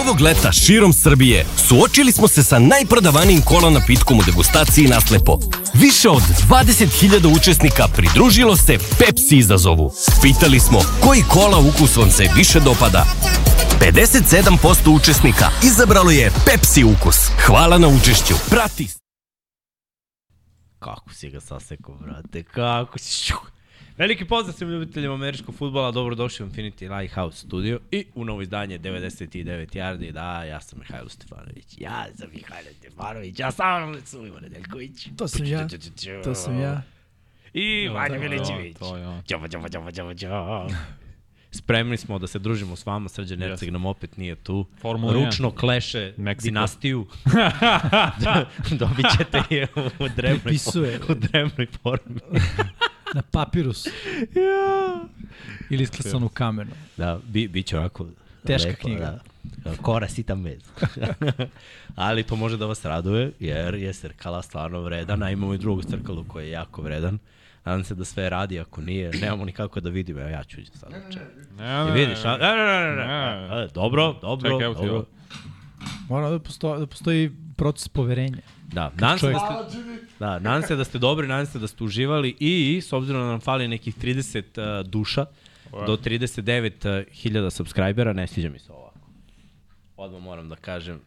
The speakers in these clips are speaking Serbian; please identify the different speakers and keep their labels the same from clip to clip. Speaker 1: Ovog leta širom Srbije suočili smo se sa najprodavanijim kola napitkom u degustaciji Naslepo. Više od 20.000 učesnika pridružilo se Pepsi izazovu. Pitali smo koji kola ukus vam se više dopada. 57% učesnika izabralo je Pepsi ukus. Hvala na učešću. Prati!
Speaker 2: Kako si ga sasekao, brate, kako si... Šu. Veliki pozdrav svim ljubiteljima američkog futbola, dobrodošli u Infinity Lighthouse studio i u novo izdanje 99 Yardi, da, ja sam Mihajlo Stefanović, ja sam Mihajlo Stefanović, ja sam Arnold Sulivo Nedeljković.
Speaker 3: To sam ja. To sam ja. Da,
Speaker 2: I Vanja Milićević.
Speaker 4: To, ja.
Speaker 2: Ćao, ćao, ćao, ćao, ćao. Spremni smo da se družimo s vama, Srđan Erceg nam opet nije tu.
Speaker 4: Formula
Speaker 2: Ručno kleše
Speaker 4: Meksiko.
Speaker 2: dinastiju. Dobit ćete je u drevnoj,
Speaker 3: Pripisuje.
Speaker 2: u drevnoj formi.
Speaker 3: Na papirus.
Speaker 2: Ja.
Speaker 3: Ili isklasan u kamenu.
Speaker 2: Da, bi, bit će ovako
Speaker 3: Teška knjiga.
Speaker 2: Da. Kora sita med. Ali to može da vas raduje, jer je Srkala stvarno vredan, a imamo i drugog Srkalu koji je jako vredan. Nadam se da sve radi, ako nije, nemamo nikako da vidimo. Evo, ja ću uđem sad. uče.
Speaker 4: Ne,
Speaker 2: I
Speaker 4: ne,
Speaker 2: vidiš, a? Ne, ne, ne, ne,
Speaker 4: da, Ne.
Speaker 2: ne. E, Dobro, dobro,
Speaker 4: Čekaj, evo ti
Speaker 2: dobro.
Speaker 4: ovo.
Speaker 3: Mora da postoji, da postoji proces poverenja.
Speaker 2: Da, nadam se,
Speaker 3: čovjek-
Speaker 2: da ste, da, nadam se da ste dobri, nadam se da ste uživali i s obzirom da nam fali nekih 30 uh, duša, do 39.000 subscribera, ne sviđa mi se ovako. Odmah moram da kažem,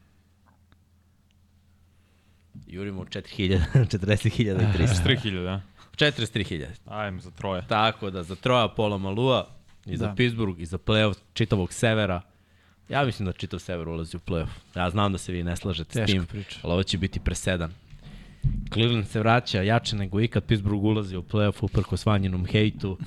Speaker 2: jurimo u 4000, 40.000 i 300.
Speaker 4: 3000, da.
Speaker 2: 43.000.
Speaker 4: Ajme za troje.
Speaker 2: Tako da za troja pola Malua, i za
Speaker 3: Da.
Speaker 2: Pittsburgh, i za playoff čitavog severa. Ja mislim da čitav sever ulazi u playoff. Ja znam da se vi ne slažete s
Speaker 3: Teška
Speaker 2: tim,
Speaker 3: priča.
Speaker 2: ali ovo će biti presedan. Cleveland se vraća jače nego ikad, Pittsburgh ulazi u playoff uprko svanjenom hejtu,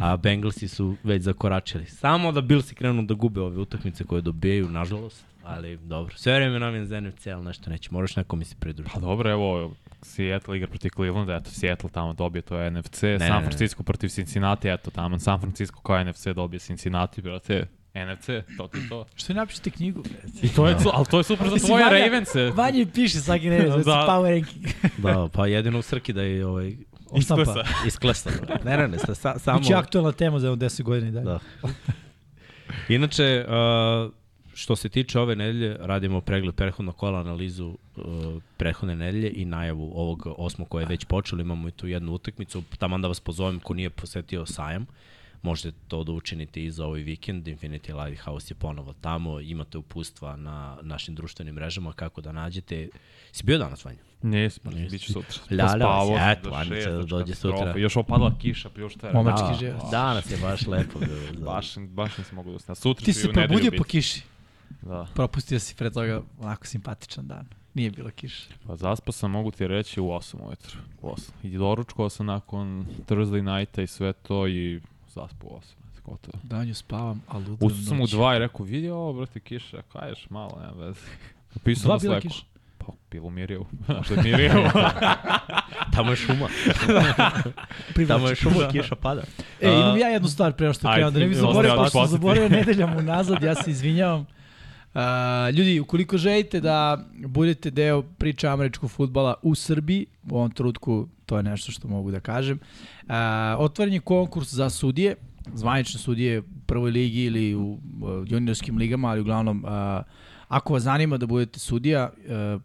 Speaker 2: a Bengalsi su već zakoračili. Samo da Billsi krenu da gube ove utakmice koje dobijaju, nažalost, ali dobro. Sve vreme nam je za NFC, ali nešto neće, moraš neko mi se pridružiti.
Speaker 4: Pa dobro, evo, Seattle igra protiv Clevelanda, eto, Seattle tamo dobije to NFC, ne,
Speaker 2: ne,
Speaker 4: San
Speaker 2: ne.
Speaker 4: Francisco protiv Cincinnati, eto, tamo San Francisco kao NFC dobije Cincinnati, brate, NFC, to ti je to.
Speaker 3: Što ne napišete knjigu?
Speaker 4: I to je, su- ali to je super za
Speaker 3: Mislim,
Speaker 4: tvoje
Speaker 3: Vanja-
Speaker 4: Ravense.
Speaker 3: Vanja piše svaki nedelje, znači
Speaker 4: Da.
Speaker 3: power ranking.
Speaker 2: Da, pa jedino u Srki da je ovaj,
Speaker 3: Istampa.
Speaker 2: isklesan. Ne, ne, ne, sa, sa, samo...
Speaker 3: Biće aktualna Znači, tema za jedno 10 godina i dalje.
Speaker 2: Da. Inače, uh, što se tiče ove nedelje, radimo pregled prethodnog kola, analizu uh, prethodne nedelje i najavu ovog osmog koje je već počelo. Imamo i tu jednu utakmicu. Taman da vas pozovem ko nije posetio sajam. Možete to da učinite i za ovaj vikend. Infinity Lighthouse je ponovo tamo. Imate upustva na našim društvenim mrežama kako da nađete. Si bio danas, Vanja?
Speaker 4: Nisi, pa bit će sutra.
Speaker 2: Lala
Speaker 4: Pospavao
Speaker 2: vas,
Speaker 4: sam
Speaker 2: eto,
Speaker 4: do
Speaker 2: Anica,
Speaker 4: šest,
Speaker 2: da
Speaker 4: znači,
Speaker 2: dođe
Speaker 4: katastrofa.
Speaker 2: sutra.
Speaker 4: Još opadala kiša, još šta je.
Speaker 3: Momak.
Speaker 4: Da,
Speaker 3: Mački život.
Speaker 2: Danas je baš lepo. bilo.
Speaker 4: Baš, baš nisam mogu da usne. Sutra
Speaker 3: Ti
Speaker 4: ću
Speaker 3: si
Speaker 4: i u nedelju
Speaker 3: probudio
Speaker 4: biti.
Speaker 3: po kiši.
Speaker 4: Da.
Speaker 3: Propustio si pre toga onako simpatičan dan. Nije bilo kiše.
Speaker 4: Pa zaspao sam, mogu ti reći, u 8 ujutru. U 8. I doručkao sam nakon Thursday nighta i sve to i zaspao u 8. eto, Gotovo.
Speaker 3: Danju spavam, a ludo
Speaker 4: Ustao sam u 2 i rekao, vidi ovo, brate, kiša, kaješ malo, nema veze. Napisao
Speaker 3: Dva
Speaker 4: na
Speaker 3: bila
Speaker 4: Slacku.
Speaker 3: kiša?
Speaker 4: Pa, bilo mi je rijevo. Što mi je rijevo.
Speaker 2: Tamo je šuma. Tamo je šuma, kiša pada.
Speaker 3: E, imam ja jednu stvar pre nego što
Speaker 4: Ajde,
Speaker 3: krenem, da ne bih
Speaker 4: ostavi
Speaker 3: zaboravio,
Speaker 4: da
Speaker 3: pošto sam
Speaker 4: posjeti.
Speaker 3: zaboravio nedeljam unazad, ja se izvinjavam. Uh, ljudi, ukoliko želite da budete deo priče američkog futbala u Srbiji, u ovom trutku to je nešto što mogu da kažem, uh, otvoren je konkurs za sudije, zvanične sudije u prvoj ligi ili u uh, juniorskim ligama, ali uglavnom, uh, ako vas zanima da budete sudija, uh,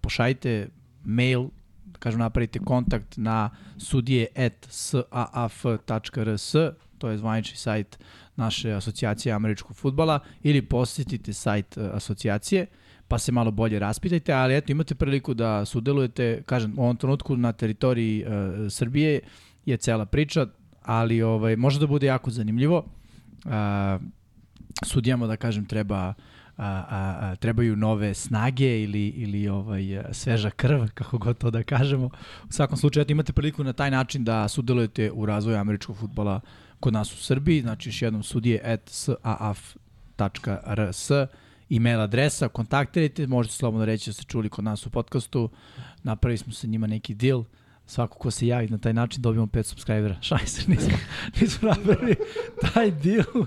Speaker 3: pošaljite mail da kažem napravite kontakt na sudije.saaf.rs, to je zvanični sajt naše asocijacije američkog futbala, ili posjetite sajt e, asocijacije, pa se malo bolje raspitajte, ali eto imate priliku da sudelujete, kažem, u ovom trenutku na teritoriji e, Srbije je cela priča, ali ovaj, može da bude jako zanimljivo. A, sudijama da kažem treba a, a, a, trebaju nove snage ili, ili ovaj, a, sveža krv, kako god to da kažemo. U svakom slučaju, eto, imate priliku na taj način da sudelujete u razvoju američkog futbala kod nas u Srbiji. Znači, još jednom sudije at saaf.rs email adresa, kontaktirajte, možete slobodno reći da ste čuli kod nas u podcastu, napravili smo sa njima neki deal, svako ko se javi na taj način dobijemo 5 subscribera. Šaj se, nismo, nismo napravili taj deal.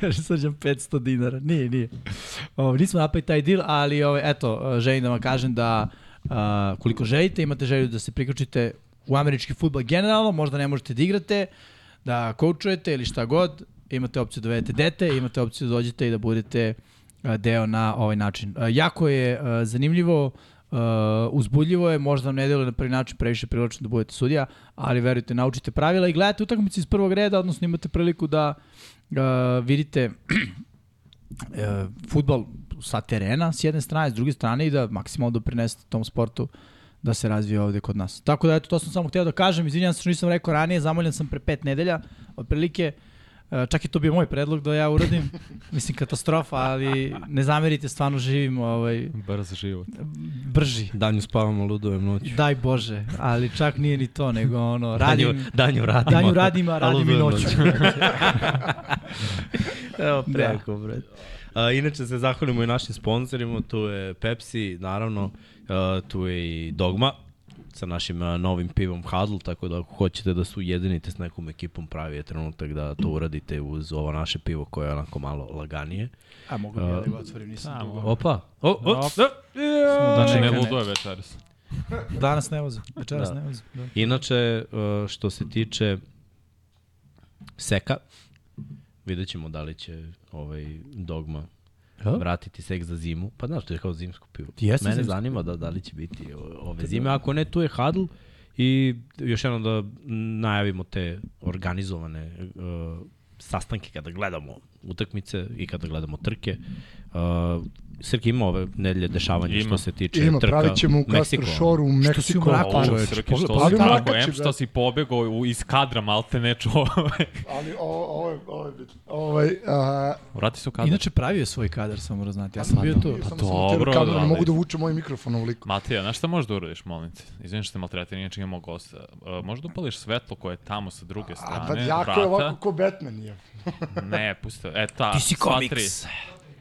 Speaker 3: Kaže Srđan 500 dinara. Nije, nije. O, Ovaj, nismo napravili taj deal, ali ove, eto, želim da vam kažem da a, koliko želite, imate želju da se priključite u američki futbol generalno, možda ne možete da igrate, da koučujete ili šta god, imate opciju da dovedete dete, imate opciju da dođete i da budete e, deo na ovaj način. E, Jako je e, zanimljivo, e, uzbudljivo je, možda vam ne deluje na prvi način previše privlačno da budete sudija, ali verujte, naučite pravila i gledate utakmice iz prvog reda, odnosno imate priliku da e, vidite e, futbal sa terena s jedne strane, s druge strane i da maksimalno doprinesete tom sportu da se razvije ovde kod nas. Tako da eto, to sam samo hteo da kažem, izvinjam se što nisam rekao ranije, zamoljen sam pre pet nedelja, otprilike, e, čak i to bio moj predlog da ja uradim, mislim katastrofa, ali ne zamerite, stvarno živim ovaj,
Speaker 4: Brz život.
Speaker 3: brži.
Speaker 2: Danju spavamo, ludujem noću.
Speaker 3: Daj Bože, ali čak nije ni to, nego ono, radim,
Speaker 2: danju radimo.
Speaker 3: danju radim, a radim i
Speaker 2: ludujem
Speaker 3: noću.
Speaker 2: Evo, prejako, da. A, inače se zahvalimo i našim sponsorima, tu je Pepsi, naravno, a, tu je i Dogma sa našim a, novim pivom Hadl, tako da ako hoćete da su jedinite s nekom ekipom, pravi je trenutak da to uradite uz ovo naše pivo koje je onako malo laganije.
Speaker 3: A mogu bi ja da ga otvorim, nisam dugo.
Speaker 2: Opa! O, o, o,
Speaker 3: Da
Speaker 4: Znači,
Speaker 3: čeka,
Speaker 4: e, ne
Speaker 3: ne.
Speaker 4: luduje večeras.
Speaker 3: Danas ne voze, večeras
Speaker 2: Da.
Speaker 3: ne voze. Da.
Speaker 2: Inače, uh, što se tiče seka, vidjet ćemo da li će ovaj dogma
Speaker 3: Ha?
Speaker 2: vratiti sek za zimu. Pa znaš, to je kao zimsko pivo.
Speaker 3: Jeste
Speaker 2: Mene
Speaker 3: zimsko.
Speaker 2: zanima da, da li će biti o- ove
Speaker 5: da.
Speaker 2: zime. Ako ne, tu je hadl i još jednom da najavimo te organizovane uh, sastanke kada gledamo utakmice i kada gledamo trke. Uh, Srki ima ove nedelje dešavanja
Speaker 4: Ima.
Speaker 2: što se tiče
Speaker 5: Ima,
Speaker 2: trka.
Speaker 5: pravit ćemo u
Speaker 2: Meksiko.
Speaker 5: Castro Shore u Meksiko.
Speaker 3: si u mraku,
Speaker 5: Ovo,
Speaker 4: Ovo,
Speaker 3: čoveče,
Speaker 4: Srki,
Speaker 3: pogledaj,
Speaker 4: što si
Speaker 5: pogledaj,
Speaker 4: tako,
Speaker 5: makači,
Speaker 4: em što
Speaker 5: brate.
Speaker 4: si pobegao u- iz kadra, malte ne čovek.
Speaker 5: Ali ovo, ovo, je- ovo je bitno. Ovaj, a,
Speaker 4: Vrati se u kadar.
Speaker 3: Inače, pravio je svoj kadar, samo da znate. Ja sam bio tu.
Speaker 5: samo sam
Speaker 4: dobro,
Speaker 5: otvorio kameru, ne
Speaker 4: ali-
Speaker 5: mogu da vučem moj mikrofon u liku.
Speaker 4: Matija, znaš šta možeš da uradiš, molim te? Izvini što te maltretiraj, inače imamo gosta. E, Možeš da upališ svetlo koje je tamo sa druge strane,
Speaker 5: A da, jako je
Speaker 4: vrata.
Speaker 5: ovako ko Batman je.
Speaker 4: Ne, pusti. E, ta,
Speaker 2: Ti si
Speaker 4: sva tri.
Speaker 2: komiks.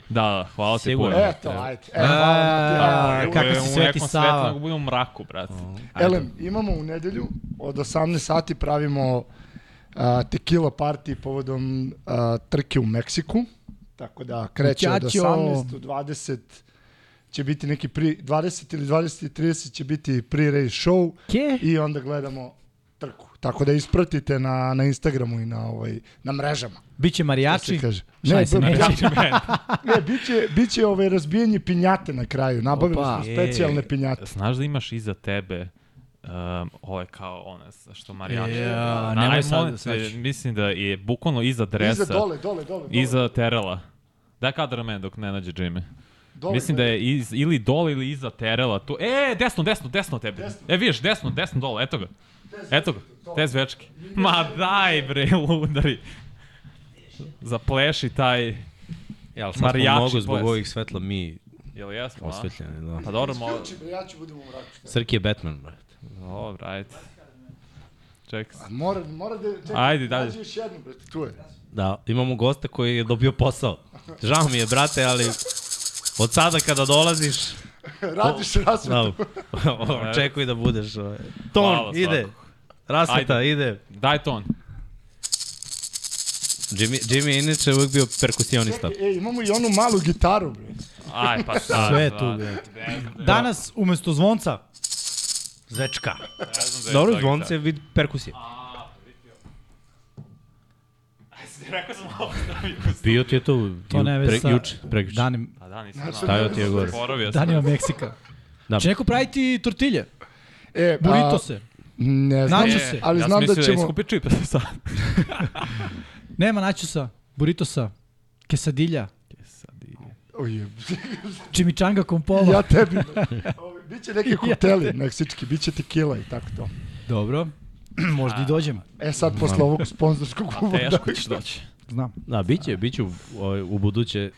Speaker 4: Da, da, hvala ti
Speaker 2: Sigurno.
Speaker 4: puno.
Speaker 5: Eto, ajde. E, hvala
Speaker 3: E, A,
Speaker 5: ti.
Speaker 4: Evo,
Speaker 3: kako
Speaker 4: evo,
Speaker 3: si
Speaker 4: u
Speaker 3: Sveti
Speaker 4: nekom
Speaker 3: Sava.
Speaker 4: svetlu, nego budem u mraku, brate.
Speaker 5: Elem, imamo u nedelju od 18 sati pravimo a, tequila party povodom a, trke u Meksiku. Tako da kreće od
Speaker 3: Ćaćo.
Speaker 5: 18 do 20 će biti neki pri, 20 ili 20 i 30 će biti pre-race show
Speaker 3: Ke?
Speaker 5: i onda gledamo trku. Tako da ispratite na, na Instagramu i na, ovaj, na mrežama.
Speaker 3: Biće
Speaker 5: se
Speaker 3: marijači.
Speaker 5: kaže.
Speaker 3: Šta je
Speaker 5: Ne,
Speaker 3: sa
Speaker 5: ne,
Speaker 3: marijači?
Speaker 4: Znači,
Speaker 5: ne, biće, biće ove ovaj, razbijanje pinjate na kraju. Nabavili
Speaker 3: Opa.
Speaker 5: smo specijalne pinjate.
Speaker 4: Znaš da imaš iza tebe um, ovo je kao one sa- što marijači.
Speaker 3: Ja,
Speaker 4: Aj,
Speaker 3: nemoj sad
Speaker 4: molim
Speaker 3: da
Speaker 4: te,
Speaker 3: sveći.
Speaker 4: Mislim da je bukvalno iza dresa.
Speaker 5: Iza dole, dole, dole. dole.
Speaker 4: Iza Terela. Da kadra mene dok ne nađe Jimmy.
Speaker 5: dole,
Speaker 4: Mislim da je iz, ili dole ili iza Terela. Tu. E, desno, desno, desno tebe. E, vidiš, desno, desno dole, eto ga. Eto ga, te zvečke. Ma daj bre, ludari. Zapleši taj,
Speaker 2: Ja, E, ali sad smo
Speaker 4: Marijači
Speaker 2: mnogo zbog
Speaker 4: pojas.
Speaker 2: ovih svetla mi
Speaker 4: jel jesmo, a?
Speaker 2: osvetljeni, da.
Speaker 4: Pa dobro, mo...
Speaker 5: Uči, bre, ja ću budem u mraku.
Speaker 2: Srki je Batman, brate.
Speaker 4: Dobro, ajde. Čekaj.
Speaker 5: A mora, mora da... Čekaj,
Speaker 4: Ajde, dalje.
Speaker 5: nađi još jednu, brate, tu je.
Speaker 2: Da, imamo gosta koji je dobio posao. Žao mi je, brate, ali od sada kada dolaziš,
Speaker 5: Radiš rasvetu.
Speaker 2: da, očekuj da budeš. ovaj. Ton,
Speaker 4: Hvala,
Speaker 2: ide.
Speaker 4: svakako.
Speaker 2: Rasveta, ide.
Speaker 4: Daj ton.
Speaker 2: Jimmy, Jimmy je inače uvijek bio perkusionista.
Speaker 5: Čekaj, e, imamo i onu malu gitaru, bre.
Speaker 4: Aj, pa sad.
Speaker 3: Sve je
Speaker 4: da.
Speaker 3: tu, bre.
Speaker 4: Ne znam da je-
Speaker 3: Danas, umesto zvonca, zvečka.
Speaker 4: ne znam da je
Speaker 2: Dobro,
Speaker 4: to
Speaker 2: zvonce je vid perkusije.
Speaker 4: gitar. Rekao sam ovo da
Speaker 2: Bio ti je to,
Speaker 3: To ne
Speaker 2: pre,
Speaker 3: veze sa...
Speaker 2: juče, prekiče.
Speaker 3: Danim,
Speaker 4: A da, nisam znao.
Speaker 2: Stavio ti je gore.
Speaker 4: Zaboravio sam.
Speaker 3: danima Meksika.
Speaker 2: Da.
Speaker 3: Će neko praviti tortilje,
Speaker 5: E,
Speaker 3: burrito
Speaker 5: a,
Speaker 3: se.
Speaker 5: Ne znam,
Speaker 3: Nađu
Speaker 5: e,
Speaker 3: se.
Speaker 5: ali
Speaker 4: ja
Speaker 5: znam
Speaker 4: sam
Speaker 5: da
Speaker 4: mislio da
Speaker 5: ćemo...
Speaker 4: iskupi čip sad.
Speaker 3: Nema naćusa, burritosa, kesadilja,
Speaker 5: Oj,
Speaker 3: čimičanga kompola.
Speaker 5: ja tebi. Ovi, Biće neki kokteli meksički, biće tequila i tako to.
Speaker 3: Dobro, možda i dođem.
Speaker 5: E sad, posle ovog sponzorskog uvoda...
Speaker 4: Teško ćeš doći.
Speaker 3: Znam.
Speaker 2: Da, bit će, bit će u, ovaj, u buduće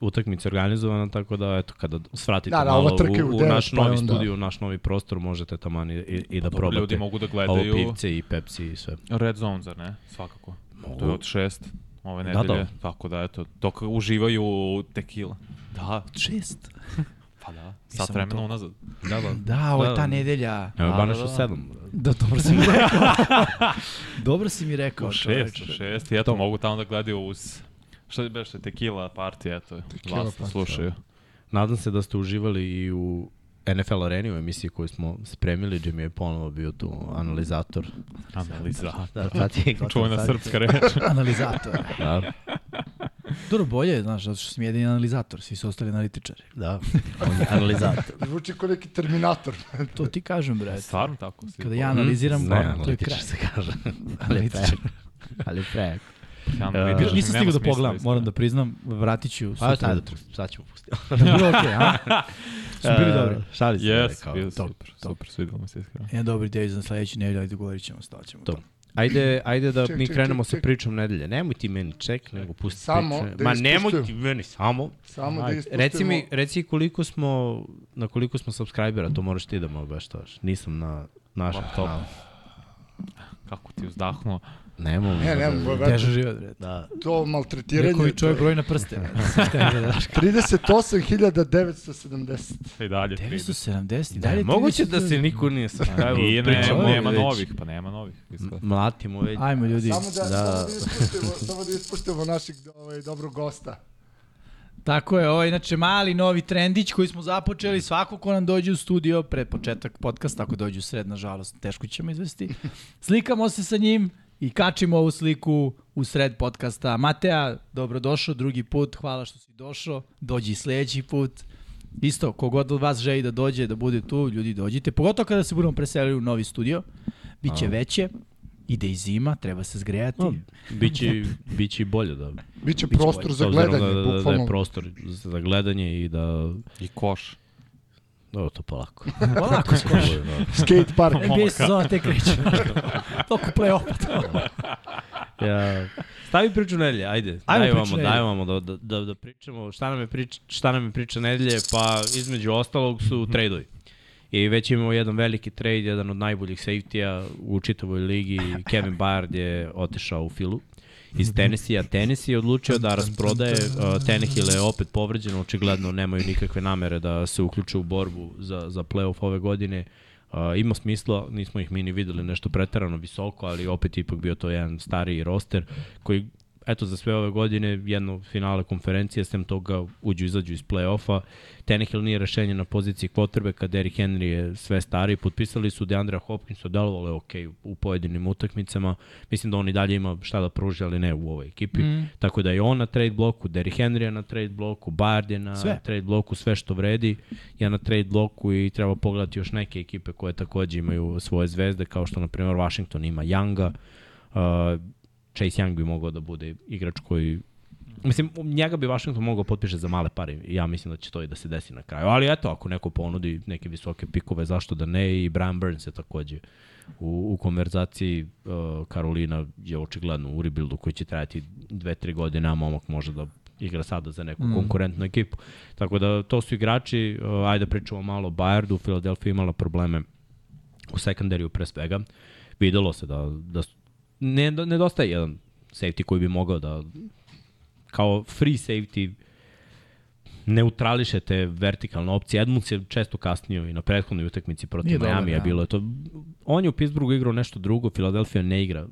Speaker 2: utakmice organizovana, tako da, eto, kada svratite
Speaker 5: Da, da, ova
Speaker 2: malo
Speaker 5: trka je
Speaker 2: u,
Speaker 5: u
Speaker 2: u,
Speaker 5: devet,
Speaker 2: naš
Speaker 5: pa
Speaker 2: novi
Speaker 5: je onda-
Speaker 2: studio, u naš novi prostor, možete taman i, i, i da
Speaker 4: Dobro,
Speaker 2: probate.
Speaker 4: ljudi mogu da gledaju-
Speaker 2: Ovo pivce i Pepsi i sve.
Speaker 4: Red Zone, zar ne? Svakako. To je od šest ove
Speaker 2: Da,
Speaker 4: nedelje.
Speaker 2: da.
Speaker 4: Tako da, eto, dok uživaju u tekila. Da,
Speaker 3: Šest.
Speaker 4: pa da. Sat vremena unazad.
Speaker 2: Da, da.
Speaker 3: Da, ovo je
Speaker 2: Da,
Speaker 3: ta
Speaker 2: da.
Speaker 3: nedelja.
Speaker 2: Evo,
Speaker 4: Da,
Speaker 2: banaš
Speaker 4: da,
Speaker 2: u
Speaker 4: da.
Speaker 2: sedam.
Speaker 3: Da, dobro si mi rekao. dobro si mi rekao.
Speaker 4: Šest,
Speaker 3: čoveče.
Speaker 4: šest. I eto, mogu tamo da gledaju uz... Šta je beše, tekila partija, eto, vas
Speaker 5: party,
Speaker 4: slušaju.
Speaker 2: Nadam se da ste uživali i u NFL areni u emisiji koju smo spremili. Jimmy je ponovo bio tu analizator.
Speaker 4: Analiza.
Speaker 2: Da, sad je gotovo.
Speaker 4: Da. Čuvena
Speaker 2: sad.
Speaker 4: srpska reč.
Speaker 3: Analizator.
Speaker 2: Da.
Speaker 3: Dobro, bolje je, znaš, zato što sam jedini analizator, svi su ostali analitičari.
Speaker 2: Da, on je analizator.
Speaker 5: Zvuči kao neki terminator.
Speaker 3: To ti kažem, bre.
Speaker 4: Stvarno tako. Svi
Speaker 3: Kada ja analiziram,
Speaker 2: ne,
Speaker 3: mm, to je kraj.
Speaker 2: analitičar se kaže. Ali je
Speaker 3: Analitičar.
Speaker 2: prejak. Ali je prejak.
Speaker 3: Još nisam stigao da pogledam, moram da priznam, vratit ću
Speaker 2: Pa
Speaker 3: sutra. Da,
Speaker 2: sad, jutro, sad ćemo pustiti.
Speaker 3: Bilo okej, a? Su
Speaker 2: E,
Speaker 3: bili dobri.
Speaker 2: Šali se.
Speaker 4: Jes,
Speaker 2: kao,
Speaker 4: bio
Speaker 2: to-
Speaker 4: super, super, svidelo mi se iskreno.
Speaker 3: Ja, dobri ideje za sledeću nedelju, ajde govorit ćemo, staćemo.
Speaker 2: To. Ajde, ajde da
Speaker 5: Ček,
Speaker 2: mi
Speaker 5: ček,
Speaker 2: krenemo
Speaker 5: ček,
Speaker 2: sa
Speaker 5: ček.
Speaker 2: pričom nedelje. Nemoj ti meni ček, nego pusti
Speaker 5: Samo
Speaker 2: priču.
Speaker 5: da
Speaker 2: Ma
Speaker 5: ispustimo.
Speaker 2: nemoj ti meni samo.
Speaker 5: Samo da
Speaker 2: Ajde.
Speaker 5: ispustimo.
Speaker 2: Reci mi, reci koliko smo, na koliko smo subscribera, to moraš ti da me obaštavaš. Nisam na našem
Speaker 4: Ma, top.
Speaker 2: kanalu.
Speaker 4: Kako ti uzdahnuo.
Speaker 2: Nemoj.
Speaker 5: Ne, ne,
Speaker 3: Teža život, bre.
Speaker 2: Da.
Speaker 5: to maltretiranje.
Speaker 3: Rekovi
Speaker 5: to je
Speaker 3: čovjek broj na prste. bre.
Speaker 2: Da.
Speaker 5: 38.970.
Speaker 4: I E dalje.
Speaker 3: 970, i
Speaker 2: Da,
Speaker 3: dalje
Speaker 2: moguće
Speaker 3: 30.
Speaker 2: da se niko nije subscribe.
Speaker 4: Nije, ne,
Speaker 3: Pa pričamo
Speaker 4: nema
Speaker 2: već.
Speaker 4: novih, pa nema novih.
Speaker 2: Mm,
Speaker 4: izgleda.
Speaker 2: Mlatimo već.
Speaker 3: Ajmo ljudi.
Speaker 5: Samo da,
Speaker 2: Da.
Speaker 5: Samo da ispuštimo, samo da ispuštimo našeg ovaj, dobrog gosta.
Speaker 3: Tako je, ovo je inače mali novi trendić koji smo započeli, svako ko nam dođe u studio pred početak podcasta, ako dođe u sred, nažalost, teško ćemo izvesti, slikamo se sa njim i kačimo ovu sliku u sred podcasta. Matea, dobrodošao drugi put, hvala što si došao, dođi i sledeći put. Isto, kogod od vas želi da dođe, da bude tu, ljudi dođite, pogotovo kada se budemo preselili u novi studio, bit će veće, ide i zima, treba se zgrejati.
Speaker 2: No, biće, biće i bolje da
Speaker 5: Biće prostor
Speaker 2: bolje,
Speaker 5: za
Speaker 2: s obzirom
Speaker 5: gledanje,
Speaker 2: da, da, da
Speaker 5: bukvalno.
Speaker 2: je prostor za gledanje i da
Speaker 4: I koš.
Speaker 2: dobro to polako. da.
Speaker 3: Polako skoš.
Speaker 5: Skate park.
Speaker 3: NBA sezona tek kreće. Toliko play-off.
Speaker 2: Ja, stavi priču nedelje, ajde.
Speaker 3: Ajmo
Speaker 2: daj
Speaker 3: priču
Speaker 2: vamo, daj
Speaker 3: nedelje.
Speaker 2: vamo da, da, da, da pričamo šta nam je priča, šta nam je priča nedelje, pa između ostalog su
Speaker 3: Mhm.
Speaker 2: tradeovi. I već imamo jedan veliki trade, jedan od najboljih safety-a u čitavoj ligi. Kevin Byard je otišao u filu iz Tennessee-a. Tennessee je odlučio da rasprodaje. Uh, Tannehill je opet povređen, očigledno nemaju nikakve namere da se uključe u borbu za, za playoff ove godine. Uh, ima smisla, nismo ih mi ni videli nešto pretarano visoko, ali opet ipak bio to jedan stariji roster koji eto za sve ove godine jedno finale konferencije, sem toga uđu izađu iz play-offa. Tannehill nije rešenje na poziciji quarterbacka, Derrick Henry je sve stariji, potpisali su DeAndre Hopkinsa, delovalo je ok u pojedinim utakmicama, mislim da on i dalje ima šta da pruži, ali ne u ovoj ekipi, mm. tako da je on na trade bloku, Derrick Henry je na trade bloku, Bard je na
Speaker 3: Sve.
Speaker 2: trade bloku, sve što vredi je na trade bloku i treba pogledati još neke ekipe koje takođe imaju svoje zvezde, kao što na primjer Washington ima Younga, uh, Chase Young bi mogao da bude igrač koji Mislim, njega bi Washington mogao potpiše za male pare. i Ja mislim da će to i da se desi na kraju. Ali eto, ako neko ponudi neke visoke pikove, zašto da ne? I Brian Burns je takođe u, u konverzaciji. Uh, Karolina je očigledno u rebuildu koji će trajati dve, tri godine, a momak može da igra sada za neku mm. konkurentnu ekipu. Tako da, to su igrači. Uh, ajde da pričamo malo o Bayardu. Philadelphia imala probleme u sekundariju pre svega. Videlo se da, da su- ne, nedostaje jedan safety koji bi mogao da kao free safety neutrališete vertikalne opcije. Edmunds je često kasnio i na prethodnoj utakmici
Speaker 3: Nije
Speaker 2: protiv
Speaker 3: dobar,
Speaker 2: Majamija
Speaker 3: da.
Speaker 2: bilo je to. On je u Pittsburghu igrao nešto drugo, Philadelphia ne igra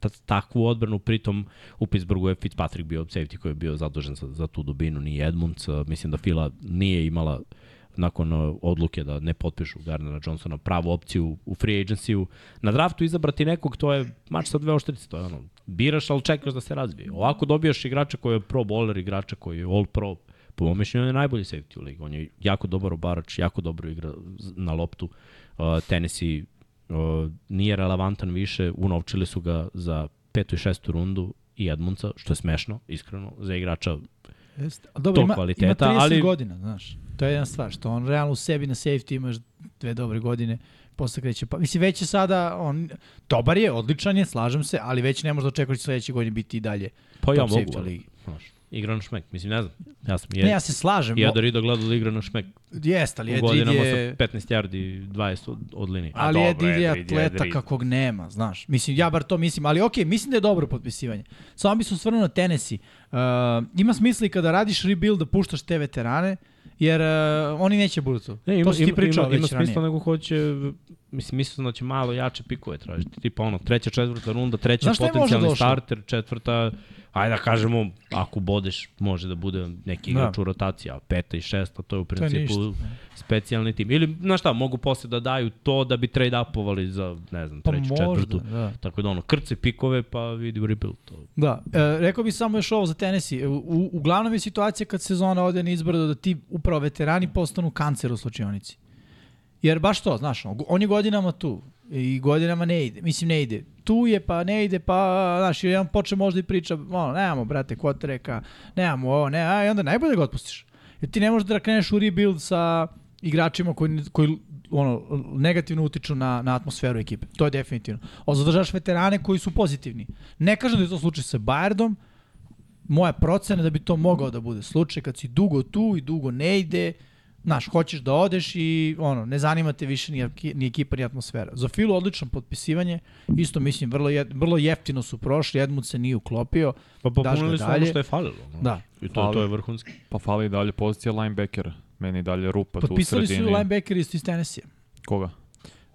Speaker 2: ta, takvu odbranu, pritom u Pittsburghu je Fitzpatrick bio safety koji je bio zadužen za, za tu dubinu, ni Edmunds. A, Mislim da Fila nije imala nakon a, odluke da ne potpišu Garnera Johnsona pravu opciju u free agency-u. Na draftu izabrati nekog, to je mač sa dve oštrice, to je ono, biraš, ali čekaš da se razvije. Ovako dobijaš igrača koji je pro bowler, igrača koji je all pro, po mom mišljenju on je najbolji safety u ligi. On je jako dobar obarač, jako dobro igra z- na loptu. Uh, Tennessee uh, nije relevantan više, unovčili su ga za petu i šestu rundu i Edmundsa, što je smešno, iskreno, za igrača.
Speaker 3: Jeste. A dobro,
Speaker 2: tog
Speaker 3: ima,
Speaker 2: kvaliteta,
Speaker 3: ima 30
Speaker 2: ali-
Speaker 3: godina, znaš. To je jedna stvar, što on realno u sebi na safety imaš dve dobre godine, posle kreće. Pa, mislim, već je sada, on, dobar je, odličan je, slažem se, ali već ne možda očekuješ da će sledeće godine biti i dalje.
Speaker 2: Pa ja
Speaker 3: top
Speaker 2: mogu,
Speaker 3: safety u
Speaker 2: ali
Speaker 3: ligi.
Speaker 2: znaš, igra na šmek. Mislim, ne znam, ja sam, je,
Speaker 3: Ne, ja se slažem.
Speaker 2: ja
Speaker 3: Ja
Speaker 2: da Rido gledao da igra na šmek
Speaker 3: Jeste, ali
Speaker 2: u
Speaker 3: Edrid
Speaker 2: godinama
Speaker 3: je...
Speaker 2: sa 15 yardi, 20 od, od linije.
Speaker 4: A
Speaker 3: Ali
Speaker 4: dobro,
Speaker 3: Edrid je
Speaker 4: Edrid je
Speaker 3: atleta
Speaker 4: Edrid.
Speaker 3: kakvog nema, znaš. Mislim, ja bar to mislim, ali okej, mislim da je dobro potpisivanje. Samo bi se osvrnuo na Tennessee. Uh, ima smisla i kada radiš rebuild da puštaš te veterane, jer uh, oni neće budu tu.
Speaker 2: Ne, ima,
Speaker 3: to si ti
Speaker 2: ima,
Speaker 3: pričao
Speaker 2: ima, ima
Speaker 3: već ranije.
Speaker 2: smisla nego hoće, mislim, mislim da će malo jače pikove tražiti, tipa ono, treća, četvrta runda, treći
Speaker 3: Znaš šta je možda
Speaker 2: potencijalni
Speaker 3: došlo?
Speaker 2: starter, četvrta, ajde da kažemo, ako bodeš, može da bude neki igrač da. u rotaciji, a peta i šesta, to je u
Speaker 3: ništa.
Speaker 2: principu u specijalni tim. Ili, znaš šta, mogu posle da daju to da bi trade upovali za, ne znam,
Speaker 3: Pa
Speaker 2: treću,
Speaker 3: možda,
Speaker 2: četvrtu.
Speaker 3: da.
Speaker 2: Tako da ono, krce pikove pa vidi u rebuild. To.
Speaker 3: Da, e, rekao bih samo još ovo za Tennessee. U- U, uglavnom je situacija kad sezona ode na izbrdo da ti upravo veterani postanu kancer u slučionici. Jer baš to, znaš, on, on je godinama tu i godinama ne ide, mislim ne ide. Tu je pa ne ide, pa znaš, i jedan počne možda i priča, ono, nemamo brate kotreka, nemamo ovo, ne, a i onda najbolje ga otpustiš. Jer ti ne možeš da kreneš u rebuild sa igračima koji, koji ono, negativno utiču na, na atmosferu ekipe. To je definitivno. O, zadržaš veterane koji su pozitivni. Ne kažem da je to slučaj sa Bayardom, moja procena da bi to mogao da bude slučaj kad si dugo tu i dugo ne ide, znaš, hoćeš da odeš i ono, ne zanima te više ni, eki- ni ekipa ni atmosfera. Za Filu odlično potpisivanje, isto mislim, vrlo, je, vrlo jeftino su prošli, Edmund se nije uklopio.
Speaker 2: Pa
Speaker 3: daš ga
Speaker 2: popunili su ono
Speaker 3: dalje.
Speaker 2: što je falilo. ono.
Speaker 3: Da.
Speaker 2: I to, to je vrhunski.
Speaker 4: Pa fali i dalje pozicija linebackera. Meni i dalje rupa tu u
Speaker 3: Potpisali su
Speaker 4: sredini.
Speaker 3: linebackeri isto iz Tennessee.
Speaker 4: Koga?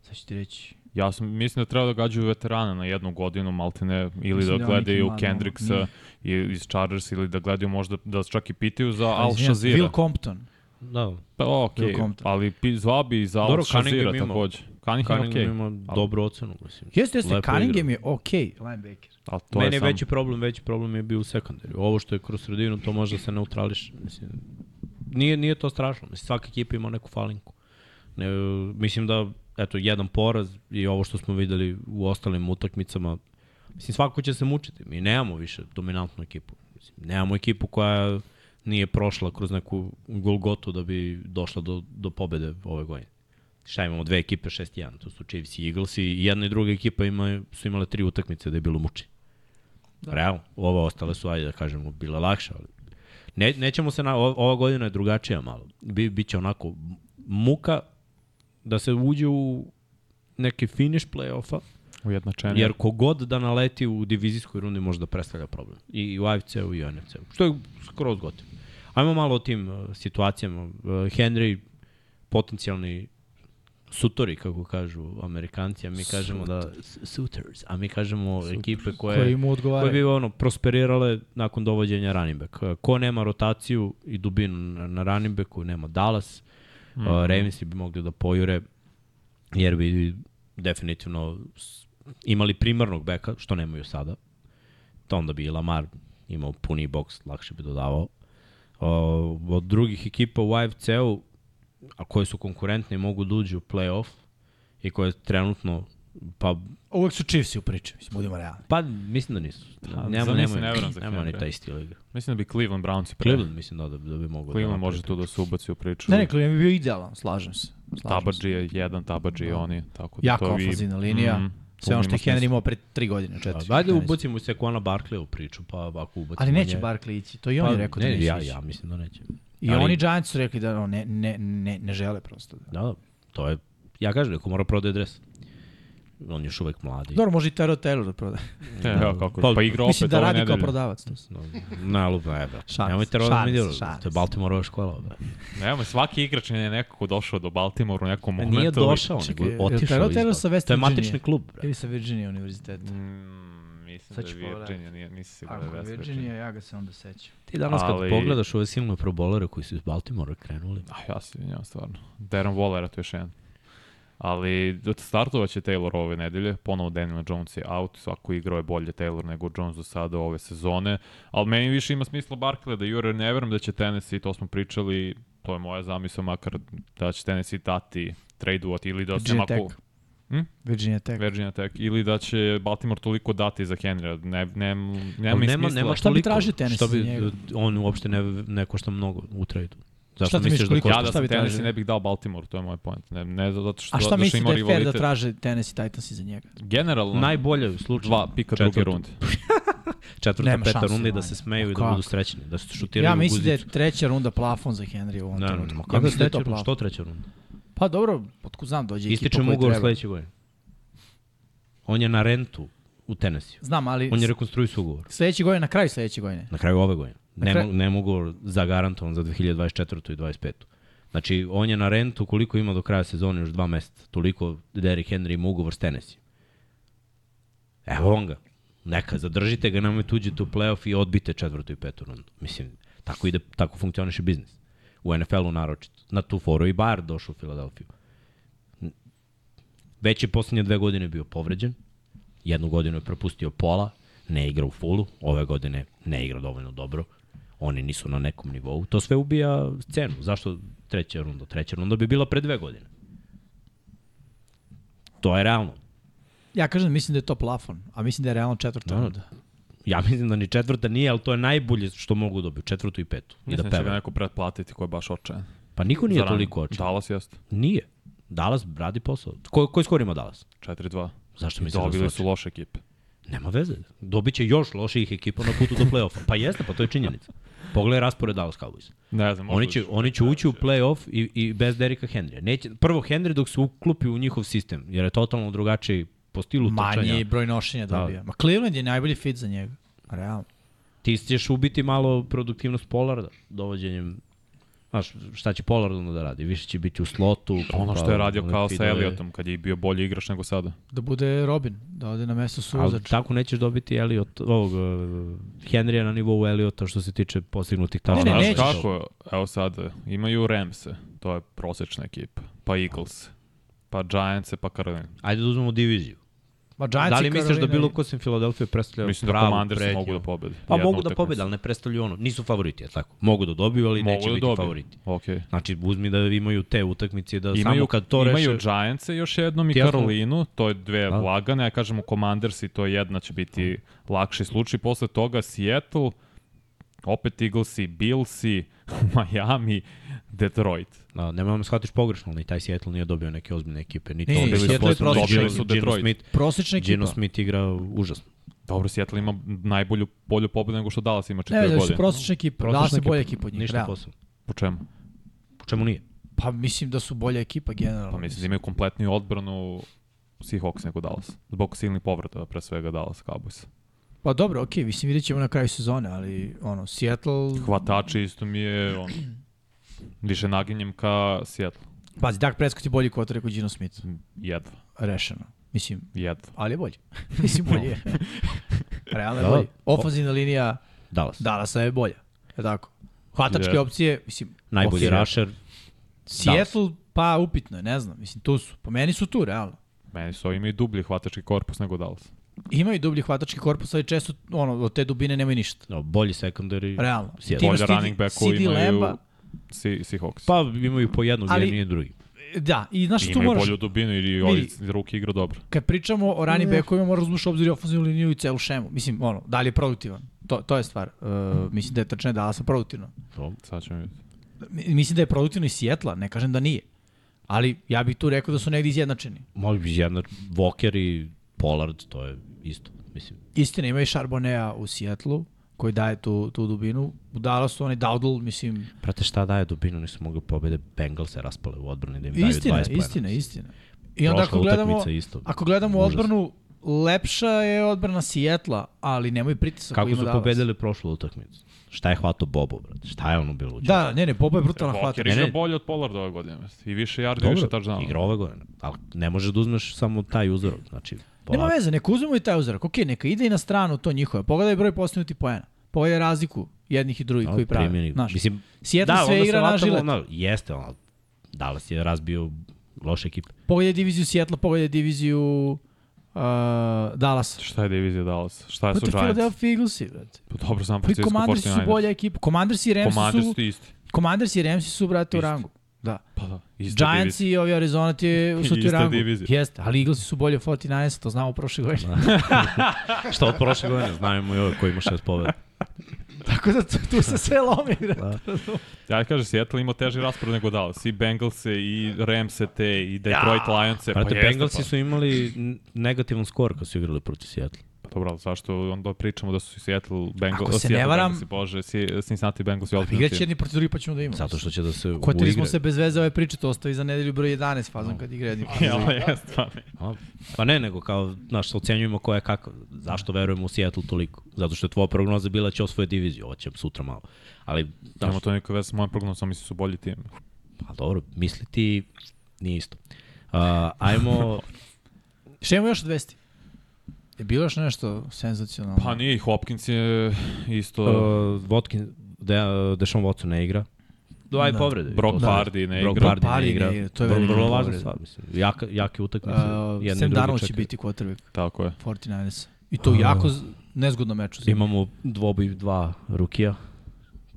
Speaker 3: Sad ću ti reći.
Speaker 4: Ja sam, mislim da treba da gađaju veterana na jednu godinu, maltene, ili
Speaker 3: Mislim
Speaker 4: da
Speaker 3: da neki
Speaker 4: gledaju
Speaker 3: mlad
Speaker 4: Kendricksa
Speaker 3: momak
Speaker 4: i, iz Chargers, ili da gledaju možda, da čak i pitaju za Al
Speaker 3: Ali izvinjam,
Speaker 4: Shazira.
Speaker 3: Will Compton.
Speaker 2: Da.
Speaker 4: Pa, okej,
Speaker 3: Will Compton.
Speaker 4: ali pi- zvao bi i za Al
Speaker 2: Dobro,
Speaker 4: Shazira
Speaker 2: Cunningham ima.
Speaker 4: takođe. Cunningham, je
Speaker 2: Cunningham
Speaker 4: okej.
Speaker 2: ima dobru ocenu, mislim.
Speaker 3: Jeste, jeste,
Speaker 2: Lepo
Speaker 3: Cunningham je okej okay, linebacker.
Speaker 4: Ali to
Speaker 2: To Meni je,
Speaker 4: je sam...
Speaker 2: veći problem, veći problem je bio u sekundarju. Ovo što je kroz sredinu, to može da se neutrališ. Mislim, nije, nije to strašno. Mislim, svaka ekipa ima neku falinku. Ne, mislim da, eto, jedan poraz i ovo što smo videli u ostalim utakmicama, mislim, svako će se mučiti. Mi nemamo više dominantnu ekipu. Mislim, nemamo ekipu koja nije prošla kroz neku golgotu da bi došla do, do pobede ove godine. Šta imamo, dve ekipe 6-1, to su Chiefs i Eagles i jedna i druga ekipa ima, su imale tri utakmice da je bilo muči. Da. Realno, ove ostale su, ajde da kažemo, bile lakše, ali ne, nećemo se, na, o- ova godina je drugačija malo. Bi, biće onako muka da se uđe u neki finish play-offa,
Speaker 4: Ujednačenje.
Speaker 2: jer kogod da naleti u divizijskoj rundi može da predstavlja problem. I u AFC-u i u NFC-u, što je skroz gotovo. Ajmo malo o tim uh, situacijama. Uh, Henry, potencijalni sutori, kako kažu amerikanci, a mi kažemo da... Sutors. A mi kažemo ekipe koje...
Speaker 3: Koji mu odgovara.
Speaker 2: Koje bi ono, prosperirale nakon dovođenja running back. Ko nema rotaciju i dubinu na, na running backu, nema Dallas, mm -hmm. uh, Ravens bi mogli da pojure, jer bi definitivno s- imali primarnog beka, što nemaju sada. To onda bi i Lamar imao puni boks, lakše bi dodavao. Uh, od drugih ekipa u AFC-u, a koje su konkurentne i mogu da uđu u play-off i koje trenutno pa
Speaker 3: Uvek su Chiefs u priči, mislim, budimo realni.
Speaker 2: Pa mislim da nisu.
Speaker 4: Da,
Speaker 2: Nema,
Speaker 4: za
Speaker 2: nema,
Speaker 4: mislim ne
Speaker 2: nema,
Speaker 4: verujem za
Speaker 2: nema ni
Speaker 4: Cleveland.
Speaker 2: taj stil igre.
Speaker 4: Mislim da bi Cleveland Browns i pre.
Speaker 2: Cleveland mislim da, da, da bi mogao
Speaker 4: Cleveland
Speaker 2: da
Speaker 4: može tu da se ubaci u priču.
Speaker 3: Ne, ne, Cleveland bi bio idealan, slažem se. Slažem se.
Speaker 4: Tabađi je jedan, Tabađi je oni. Tako da
Speaker 3: Jako
Speaker 4: to vi-
Speaker 3: ofanzivna linija.
Speaker 4: Mhm.
Speaker 3: Sve ono što je
Speaker 4: Ima smisla.
Speaker 3: Henry imao pre tri godine, četiri.
Speaker 2: Pa, Ajde
Speaker 3: Ne znam.
Speaker 2: ubacimo se Kona Barkley u priču, pa ako ubacimo
Speaker 3: Ali neće
Speaker 2: nje- Pa,
Speaker 3: Barkley ići, to i on je rekao da
Speaker 2: ne,
Speaker 3: neće
Speaker 2: ja,
Speaker 3: ići.
Speaker 2: ja mislim da neće.
Speaker 3: I
Speaker 2: ali-
Speaker 3: oni Giants su rekli da ono, ne, ne, ne, ne žele prosto. Da.
Speaker 2: Da, da, to je, ja kažem, neko mora prodaje dres. On je još uvek mladi.
Speaker 3: Dobro, može i Taro Taylor da prodaje.
Speaker 4: E, evo kako,
Speaker 2: Pa-
Speaker 4: pa igra opet
Speaker 3: Mislim da
Speaker 4: ove
Speaker 3: radi kao
Speaker 4: nedelje.
Speaker 3: prodavac. To su.
Speaker 2: No, na lupa je, brate.
Speaker 3: Šalim se,
Speaker 2: da. Nemojte
Speaker 3: šalim
Speaker 2: rodom
Speaker 3: se,
Speaker 2: vidjelo,
Speaker 3: šalim
Speaker 2: to je
Speaker 3: se.
Speaker 2: Baltimorova škola. da. Brate.
Speaker 4: Nemoj, svaki igrač je neko ko došao do Baltimora u
Speaker 3: Pa
Speaker 4: nekom momentu.
Speaker 2: Nije došao, nego
Speaker 3: Čekaj,
Speaker 2: je
Speaker 3: je li
Speaker 2: otišao.
Speaker 3: Terrell
Speaker 2: iz
Speaker 3: Taylor
Speaker 2: Bal-
Speaker 3: sa West
Speaker 2: To je
Speaker 3: Virginie?
Speaker 2: matični klub, brate.
Speaker 3: Ili sa Virginia univerziteta.
Speaker 4: Mm, mislim
Speaker 3: Sad
Speaker 4: da
Speaker 3: ću
Speaker 4: je
Speaker 3: pogledati.
Speaker 4: Virginia, nije, nisi siguran da
Speaker 3: Ako
Speaker 4: je
Speaker 3: je
Speaker 4: West
Speaker 3: Virginia,
Speaker 4: Virginia.
Speaker 3: ja ga se onda sećam.
Speaker 2: Ti danas kad
Speaker 4: Ali-
Speaker 2: pogledaš ove silne probolere koji su iz Baltimora krenuli,
Speaker 4: Ah, ja se vinjam stvarno. Darren Waller, to je još jedan. Ali da, startovat će Taylor ove nedelje, ponovo Daniel Jones je out, svako igrao je bolje Taylor nego Jones do sada ove sezone, ali meni više ima smisla Barkley da jure, ne verujem da će Tennessee, to smo pričali, to je moja zamisla makar da će Tennessee dati tradeovati ili da će
Speaker 3: Virginia
Speaker 4: ako...
Speaker 3: Tech.
Speaker 4: Hm?
Speaker 3: Virginia Tech.
Speaker 4: Virginia Tech, ili da će Baltimore toliko dati za Henrya, ne, ne, nema
Speaker 2: Ali
Speaker 4: mi smisla.
Speaker 3: Šta bi tražio tenis
Speaker 2: Što bi,
Speaker 3: za njega?
Speaker 2: on uopšte ne, ne košta mnogo u tradu. Zašto
Speaker 3: ti
Speaker 2: misliš
Speaker 3: misliš,
Speaker 2: da
Speaker 3: koliko-
Speaker 2: košta?
Speaker 4: Ja da
Speaker 3: Šta
Speaker 4: sam
Speaker 3: bi tražio?
Speaker 4: Tennessee ne bih dao Baltimore, to je moj point. Ne, ne zato što,
Speaker 3: A šta
Speaker 4: zato što
Speaker 3: misliš
Speaker 4: ima
Speaker 3: da je fair da
Speaker 4: rivalitet.
Speaker 3: traže Tennessee Titans iza njega?
Speaker 4: Generalno,
Speaker 2: Najbolje u slučaju.
Speaker 4: dva pika druge
Speaker 2: Četvrtu.
Speaker 4: runde.
Speaker 2: Četvrta,
Speaker 3: Nema
Speaker 2: peta
Speaker 3: šanse,
Speaker 2: runda i da
Speaker 3: manje.
Speaker 2: se smeju
Speaker 3: Ma
Speaker 2: i da budu
Speaker 3: kako?
Speaker 2: srećni, da se šutiraju
Speaker 3: Ja
Speaker 2: u
Speaker 3: mislim da je
Speaker 2: guzicu.
Speaker 3: treća runda plafon za Henry u ovom
Speaker 2: Ne, ne,
Speaker 3: trenutku.
Speaker 2: ma
Speaker 3: Ja
Speaker 2: kako
Speaker 3: mislim da je
Speaker 2: treća,
Speaker 3: to plafon.
Speaker 2: što treća runda?
Speaker 3: Pa dobro, otkud znam, dođe ekipa
Speaker 2: Ističe
Speaker 3: koja
Speaker 2: mu ugovor
Speaker 3: treba.
Speaker 2: sledeće godine. On je na rentu u Tennessee.
Speaker 3: Znam, ali
Speaker 2: On je rekonstruisao ugovor.
Speaker 3: sledeće godine, na kraju sledeće godine.
Speaker 2: Na kraju ove godine.
Speaker 3: Na
Speaker 2: Nema,
Speaker 3: kraju-
Speaker 2: nema ugovor zagarantovan za 2024. i 2025. Znači, on je na rentu koliko ima do kraja sezone, još dva meseca. Toliko Derrick Henry ima ugovor s Tennessee. Evo on ga. Neka, zadržite ga, nemojte uđete u playoff i odbite četvrtu i petu rundu. Mislim, tako ide, tako funkcioniše biznis. u NFL-u naročito. Na tu foru i Bayer došao u Filadelfiju. N- Već je poslednje dve godine bio povređen, jednu godinu je propustio pola, ne igra u fulu, ove godine ne igra dovoljno dobro, oni nisu na nekom nivou. To sve ubija cenu. Zašto treća runda? Treća runda bi bila pre dve godine. To je realno.
Speaker 3: Ja kažem, mislim da je to plafon, a mislim da je realno četvrta
Speaker 2: Da.
Speaker 3: runda.
Speaker 2: Ja mislim da ni četvrta nije, ali to je najbolje što mogu dobiti, četvrtu i petu. I da
Speaker 4: Mislim da će ga
Speaker 2: peva.
Speaker 4: neko pretplatiti ko je baš očajan.
Speaker 2: Pa niko nije
Speaker 4: Za rano.
Speaker 2: toliko očin.
Speaker 4: Dallas jeste.
Speaker 2: Nije. Dallas radi posao. Ko, koji skor ima Dallas?
Speaker 4: 4-2.
Speaker 2: Zašto misliš da su
Speaker 4: Dobili su
Speaker 2: očin?
Speaker 4: loše ekipe.
Speaker 2: Nema veze. Dobiće još loših ekipa na putu do play-offa. Pa jeste, pa to je činjenica. Pogledaj raspored Dallas Cowboys.
Speaker 4: Ne znam, možda
Speaker 2: Oni će, oni
Speaker 4: da,
Speaker 2: će ući u play-off i, i bez Derika Henrya. Neće, prvo Henry dok se uklopi u njihov sistem, jer je totalno drugačiji po stilu
Speaker 3: Manji
Speaker 2: trčanja.
Speaker 3: broj nošenja
Speaker 2: Da.
Speaker 3: dobija. Ma Cleveland je najbolji fit za njega. Realno.
Speaker 2: Ti ćeš ubiti malo produktivnost Pollarda dovođenjem Znaš, šta će Pollard onda da radi? Više će biti u slotu.
Speaker 4: ono što je radio
Speaker 2: one
Speaker 4: kao sa
Speaker 2: fidove.
Speaker 4: Elliotom, kad je bio bolji igrač nego sada.
Speaker 3: Da bude Robin, da ode na mesto
Speaker 2: Ali
Speaker 3: suzač.
Speaker 2: tako nećeš dobiti Elliot, ovog, uh, Henrya na nivou Elliota što se tiče postignutih tačka.
Speaker 3: Ne,
Speaker 4: Znaš
Speaker 3: nećeš.
Speaker 4: kako, evo sad, imaju Ramse, to je prosečna ekipa, pa Eagles, pa Giants, pa Carolina.
Speaker 2: Ajde da uzmemo diviziju.
Speaker 3: Ma Giants
Speaker 2: da
Speaker 3: i
Speaker 2: li misliš da
Speaker 3: Karolina
Speaker 2: bilo
Speaker 3: i-
Speaker 2: ko sem Filadelfija predstavlja
Speaker 4: Mislim da
Speaker 2: pravu
Speaker 4: Commanders
Speaker 2: pretnju?
Speaker 4: mogu da pobede.
Speaker 2: Pa
Speaker 4: Jednu
Speaker 2: mogu da
Speaker 4: utakmicu.
Speaker 2: pobede, ali ne predstavljaju ono. Nisu favoriti, je tako? Mogu da dobiju, ali neće
Speaker 4: Mogu da
Speaker 2: biti
Speaker 4: dobiju.
Speaker 2: favoriti.
Speaker 4: Okej.
Speaker 2: Znači, uzmi da imaju te utakmice i da
Speaker 4: Imaju,
Speaker 2: samo kad to
Speaker 4: imaju
Speaker 2: reše...
Speaker 4: Giants još jednom i
Speaker 2: Ti ja sam-
Speaker 4: Karolinu, to je dve
Speaker 2: Da.
Speaker 4: lagane, ja kažem u Commanders i to je jedna će biti lakši slučaj. Posle toga Seattle, opet Eagles i Bills i Miami, Detroit.
Speaker 2: A, nema da me shvatiš pogrešno, ali ni taj Seattle nije dobio neke ozbiljne ekipe. Ni
Speaker 3: Nije,
Speaker 2: dobili su
Speaker 3: Seattle je
Speaker 2: Boston,
Speaker 3: prosječna
Speaker 2: dobili su
Speaker 4: ekipa.
Speaker 2: Geno Smith.
Speaker 3: Prosečna ekipa.
Speaker 2: Geno Smith igra užasno.
Speaker 4: Dobro, Seattle ima najbolju bolju pobedu nego što Dallas ima
Speaker 3: Ne,
Speaker 4: četiri
Speaker 3: da
Speaker 4: godine.
Speaker 3: su prosečna ekipa.
Speaker 2: Prosečna
Speaker 3: Dallas je
Speaker 2: ekipa.
Speaker 3: bolja ekipa od njih.
Speaker 2: Ništa
Speaker 3: realno.
Speaker 2: posao.
Speaker 4: Po čemu?
Speaker 2: Po čemu nije?
Speaker 3: Pa mislim da su bolja ekipa generalno.
Speaker 4: Pa mislim da imaju kompletniju odbranu Seahawks nego Dallas. Zbog silnih povrata, pre svega Dallas Cowboys.
Speaker 3: Pa dobro, okej, mislim vidjet ćemo na kraju sezone, ali ono, Seattle...
Speaker 4: Hvatači isto mi je on, više naginjem ka Seattle.
Speaker 3: Pazi, Dak Prescott je bolji kvotar nego Gino Smith.
Speaker 4: Jedva,
Speaker 3: Rešeno. Mislim,
Speaker 4: jedva.
Speaker 3: ali je bolji. mislim, bolji je. Realno je
Speaker 2: Da.
Speaker 3: bolji. Ofazina linija
Speaker 2: Dallas.
Speaker 3: Dallasa je bolja. Je tako? Hvatačke
Speaker 4: Je.
Speaker 3: opcije, mislim...
Speaker 2: Najbolji
Speaker 3: okej.
Speaker 2: rašer.
Speaker 3: Seattle, pa upitno je, ne znam. Mislim, tu su. Po meni su tu, realno.
Speaker 4: Meni su ovi imaju dublji hvatački korpus nego Dallas.
Speaker 3: Imaju dublji hvatački korpus, ali često ono, od te dubine nemaju ništa.
Speaker 2: No, bolji secondary.
Speaker 3: Realno.
Speaker 2: Seattle.
Speaker 3: Ti imaš
Speaker 4: Bolje
Speaker 3: CD
Speaker 4: running back
Speaker 3: CD
Speaker 4: imaju
Speaker 3: Lamba,
Speaker 4: Se- Seahawks.
Speaker 2: Pa imaju po jednog,
Speaker 3: Ali-
Speaker 2: ali... jedan i drugi.
Speaker 3: Da, i znaš, tu
Speaker 4: imaju
Speaker 3: moraš,
Speaker 4: bolju dubinu i ovi
Speaker 3: vidi.
Speaker 4: ruki igra dobro.
Speaker 3: kad pričamo o ranim bekovima, moraš uzmuš obzir i ofenzivnu liniju i celu šemu. Mislim, ono, da li je produktivan? To, to je stvar. Uh, mislim da je trčanje Dallasa produktivno.
Speaker 4: Sad ćemo vidjeti.
Speaker 3: Mi- Mislim da je produktivno i Sjetla, ne kažem da nije. Ali ja bih tu rekao da su negdje izjednačeni.
Speaker 2: Mogu bi jedna Walker i Pollard, to je isto. Mislim,
Speaker 3: Istina, ima i Charbonnea u Sjetlu, koji daje tu, tu dubinu. U Dallasu onaj Dowdle, mislim,
Speaker 2: prate šta daje dubinu, nisu mogli pobede, Bengals se raspale u odbrani da im daju 20
Speaker 3: istina,
Speaker 2: pojena.
Speaker 3: istina, istina. I onda
Speaker 2: Prošla
Speaker 3: ako gledamo,
Speaker 2: utakmica isto.
Speaker 3: ako gledamo
Speaker 2: Užas.
Speaker 3: odbranu, lepša je odbrana Sjetla, ali nemoj pritisak koji
Speaker 2: Kako
Speaker 3: ima
Speaker 2: su
Speaker 3: Dallas.
Speaker 2: pobedili prošlu utakmicu? Šta je hvato Bobo, brate? Šta je ono bilo u
Speaker 3: Da, ne, ne, Boba je brutalna hvata.
Speaker 4: Walker
Speaker 2: Ne,
Speaker 4: igra
Speaker 2: ne.
Speaker 4: bolje od Pollarda ove godine. I više yardi, više
Speaker 2: Dobro,
Speaker 4: touchdowna.
Speaker 2: igra ove godine, ali ne možeš da uzmeš samo taj uzorak, znači,
Speaker 3: Nema
Speaker 2: polako.
Speaker 3: veze, neka uzmemo i taj uzorak. Okej, neka ide i na stranu to njihove. Pogledaj broj postignutih poena. Pogledaj razliku jednih i drugih
Speaker 2: Ono,
Speaker 3: koji prave.
Speaker 2: primjeni-
Speaker 3: Znaš,
Speaker 2: Mislim,
Speaker 3: Seattle
Speaker 2: da,
Speaker 3: sve
Speaker 2: onda se
Speaker 3: igra na
Speaker 2: vatamo,
Speaker 3: žilet.
Speaker 2: ono, jeste, ono, Dallas je razbio loše ekipe.
Speaker 3: Pogledaj diviziju Seattle, pogledaj diviziju uh, Dallasa.
Speaker 4: Šta je divizija Dallas? Šta Pa su
Speaker 3: Protiv
Speaker 4: Giants?
Speaker 3: Pa Philadelphia Eaglesi, brate.
Speaker 4: Pa dobro, San
Speaker 3: Pri
Speaker 4: Francisco
Speaker 3: Commanders su
Speaker 4: 49ers.
Speaker 3: bolja ekipa. Commanders i Ramsi
Speaker 4: Commanders
Speaker 3: su...
Speaker 4: su isti.
Speaker 3: Commanders i Ramsi su, brate, u
Speaker 4: Isto.
Speaker 3: rangu. Da.
Speaker 4: Pa da, ista
Speaker 3: Giants
Speaker 4: divizija.
Speaker 3: i ovi Arizona ti je- su ti u
Speaker 4: Ista
Speaker 3: rangu.
Speaker 4: divizija. Da.
Speaker 3: Jeste, ali Eaglesi su bolje od 49 to znamo prošle godine.
Speaker 2: Šta od prošle godine, znamo i ovo koji ima šest pobeda.
Speaker 3: Tako da tu, tu se sve lomi, brate.
Speaker 4: Da, Ja kažem, Seattle ima teži raspored nego Dallas. I Bengalse, i Ramse te, i Detroit ja. Lions-e. Pa
Speaker 2: Brate,
Speaker 4: jeste,
Speaker 2: Bengalsi
Speaker 4: pa.
Speaker 2: su imali n- negativan skor kad su igrali protiv Seattle.
Speaker 4: Pa dobro, ali zašto onda pričamo da su Seattle Bengals...
Speaker 3: Ako se ne
Speaker 4: Seattle
Speaker 3: varam-
Speaker 4: Bengalsi, bože, Si- Cincinnati Bengals i
Speaker 3: Igrat će
Speaker 4: Olfina.
Speaker 3: jedni protiv drugih pa ćemo da imamo.
Speaker 2: Zato što će da se
Speaker 3: Kotili
Speaker 2: uigre.
Speaker 3: smo se bez veze ove priče, to ostavi za nedelju broj 11 fazom kad igra jedni. protiv
Speaker 4: Ja, pa jeste, pa ne.
Speaker 2: A, Pa ne, nego kao, znaš, ocenjujemo ko je kako. Zašto verujemo u Seattle toliko? Zato što je tvoja prognoza bila da će osvoje diviziju, ovo će sutra malo. Ali, znaš,
Speaker 4: Nema to neka veze s mojom prognozom, mislim su bolji tim.
Speaker 2: pa dobro, misliti nije isto. A, ajmo,
Speaker 3: drugih. Šta imamo još od vesti? Je bilo još nešto senzacionalno?
Speaker 4: Pa nije, i Hopkins je isto...
Speaker 2: uh, Votkin, De, Dešon Watson ne igra. dva i
Speaker 3: Da.
Speaker 2: povrede.
Speaker 4: Brock
Speaker 2: Da.
Speaker 4: Pardy ne
Speaker 2: Brock
Speaker 4: igra.
Speaker 2: Pardy ne
Speaker 3: Pardy ne
Speaker 2: igra.
Speaker 3: igra, to je
Speaker 2: Vrlo-
Speaker 3: velika
Speaker 2: Vrlo važna
Speaker 3: povreda.
Speaker 2: stvar, mislim. Jaka, jake utakmice. jedni i
Speaker 3: Uh, Sam
Speaker 2: drugi
Speaker 3: Darnold će
Speaker 2: čekaju.
Speaker 3: biti quarterback
Speaker 4: Tako je.
Speaker 3: 49ers. I to jako z- nezgodno meč. za njih.
Speaker 2: Imamo dvoboj dva rukija.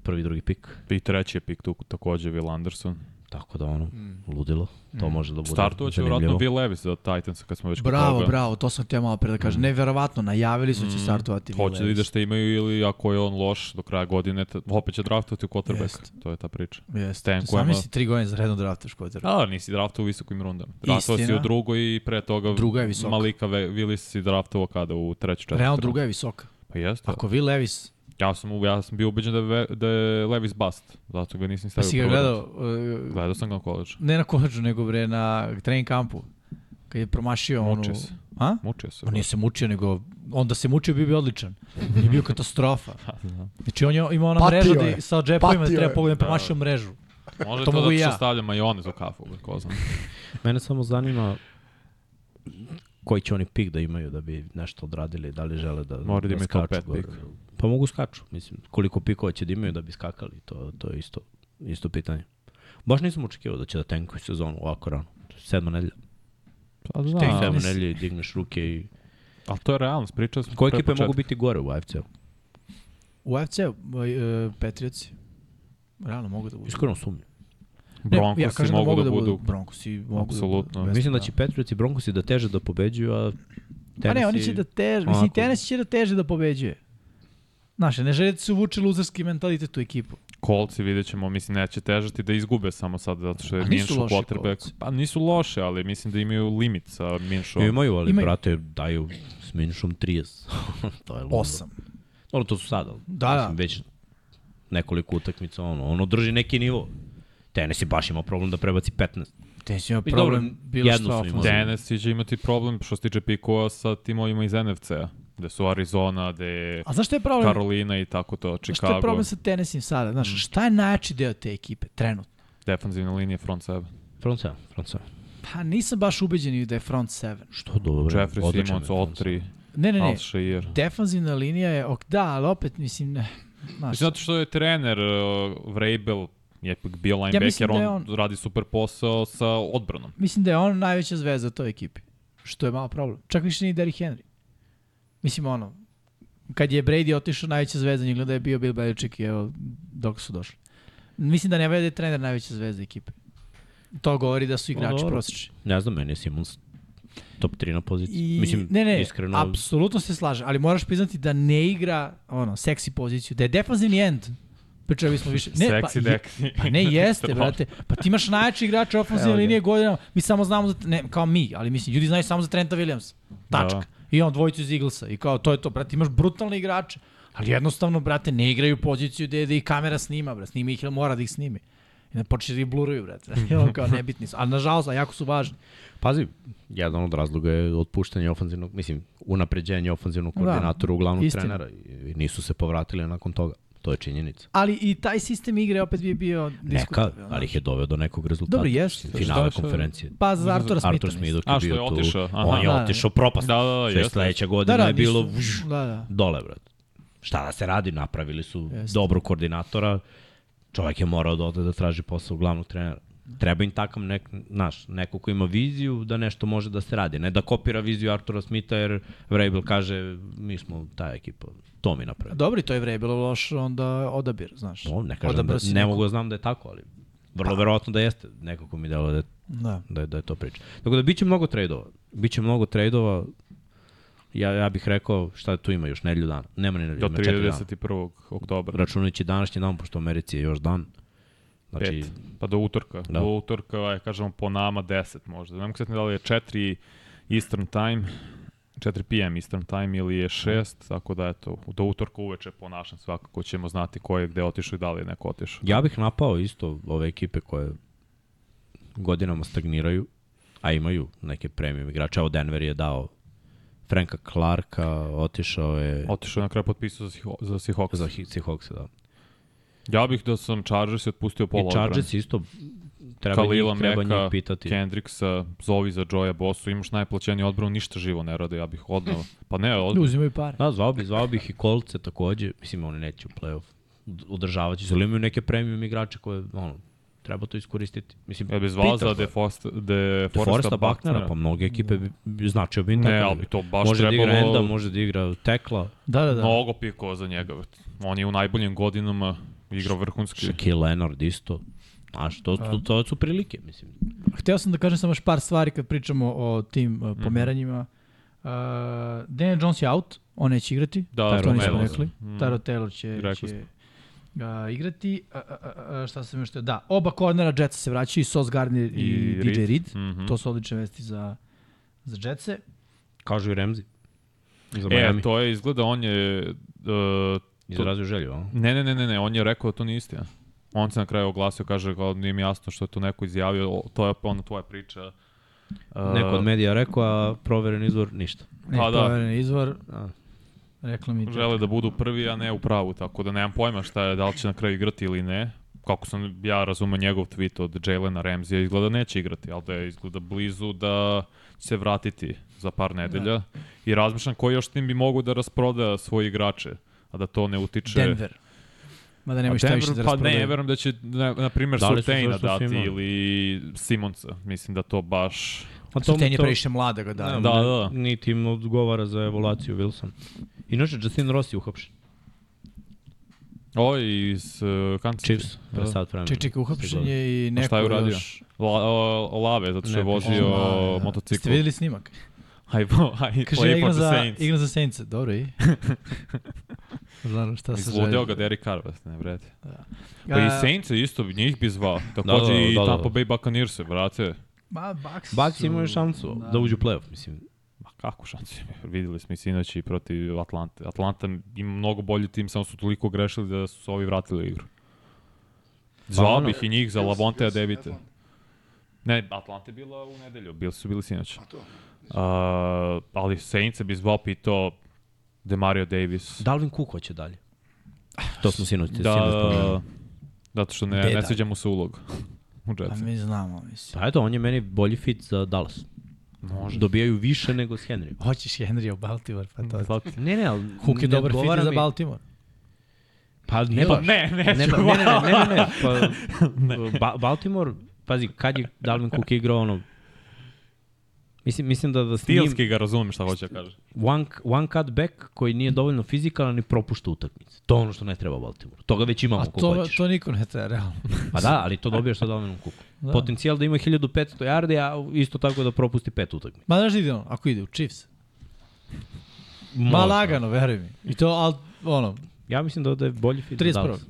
Speaker 2: Prvi, drugi pik.
Speaker 4: I treći je pik tu takođe Will Anderson.
Speaker 2: Tako da ono,
Speaker 3: Mm.
Speaker 2: ludilo.
Speaker 3: Mhm.
Speaker 2: To može da bude
Speaker 4: Startovaće
Speaker 2: zanimljivo.
Speaker 4: vjerojatno Will Levis za Titans kad smo već kod
Speaker 3: Bravo,
Speaker 4: toga.
Speaker 3: bravo, to sam htio malo pre da kažem. Neverovatno, najavili su da će startovati.
Speaker 4: Hoće da vide šta imaju ili ako je on loš do kraja godine, t- opet će draftovati u quarterback.
Speaker 3: Jest.
Speaker 4: To je ta priča.
Speaker 3: Jeste.
Speaker 4: Stan Kojma-
Speaker 3: Sam si tri godine za da redno draftaš quarterback.
Speaker 4: A, nisi draftovao u visokim rundama. Draftovao si
Speaker 3: Istina.
Speaker 4: u drugoj i pre toga
Speaker 3: Druga je visoka.
Speaker 4: Malika Ve- Willis si draftovao kada u treću četvrtu.
Speaker 3: Realno
Speaker 4: rundu.
Speaker 3: druga je visoka.
Speaker 4: Pa jeste.
Speaker 3: Ako vi Levis,
Speaker 4: Ja sam, u- ja sam bio ubeđen da, je Ve- da je Levis bust. Zato ga nisam
Speaker 3: pa
Speaker 4: stavio.
Speaker 3: si ga
Speaker 4: u prvu
Speaker 3: gledao,
Speaker 4: rundu.
Speaker 3: uh,
Speaker 4: Gledao sam ga na koleđu.
Speaker 3: ne na koleđu, nego bre na trening kampu. Kad je promašio onu...
Speaker 4: Mučio se.
Speaker 3: A?
Speaker 4: Mučio se.
Speaker 3: On
Speaker 4: bro.
Speaker 3: Pa nije se mučio, nego onda se mučio bi bio odličan. Je bio katastrofa.
Speaker 4: Da,
Speaker 3: Znači on je imao ona
Speaker 5: Patio
Speaker 3: mreža da
Speaker 5: je.
Speaker 3: je sa džepovima da
Speaker 5: Patio
Speaker 3: treba
Speaker 5: je.
Speaker 3: pogledati promašio mrežu.
Speaker 4: Može
Speaker 3: to
Speaker 4: to,
Speaker 3: mogu
Speaker 4: zato
Speaker 3: i
Speaker 4: što
Speaker 3: ja.
Speaker 4: stavlja majonez u kafu, bre, ko znam.
Speaker 2: Mene samo zanima koji će oni pik da imaju da bi nešto odradili, da li žele da,
Speaker 4: Moraju da imaju top
Speaker 2: skaču
Speaker 4: pet
Speaker 2: gore.
Speaker 4: pik.
Speaker 2: Pa mogu skaču, mislim, koliko pikova će da imaju da bi skakali, to, to je isto, isto pitanje. Baš nisam očekivao da će da tenkuju sezonu ovako rano. Sedma nedelja.
Speaker 4: Pa
Speaker 2: Ti sedma nedelja i digneš ruke i...
Speaker 4: Ali to je realnost, pričao sam.
Speaker 2: Koje
Speaker 4: pre
Speaker 2: ekipe mogu
Speaker 4: početka.
Speaker 2: biti gore u AFC-u?
Speaker 3: U AFC, Patrioci, realno mogu da budu.
Speaker 2: Iskreno sumnjam.
Speaker 4: Broncosi
Speaker 3: ja kažem da
Speaker 4: mogu da budu.
Speaker 3: Broncosi mogu da
Speaker 4: Apsolutno.
Speaker 3: budu.
Speaker 2: Mislim da će Patriots i Broncos da teže da pobeđuju, a
Speaker 3: Pa ne, oni
Speaker 2: Tennessee-
Speaker 3: će da teže, mislim i
Speaker 2: onako-
Speaker 3: Tennessee će da teže da pobeđuje. Znaš, ne želite se uvuče luzerski mentalitet u ekipu.
Speaker 4: Kolci vidjet ćemo, mislim neće težati da izgube samo sad zato što je
Speaker 3: A nisu
Speaker 4: Minšu
Speaker 3: loši
Speaker 4: quarterback.
Speaker 3: Colts.
Speaker 4: Pa nisu loše, ali mislim da imaju limit sa Minšu.
Speaker 2: Imaju, ali
Speaker 3: Imaju.
Speaker 2: brate, daju s minšom 30. to je ludo.
Speaker 3: Osam.
Speaker 2: Dobro, to su sada.
Speaker 3: Da, da.
Speaker 2: Mislim, već nekoliko utakmica, ono, ono drži neki nivo. Tenis je baš imao problem da prebaci 15.
Speaker 3: Tennessee ima
Speaker 2: I dobro,
Speaker 3: problem bilo
Speaker 2: jednu
Speaker 3: što
Speaker 2: su imali.
Speaker 3: ofenzivno.
Speaker 4: Tennessee će imati problem što se tiče pikova sa timovima iz NFC-a. Gde su Arizona, gde je
Speaker 3: A znaš što je problem?
Speaker 4: Karolina i tako to,
Speaker 3: Šta je
Speaker 4: Chicago.
Speaker 3: problem sa Tennessee sada? Znaš, šta je najjači deo te ekipe trenutno?
Speaker 4: Defanzivna linija front sebe.
Speaker 2: Front 7, front 7.
Speaker 3: Pa nisam baš ubeđen da je front seven.
Speaker 2: Što dobro?
Speaker 4: Jeffrey
Speaker 2: odličan
Speaker 4: Simmons,
Speaker 2: je front seven.
Speaker 4: Otri,
Speaker 3: Ne, ne, ne.
Speaker 4: Al Shire.
Speaker 3: Defanzivna linija je, ok, da, ali opet, mislim, ne. Znaš,
Speaker 4: Mislim, zato što je trener uh, Vrabel je ipak bio linebacker,
Speaker 3: mislim da
Speaker 4: on,
Speaker 3: je
Speaker 4: radi super posao sa odbranom.
Speaker 3: mislim da je on najveća zvezda toj ekipi. Što je malo problem. Čak više ni Derrick Henry. Mislim, ono, kad je Brady otišao, najveća zvezda njegla da je bio Bill Belichick i evo, dok su došli. Mislim da ne vede trener najveća zvezda ekipe. To govori da su igrači
Speaker 2: dobro.
Speaker 3: prosječni.
Speaker 2: Ne znam, meni je Simmons top 3 na poziciji.
Speaker 3: I,
Speaker 2: Mislim,
Speaker 3: ne, ne,
Speaker 2: iskreno,
Speaker 3: apsolutno se slažem, ali moraš priznati da ne igra ono, seksi poziciju, da je defanzivni end. Pričali smo više. Ne,
Speaker 4: Seksi
Speaker 3: pa, je-
Speaker 4: deksi.
Speaker 3: Pa ne, jeste, brate. Pa ti imaš najjači igrač ofensivne linije godinama. Mi samo znamo za, ne, kao mi, ali mislim, ljudi znaju samo za Trenta Williams. Tačka.
Speaker 4: Da.
Speaker 3: I on dvojicu iz Eaglesa. I kao, to je to, brate, imaš brutalne igrače. Ali jednostavno, brate, ne igraju poziciju gde, gde ih kamera snima, brate. Snima ih, ili mora da ih snimi. I ne počne da ih bluraju, brate. I on kao, nebitni su. Ali nažalost, a jako su važni.
Speaker 2: Pazi, jedan od razloga je otpuštanje ofanzivnog, mislim, unapređenje ofanzivnog
Speaker 3: Da,
Speaker 2: koordinatora, uglavnom
Speaker 3: istina.
Speaker 2: trenera. I nisu se povratili nakon toga. To je činjenica.
Speaker 3: Ali i taj sistem igre opet bi bio
Speaker 2: Neka,
Speaker 3: diskutabilan.
Speaker 2: ali ih je doveo do nekog rezultata.
Speaker 3: Dobro, jeste.
Speaker 2: Finale
Speaker 4: Šta će-
Speaker 2: konferencije.
Speaker 3: Pa za Artura Smitha.
Speaker 2: Arthur Smith dok je
Speaker 4: A, što je
Speaker 2: bio tu.
Speaker 4: otišao, aha.
Speaker 2: On je
Speaker 3: Da, da.
Speaker 2: otišao propast.
Speaker 4: Da, da, da,
Speaker 2: Sve
Speaker 4: jeste.
Speaker 2: sledeća godina je bilo
Speaker 3: nisu-
Speaker 2: vuš,
Speaker 3: Da, da.
Speaker 2: dole, brate. Šta da se radi, napravili su
Speaker 3: Jeste.
Speaker 2: dobro koordinatora. Čovjek je morao da ode da traži posao glavnog trenera. Treba im takav nek, naš, neko ko ima viziju da nešto može da se radi. Ne da kopira viziju Artura Smitha jer Vrabel kaže mi smo ta ekipa. To mi napravi.
Speaker 3: Dobro, i to je vreme bilo loš onda odabir, znaš.
Speaker 2: To ne kažem
Speaker 3: Odabrao
Speaker 2: da,
Speaker 3: si
Speaker 2: ne
Speaker 3: nekog. Pa.
Speaker 2: mogu da znam da je tako, ali vrlo verovatno da jeste. Nekako mi delo da je
Speaker 3: Da.
Speaker 2: da je, da je to priča. Tako da biće mnogo trejdova. Biće mnogo trejdova. Ja, ja bih rekao šta tu ima još nedelju dana. Nema ni nedelju,
Speaker 4: Do
Speaker 2: ima četiri dana.
Speaker 4: 31. oktobra.
Speaker 2: Računajući današnji dan, pošto u Americi je još dan. Znači,
Speaker 4: Pet. Pa do utorka.
Speaker 2: Da.
Speaker 4: Do utorka, aj, kažemo, po nama 10 možda. Ne mogu sad ne da li je 4 Eastern time, 4 p.m. Eastern time ili je 6, tako da eto, do utorka uveče po našem svakako ćemo znati ko je gde otišao i da li je neko otišao.
Speaker 2: ja bih napao isto ove ekipe koje godinama stagniraju, a imaju neke premium igrače. Evo Denver je dao Franka Clarka, otišao je
Speaker 4: Otišao je na kraju potpisao za, Seaho- za Seahawks.
Speaker 2: za Hi- Seahawks. Da.
Speaker 4: Ja bih da sam Chargers i otpustio pola
Speaker 2: I Chargers isto treba,
Speaker 4: Kalila
Speaker 2: njih, treba njih
Speaker 4: Meka,
Speaker 2: pitati.
Speaker 4: Kendricksa, zovi za Joya Bossu, imaš najplaćeniji odbranu, ništa živo ne rade, ja bih odnao. Pa ne, od...
Speaker 3: Uzimaju pare.
Speaker 2: Da, zvao, bi, zvao bih i kolce takođe. Mislim, oni neće u play-off. održavaće se. Ili imaju neke premium igrače koje, ono, treba to iskoristiti. Mislim,
Speaker 4: Jel bi zvao
Speaker 2: pitam
Speaker 4: za
Speaker 2: se.
Speaker 4: De, Forst, de
Speaker 2: Foresta,
Speaker 4: Foresta
Speaker 2: Bucknera,
Speaker 4: Bucknera?
Speaker 2: pa mnoge ekipe bi, bi značio bi im
Speaker 4: Ne,
Speaker 2: takav
Speaker 4: ali bi
Speaker 2: igrač.
Speaker 4: to baš
Speaker 2: može da igra
Speaker 4: trebalo-
Speaker 2: enda, može da igra tekla,
Speaker 3: Da, da, da.
Speaker 4: Mnogo pikova za njega. brate. On je u najboljim godinama igrao vrhunski.
Speaker 2: Shaquille Leonard isto. Znaš, to,
Speaker 4: Pa.
Speaker 2: to, to su prilike, mislim.
Speaker 3: Hteo sam da kažem samo još par stvari kad pričamo o tim
Speaker 4: Mhm.
Speaker 3: uh, pomeranjima. Uh, Daniel Jones je out, on neće igrati.
Speaker 4: Da,
Speaker 3: to nismo
Speaker 4: Taylor.
Speaker 3: rekli.
Speaker 4: Mm.
Speaker 3: Taro Taylor će,
Speaker 4: Rekli
Speaker 3: će uh, igrati. A, a, a, a, šta sam još teo? Da, oba kornera Jetsa se vraćaju, i Sos Gardner i,
Speaker 4: I
Speaker 3: DJ
Speaker 4: Reed.
Speaker 3: Reed.
Speaker 4: Mhm.
Speaker 3: To su odlične vesti za, za Jetse.
Speaker 2: Kažu i Remzi. Za Miami.
Speaker 4: E, to je izgleda, on je... Uh,
Speaker 2: Izrazio želju, a?
Speaker 4: ne, ne, ne, ne, ne, on je rekao da to nije istina. On se na kraju oglasio, kaže, kao, nije mi jasno što je to neko izjavio, o, to je ona tvoja priča. Uh,
Speaker 2: Neko od medija rekao, a proveren izvor ništa.
Speaker 3: Ne,
Speaker 4: Pa da.
Speaker 3: proveren izvor.
Speaker 2: Da.
Speaker 3: Rekla mi to.
Speaker 4: žele da budu prvi, a ne u pravu, tako da nemam pojma šta je, da li će na kraju igrati ili ne. Kako sam ja razumeo njegov tweet od Jalena Ramsija, izgleda neće igrati, ali da je izgleda blizu da će se vratiti za par nedelja.
Speaker 2: Da.
Speaker 4: I razmišljam koji još tim bi mogu da rasproda svoje igrače, a da to ne utiče.
Speaker 3: Denver. Mada nemoj
Speaker 4: A
Speaker 3: šta više da
Speaker 4: Denver, pa ne,
Speaker 3: rasprodaju.
Speaker 4: verujem da će, na, na primjer,
Speaker 2: Dali Da su
Speaker 4: Surtejna
Speaker 2: zašto
Speaker 4: dati
Speaker 2: svima.
Speaker 4: ili Simonca. Mislim da to baš...
Speaker 2: A
Speaker 3: Surtain je previše mlada ga
Speaker 2: Da,
Speaker 3: da.
Speaker 2: da,
Speaker 4: da.
Speaker 2: da. Niti im odgovara za evoluciju Wilson. Inače, Justin Ross je uhapšen.
Speaker 4: O, iz uh, Kansas City.
Speaker 2: Chiefs, pre
Speaker 4: Da.
Speaker 2: sat vremena.
Speaker 3: Ček, ček, uhapšen je i
Speaker 4: A
Speaker 3: neko
Speaker 4: šta je uradio?
Speaker 3: još.
Speaker 4: La, o, lave, zato što je
Speaker 2: Ne,
Speaker 4: vozio
Speaker 3: Ona,
Speaker 4: motocikl.
Speaker 3: Ste videli snimak?
Speaker 4: I, bo- I
Speaker 3: Kaže, ja
Speaker 4: play for
Speaker 3: igram
Speaker 4: the
Speaker 3: za,
Speaker 4: Saints.
Speaker 3: igram za Saints. Dobro i. Znam šta da se želi.
Speaker 4: Izludio ga Derek Carr, vas ne vredi. Pa
Speaker 3: A,
Speaker 4: i Saints je isto, njih bi zvao. Takođe
Speaker 2: da,
Speaker 4: i
Speaker 2: da, da.
Speaker 4: Tampa Bay Buccaneers se vrate.
Speaker 3: Ma, Bucks,
Speaker 2: Bucks
Speaker 3: su-
Speaker 2: imaju šansu da. uđu u playoff, mislim.
Speaker 4: Ma kako šanci? Videli smo i sinoć i protiv Atlante. Atlanta ima mnogo bolji tim, samo su toliko grešili da su ovi vratili igru. Zvao
Speaker 2: ono-
Speaker 4: bih i njih za Lavontea Davita. Ne, Atlanta je bila u nedelju, bili su bili sinoć.
Speaker 5: to.
Speaker 4: A, ali Saints bi zvao pitao Demario
Speaker 3: Da,
Speaker 4: Davis.
Speaker 2: Dalvin Cook hoće dalje. To smo sinoć, da. sinoć
Speaker 4: da,
Speaker 2: spomenuli.
Speaker 4: zato što ne,
Speaker 3: Gde
Speaker 4: ne
Speaker 3: da?
Speaker 4: sviđa mu se ulog u
Speaker 3: Pa
Speaker 4: Jetsu.
Speaker 3: mi znamo, mislim.
Speaker 2: Pa eto, on je meni bolji fit za Dallas.
Speaker 4: Može.
Speaker 2: Dobijaju više nego s Henryom.
Speaker 3: Hoćeš Henry u Baltimore, pa to.
Speaker 4: Slati.
Speaker 2: Ne, ne, ali
Speaker 3: Hook je
Speaker 2: ne
Speaker 3: dobar
Speaker 2: odgovara
Speaker 3: fit za
Speaker 2: mi-
Speaker 3: Baltimore.
Speaker 2: Pa ne,
Speaker 4: Pa
Speaker 2: baš.
Speaker 4: ne, ne,
Speaker 2: ne,
Speaker 4: ću,
Speaker 2: ba, ne, ne, ne, ne, ne, ne. Pa, ba, Baltimore, pazi, kad je Dalvin Cook igrao ono, Mislim, mislim da, da s njim
Speaker 4: Stilski ga razumijem šta hoće da kaže.
Speaker 2: one, one cut back koji nije dovoljno fizikalan i propušta utakmice. To je ono što ne treba Baltimore. Toga već imamo
Speaker 3: A
Speaker 2: ko
Speaker 3: to,
Speaker 2: hoćeš.
Speaker 3: to niko ne treba, realno.
Speaker 2: Pa da, ali to dobijaš sa Dalvinom Cookom.
Speaker 3: Da.
Speaker 2: Da. Potencijal da ima 1500 yardi, a isto tako da propusti pet utakmica.
Speaker 3: Ma znaš da ide on, ako ide u Chiefs. Ma
Speaker 2: Možda.
Speaker 3: lagano, veruj mi. I to, al, ono,
Speaker 2: Ja mislim da, da je bolji fit za
Speaker 3: 31..
Speaker 2: Dallas.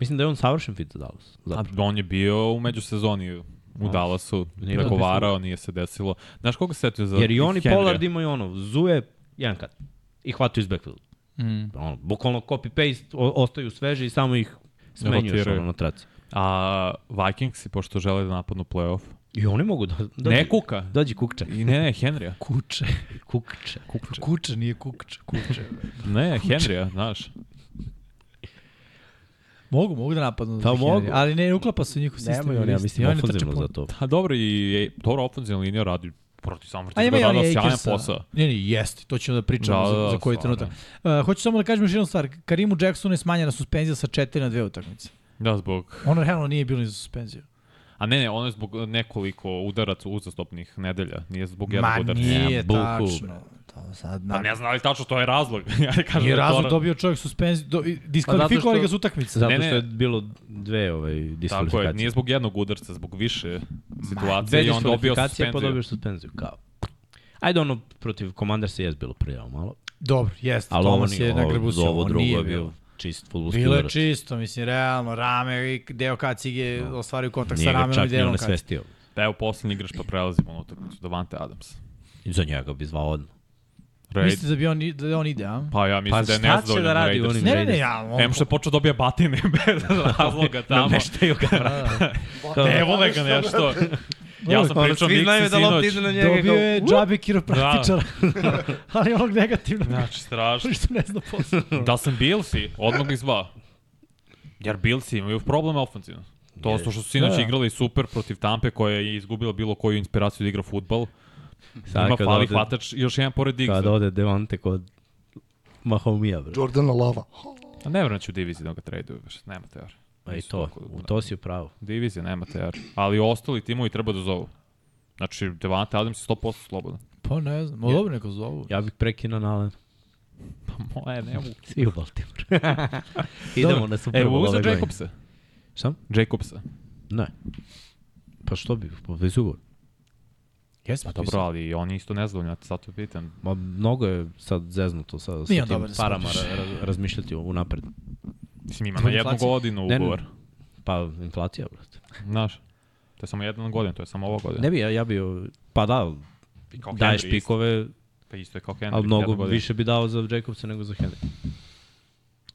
Speaker 2: Mislim da je on savršen fit za Dallas. Zapravo.
Speaker 4: On je bio u međusezoni u Dallasu,
Speaker 2: Nije
Speaker 4: pregovarao, nije se desilo. Znaš koga se setio za
Speaker 2: Jer i on i
Speaker 4: Henrya?
Speaker 2: Pollard imaju ono, zuje jedan kat. I hvataju iz backfield.
Speaker 3: mm.
Speaker 2: Ono, bukvalno copy-paste, o- ostaju sveži i samo ih smenjuješ
Speaker 4: Rotiraju.
Speaker 2: ono, na traci.
Speaker 4: A Vikingsi, pošto žele da napadnu playoff.
Speaker 2: I oni mogu da... da
Speaker 4: Ne kuka.
Speaker 2: Dođi kukče.
Speaker 4: I ne, ne, Henrya.
Speaker 3: kuče.
Speaker 2: Kukče.
Speaker 3: Kuče. kuče nije kukče, kuče.
Speaker 4: Ne, Henrya, znaš.
Speaker 3: mogu, mogu da napadnu.
Speaker 2: Pa
Speaker 3: za Henry,
Speaker 2: mogu.
Speaker 3: Ali ne, uklapa se u njihov sistem.
Speaker 2: Nemoj oni, ja
Speaker 3: isti.
Speaker 2: mislim,
Speaker 3: I oni trče
Speaker 2: ofenzivno
Speaker 3: puno.
Speaker 2: za to.
Speaker 4: A dobro, i e, dobro ofenzivna linija radi protiv
Speaker 3: A
Speaker 4: Samvrtiga,
Speaker 3: ima i
Speaker 4: da
Speaker 3: oni
Speaker 4: da sjajan
Speaker 3: Akersa.
Speaker 4: posao.
Speaker 3: Ne, ne, jeste, to ćemo da pričamo
Speaker 4: Da,
Speaker 3: da,
Speaker 4: da,
Speaker 3: za, za koji
Speaker 4: stvarno.
Speaker 3: trenutak. Uh, hoću samo da kažem još jednu stvar. Karimu Jacksonu je smanjena suspenzija sa 4 na 2 utakmice.
Speaker 4: Da, zbog...
Speaker 3: Ono realno nije bilo ni za suspenziju.
Speaker 4: A ne, ne, ono je zbog nekoliko udaraca uzastopnih nedelja. Nije zbog jednog
Speaker 3: Ma
Speaker 4: udarca.
Speaker 3: nije
Speaker 2: buku.
Speaker 3: tačno. To sad na...
Speaker 4: Pa ne znam, ali tačno, to je razlog. ja kažem da
Speaker 3: Nije
Speaker 4: je to
Speaker 3: razlog
Speaker 4: ra-
Speaker 3: dobio čovjek suspenziju, do, i- diskvalifikovali
Speaker 2: što-
Speaker 3: ga s utakmice.
Speaker 2: Zato
Speaker 4: Ne, ne.
Speaker 2: što je bilo dve ovaj, diskvalifikacije.
Speaker 4: Tako je, nije zbog jednog udarca, zbog više situacija
Speaker 2: Dve
Speaker 4: i on dobio
Speaker 2: diskvalifikacije
Speaker 4: suspenziju.
Speaker 2: pa dobio suspenziju. Kao. Ajde ono, protiv komandar se jes bilo prijavo malo.
Speaker 3: Dobro, jeste.
Speaker 2: Ali ovo
Speaker 3: Thomas
Speaker 2: nije,
Speaker 3: je na
Speaker 2: ovo,
Speaker 3: grbu
Speaker 2: za ovo drugo
Speaker 3: nije
Speaker 2: je
Speaker 3: bilo.
Speaker 2: bio čist futbolski
Speaker 3: Bilo je
Speaker 2: udarac.
Speaker 3: čisto, mislim, realno, rame i deo kacige no. ostvaraju kontakt sa
Speaker 2: Nije ga
Speaker 3: ramenom i
Speaker 2: čak ni
Speaker 3: delom
Speaker 2: on
Speaker 3: kacige.
Speaker 2: svestio.
Speaker 4: Evo, poslednji igrač pa prelazimo na utakmicu, Davante Adams.
Speaker 2: I za njega bi zvao odmah.
Speaker 4: Raid,
Speaker 3: Mislite da, bi on, i- da on ide, a?
Speaker 4: pa ja mislim
Speaker 2: Pa
Speaker 4: da je
Speaker 2: šta će
Speaker 4: nezadovoljan
Speaker 2: da radi
Speaker 4: Raiders.
Speaker 2: onim-
Speaker 3: Ne, ne, ne,
Speaker 2: Raiders.
Speaker 3: ja, on,
Speaker 4: Em što je počeo da dobija batine bez razloga tamo. Da.
Speaker 2: Nameštaju Da, ga, brate. Da.
Speaker 4: Ne vole ga nešto. ja sam pričao Miksi
Speaker 3: da
Speaker 4: sinoć. Da.
Speaker 2: na
Speaker 3: dobio
Speaker 2: kao-
Speaker 3: je džabe kiropraktičara, ali onog negativnog,
Speaker 4: Znači, strašno.
Speaker 3: što ne zna posao.
Speaker 4: Da sam Bilsi, odmah bih zvao. Jer Bilsi imaju problem ofenzivno. To su što su sinoć
Speaker 3: Da.
Speaker 4: igrali super protiv Tampe koja je izgubila bilo koju inspiraciju da igra futbal.
Speaker 2: Sad
Speaker 4: Ima
Speaker 2: kad
Speaker 4: fali
Speaker 2: ode- Pa,
Speaker 4: hvatač, još jedan pored
Speaker 2: Kad
Speaker 4: Diggsa.
Speaker 2: ode Devante kod Mahomija, bre.
Speaker 5: Jordana Lava.
Speaker 4: A ne vrnaću diviziju da ga traduju, baš, nema teorije.
Speaker 2: A Pa i
Speaker 4: Nisu
Speaker 2: to,
Speaker 4: toliko-
Speaker 2: u to si u pravu.
Speaker 4: Divizija, nema TR. Ali ostali timovi treba da zovu. Znači, Devante Adams je 100% slobodan.
Speaker 3: Pa ne znam, ma dobro neko zovu.
Speaker 2: Ja bih prekinuo Nalen.
Speaker 4: Pa moje, ne mogu.
Speaker 2: Svi u Baltimore. Idemo na Super
Speaker 4: Evo,
Speaker 2: Bowl
Speaker 4: uza
Speaker 2: ove godine.
Speaker 4: Jacobsa.
Speaker 2: Šta?
Speaker 4: Jacobsa.
Speaker 2: Ne. Pa što bi, pa bez ugovor. Jesmo,
Speaker 4: Pa dobro, ali i on je isto nezadovoljan, sad to pitam.
Speaker 2: Ma, mnogo je sad zeznuto sa, sa
Speaker 3: Nije
Speaker 2: tim
Speaker 3: on dobar za
Speaker 2: parama
Speaker 3: sportaš.
Speaker 2: ra, ra, razmišljati unapred.
Speaker 4: Mislim, ima na jednu
Speaker 3: Inflacija.
Speaker 4: godinu
Speaker 2: Ne, ne.
Speaker 4: ugovor.
Speaker 2: Pa, inflacija, brate.
Speaker 4: Znaš, to je samo jedna godina, to je samo ova godina.
Speaker 2: Ne bi, ja, ja bi, o- pa da,
Speaker 4: Kao
Speaker 2: daješ
Speaker 4: Henry isto.
Speaker 2: pikove,
Speaker 4: Pa isto je kao Henry.
Speaker 2: ali mnogo
Speaker 4: jedna godina.
Speaker 2: više bi dao za Jacobsa nego za Henry.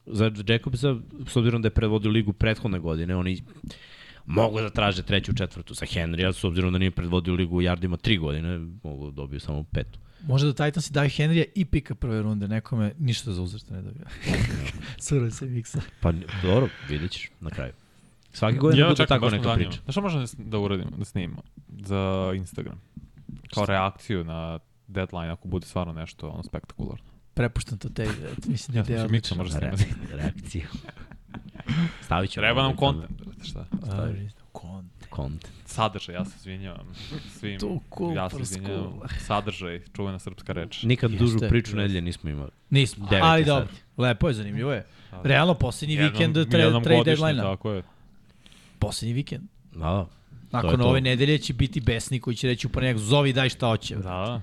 Speaker 2: Za Jacobsa, s obzirom da je predvodio ligu prethodne godine, oni mogu da traže treću, četvrtu za Henrya, s obzirom da nije predvodio ligu u jardima tri godine, mogu da dobiju samo petu.
Speaker 3: Možda da Titansi daju Henrya i pika prve runde, nekome ništa za uzrte ne dobija. Suroj se miksa.
Speaker 2: Pa n- dobro, vidjet ćeš na kraju. Svake godine da bude
Speaker 4: čekam,
Speaker 2: tako
Speaker 4: baš me
Speaker 2: neka
Speaker 4: zanima.
Speaker 2: priča.
Speaker 4: Znaš šta možemo da s- da uradimo, da snimimo? Za Instagram. Kao reakciju na deadline, ako bude stvarno nešto ono, spektakularno.
Speaker 3: Prepuštam to tebi, eto, mislim da
Speaker 4: Ja
Speaker 3: je ideja
Speaker 4: sam Miksa
Speaker 3: odlična.
Speaker 4: može
Speaker 2: Re,
Speaker 4: snimati.
Speaker 2: reakciju. Stavit ćemo.
Speaker 4: Treba nam
Speaker 2: ovaj
Speaker 3: da.
Speaker 4: content, brate, šta?
Speaker 3: Ajde, kon.
Speaker 2: Content.
Speaker 4: Sadržaj, ja se izvinjavam. Svim,
Speaker 3: To cool,
Speaker 4: ja se
Speaker 3: pa school.
Speaker 4: izvinjavam. Sadržaj, čuvena srpska reč.
Speaker 2: Nikad
Speaker 3: Jeste.
Speaker 2: dužu priču nedelje nismo imali.
Speaker 3: Nismo,
Speaker 2: Devet
Speaker 3: ali
Speaker 2: je
Speaker 3: dobro,
Speaker 2: sad.
Speaker 3: lepo je, zanimljivo je. Realno, posljednji
Speaker 4: Jednom-
Speaker 3: vikend
Speaker 4: jednom
Speaker 3: tra- trade
Speaker 4: godišnje,
Speaker 3: deadline-a.
Speaker 4: Tako je.
Speaker 3: Posljednji vikend.
Speaker 2: Da, da. To je
Speaker 3: Nakon
Speaker 2: to.
Speaker 3: ove nedelje će biti besni koji će reći u ponedjeljak zovi daj šta hoće.
Speaker 4: Da, da.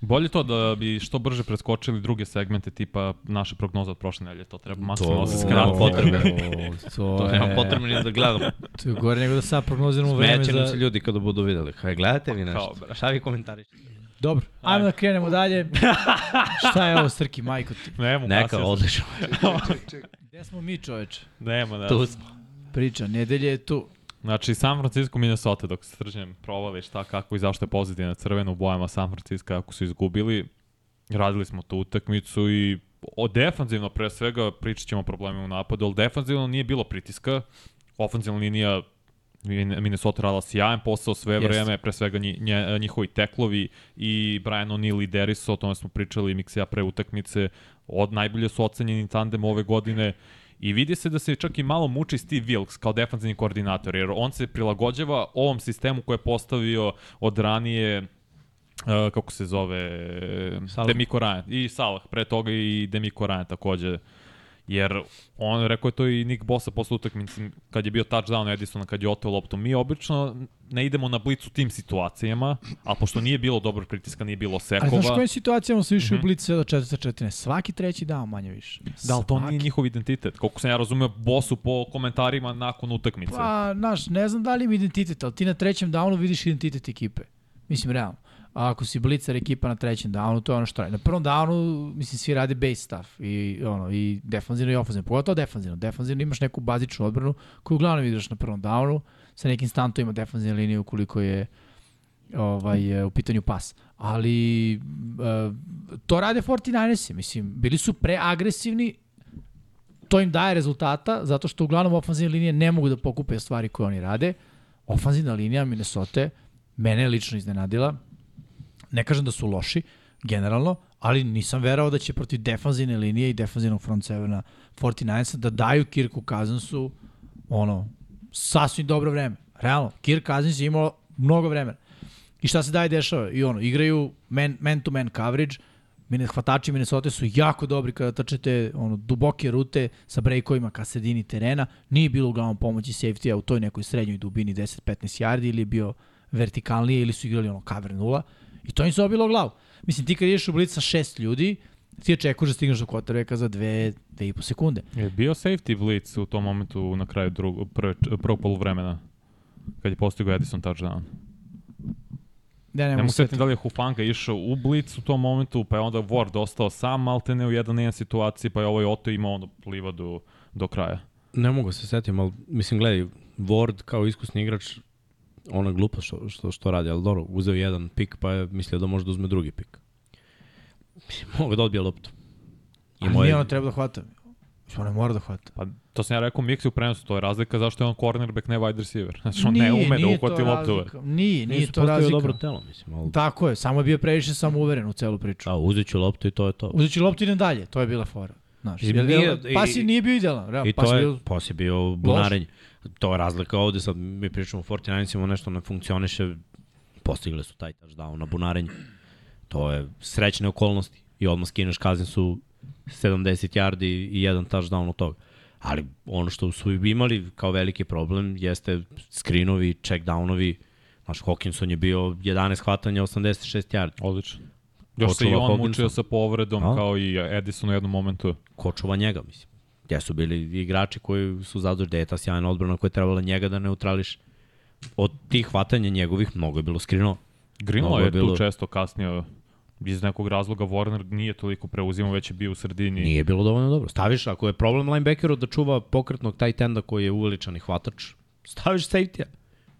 Speaker 4: Bolje to da bi što brže preskočili druge segmente tipa naše prognoze od prošle nedelje, to treba maksimalno da
Speaker 2: To
Speaker 4: se
Speaker 2: nema
Speaker 4: skrati.
Speaker 2: potrebe.
Speaker 3: To,
Speaker 2: To
Speaker 3: je,
Speaker 2: nema potrebe ni da gledamo.
Speaker 3: To je gore nego da sad prognoziramo vreme
Speaker 2: Smeće nam
Speaker 3: za...
Speaker 2: se ljudi kada budu videli. Kaj, gledate vi nešto?
Speaker 4: Kao, bre.
Speaker 2: Šta vi komentarišete?
Speaker 3: Dobro, ajmo da krenemo dalje. šta je ovo Srki, majko ti?
Speaker 4: Nemo,
Speaker 2: Neka, odlično.
Speaker 5: Ček, ček.
Speaker 3: Gde smo mi čoveče?
Speaker 4: Nema, da.
Speaker 2: Tu smo.
Speaker 3: Priča, nedelje je tu.
Speaker 4: Znači, San Francisco, Minnesota, dok se srđem provali šta, kako i zašto je pozitivna na crvenu u bojama San Francisco, ako su izgubili, radili smo tu utakmicu i o defanzivno pre svega pričat ćemo o problemima u napadu, ali defanzivno nije bilo pritiska, ofenzivna linija Min- Minnesota radila sjajan posao sve
Speaker 3: Jeste.
Speaker 4: vreme, pre svega nji, nje, njihovi teklovi i Brian O'Neill i Deriso, o tome smo pričali Miksija pre utakmice, od najbolje su ocenjeni tandem ove godine i vidi se da se čak i malo muči Steve Wilkes kao defanzivni koordinator, jer on se prilagođava ovom sistemu koje je postavio od ranije Uh, kako se zove
Speaker 2: Salah.
Speaker 4: Salah. Demiko Ryan i Salah pre toga i Demiko Ryan takođe jer on rekao je to i Nick Bosa posle utakmice kad je bio touchdown Edisona kad je oteo loptu mi obično ne idemo na blic u tim situacijama a pošto nije bilo dobro pritiska nije bilo
Speaker 3: A znaš
Speaker 4: sekova
Speaker 3: kojim situacijama su išli u
Speaker 4: Mhm.
Speaker 3: Blitz sve do 414? Svaki treći dan manje više.
Speaker 4: da ali to
Speaker 3: Svaki.
Speaker 4: nije njihov identitet koliko sam ja razumeo Bosu po komentarima nakon utakmice
Speaker 3: Pa, znaš, ne znam da li im identitet, ali ti na trećem downu vidiš identitet ekipe. Mislim, realno. A ako si blicar ekipa na trećem downu, to je ono što radi. Na prvom downu, mislim, svi rade base stuff i, ono, i defanzivno i ofanzivno. Pogotovo defanzivno. Defanzivno imaš neku bazičnu odbranu koju uglavnom igraš na prvom downu sa nekim stantovima defanzivne linije ukoliko je ovaj, e, u pitanju pas. Ali e, to rade 49ersi, mislim, bili su preagresivni, to im daje rezultata, zato što uglavnom ofanzivne linije ne mogu da pokupe stvari koje oni rade. Ofanzivna linija Minnesota mene je lično iznenadila. Ne kažem da su loši, generalno, ali nisam verao da će protiv defanzivne linije i defanzivnog front sevena 49ersa da daju Kirku Kazansu ono, sasvim dobro vreme. Realno, Kirk Kazans je imao mnogo vremena. I šta se daje dešava? I ono, igraju man, man to man coverage, Mine, hvatači Minnesota su jako dobri kada trčete ono, duboke rute sa brejkovima ka sredini terena. Nije bilo uglavnom pomoći safety-a u toj nekoj srednjoj dubini 10-15 yardi ili je bio vertikalnije ili su igrali ono cover nula. I to im se obilo o glavu. Mislim, ti kad ideš u blic sa šest ljudi, ti očekuješ da stigneš do kotarveka za dve, dve i po sekunde.
Speaker 4: je bio safety blitz u tom momentu na kraju drugog prve, prvog poluvremena kad je postigao Edison touchdown
Speaker 3: Da, ne
Speaker 4: Ne
Speaker 3: mogu
Speaker 4: mogu setim
Speaker 3: setiti.
Speaker 4: da li je Hufanga išao u blic u tom momentu, pa je onda Ward ostao sam maltene u jedan na jedan situaciji, pa je ovaj Oto imao ono livadu do kraja.
Speaker 2: Ne mogu da se setim, ali mislim, gledaj, Ward kao iskusni igrač, ono je glupo što, što, što radi, ali dobro, uzeo jedan pik, pa je mislio da može da uzme drugi pik. Mislim, mogu da odbije loptu. I
Speaker 3: Ali nije ono treba da hvata. Ono je mora da hvata.
Speaker 4: Pa to sam ja rekao Miksi u prenosu, to je razlika zašto je on cornerback, ne wide receiver. Znači on ne
Speaker 3: Nije,
Speaker 4: ume da
Speaker 3: nije
Speaker 4: uhvati
Speaker 3: to
Speaker 4: loptu.
Speaker 3: razlika. Nije, nije
Speaker 2: Nisu
Speaker 3: to
Speaker 2: postavio
Speaker 3: razlika. Da.
Speaker 2: dobro telo, mislim, ali...
Speaker 3: Tako je, samo je bio previše samouveren u celu priču.
Speaker 2: A, uzet ću loptu i to je to.
Speaker 3: Pa Uzet ću loptu idem dalje, to je bila fora. Znaš,
Speaker 2: I
Speaker 3: jer,
Speaker 2: nije-
Speaker 3: nije, pas
Speaker 2: i-
Speaker 3: je nije bio idealan. Realno,
Speaker 2: I
Speaker 3: pas
Speaker 2: to
Speaker 3: je
Speaker 2: je,
Speaker 3: Da, pa bio
Speaker 2: pas je bio bunarenje. To je razlika ovde, sad mi pričamo o 49-cima, nešto ne funkcioniše, postigli su taj touchdown na bunarenje. To je srećne okolnosti i odmah skineš kazne su 70 yardi i jedan touchdown od toga. Ali ono što su i imali kao veliki problem jeste screenovi, checkdownovi. Znaš, Hawkinson je bio 11 hvatanja, 86 yardi.
Speaker 4: Odlično. Još se i
Speaker 2: Počela
Speaker 4: on
Speaker 2: Hawkinson.
Speaker 4: mučio sa povredom,
Speaker 2: A?
Speaker 4: kao i Edison u jednom momentu.
Speaker 2: ko čuva njega, mislim. Gde su bili igrači koji su zaduženi, da je ta sjajna odbrana koja je trebala njega da neutrališ. Od tih hvatanja njegovih mnogo je bilo skrino.
Speaker 4: Greenlaw
Speaker 2: Mnogo
Speaker 4: je,
Speaker 2: je
Speaker 4: tu
Speaker 2: bilo.
Speaker 4: često kasnio iz nekog razloga Warner nije toliko preuzimao, već je bio u sredini.
Speaker 2: Nije bilo dovoljno dobro. Staviš, ako je problem linebackeru da čuva pokretnog taj tenda koji je uveličani hvatač, staviš safety-a.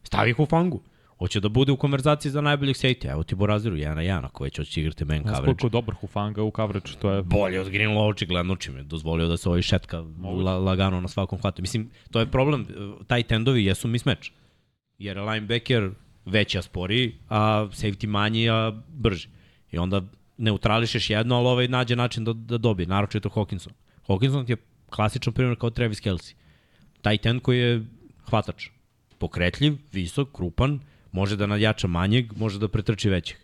Speaker 2: Stavi ih u fangu. Hoće da bude u konverzaciji za najboljih safety-a. Evo ti Boraziru, jedan na jedan, ako već hoćeš igrati man
Speaker 4: Znaš
Speaker 2: coverage.
Speaker 4: koliko je dobar Hufanga u coverage, to je
Speaker 2: bolje od Greenlaw očigledno čim je dozvolio da se ovaj šetka la, lagano na svakom hvatu. Mislim, to je problem, e, taj tendovi jesu mismeč. Jer je linebacker veći, a sporiji, a safety manji, a brži. I onda neutrališeš jedno, ali ovaj nađe način da, da dobije, naročito Hawkinson. Hawkinson ti je klasičan primjer kao Travis Kelsey. Taj tend koji je hvatač. Pokretljiv, visok, krupan, može da nadjača manjeg, može da pretrči većeg.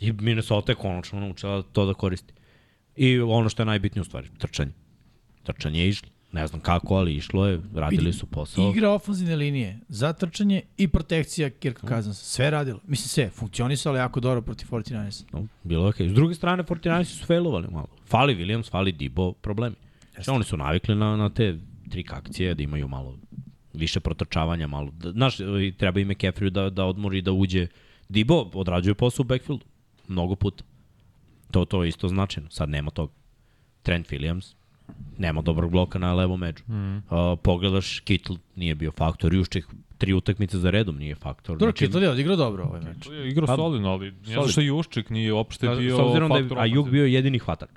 Speaker 2: I Minnesota je konačno naučila to da koristi. I ono što je najbitnije u stvari, trčanje. Trčanje je išlo. Ne znam kako, ali išlo je, radili su posao.
Speaker 3: igra ofenzivne linije za trčanje i protekcija Kirka Kazansa. Sve je radilo. Mislim sve, funkcionisalo je jako dobro protiv 49
Speaker 2: No, bilo je okej. S druge strane, 49 su failovali malo. Fali Williams, fali Dibo, problemi. Znači, oni su navikli na, na te trik akcije, da imaju malo više protrčavanja, malo. Da, znaš, i treba ime McCaffrey da, da odmori i da uđe. Dibo odrađuje posao u backfieldu. Mnogo puta. To, to je isto značajno. Sad nema toga. Trent Williams, nema dobrog bloka na levom među. Mm. Uh, pogledaš, Kittle nije bio faktor. Jušček tri utakmice za redom nije faktor. Znači,
Speaker 3: Dobro, Kittle je odigrao dobro ovaj meč.
Speaker 4: je igrao
Speaker 2: Pa,
Speaker 4: solidno, ali ne znam
Speaker 2: solid.
Speaker 4: što Juščik nije uopšte
Speaker 2: A,
Speaker 4: bio
Speaker 2: s obzirom da je
Speaker 4: faktor
Speaker 2: Ajuk
Speaker 4: ofenzive.
Speaker 2: bio jedini hvatač.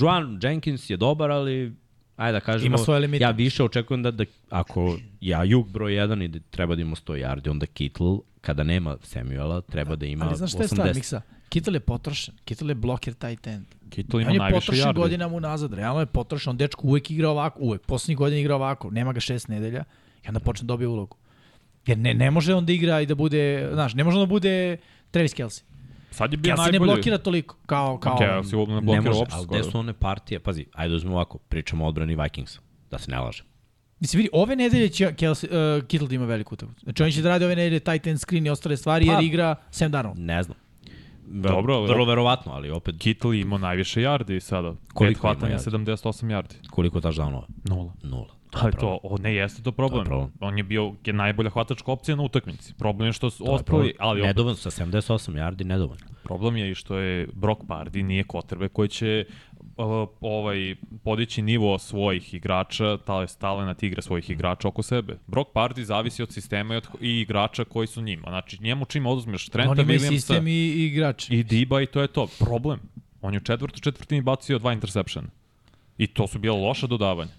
Speaker 2: Juan Jenkins je dobar, ali ajde da kažemo,
Speaker 3: Ima svoje limite.
Speaker 2: ja više očekujem da, da ako je Ajuk broj 1 i da treba da ima 100 yardi, onda Kittle, kada nema Samuela, treba da ima
Speaker 3: Ali znaš šta je stvar,
Speaker 2: 80.
Speaker 3: Miksa? Kittle je potrošen. Kittle je bloker tight end.
Speaker 4: Kittle
Speaker 3: on
Speaker 4: Da ima
Speaker 3: je
Speaker 4: najviše
Speaker 3: potrošen
Speaker 4: yardi.
Speaker 3: godinama unazad, realno je potrošen, on dečko uvek igra ovako, uvek, poslednjih godina igra ovako, nema ga šest nedelja i onda počne da dobije ulogu. Jer ne, ne može on da igra i da bude, znaš, ne može on da bude Travis Kelsey.
Speaker 4: Sad je bio
Speaker 3: Kelsey ne
Speaker 4: najbolji.
Speaker 3: blokira toliko, kao, kao,
Speaker 4: Kao si uopšte ne
Speaker 2: Ne
Speaker 4: blokira
Speaker 2: može,
Speaker 4: uopšte
Speaker 2: ali gde su
Speaker 4: skoro.
Speaker 2: one partije? Pazi, ajde uzmemo ovako, pričamo o odbrani Vikingsa, da se ne lažem.
Speaker 3: mislim, vidi, ove nedelje će Kelsey, uh, Kittle da ima veliku utakmicu. Znači, on će da radi ove nedelje tight end screen i ostale stvari,
Speaker 2: Pa-
Speaker 3: jer igra 7 dana.
Speaker 2: Ne znam.
Speaker 4: Dobro, ali-
Speaker 2: Vrlo verovatno, ali opet
Speaker 4: Kittle ima najviše yardi sada. Koliko
Speaker 2: Koliko ima
Speaker 4: hvatanja
Speaker 2: yardi?
Speaker 4: 78 yardi.
Speaker 2: koliko taš danova?
Speaker 4: Nula.
Speaker 2: Nula. To je
Speaker 4: Ali
Speaker 2: problem.
Speaker 4: to, o, ne jeste to problem.
Speaker 2: To je problem.
Speaker 4: On je bio je najbolja hvatačka opcija na utakmici. Problem je što su
Speaker 2: To je problem.
Speaker 4: ostali, ali opet,
Speaker 2: Nedovoljno, sa 78 yardi nedovoljno.
Speaker 4: problem je i što je Brock Pardy nije kotrbe koji će o, ovaj podići nivo svojih igrača, taj talenat igre svojih igrača oko sebe. Brock Pardy zavisi od sistema i, od, i igrača koji su njima. Znači, njemu čim oduzmeš
Speaker 3: On
Speaker 4: Trenta
Speaker 3: ima i
Speaker 4: Williamsa
Speaker 3: sistem i, i igrač.
Speaker 4: i Diba i to je to. Problem. On je u četvrtu četvrtini bacio dva interceptiona. I to su bila loša dodavanja.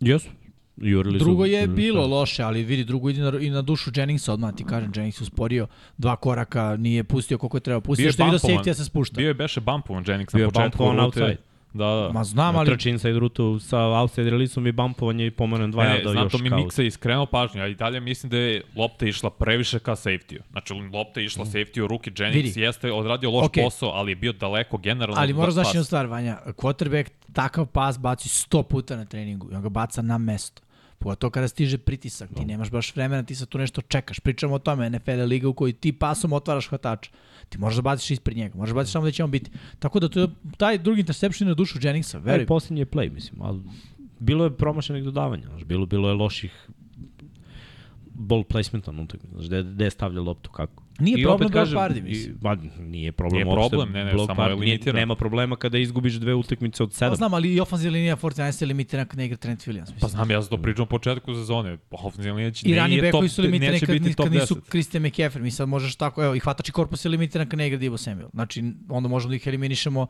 Speaker 2: Jesu. Jurili
Speaker 3: Drugo je bilo loše, ali vidi, drugo ide na, i na dušu Jenningsa odmah, ti kažem, Jennings je usporio dva koraka, nije pustio koliko je trebao
Speaker 4: Bio je
Speaker 3: pustiti, što je vidio
Speaker 4: bumpovan.
Speaker 3: safety se spušta.
Speaker 4: Bio je beše bumpovan Jennings na
Speaker 2: Bio je
Speaker 4: početku
Speaker 2: bumpovan
Speaker 4: rute.
Speaker 2: outside.
Speaker 4: Da, da.
Speaker 3: Ma znam, ali
Speaker 2: Trči inside rutu sa outside releaseom i bumpovanje i pomenem dva
Speaker 4: Ne, ne,
Speaker 2: jarda
Speaker 3: da
Speaker 4: znam
Speaker 2: još
Speaker 4: to mi
Speaker 2: kao...
Speaker 4: Miksa Pa je iskrenuo pažnju, a i dalje mislim da je lopta išla previše ka safety-u. Znači, lopta je išla safety-u, ruki Jennings
Speaker 3: Mm. Vidi.
Speaker 4: jeste odradio loš
Speaker 3: Okej.
Speaker 4: posao, ali je bio daleko generalno.
Speaker 3: Ali
Speaker 4: od
Speaker 3: moraš znaš
Speaker 4: da pas.
Speaker 3: jednu stvar, Vanja, quarterback takav pas baci 100 puta na treningu i on ga baca na mesto. Pogotovo kada stiže pritisak, ti nemaš baš vremena, ti sad tu nešto čekaš. Pričamo o tome, NFL je liga u kojoj ti pasom otvaraš hvatača. Ti možeš da baciš ispred njega, možeš da baciš samo da će on biti. Tako da to je taj drugi interception je na dušu Jenningsa,
Speaker 2: Veruj.
Speaker 3: veruj.
Speaker 2: E, posljednji je play, mislim, ali bilo je promašenih dodavanja, znaš, bilo, bilo je loših ball placementa na utakmici, znaš, gde, gde stavlja loptu, kako.
Speaker 3: Nije
Speaker 2: I
Speaker 3: problem
Speaker 2: opet
Speaker 3: Brock
Speaker 2: kažem,
Speaker 3: Purdy,
Speaker 2: i-
Speaker 3: mislim.
Speaker 2: Ma, nije problem.
Speaker 4: Nije
Speaker 2: uopšte,
Speaker 4: problem, ne, ne,
Speaker 2: Brock
Speaker 4: samo je
Speaker 2: Purdy nije-
Speaker 4: limitiran.
Speaker 2: Nema problema kada izgubiš dve utakmice od
Speaker 3: Pa
Speaker 2: sedam.
Speaker 3: znam, ali i ofenzivna linija 49 je limitirana kad ne igra Trent Williams. Mislim.
Speaker 4: Pa znam, ja sam to pričao u početku sezone. Offensive linija će,
Speaker 3: I rani
Speaker 4: nije top,
Speaker 3: bekovi su limitirani
Speaker 4: neće
Speaker 3: kad,
Speaker 4: biti
Speaker 3: ni-
Speaker 4: top
Speaker 3: kad nisu
Speaker 4: 10.
Speaker 3: Christian McCaffrey. Mi sad možeš tako, evo, i hvatači korpus je limitiran kad ne igra Debo Samuel. Znači, onda možemo da ih eliminišemo.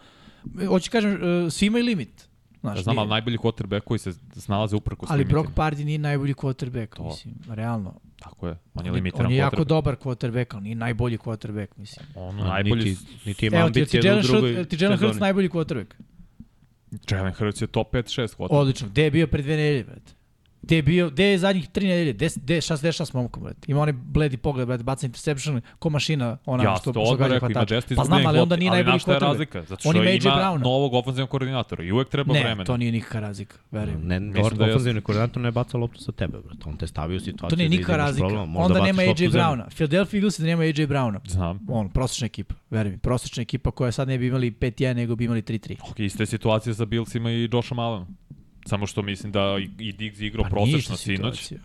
Speaker 3: Hoće kažem, e, svi imaju limit. Znaš,
Speaker 4: Ja znam,
Speaker 3: nije-
Speaker 4: ali najbolji quarterback koji se snalaze uprko s
Speaker 3: ali
Speaker 4: limitima.
Speaker 3: Brock Pa- Pardy nije najbolji quarterback, mislim, realno.
Speaker 4: Tako je, on je
Speaker 3: On je,
Speaker 4: limitiran
Speaker 3: jako
Speaker 4: quarterback.
Speaker 3: dobar quarterback, ali nije najbolji quarterback, mislim.
Speaker 4: On
Speaker 2: A,
Speaker 4: najbolji
Speaker 2: Niti, niti ima
Speaker 3: Evo ti, ti
Speaker 2: ambicije da u
Speaker 3: Jalen,
Speaker 2: drugoj
Speaker 3: Hurts, ti Jalen Hurts
Speaker 2: sezoni.
Speaker 3: najbolji quarterback.
Speaker 4: Jalen Hurts je top 5-6 kvota.
Speaker 3: Odlično. Gde je bio pre dve nedelje, brate? Gde je bio, gde je zadnjih tri nedelje? Gde, gde je šta se dešava s momkom, brate? Ima onaj bledi pogled, brate, baca interception, ko mašina, ona
Speaker 4: Ja
Speaker 3: što,
Speaker 4: što
Speaker 3: što
Speaker 4: odmah
Speaker 3: gađa
Speaker 4: rekao, ima
Speaker 3: hvatač.
Speaker 4: Jets
Speaker 3: Pa znam, ali onda nije najbolji
Speaker 4: kvota. Ali znaš šta je
Speaker 3: quarterback.
Speaker 4: razlika? Zato što
Speaker 3: On ima
Speaker 4: ima
Speaker 3: AJ Browna.
Speaker 4: novog ofenzivnog koordinatora i uvek treba
Speaker 3: ne,
Speaker 4: vremena.
Speaker 3: to nije nikakva razlika, verujem.
Speaker 2: Ne,
Speaker 4: Mislim
Speaker 2: Mislim da
Speaker 4: da je-
Speaker 2: ofenzivni koordinator ne baca loptu sa tebe, brate. On te stavio u situaciju.
Speaker 3: To nije
Speaker 2: da
Speaker 3: nikakva
Speaker 2: imaš
Speaker 3: razlika.
Speaker 2: problem, možda
Speaker 3: onda
Speaker 2: baciš
Speaker 3: nema AJ
Speaker 2: loptu u zemlju.
Speaker 3: Browna. Philadelphia Eagles da nema AJ Browna.
Speaker 4: Znam.
Speaker 3: On, prosječna ekipa, verujem. Prosječna ekipa koja sad ne bi imali 5-1, nego bi imali 3-3.
Speaker 4: Ok, ista je situacija sa Billsima i Joshom Allenom. Samo što mislim da i- i Diggs igrao
Speaker 3: Pa nije ista
Speaker 4: prosečno sinoć.
Speaker 3: situacija.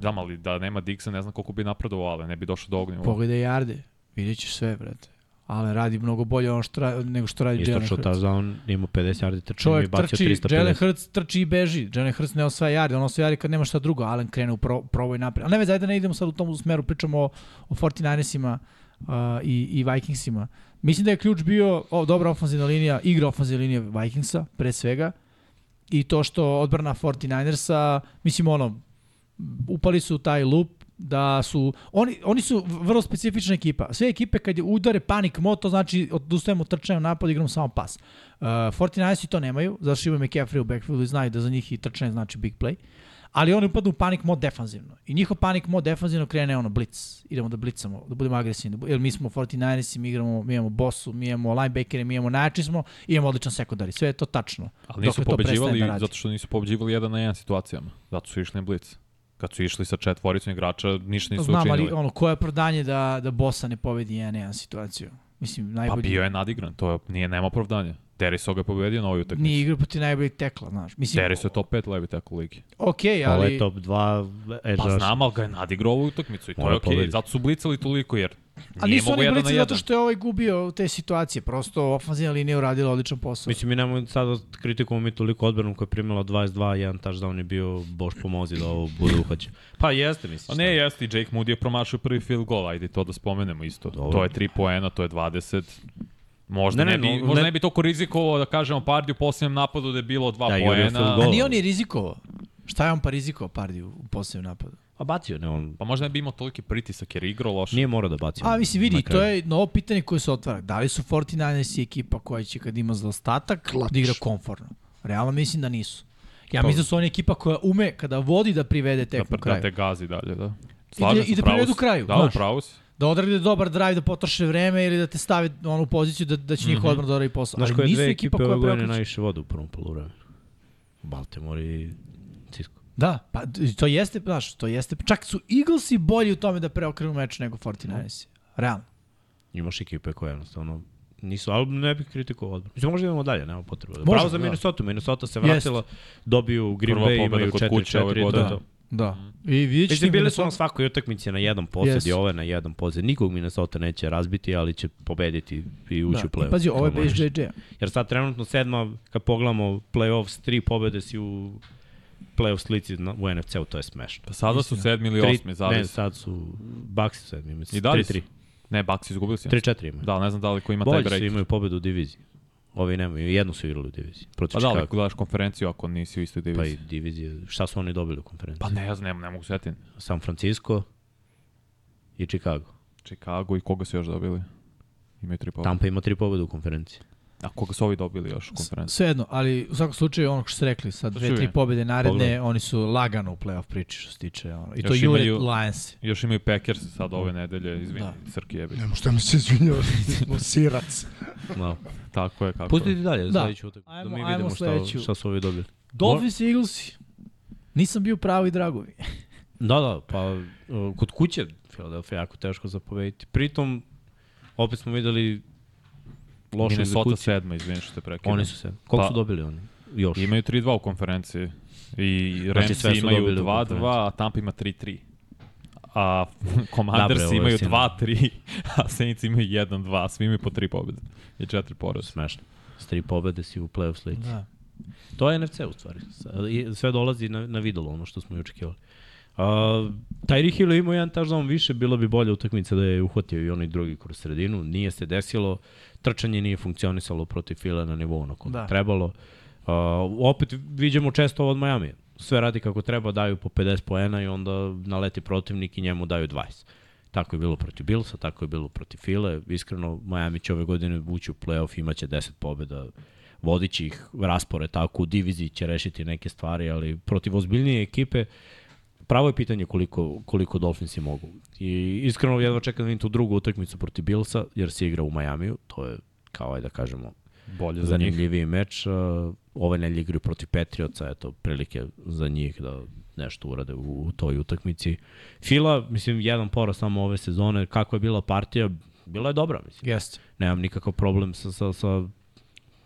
Speaker 4: Znam, ali da nema Diggsa ne znam koliko bi napredovao, ali ne bi došao do ognjeva.
Speaker 3: Pogledaj Jarde, vidjet ćeš sve, brate. Ale radi mnogo bolje ono što, ra- nego što radi
Speaker 2: Isto
Speaker 3: Jalen
Speaker 2: što
Speaker 3: Hurts.
Speaker 2: touchdown, ima 50 yardi trčanja i
Speaker 3: Čovjek
Speaker 2: bacio
Speaker 3: trči, Jalen
Speaker 2: 350.
Speaker 3: Hurts trči i beži. Jalen Hurts ne osvaja jarde, on osvaja jarde kad nema šta drugo. Allen krene u pro, proboj napred. A ne vez, ajde da ne idemo sad u tom smeru, pričamo o, o 49ersima uh, i, i Vikingsima. Mislim da je ključ bio o, dobra ofenzivna linija, igra ofenzivne linije Vikingsa, pre svega. I to što odbrana 49ersa, mislim ono, upali su u taj loop da su, oni, oni su vrlo specifična ekipa. Sve ekipe kad je udare panik mod, to znači odustajemo, trčajemo napad, igramo samo pas. Uh, 49 to nemaju, zato što imaju McCaffrey u backfieldu i znaju da za njih i trčanje znači big play. Ali oni upadnu u panik mod defanzivno. I njihov panik mod defanzivno krene ono blitz. Idemo da blitzamo, da budemo agresivni. Jer mi smo 49ersi, mi igramo, mi imamo bossu, mi imamo linebackere, mi imamo najjači smo, imamo odličan sekundari. Sve je to tačno.
Speaker 4: Ali nisu
Speaker 3: Dokle to prestane
Speaker 4: pobeđivali
Speaker 3: da radi.
Speaker 4: zato što nisu pobeđivali jedan na jedan situacijama. Zato su išli na blitz. Kad su išli sa četvoricom igrača, ništa nisu
Speaker 3: Znam, ali
Speaker 4: učinili.
Speaker 3: ono, koje je prodanje da, da bossa ne pobedi 1-1 situaciju? Mislim,
Speaker 4: Pa
Speaker 3: najbolji...
Speaker 4: bio je nadigran, to je, nije nema opravdanja. Deriso ga je pobedio na ovoj
Speaker 3: Nije
Speaker 4: utakmici.
Speaker 3: igra protiv najboljih tekla, znaš. Mislim,
Speaker 4: Deriso je top 5 levi tackle ligi.
Speaker 3: okej, ali...
Speaker 2: Ovo je top e, 2
Speaker 3: E,
Speaker 2: edge
Speaker 4: Pa
Speaker 2: rusher.
Speaker 4: znam, ali ga je nadigrao ovu utakmicu i to
Speaker 2: Mora
Speaker 4: je okej.
Speaker 2: pobediti.
Speaker 4: Zato su blicali toliko, jer
Speaker 3: A
Speaker 4: nije
Speaker 3: nisu
Speaker 4: mogo
Speaker 3: oni
Speaker 4: jedan na
Speaker 3: blici zato
Speaker 4: jedan.
Speaker 3: što je ovaj gubio te situacije. Prosto ofenzivna linija je uradila odličan posao.
Speaker 2: Mislim, mi nemoj sad da kritikujemo mi toliko odbranu koja je primila 22, jedan touchdown je bio, Bož pomozi da ovo bude uhaćen. Pa jeste,
Speaker 4: Pa
Speaker 2: mislim.
Speaker 4: ne, jeste, i Jake Moody je promašio prvi field goal, ajde to da spomenemo isto.
Speaker 2: Dobro.
Speaker 4: To je 3 poena, to je 20. Možda
Speaker 2: Ne,
Speaker 4: ne,
Speaker 2: ne,
Speaker 4: ne, bi,
Speaker 2: no,
Speaker 4: možda
Speaker 2: ne-
Speaker 4: ne, bi toliko rizikovao da kažemo Pardi u posljednjem napadu da je bilo 2
Speaker 2: Da,
Speaker 4: da,
Speaker 2: jurio field
Speaker 4: poena.
Speaker 2: goal.
Speaker 3: A nije on je rizikovao. Šta je on pa rizikovao Pardi u, u posljednjem napadu?
Speaker 2: Pa bacio, ne, on
Speaker 4: Pa možda ne bi imao toliki pritisak jer je igrao loše.
Speaker 2: nije morao da baci.
Speaker 3: A mislim,
Speaker 2: Na
Speaker 3: vidi, to
Speaker 2: kraju.
Speaker 3: je novo pitanje koje se otvara. Da li su 49ers ekipa koja će kad ima zaostatak
Speaker 5: Klač.
Speaker 3: da igra komforno? Realno mislim da nisu. Ja
Speaker 4: Pa-
Speaker 3: mislim da su oni ekipa koja ume kada vodi da privede tek
Speaker 4: da,
Speaker 3: u kraju.
Speaker 4: da te gazi dalje, da.
Speaker 3: i da privedu kraju,
Speaker 4: Da,
Speaker 3: znaš.
Speaker 4: upravo si.
Speaker 3: Da odrade dobar drive, da potroše vreme ili da te stave ono, u poziciju da, da će njihova odbrana da odradi posao.
Speaker 2: Mhm. Znaš
Speaker 3: Ali
Speaker 2: koje
Speaker 3: nisu
Speaker 2: dve ekipe
Speaker 3: ekipa
Speaker 2: ove
Speaker 3: koja
Speaker 2: godine
Speaker 3: preokreće.
Speaker 2: najviše vode u prvom poluvremenu? Baltimore i Cisco.
Speaker 3: Da, pa d- to jeste, znaš, to jeste. Čak su Eaglesi bolji u tome da preokrenu meč nego 49ersi. Realno.
Speaker 2: Imaš ekipe koje jednostavno nisu, ali ne bih kritikovao odbranu. Mislim, možda idemo dalje, nema potrebe.
Speaker 3: Možemo,
Speaker 2: Bravo za
Speaker 3: da.
Speaker 2: Minnesota, Minnesota se vratila, dobiju Green
Speaker 4: Prva
Speaker 2: Bay,
Speaker 4: pobeda
Speaker 2: imaju
Speaker 4: kod kuće
Speaker 2: 4-4,
Speaker 4: ove
Speaker 2: to je
Speaker 4: godine.
Speaker 2: to.
Speaker 3: Da. I vidjet ćete
Speaker 2: Mislim, bili su
Speaker 3: Minnesota-
Speaker 2: na svakoj utakmici na jedan posjed
Speaker 3: Jesu.
Speaker 2: i ove na jedan posjed. Nikog Minnesota neće razbiti, ali će pobediti i ući u
Speaker 3: Da.
Speaker 2: play-off.
Speaker 3: I pazi, ovo je
Speaker 2: Kao
Speaker 3: bez
Speaker 2: možeš.
Speaker 3: JJ.
Speaker 2: Jer sad trenutno sedma, kad pogledamo play-off s tri pobede si u play-off slici na- u NFC-u, to je smešno.
Speaker 4: Pa sada su sedmi ili
Speaker 2: Tri-
Speaker 4: osmi,
Speaker 2: ne,
Speaker 4: zavis.
Speaker 2: sad su Bucks su sedmi, mislim.
Speaker 4: I da li su?
Speaker 2: 3-3.
Speaker 4: Ne, Bucks izgubili si.
Speaker 2: 3-4 imaju.
Speaker 4: Da, ne znam da li ko ima taj
Speaker 2: Bolji su
Speaker 4: break.
Speaker 2: imaju pobedu u diviziji. Ovi nemaju, jednu su igrali u diviziji. Protiv
Speaker 4: Pa da, ali
Speaker 2: Chicago.
Speaker 4: gledaš konferenciju ako nisi u istoj
Speaker 2: Pa
Speaker 4: diviziji.
Speaker 2: i divizije. Šta su oni dobili u konferenciji?
Speaker 4: Pa ne, ja znam, ne mogu setiti.
Speaker 2: San Francisco i Chicago.
Speaker 4: Chicago i koga su još dobili? Imaju tri pobjede.
Speaker 2: Tampa ima tri pobede u konferenciji.
Speaker 4: A koga su ovi dobili još u konferenciji?
Speaker 3: Svejedno, ali u svakom slučaju ono što ste rekli, sad
Speaker 4: To
Speaker 3: dve,
Speaker 4: čujem.
Speaker 3: tri pobjede naredne,
Speaker 2: Pa Pogledaj.
Speaker 3: oni su lagano u playoff priči što se tiče. Ono. I to
Speaker 4: Još
Speaker 3: jure
Speaker 4: imaju-
Speaker 3: Lions.
Speaker 4: Još imaju Packers sad ove nedelje, izvini,
Speaker 3: Da.
Speaker 4: da. Srki jebi.
Speaker 5: Nemo šta mi se izvinjava, smo sirac.
Speaker 2: Malo.
Speaker 4: Tako je, kako
Speaker 2: Pustite
Speaker 4: je.
Speaker 2: dalje, da. sledeću utakmicu. Da
Speaker 3: Ajmo-
Speaker 2: mi
Speaker 3: ajmo
Speaker 2: vidimo šta,
Speaker 3: sledeću.
Speaker 2: šta su ovi dobili.
Speaker 3: Dolphins i Eaglesi. Nisam bio pravi dragovi.
Speaker 2: Da, da, pa uh, kod kuće Philadelphia je jako teško zapovediti. Pritom, opet smo videli loše
Speaker 4: Minnesota
Speaker 2: egzekucije.
Speaker 4: sedma, izvini što te prekidam.
Speaker 2: Oni su se. Koliko
Speaker 4: Pa-
Speaker 2: su dobili oni? Još.
Speaker 4: Imaju 3-2 u konferenciji. I
Speaker 2: Znači,
Speaker 4: Ramsi
Speaker 2: sve su
Speaker 4: imaju
Speaker 2: dobili u
Speaker 4: 2-2, a Tampa ima 3-3. A Commanders
Speaker 2: Dobre, ovo je
Speaker 4: imaju
Speaker 2: istina.
Speaker 4: 2-3, a Saints imaju 1-2, svi imaju po 3 pobjede i 4 poraza.
Speaker 2: Smešno. S tri pobede si u play-off slici.
Speaker 3: Da.
Speaker 2: To je NFC u stvari. S- i Sve dolazi na, na videlo ono što smo i očekivali. Uh, Tyreek Hill je imao jedan touchdown više, bilo bi bolja utakmica da je uhvatio i onaj drugi kroz sredinu. Nije se desilo, trčanje nije funkcionisalo protiv Fila na nivou na kom da.
Speaker 3: Da.
Speaker 2: trebalo. Uh, opet viđamo često ovo od Miami. Sve radi kako treba, daju po 50 poena i onda naleti protivnik i njemu daju 20. Tako je bilo protiv Billsa, tako je bilo protiv File. Iskreno, Miami će ove godine ući u playoff, imaće 10 pobjeda. vodići ih raspore tako, u diviziji će rešiti neke stvari, ali protiv ozbiljnije ekipe pravo je pitanje koliko, koliko Dolphinsi mogu. I iskreno jedva čekam da vidim tu drugu utakmicu protiv Billsa, jer se igra u Majamiju, to je kao aj da kažemo
Speaker 4: Bolje za njih.
Speaker 2: zanimljiviji meč. Uh, Ove nelje igraju protiv Patriotsa, eto, prilike za njih da nešto urade u, u toj utakmici. Fila, mislim, jedan poraz samo ove sezone, kako je bila partija, bila je dobra, mislim.
Speaker 3: Jeste.
Speaker 2: Nemam nikakav problem sa, sa, sa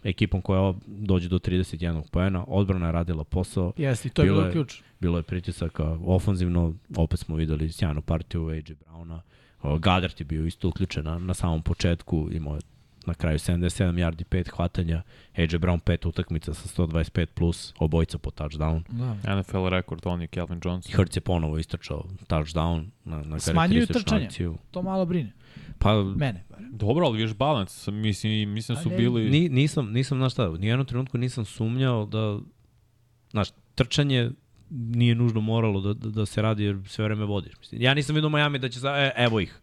Speaker 2: ekipom koja dođe do 31 poena, odbrana je radila posao,
Speaker 3: Jeste, i to je
Speaker 2: Bilo
Speaker 3: bilo
Speaker 2: je-
Speaker 3: ključ.
Speaker 2: bilo je pritisaka ofanzivno, opet smo videli sjajnu partiju AJ Browna. O, Gadart je bio isto uključen na, na samom početku, imao je na kraju 77 yardi, 5 hvatanja, AJ Brown 5 utakmica sa 125 plus, obojica po touchdown.
Speaker 3: Da.
Speaker 4: NFL rekord, on je Calvin Johnson.
Speaker 2: Hertz je ponovo istračao touchdown na, na
Speaker 3: Smanjuju
Speaker 2: karakterističnu
Speaker 3: trčanje.
Speaker 2: akciju.
Speaker 3: To malo brine.
Speaker 2: Pa,
Speaker 3: Mene. barem.
Speaker 4: Dobro, ali viš balans. Mislim, mislim su
Speaker 3: Ali-
Speaker 4: bili...
Speaker 2: ni, nisam, nisam, znaš šta, u nijednom trenutku nisam sumnjao da, znaš, trčanje nije nužno moralo da, da, da se radi jer sve vreme vodiš. Mislim, ja nisam vidio u Miami da će, za, e, evo ih.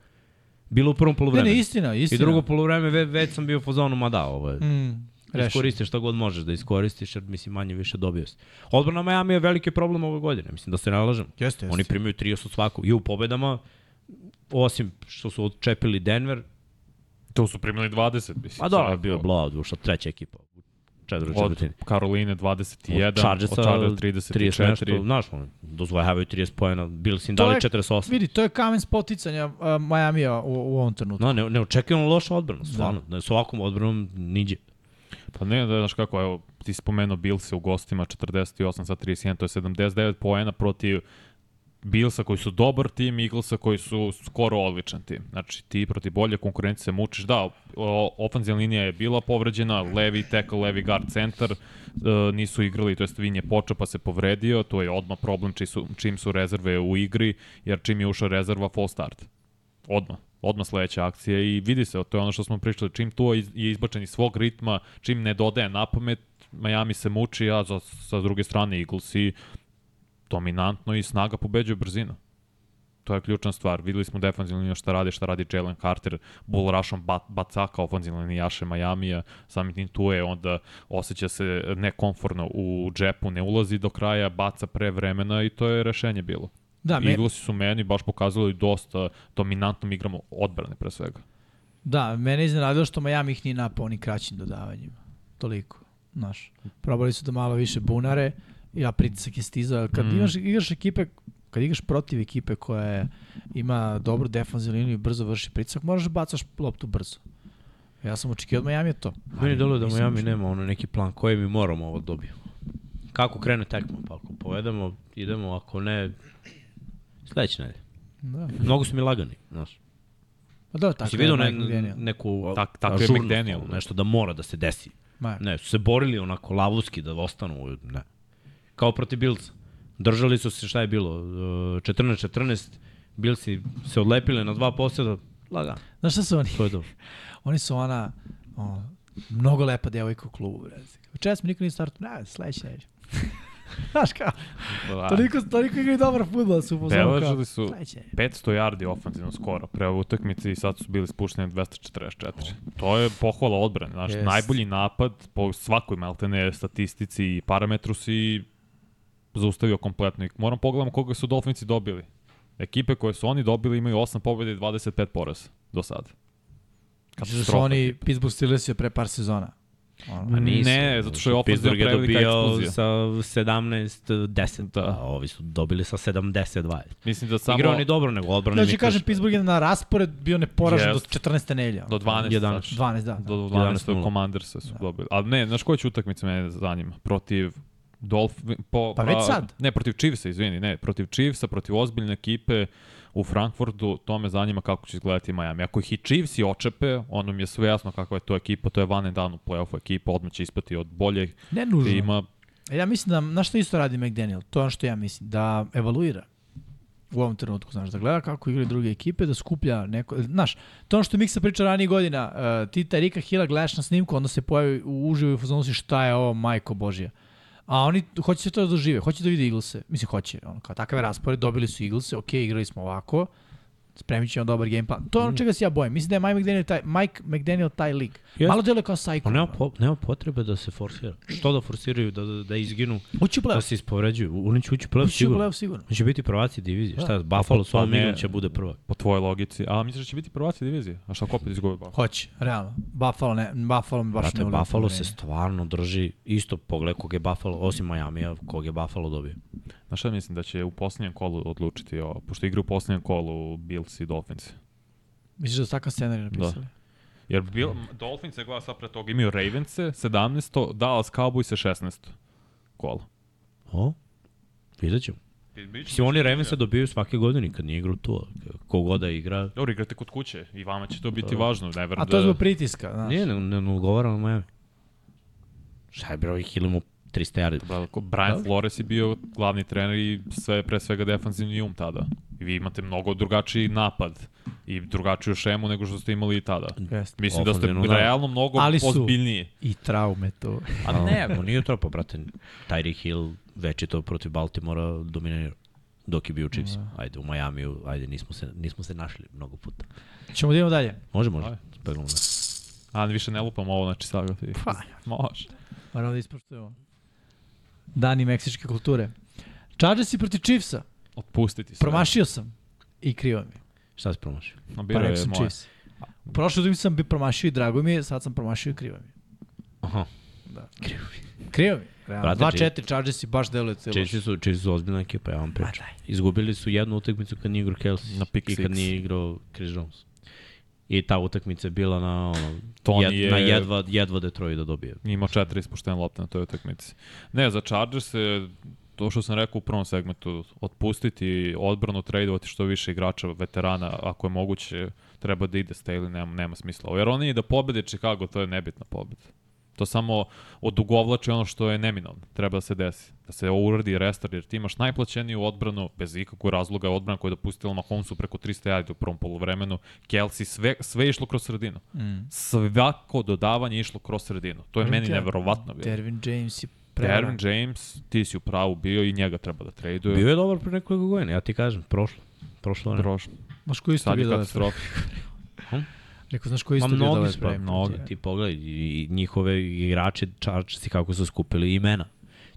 Speaker 2: Bilo u prvom
Speaker 3: Ne,
Speaker 2: polovremenu.
Speaker 3: ne, istina,
Speaker 2: I
Speaker 3: istina.
Speaker 2: drugo polovreme ve, već sam bio po zonu, ma da, ovo je.
Speaker 3: Mm, rešen.
Speaker 2: Iskoristi šta god možeš da iskoristiš, jer mislim manje više dobio si. Odbrana Miami je veliki problem ove godine, mislim da se ne lažemo.
Speaker 3: Jeste, jeste.
Speaker 2: Oni primaju 30 od svakog i u pobedama, osim što su odčepili Denver,
Speaker 4: To su primili 20, mislim.
Speaker 2: a da,
Speaker 4: Sad,
Speaker 2: bio je blowout, šta treća ekipa, u četvrtoj
Speaker 4: Od
Speaker 2: četvrtini.
Speaker 4: Karoline 21, od Chargers
Speaker 2: Chargersa 30 nešto,
Speaker 4: 34.
Speaker 2: znaš, ono, dozvojavaju 30 pojena, bili su im
Speaker 3: To
Speaker 2: dali
Speaker 3: je-
Speaker 2: 48.
Speaker 3: Vidi, to je kamen spoticanja uh, Majamija u, u ovom trenutku.
Speaker 2: No, ne, neočekivano loša odbrana, stvarno. Da. S ovakvom odbranom niđe.
Speaker 4: Pa ne, da, znaš kako, evo, ti si spomenuo Bilse u gostima 48 sa 31, to je 79 poena protiv Bilsa koji su dobar tim, Eaglesa koji su skoro odličan tim. Znači ti protiv bolje konkurencije se mučiš. Da, o- ofanzivna linija je bila povređena, levi tackle, levi guard centar e, nisu igrali, to jest Vin je počeo pa se povredio, to je odmah problem čiji su, čim su rezerve u igri, jer čim je ušao rezerva, full start. Odmah. Odmah sledeća akcija i vidi se, to je ono što smo pričali, čim to je izbačen iz svog ritma, čim ne dodaje napamet, Miami se muči, a za, sa druge strane Eaglesi dominantno i snaga pobeđuje brzinu. To je ključna stvar. Videli smo defanzivnu liniju šta radi, šta radi Jalen Carter, bull rushom bat, bacaka ofanzivne linijaše Majamija, samim tim tu je onda osjeća se nekomforno u džepu, ne ulazi do kraja, baca pre vremena i to je rešenje bilo.
Speaker 3: Da, me,
Speaker 4: Eaglesi su meni baš pokazali dosta dominantnom igrom odbrane pre svega.
Speaker 3: da, mene je iznenadilo što Majami ih nije napao ni kraćim dodavanjima. Toliko, znaš. Probali su da malo više bunare, ja pritisak je stizao. Kad
Speaker 4: Mm.
Speaker 3: imaš, igraš ekipe, kad igraš protiv ekipe koja je, ima dobru defanzivnu liniju i brzo vrši pritisak, moraš da bacaš loptu brzo. Ja sam očekio od Majamija to.
Speaker 2: Meni delo da
Speaker 3: nisam
Speaker 2: Miami
Speaker 3: još-
Speaker 2: nema ono neki plan koji mi moramo ovo da dobijemo. Kako krene tekma, pa ako povedemo, idemo, ako ne, sledeće nedelje.
Speaker 3: Da.
Speaker 2: Mnogo su mi lagani, znaš.
Speaker 3: Pa da,
Speaker 2: Tako
Speaker 3: tako
Speaker 2: si
Speaker 3: je
Speaker 2: vidio
Speaker 3: Mike
Speaker 2: ne,
Speaker 3: McDaniel.
Speaker 2: neku
Speaker 4: Tak- tako je
Speaker 2: ažurnost,
Speaker 4: McDaniel.
Speaker 2: ono, nešto da mora da se desi.
Speaker 3: Ma,
Speaker 2: Ne, su se borili onako lavovski da ostanu, u- ne. Kao protiv Bilca. Držali su se, šta je bilo, e, 14-14, Bilci se odlepili na dva posjeda, lagano,
Speaker 3: Znaš šta su oni?
Speaker 2: to je dobro.
Speaker 3: Oni su ona, o, mnogo lepa devojka u klubu, brez. Večeras mi niko nije startu, ne, sledeće neđe. Znaš kao, toliko, toliko igraju dobar futbol, su pozvali kao,
Speaker 4: Beležili Pa. su
Speaker 3: sledeće neđe.
Speaker 4: 500 yardi ofanzivno skoro pre ove utakmice i sad su bili spušteni na 244. To je pohvala odbrane, znaš,
Speaker 3: Jest.
Speaker 4: najbolji napad po svakoj maltene statistici i parametru si zaustavio kompletno. I moram pogledam koga su Dolfinci dobili. Ekipe koje su oni dobili imaju 8 pobjede i 25 poraza do sada.
Speaker 3: Zato što oni Pittsburgh Steelers je pre par sezona. Ono,
Speaker 2: Pa nisu.
Speaker 4: Ne, zato što je ofenzivna
Speaker 2: Pittsburgh je
Speaker 4: prevelika
Speaker 2: dobio
Speaker 4: eksplozija.
Speaker 2: sa 17-10, da.
Speaker 4: Da.
Speaker 2: a ovi su dobili sa 70-20.
Speaker 4: Mislim da
Speaker 2: Samo...
Speaker 4: samo
Speaker 2: Igrao oni dobro, nego odbrana
Speaker 3: Znači,
Speaker 2: mi
Speaker 3: kažem,
Speaker 2: kaže-
Speaker 3: Pittsburgh je na raspored bio neporažen do
Speaker 4: Jest.
Speaker 3: 14. nelje. ono.
Speaker 4: do 12.
Speaker 2: 11.
Speaker 4: sad.
Speaker 3: 12, da. da.
Speaker 4: Do 12.
Speaker 2: 11:0.
Speaker 4: Commandersa su dobili. Ali ne, znaš koja će utakmica mene zanima? Protiv Dolphin... Po,
Speaker 3: Pa već sad.
Speaker 4: Ne, protiv Chiefsa, izvini, ne. Protiv Chiefsa, protiv ozbiljne ekipe u Frankfurtu, to me zanima kako će izgledati Miami. Ako ih i Chiefs i očepe, ono mi je sve jasno kakva je to ekipa, to je van and down u play-offu ekipa, odmah će ispati od boljeg
Speaker 3: Ne nužno.
Speaker 4: tima.
Speaker 3: E, Ja mislim da, znaš što isto radi McDaniel? To je ono što ja mislim, da evaluira u ovom trenutku, znaš, da gleda kako igraju druge ekipe, da skuplja neko, znaš, to je ono što je Miksa priča ranije godina, uh, ti Tarika Hila gledaš na snimku, onda se pojavi u uživu i u fazonu si šta je ovo, majko božija. A oni hoće se to da dožive, hoće da vide Eaglese, mislim hoće, ono, kao takav je raspored, dobili su Eaglese, ok, igrali smo ovako, spremit ćemo dobar game plan. To je
Speaker 2: Mhm.
Speaker 3: ono čega se ja bojim. Mislim da je Mike McDaniel taj, Mike McDaniel taj lik.
Speaker 2: Jeste.
Speaker 3: Malo djeluje kao psycho.
Speaker 2: Pa nema, po, nema potrebe da se forsira. Što da forsiraju, da, da, da izginu,
Speaker 3: Ući u
Speaker 2: da
Speaker 3: playoff.
Speaker 2: se ispoređuju. Oni će ući Pa u playoff
Speaker 3: Ući u
Speaker 2: sigurno.
Speaker 3: playoff sigurno.
Speaker 2: Oni će biti prvaci
Speaker 4: Da.
Speaker 2: divizije. Šta, Buffalo s ovom
Speaker 4: ne.
Speaker 2: igrom će bude prvak.
Speaker 4: Po tvojoj logici. A misliš da će biti prvaci divizije? A šta ako opet izgubi Buffalo?
Speaker 3: Hoće, realno. Buffalo, ne, Buffalo mi baš
Speaker 2: Brate,
Speaker 3: ne uljubi
Speaker 2: Buffalo se
Speaker 3: poverenje.
Speaker 2: stvarno drži isto pogled kog je Buffalo, osim Miami-a, kog je Buffalo dobio.
Speaker 4: Znaš šta mislim da će u posljednjem kolu odlučiti, o, pošto igra u posljednjem kolu Bills i Dolphins.
Speaker 3: Misliš da su takav scenarij napisali?
Speaker 4: Jer Bill, Dolphins je gleda sad pre toga, imaju Ravens 17, Dallas Cowboys 16 kola.
Speaker 2: O? Vidjet ćemo. Mislim, da oni Ravensa dobiju svake godine kad nije igru tu. Kogoda igra,
Speaker 4: Dobro, igrate kod kuće i vama će to biti važno. Ne verujem
Speaker 3: A to je
Speaker 4: da...
Speaker 3: zbog pritiska, znaš.
Speaker 2: Nije, ne, ne, ne odgovaram Miami. Šta je bro, ih ilimo 300 yardi.
Speaker 4: Bravo, ko- Brian Flores je bio glavni trener i sve, pre svega defanzivni um tada. I vi imate mnogo drugačiji napad i drugačiju šemu nego što ste imali i tada.
Speaker 3: Jeste.
Speaker 4: Mislim da ste
Speaker 2: Ofanzivno, da.
Speaker 4: realno mnogo
Speaker 3: Ali su-
Speaker 4: ozbiljniji.
Speaker 3: I traume to.
Speaker 2: A ne, on nije tropa, brate. Tyreek Hill večito protiv Baltimora dominirao dok je bio u Chiefs. Ajde, u Majamiju, ajde, nismo se, nismo se našli mnogo puta.
Speaker 3: Ćemo da idemo dalje.
Speaker 2: Može, može.
Speaker 4: Ajde.
Speaker 2: Peglamo da.
Speaker 4: A više ne lupam ovo, znači sad ga ti.
Speaker 3: Pa.
Speaker 4: Može.
Speaker 3: Moramo da ispoštujemo. Dani meksičke kulture. Chargers i protiv Chiefsa.
Speaker 4: Otpustiti se.
Speaker 3: Promašio sam. I krivo mi. je.
Speaker 2: Šta si promašio?
Speaker 4: No,
Speaker 3: Pa
Speaker 4: bira
Speaker 3: rekao
Speaker 4: je
Speaker 3: sam
Speaker 4: moje.
Speaker 3: Chiefs. Prošle utakmice sam bi promašio i drago mi je, sad sam promašio i krivo mi. je.
Speaker 2: Aha.
Speaker 3: Krivo mi. je, realno.
Speaker 2: Brate,
Speaker 3: 2-4 Chargers i baš deluje celo.
Speaker 2: Chiefs su, Chiefs su ozbiljna ekipa, ja vam
Speaker 4: Pa
Speaker 2: pričam. Izgubili su jednu utakmicu kad nije igrao Kelsey
Speaker 4: Na pick
Speaker 2: i kad
Speaker 4: six.
Speaker 2: nije igrao Chris Jones. I ta utakmica je bila na, ono,
Speaker 4: Tony
Speaker 2: jed,
Speaker 4: je-
Speaker 2: na jedva, jedva Detroit da dobije.
Speaker 4: Imao četiri ispuštene lopte na toj utakmici. Ne, za Chargers je to što sam rekao u prvom segmentu, otpustiti odbranu, tradovati što više igrača, veterana, ako je moguće, treba da ide Staley, nema, nema smisla. Jer oni i da pobede Chicago, to je nebitna pobeda. To samo odugovlači ono što je neminovno, treba da se desi. Da se uradi restart, jer ti imaš najplaćeniju odbranu, bez ikakvog razloga odbrana koja je dopustila Mahomesu preko 300 jardi u prvom polovremenu, Kelsey, sve, sve je išlo kroz sredinu.
Speaker 3: Mm.
Speaker 4: Svako dodavanje je išlo kroz sredinu. To je
Speaker 3: Kažem
Speaker 4: meni
Speaker 3: ti ja,
Speaker 4: neverovatno bilo.
Speaker 3: Dervin James je
Speaker 4: Dervin
Speaker 3: prevara.
Speaker 4: James, ti si u pravu bio i njega treba da traduje.
Speaker 2: Bio je dobar pre nekoliko godina, ja ti kažem, prošlo. Prošlo vreme.
Speaker 4: Prošlo.
Speaker 3: Znaš koji isto
Speaker 4: Sad je
Speaker 3: bio dobar?
Speaker 2: da
Speaker 4: katastrofa.
Speaker 3: Rekao, znaš koji
Speaker 2: Ma
Speaker 3: isto bio dobar?
Speaker 2: mnogi su, pa,
Speaker 3: prvi put,
Speaker 4: da.
Speaker 2: mnogi.
Speaker 3: je.
Speaker 2: Ti pogledaj, i i njihove igrače, čarčci kako su skupili imena.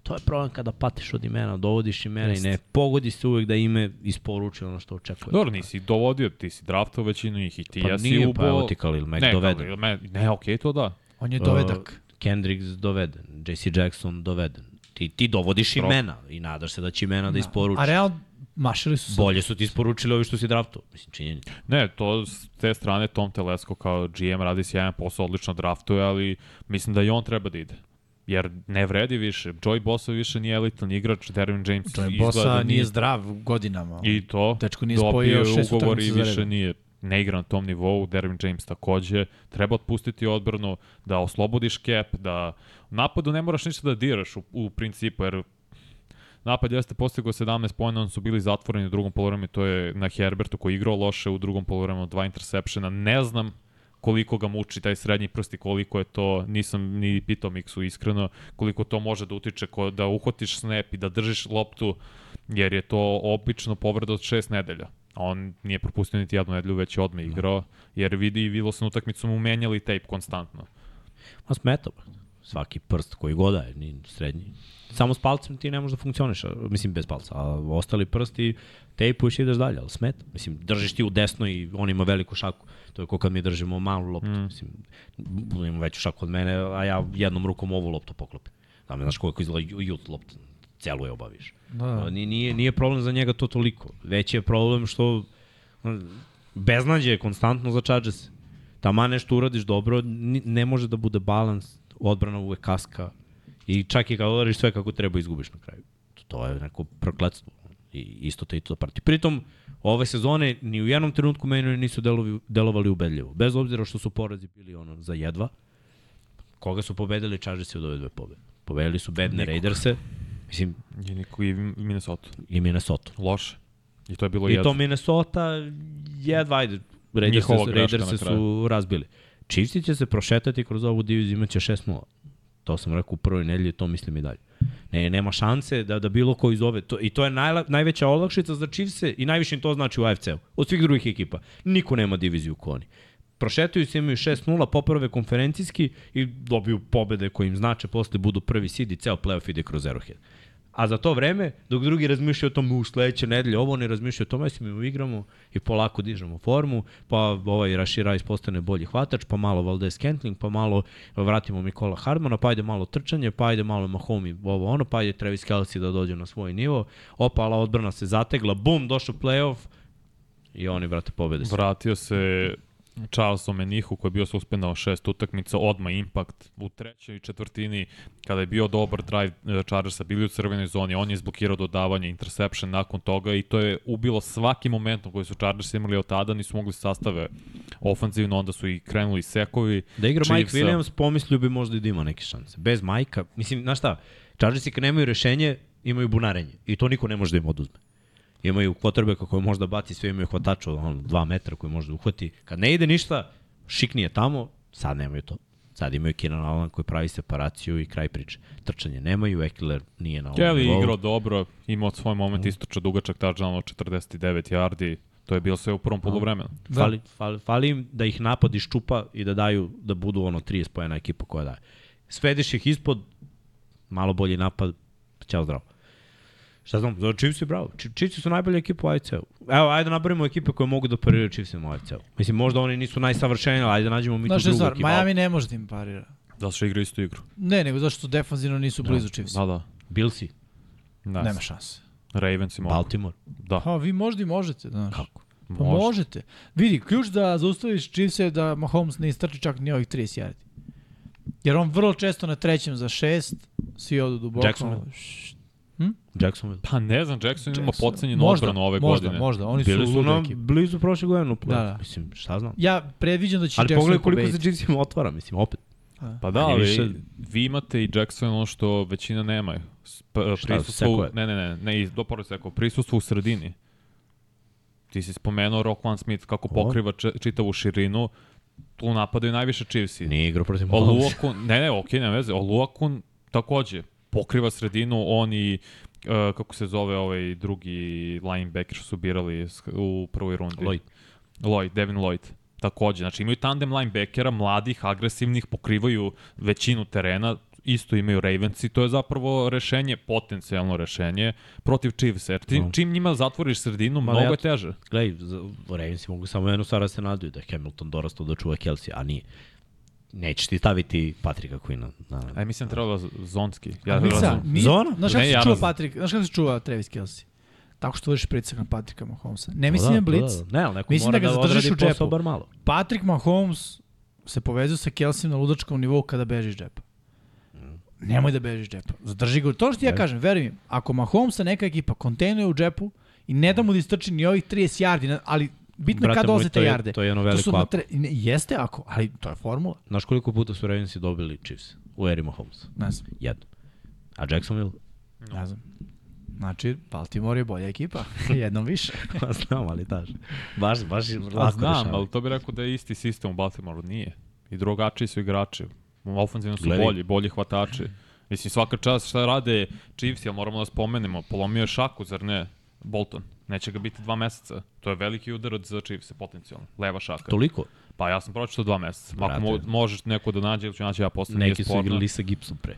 Speaker 2: To je problem kada patiš od imena, dovodiš imena i ne pogodi se uvek da ime isporuči ono što očekuje.
Speaker 4: Dobro, nisi dovodio, ti si draftao većinu njih i ti
Speaker 2: Pa
Speaker 4: jesi
Speaker 2: nije,
Speaker 4: ubo...
Speaker 2: pa evo ti Khalil Mack
Speaker 4: ne,
Speaker 2: doveden.
Speaker 4: Khalil Mack, ne, okej, to da.
Speaker 3: On je dovedak.
Speaker 2: Uh, Kendricks doveden, JC Jackson doveden. Ti, ti dovodiš
Speaker 4: Strop.
Speaker 2: imena i nadaš se da će imena da isporuči.
Speaker 3: A realno, mašili su se.
Speaker 2: Bolje su ti isporučili ovi što si draftao. Mislim, činjenica.
Speaker 4: Ne, to s te strane Tom Telesko kao GM radi sjajan posao, odlično draftuje, ali mislim da i on treba da ide. Jer ne vredi više. Joey Bosa više nije elitan igrač, Dervin James
Speaker 3: To je
Speaker 4: izgleda
Speaker 3: Bosa
Speaker 4: da
Speaker 3: nije zdrav godinama.
Speaker 4: I to,
Speaker 3: Dečko nije
Speaker 4: dobio
Speaker 3: spojio
Speaker 4: je
Speaker 3: šest
Speaker 4: ugovor i
Speaker 3: utakmica za
Speaker 4: više
Speaker 3: redom.
Speaker 4: nije ne igra na tom nivou, Dervin James takođe, treba otpustiti odbranu, da oslobodiš cap, da u napadu ne moraš ništa da diraš u, u principu, jer napad jeste postigao 17 pojena, oni su bili zatvoreni u drugom polovremenu, to je na Herbertu koji je igrao loše u drugom polovremenu, dva intersepšena, ne znam koliko ga muči taj srednji prst i koliko je to, nisam ni pitao Miksu iskreno, koliko to može da utiče, ko, da uhotiš snap i da držiš loptu, jer je to obično povreda od šest nedelja. A on nije propustio niti jednu nedelju, već je odme igrao, jer vidi i videlo se na utakmicu mu menjali tape konstantno.
Speaker 2: Ma smeta, brate. svaki prst koji god da je, ni srednji. Samo s palcem ti ne možeš da funkcioniš, a- mislim bez palca, a ostali prsti tejpuješ i ideš dalje, ali smeta. Mislim, držiš ti u desno i on ima veliku šaku. To je kao kad mi držimo malu loptu. Mm. Mislim, on ima veću šaku od mene, a ja jednom rukom ovu loptu poklopim. Da me, znaš koliko izgleda ju- jut loptu, celu je obaviš. Da. Nije, nije, nije problem za njega to toliko. Veći je problem što ono, beznađe je konstantno za Chargers. Tama nešto uradiš dobro, ni- ne može da bude balans, odbrana uvek kaska i čak i kad udariš sve kako treba izgubiš na kraju. To, to je neko prokletstvo. I isto te i to prati. Pritom, ove sezone ni u jednom trenutku meni nisu delovi, delovali ubedljivo. Bez obzira što su porazi bili ono za jedva, koga su pobedili Chargersi od ove dve pobede? Pobedili su bedne Raiderse, mislim,
Speaker 4: I niko i Minnesota.
Speaker 2: i Minnesota.
Speaker 4: Loše. I to je bilo
Speaker 2: I to
Speaker 4: jedno.
Speaker 2: Minnesota jedva ajde, Raiders
Speaker 4: Njihova
Speaker 2: se,
Speaker 4: greška
Speaker 2: Raiders
Speaker 4: na
Speaker 2: se
Speaker 4: kraju.
Speaker 2: su razbili. Chiefs će se prošetati kroz ovu diviziju, imaće 6-0. To sam rekao u prvoj nedelji, to mislim i dalje. Ne, nema šanse da, da bilo ko iz ove. To, I to je najla, najveća olakšica za Chiefse i najviše im to znači u AFC-u. Od svih drugih ekipa. Niko nema diviziju ko oni. Prošetuju se, imaju 6-0, poprave konferencijski i dobiju pobede koje im znače, posle budu prvi seed i ceo playoff ide kroz Arrowhead. A za to vreme, dok drugi razmišljaju o tome u sledeće nedelje, ovo ne razmišljaju o tome, ja se mi igramo i polako dižemo formu, pa ovaj Rashid Rice postane bolji hvatač, pa malo Valdez Kentling, pa malo vratimo Mikola Hardmana, pa ajde malo trčanje, pa ajde malo Mahomi, ovo ono, pa ajde Travis Kelsey da dođe na svoj nivo, opala odbrana se zategla, bum, došao playoff, i oni, brate, pobede se.
Speaker 4: Vratio se Charles Omenihu koji je bio suspendao šest utakmica, odma impact u trećoj četvrtini kada je bio dobar drive e, Chargersa, bili u crvenoj zoni, on je izblokirao dodavanje interception nakon toga i to je ubilo svaki momentum koji su Chargers imali od tada, nisu mogli sastave ofanzivno, onda su i krenuli sekovi.
Speaker 2: Da igra Mike
Speaker 4: Chiefsa.
Speaker 2: Williams, pomislio bi možda i da ima neke šanse. Bez Majka, mislim, znaš šta, Chargersi kad nemaju rešenje, imaju bunarenje. I to niko ne može da im oduzme. Imaju kvotrbeka koji možda baci, sve imaju hvatača od ono, dva metra koji može da uhvati. Kad ne ide ništa, šikni je tamo, sad nemaju to. Sad imaju Keenan Allen koji pravi separaciju i kraj priče. Trčanje nemaju, Eckler nije na ovom
Speaker 4: Kelly je igrao dobro, imao svoj moment istoča dugačak touchdown od 49 yardi, to je bilo sve u prvom poluvremenu.
Speaker 2: Da. Fali, fali, fali im da ih napad iščupa i da daju, da budu ono 30 pojena ekipa koja daje. Svediš ih ispod, malo bolji napad, ćao zdravo. Šta znam, za Chiefs je bravo. Chi- Chiefs su najbolja ekipa u AFC-u. Evo, ajde da napravimo ekipe koje mogu da pariraju Chiefsima u AFC-u. Mislim, možda oni nisu najsavršeniji, ali ajde da nađemo mi tu
Speaker 3: Znaš šta je
Speaker 2: drugu
Speaker 3: stvar,
Speaker 2: ekipu.
Speaker 3: Miami ne može da im parira.
Speaker 4: Da što igra istu igru.
Speaker 3: Ne, nego zašto defanzivno nisu blizu Chiefs.
Speaker 4: Da, da.
Speaker 2: Billsi,
Speaker 4: Nice.
Speaker 3: Nema šanse.
Speaker 4: Ravens i mogu.
Speaker 2: Baltimore.
Speaker 4: Da,
Speaker 3: Pa vi možda i možete, znaš.
Speaker 2: Kako?
Speaker 3: Pa
Speaker 4: može.
Speaker 3: možete. Vidi, ključ da zaustaviš Chiefs je da Mahomes ne istrči čak ni ovih 30 yardi. Jer on vrlo često na trećem za šest, svi odu duboko.
Speaker 2: Jacksonville.
Speaker 3: Št- hm?
Speaker 2: Jacksonville.
Speaker 4: Pa ne znam, Jackson ima
Speaker 3: Jackson.
Speaker 4: pocenjenu
Speaker 3: Možda,
Speaker 4: odbranu ove
Speaker 3: možda,
Speaker 4: godine.
Speaker 3: Možda, oni
Speaker 2: Bili
Speaker 3: su,
Speaker 2: su
Speaker 3: luda
Speaker 2: nam
Speaker 3: ekipa.
Speaker 2: blizu prošle godine u play.
Speaker 3: Da, da.
Speaker 2: Mislim, šta znam.
Speaker 3: Ja predviđam da će
Speaker 2: Ali pogledaj
Speaker 3: Jacksonville
Speaker 2: koliko se
Speaker 3: pobediti.
Speaker 2: Chiefsima otvara, mislim, opet.
Speaker 4: Pa da,
Speaker 2: Manje
Speaker 4: ali
Speaker 2: više-
Speaker 4: vi imate i Jackson ono što većina nemaju. Sp-
Speaker 2: seko
Speaker 4: Prisustvo,
Speaker 2: je?
Speaker 4: ne, ne, ne, ne, iz- doporno seko, prisustvo u sredini. Ti si spomenuo Rockland Smith kako pokriva č- čitavu širinu, tu napadaju najviše Chiefs.
Speaker 2: Nije igrao protiv Mahomesa.
Speaker 4: Oluakun, ne, ne, okej, nema veze, Oluakun takođe pokriva sredinu, on i e, kako se zove ovaj drugi linebacker što su birali s- u prvoj rundi.
Speaker 2: Lloyd.
Speaker 4: Lloyd, Devin Lloyd. Takođe, znači imaju tandem linebackera, mladih, agresivnih, pokrivaju većinu terena, isto imaju Ravens i to je zapravo rešenje, potencijalno rešenje protiv Chiefs. Jer ti, čim njima zatvoriš sredinu,
Speaker 2: Ma,
Speaker 4: mnogo
Speaker 2: ja-
Speaker 4: je teže.
Speaker 2: Gledaj, za- Ravensi mogu samo jednu stvar da se nadaju, da je Hamilton dorastao da čuva Kelsey, a nije. Nećeš ti staviti Patrika Quina. Na, na.
Speaker 4: Aj, mislim da trebalo z- zonski. Ja
Speaker 3: Mica,
Speaker 4: razum-
Speaker 3: mi,
Speaker 2: Zona?
Speaker 3: Znaš kako
Speaker 4: Ne,
Speaker 3: se
Speaker 4: ja
Speaker 3: čuva
Speaker 4: razum-
Speaker 3: Patrick, znaš kako se čuva Travis Kelsey? Tako što vršiš pritisak na Patricka Mahomesa. Ne
Speaker 2: Da,
Speaker 3: mislim na
Speaker 2: da,
Speaker 3: Blitz.
Speaker 2: da, da. Ne, ali neko
Speaker 3: Mislim
Speaker 2: mora
Speaker 3: da ga
Speaker 2: da
Speaker 3: zadržiš
Speaker 2: odradi
Speaker 3: u džepu.
Speaker 2: posao bar malo.
Speaker 3: Patrick Mahomes se povezao sa Kelsim na ludačkom nivou kada beži iz džepa.
Speaker 2: Mm.
Speaker 3: Nemoj da beži iz džepa. Zadrži ga. To što ti ja kažem, veruj mi, ako Mahomesa neka ekipa kontenuje u džepu i ne da mu da istrči ni ovih 30 jardi, na- ali bitno je
Speaker 2: Brate
Speaker 3: kad
Speaker 2: moj,
Speaker 3: dolaze
Speaker 2: to
Speaker 3: te
Speaker 2: je-
Speaker 3: jarde.
Speaker 2: to je jedno veliko
Speaker 3: su
Speaker 2: ako.
Speaker 3: matre- ne, Jeste ako, ali to je formula.
Speaker 2: Znaš koliko puta su Ravensi dobili Chiefs u eri Mahomesa?
Speaker 3: Ne znam,
Speaker 2: Jedno. A Jacksonville?
Speaker 3: ne znam. Znači, Baltimore je bolja ekipa. Jednom više.
Speaker 2: Pa znam, ali daš. Baš, baš je
Speaker 4: Pa
Speaker 2: lako
Speaker 4: znam,
Speaker 2: rešavaju.
Speaker 4: ali to bi rekao da je isti sistem u Baltimoreu, nije. I drugačiji su igrači. Ofenzivno su
Speaker 2: Gledaj.
Speaker 4: bolji, bolji hvatači. Mislim, svaka čast šta rade Chiefs, jel moramo da spomenemo, polomio je šaku, zar ne? Bolton. Neće ga biti dva meseca. To je veliki udarac za Chiefs, potencijalno. Leva šaka.
Speaker 2: Toliko.
Speaker 4: Pa ja sam pročito dva meseca. Ako mo
Speaker 2: Brate.
Speaker 4: možeš neko da nađe, ili ću naći ja posle. nije
Speaker 2: Neki su
Speaker 4: sporno.
Speaker 2: igrali sa Gibson pre.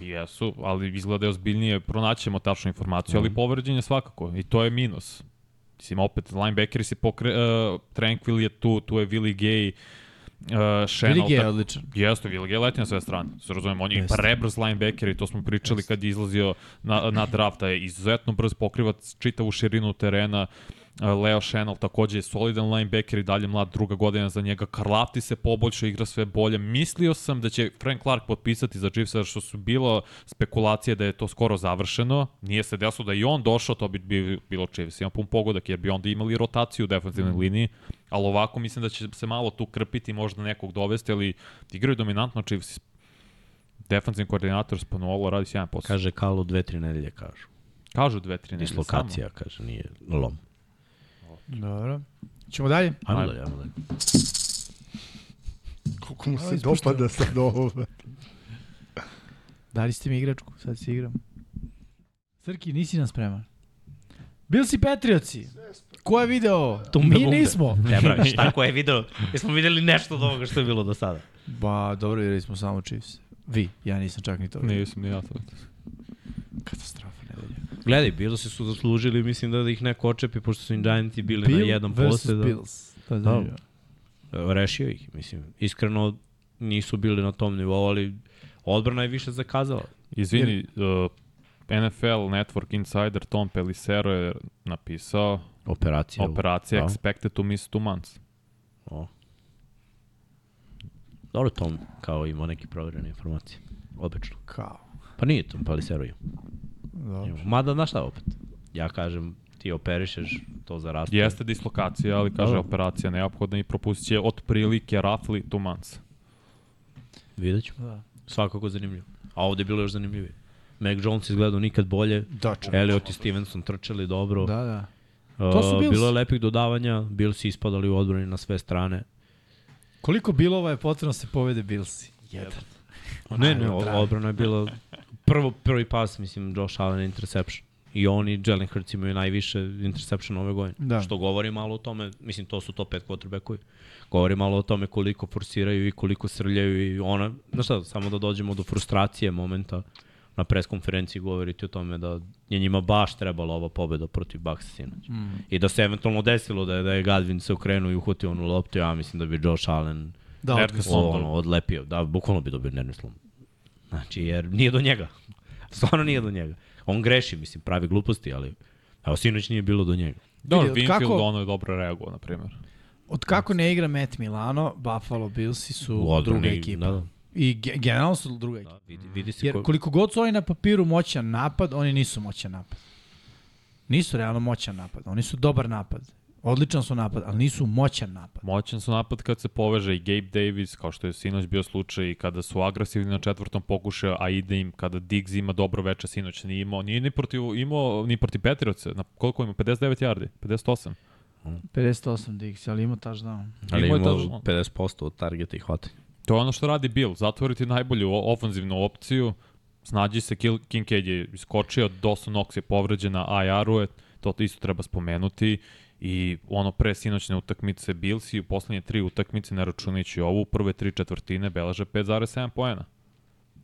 Speaker 4: Jesu, ali izgleda je ozbiljnije, pronaćemo tačnu informaciju, ali povređen je svakako i to je minus. Mislim, opet, linebackeri si pokre... Uh, Tranquil je tu, tu je Willi Gay, uh, Shannon.
Speaker 3: Vidi je odličan.
Speaker 4: Jeste, Willi Gay leti na sve strane, se razumemo, on je
Speaker 3: Jeste.
Speaker 4: Jeste. prebrz linebacker i to smo pričali Jeste. kad je izlazio na, na draft, da je izuzetno brz, pokriva čitavu širinu terena, Uh, Leo Chanel takođe je solidan linebacker i dalje mlad druga godina za njega. Karlafti se poboljšao, igra sve bolje. Mislio sam da će Frank Clark potpisati za Chiefs, jer što su bilo spekulacije da je to skoro završeno. Nije se desilo da je i on došao, to bi bi- bilo Chiefs. Ima pun pogodak, jer bi onda imali rotaciju u
Speaker 2: Mm.
Speaker 4: defensivnoj liniji. Ali ovako mislim da će se malo tu krpiti, možda nekog dovesti, ali igraju dominantno Chiefs. Defensivni koordinator Spanola radi sjajan posao.
Speaker 2: Kaže Kalo dve, tri nedelje kažu.
Speaker 4: Kažu dve, tri nedelje samo.
Speaker 2: Dislokacija, kaže, nije lom.
Speaker 3: Dobro. Ćemo dalje?
Speaker 2: Ajmo
Speaker 4: Ajmo.
Speaker 2: dalje, ajmo dalje.
Speaker 5: Koliko mu
Speaker 3: Evo,
Speaker 5: se
Speaker 3: ispušteno.
Speaker 5: dopada sad ovo.
Speaker 3: Dali ste mi igračku, sad se igram. Srki, nisi nam spreman. Bil si Patriotsi. Ko je video ovo?
Speaker 2: Tumbe
Speaker 3: Mi
Speaker 2: bumbe.
Speaker 3: nismo.
Speaker 2: Ne bravi, šta ko je video? Jesmo videli nešto od ovoga što je bilo do sada.
Speaker 3: Ba, dobro, videli smo samo Chiefs. Vi, ja nisam čak ni to. vidio.
Speaker 4: Nisam ni ja to.
Speaker 3: Katastrofa nedelja.
Speaker 2: Gledaj, bilo se su zaslužili, mislim da, da ih neko očepi, pošto su im Giantsi bili na jednom
Speaker 3: versus
Speaker 2: posle. Da,
Speaker 3: Bills. To je zanimljivo.
Speaker 2: rešio ih, mislim. Iskreno nisu bili na tom nivou, ali odbrana je više zakazala.
Speaker 4: Izvini, uh, NFL Network Insider Tom Pelissero je napisao
Speaker 2: Operacija.
Speaker 4: operacija
Speaker 2: da.
Speaker 4: expected to miss two months.
Speaker 2: O. Dobro, Tom kao ima neke provjerene informacije. Obično.
Speaker 3: Kao.
Speaker 2: Pa nije Tom Paliseroju.
Speaker 3: Dobro.
Speaker 2: Mada, znaš šta opet? Ja kažem, ti operišeš, to zaraste.
Speaker 4: Jeste dislokacija, ali kaže
Speaker 2: Dobro.
Speaker 4: operacija neophodna i propustit će otprilike roughly two months.
Speaker 2: Vidjet ćemo.
Speaker 3: Da.
Speaker 2: Svakako zanimljivo. A ovde je bilo još zanimljivije. Mac Jones izgledao nikad bolje.
Speaker 3: Doček.
Speaker 2: Elliot i Stevenson trčali dobro.
Speaker 3: Da, da.
Speaker 2: to
Speaker 3: To su Bills.
Speaker 2: Bilo je lepih dodavanja, Bills ispadali u odbrani na sve strane.
Speaker 3: Koliko bilova je potrebno da se povede Billsi? Jedan.
Speaker 2: Ne, ne, o- odbrana je bila prvo, prvi pas, mislim, Josh Allen je interception. I on i Jalen Hurts imaju najviše interception ove godine.
Speaker 3: Da.
Speaker 2: Što govori malo o tome, mislim, to su top 5 quarterbackovi. Govori malo o tome koliko forsiraju i koliko srljaju i ona, znaš šta, samo da dođemo do frustracije momenta na preskonferenciji govoriti o tome da je njima baš trebala ova pobeda protiv Bucks sinoć. Mm. I da se eventualno desilo da je, da je Gadvin se okrenuo i uhvatio onu loptu, ja mislim da bi Josh Allen
Speaker 3: Da,
Speaker 4: Nervni
Speaker 3: otkaz.
Speaker 4: slom.
Speaker 2: Ovo, ono, odlepio, da, bukvalno bi dobio nervni slom. Znači, jer nije do njega. Stvarno nije do njega. On greši, mislim, pravi gluposti, ali evo, sinoć nije bilo do njega.
Speaker 4: Dobro,
Speaker 3: Vidi, od
Speaker 4: Winfield
Speaker 3: kako-
Speaker 4: ono je dobro reagovao, na primjer.
Speaker 3: Od kako ne igra Matt Milano, Buffalo Billsi
Speaker 2: U
Speaker 3: su
Speaker 2: odbrani,
Speaker 3: druga ekipa.
Speaker 2: Da, da.
Speaker 3: I ge generalno su druga ekipa.
Speaker 2: da vidi, vidi se
Speaker 3: Jer
Speaker 2: ko...
Speaker 3: koliko god su oni na papiru moćan napad, oni nisu moćan napad. Nisu realno moćan napad. Oni su dobar napad. Odličan su napad, ali nisu moćan napad.
Speaker 4: Moćan su napad kad se poveže i Gabe Davis, kao što je sinoć bio slučaj, i kada su agresivni na četvrtom pokušaju, a ide im, kada Diggs ima dobro veče, sinoć nije imao, nije ni protiv, imao, ni protiv Petriovce, na koliko ima, 59 yardi, 58.
Speaker 3: 58 Dix, ali ima touchdown.
Speaker 2: ali
Speaker 4: imao
Speaker 2: ima
Speaker 4: je da- touchdown.
Speaker 2: 50% od targeta i hvata.
Speaker 4: To je ono što radi Bill, zatvori ti najbolju o- ofanzivnu opciju, snađi se, Kil- Kincaid je iskočio, Dawson Knox je povređen na IR-u, je, to isto treba spomenuti, i ono pre sinoćne utakmice Bills i u poslednje tri utakmice, ne računajući ovu, u prve tri četvrtine beleže 5,7 poena.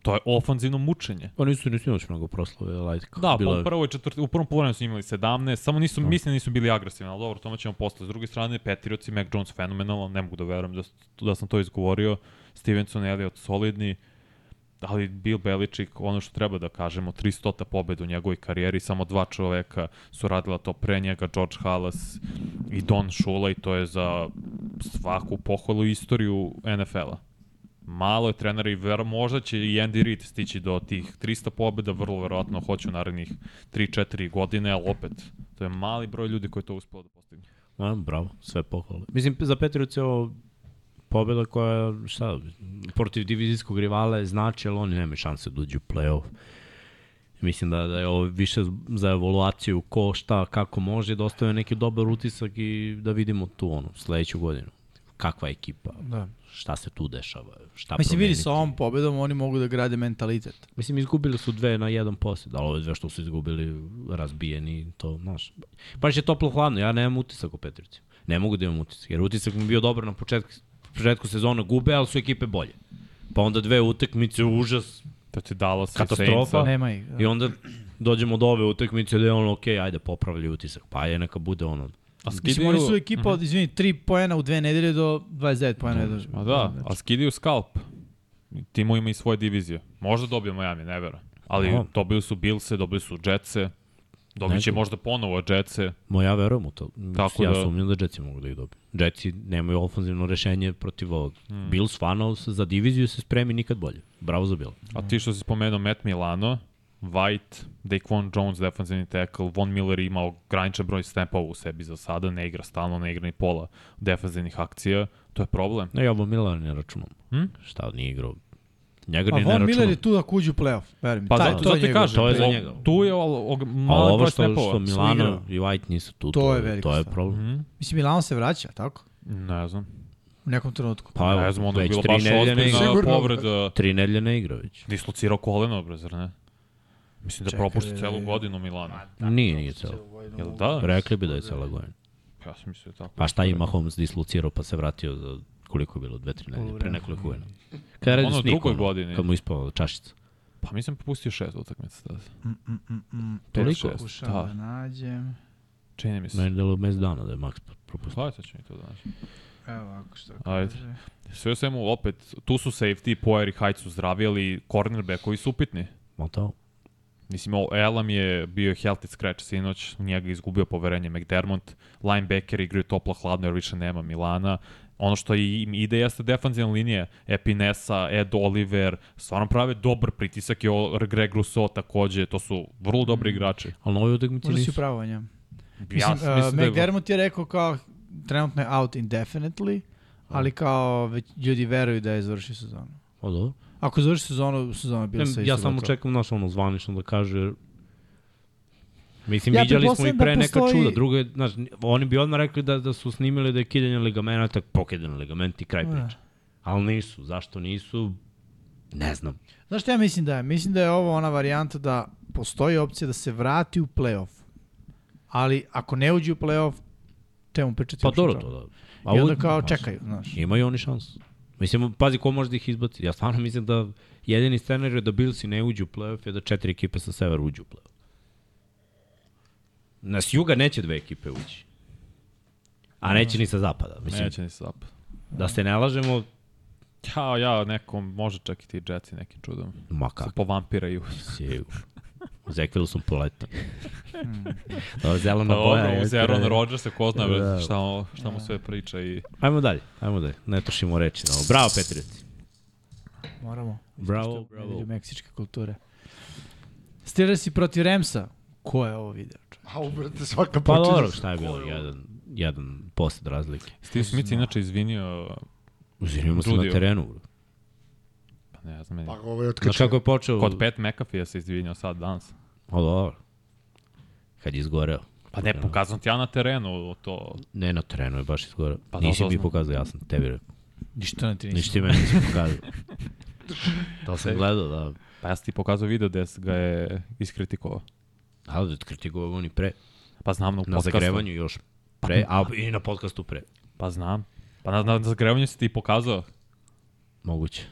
Speaker 4: To je ofanzivno mučenje.
Speaker 2: Oni su nisu sinoć mnogo proslave, ali kako
Speaker 4: Da,
Speaker 2: bilo
Speaker 4: pa u
Speaker 2: je-
Speaker 4: prvoj četvrti, u prvom poluvremenu su imali 17, samo nisu, mislim da nisu bili agresivni, ali dobro, o tome ćemo posle. S druge strane, Patriots i Mac Jones fenomenalno, ne mogu da verujem da, s- da sam to izgovorio. Stevenson i Elliot solidni, ali Bill Belichick, ono što treba da kažemo, 300 pobeda u njegovoj karijeri, samo dva čoveka su radila to pre njega, George Halas i Don Shula i to je za svaku pohvalu istoriju NFL-a. Malo je trenera i ver, možda će i Andy Reid stići do tih 300 pobjeda, vrlo verovatno hoće u narednih 3-4 godine, ali opet, to je mali broj ljudi koji je to uspeo da postigne.
Speaker 2: A, bravo, sve pohvale. Mislim, za Petricu je ovo pobjeda koja, šta, protiv divizijskog rivala je znači, ali oni nemaju šanse da uđu u play-off. Mislim da, da je ovo više za evaluaciju ko šta, kako može, da ostave neki dobar utisak i da vidimo tu ono, sledeću godinu. Kakva je ekipa,
Speaker 3: Da.
Speaker 2: šta se tu dešava, šta
Speaker 3: Mislim, vidi,
Speaker 2: promeniti.
Speaker 3: sa ovom pobedom oni mogu da grade mentalitet.
Speaker 2: Mislim, izgubili su dve na jedan posjed, ali ove dve što su izgubili razbijeni, to, znaš. Baš je toplo hladno, ja nemam utisak o Petrici. Ne mogu da imam utisak, jer utisak mi je bio dobar na početku, početku sezona, gube, ali su ekipe bolje. Pa onda dve utakmice, užas,
Speaker 4: To će Dallas i
Speaker 2: Katastrofa.
Speaker 4: Saintsa.
Speaker 3: Nema ih. Da.
Speaker 2: i onda dođemo do ove utakmice da je ono, okej, ajde, popravlja utisak, pa je neka bude ono.
Speaker 4: A
Speaker 3: Mislim, oni su
Speaker 4: skidaju,
Speaker 3: ekipa od, izvini, 3 poena u dve nedelje do 29 poena. Mm.
Speaker 4: ma da, a skidaju skalp. Timo ima i svoje divizije. Možda dobije Miami, ne verujem. Ali
Speaker 2: Aha.
Speaker 4: dobili su Bilse, dobili su Jetse, dobit će
Speaker 2: Neko-
Speaker 4: možda ponovo Jetse.
Speaker 2: Ma ja verujem u to.
Speaker 4: Tako
Speaker 2: Tako ja
Speaker 4: da-
Speaker 2: da... sumnjam da Jetsi mogu da ih dobiju. Jetsi nemaju ofenzivno rešenje protiv ovog. Mm. Bills fanao se za diviziju se spremi nikad bolje. Bravo za Bill.
Speaker 4: A ti što si spomenuo, Matt Milano, White, Daquan Jones, defensivni tackle, Von Miller je imao graničan broj snapova u sebi za sada, ne igra stalno, ne igra ni pola defensivnih akcija, to je problem.
Speaker 2: Ne, ja Von Miller ne računam.
Speaker 4: Hm?
Speaker 2: Šta, nije igrao. Njega
Speaker 3: Pa
Speaker 2: ni ne
Speaker 3: Von
Speaker 2: računam.
Speaker 3: Miller je tu da kuđu u play-off, verujem.
Speaker 4: Pa
Speaker 2: Taj-
Speaker 4: zato,
Speaker 2: to je
Speaker 4: zato ti
Speaker 2: njegov,
Speaker 4: kažem,
Speaker 2: to je za
Speaker 4: o-
Speaker 2: njega.
Speaker 4: tu je o, o,
Speaker 2: A
Speaker 4: malo
Speaker 2: ovo
Speaker 4: broj
Speaker 2: što,
Speaker 4: snapova.
Speaker 2: što Milano i White nisu tu,
Speaker 3: To
Speaker 2: to,
Speaker 3: je
Speaker 2: je,
Speaker 3: velika
Speaker 2: to je
Speaker 3: stvar.
Speaker 2: problem.
Speaker 4: Mhm.
Speaker 3: Mislim, Milano se vraća, tako?
Speaker 4: Ne znam,
Speaker 3: U nekom trenutku.
Speaker 2: Pa evo,
Speaker 4: ne znam, onda je
Speaker 2: već
Speaker 4: bilo
Speaker 2: tri
Speaker 4: baš
Speaker 2: nedelje ne igra.
Speaker 4: ozbiljna
Speaker 5: Sigurno.
Speaker 4: povreda,
Speaker 2: Tri nedelje ne igra već.
Speaker 4: dislocirao koleno, brez, zar ne? Mislim da
Speaker 3: Čekaj,
Speaker 4: propušta
Speaker 3: je-
Speaker 4: celu godinu Milana.
Speaker 2: Nije, nije celo.
Speaker 4: Jel da?
Speaker 2: Rekli bi da je cela godina.
Speaker 4: Ja sam mislio da tako.
Speaker 2: Pa šta ima Holmes dislocirao pa se vratio za koliko je bilo, dve, tri nedelje, pre nekoliko godina. Kada radi
Speaker 4: Ono,
Speaker 2: s Nikom,
Speaker 4: drugoj godini.
Speaker 2: kad mu ispao čašica.
Speaker 4: Pa mislim popustio šest utakmica tada.
Speaker 3: Mm,
Speaker 2: Toliko?
Speaker 4: Šest,
Speaker 3: Pokušam da
Speaker 4: Da,
Speaker 3: nađem.
Speaker 4: čini mi se.
Speaker 2: Meni delo mesec dana da je Max propustio.
Speaker 4: Slavite će mi to da nađe.
Speaker 3: Evo ako što
Speaker 4: Ajde.
Speaker 3: kaže.
Speaker 4: Sve u svemu, opet, tu su safety, Poer i Hajt su zdravi, ali cornerbackovi su upitni.
Speaker 2: Montao?
Speaker 4: Mislim, o- Elam je bio healthy scratch sinoć, u njega je izgubio poverenje McDermott, linebacker igraju topla hladno jer više nema Milana, ono što i- im ide jeste defanzivna linija, Epinesa, Ed Oliver, stvarno prave dobar pritisak i o- Greg Rousseau takođe, to su vrlo dobri igrači.
Speaker 2: Ali na ovoj utakmici
Speaker 3: Možda si
Speaker 2: nisu.
Speaker 3: upravo njom.
Speaker 4: Ja
Speaker 3: Mm. Mislim,
Speaker 4: mislim,
Speaker 3: uh,
Speaker 4: mislim da je...
Speaker 3: McDermott je rekao kao trenutno je out indefinitely,
Speaker 2: Da.
Speaker 3: ali kao već ljudi veruju da je završio sezonu.
Speaker 2: O, Pa dobro.
Speaker 3: Ako završi sezonu, sezona je bila
Speaker 2: Ne,
Speaker 3: sa
Speaker 2: ja
Speaker 3: isto
Speaker 2: samo
Speaker 3: gotovo.
Speaker 2: čekam naš ono zvanično da kaže Mislim,
Speaker 3: Ja
Speaker 2: ja viđali smo i
Speaker 3: pretpostavljam da
Speaker 2: pre da neka
Speaker 3: postoji-
Speaker 2: čuda. Drugo je, znaš, oni bi odmah rekli da, da su snimili da je kidanje ligamenata, pokidanje ligamenti, kraj
Speaker 3: Da.
Speaker 2: priče. Ali nisu. Zašto nisu? Ne znam.
Speaker 3: Znaš šta ja mislim da je? Mislim da je ovo ona varijanta da postoji opcija da se vrati u playoff. Ali ako ne uđe u playoff, čemu pričati?
Speaker 2: Pa
Speaker 3: uopšte
Speaker 2: dobro
Speaker 3: o
Speaker 2: to
Speaker 3: tome?
Speaker 2: da.
Speaker 3: I
Speaker 2: A
Speaker 3: onda
Speaker 2: ovo-
Speaker 3: kao
Speaker 2: znaš,
Speaker 3: čekaju, znaš.
Speaker 2: Imaju oni šansu. Mislim, pazi ko može da ih izbaci. Ja stvarno mislim da jedini scenar je da Billsi ne uđu u playoff je da četiri ekipe sa severa uđu u playoff. Na s juga neće dve ekipe ući. A neće ni sa zapada. Mislim,
Speaker 4: Neće ni sap.
Speaker 2: Da se ne lažemo,
Speaker 4: Ja, ja, nekom, može čak i ti Jetsi nekim čudom.
Speaker 2: ma
Speaker 4: Se
Speaker 2: kako
Speaker 4: povampiraju.
Speaker 2: sigurno. U Zekvilu sam poleti. Ova zelena
Speaker 4: Pa
Speaker 2: boja.
Speaker 4: dobro,
Speaker 2: je-
Speaker 4: uz Aaron Rodgersa, ko zna
Speaker 2: Da.
Speaker 4: šta, mu- šta mu sve priča i...
Speaker 2: Ajmo dalje, ajmo dalje. Ne trošimo reći na ovo. Bravo, Patriots.
Speaker 3: Moramo.
Speaker 2: Bravo,
Speaker 3: Bravo.
Speaker 2: bravo.
Speaker 3: Meksičke kulture. Steelers i protiv Remsa. Ko je ovo video? čovječe?
Speaker 5: A ubrate svaka
Speaker 2: Pa
Speaker 5: počinja
Speaker 2: dobro,
Speaker 5: sa-
Speaker 2: šta je bilo? Jedan, jedan posed razlike.
Speaker 4: Steve Smith je inače izvinio,
Speaker 2: Uzirimo se na
Speaker 4: Trudio.
Speaker 2: terenu. bro.
Speaker 4: pa ne znam, meni
Speaker 5: Pa ovo je
Speaker 2: Znaš
Speaker 5: otkačio.
Speaker 2: kako je počeo?
Speaker 4: Kod Pat McAfee se izvinjao sad danas.
Speaker 2: O, dobro. Kad je izgoreo.
Speaker 4: Pa ne, pokazam ti ja na terenu to.
Speaker 2: Ne, na terenu je baš izgoreo.
Speaker 4: Pa da,
Speaker 2: nisi
Speaker 4: to
Speaker 2: mi
Speaker 4: znam.
Speaker 2: pokazao, ja sam tebi rekao.
Speaker 3: Ništa na ti
Speaker 2: Ništa ti meni nisi pokazao. to sam gledao, da.
Speaker 4: Pa ja sam ti pokazao video gde ga je iskritikovao.
Speaker 2: Ali da kritikovao oni pre.
Speaker 4: Pa znam na,
Speaker 2: Na
Speaker 4: podcastu. da.
Speaker 2: zagrevanju još pre, a i na podcastu pre.
Speaker 4: Pa znam. Pa na, na, na zagrevanju si ti pokazao.
Speaker 2: Moguće.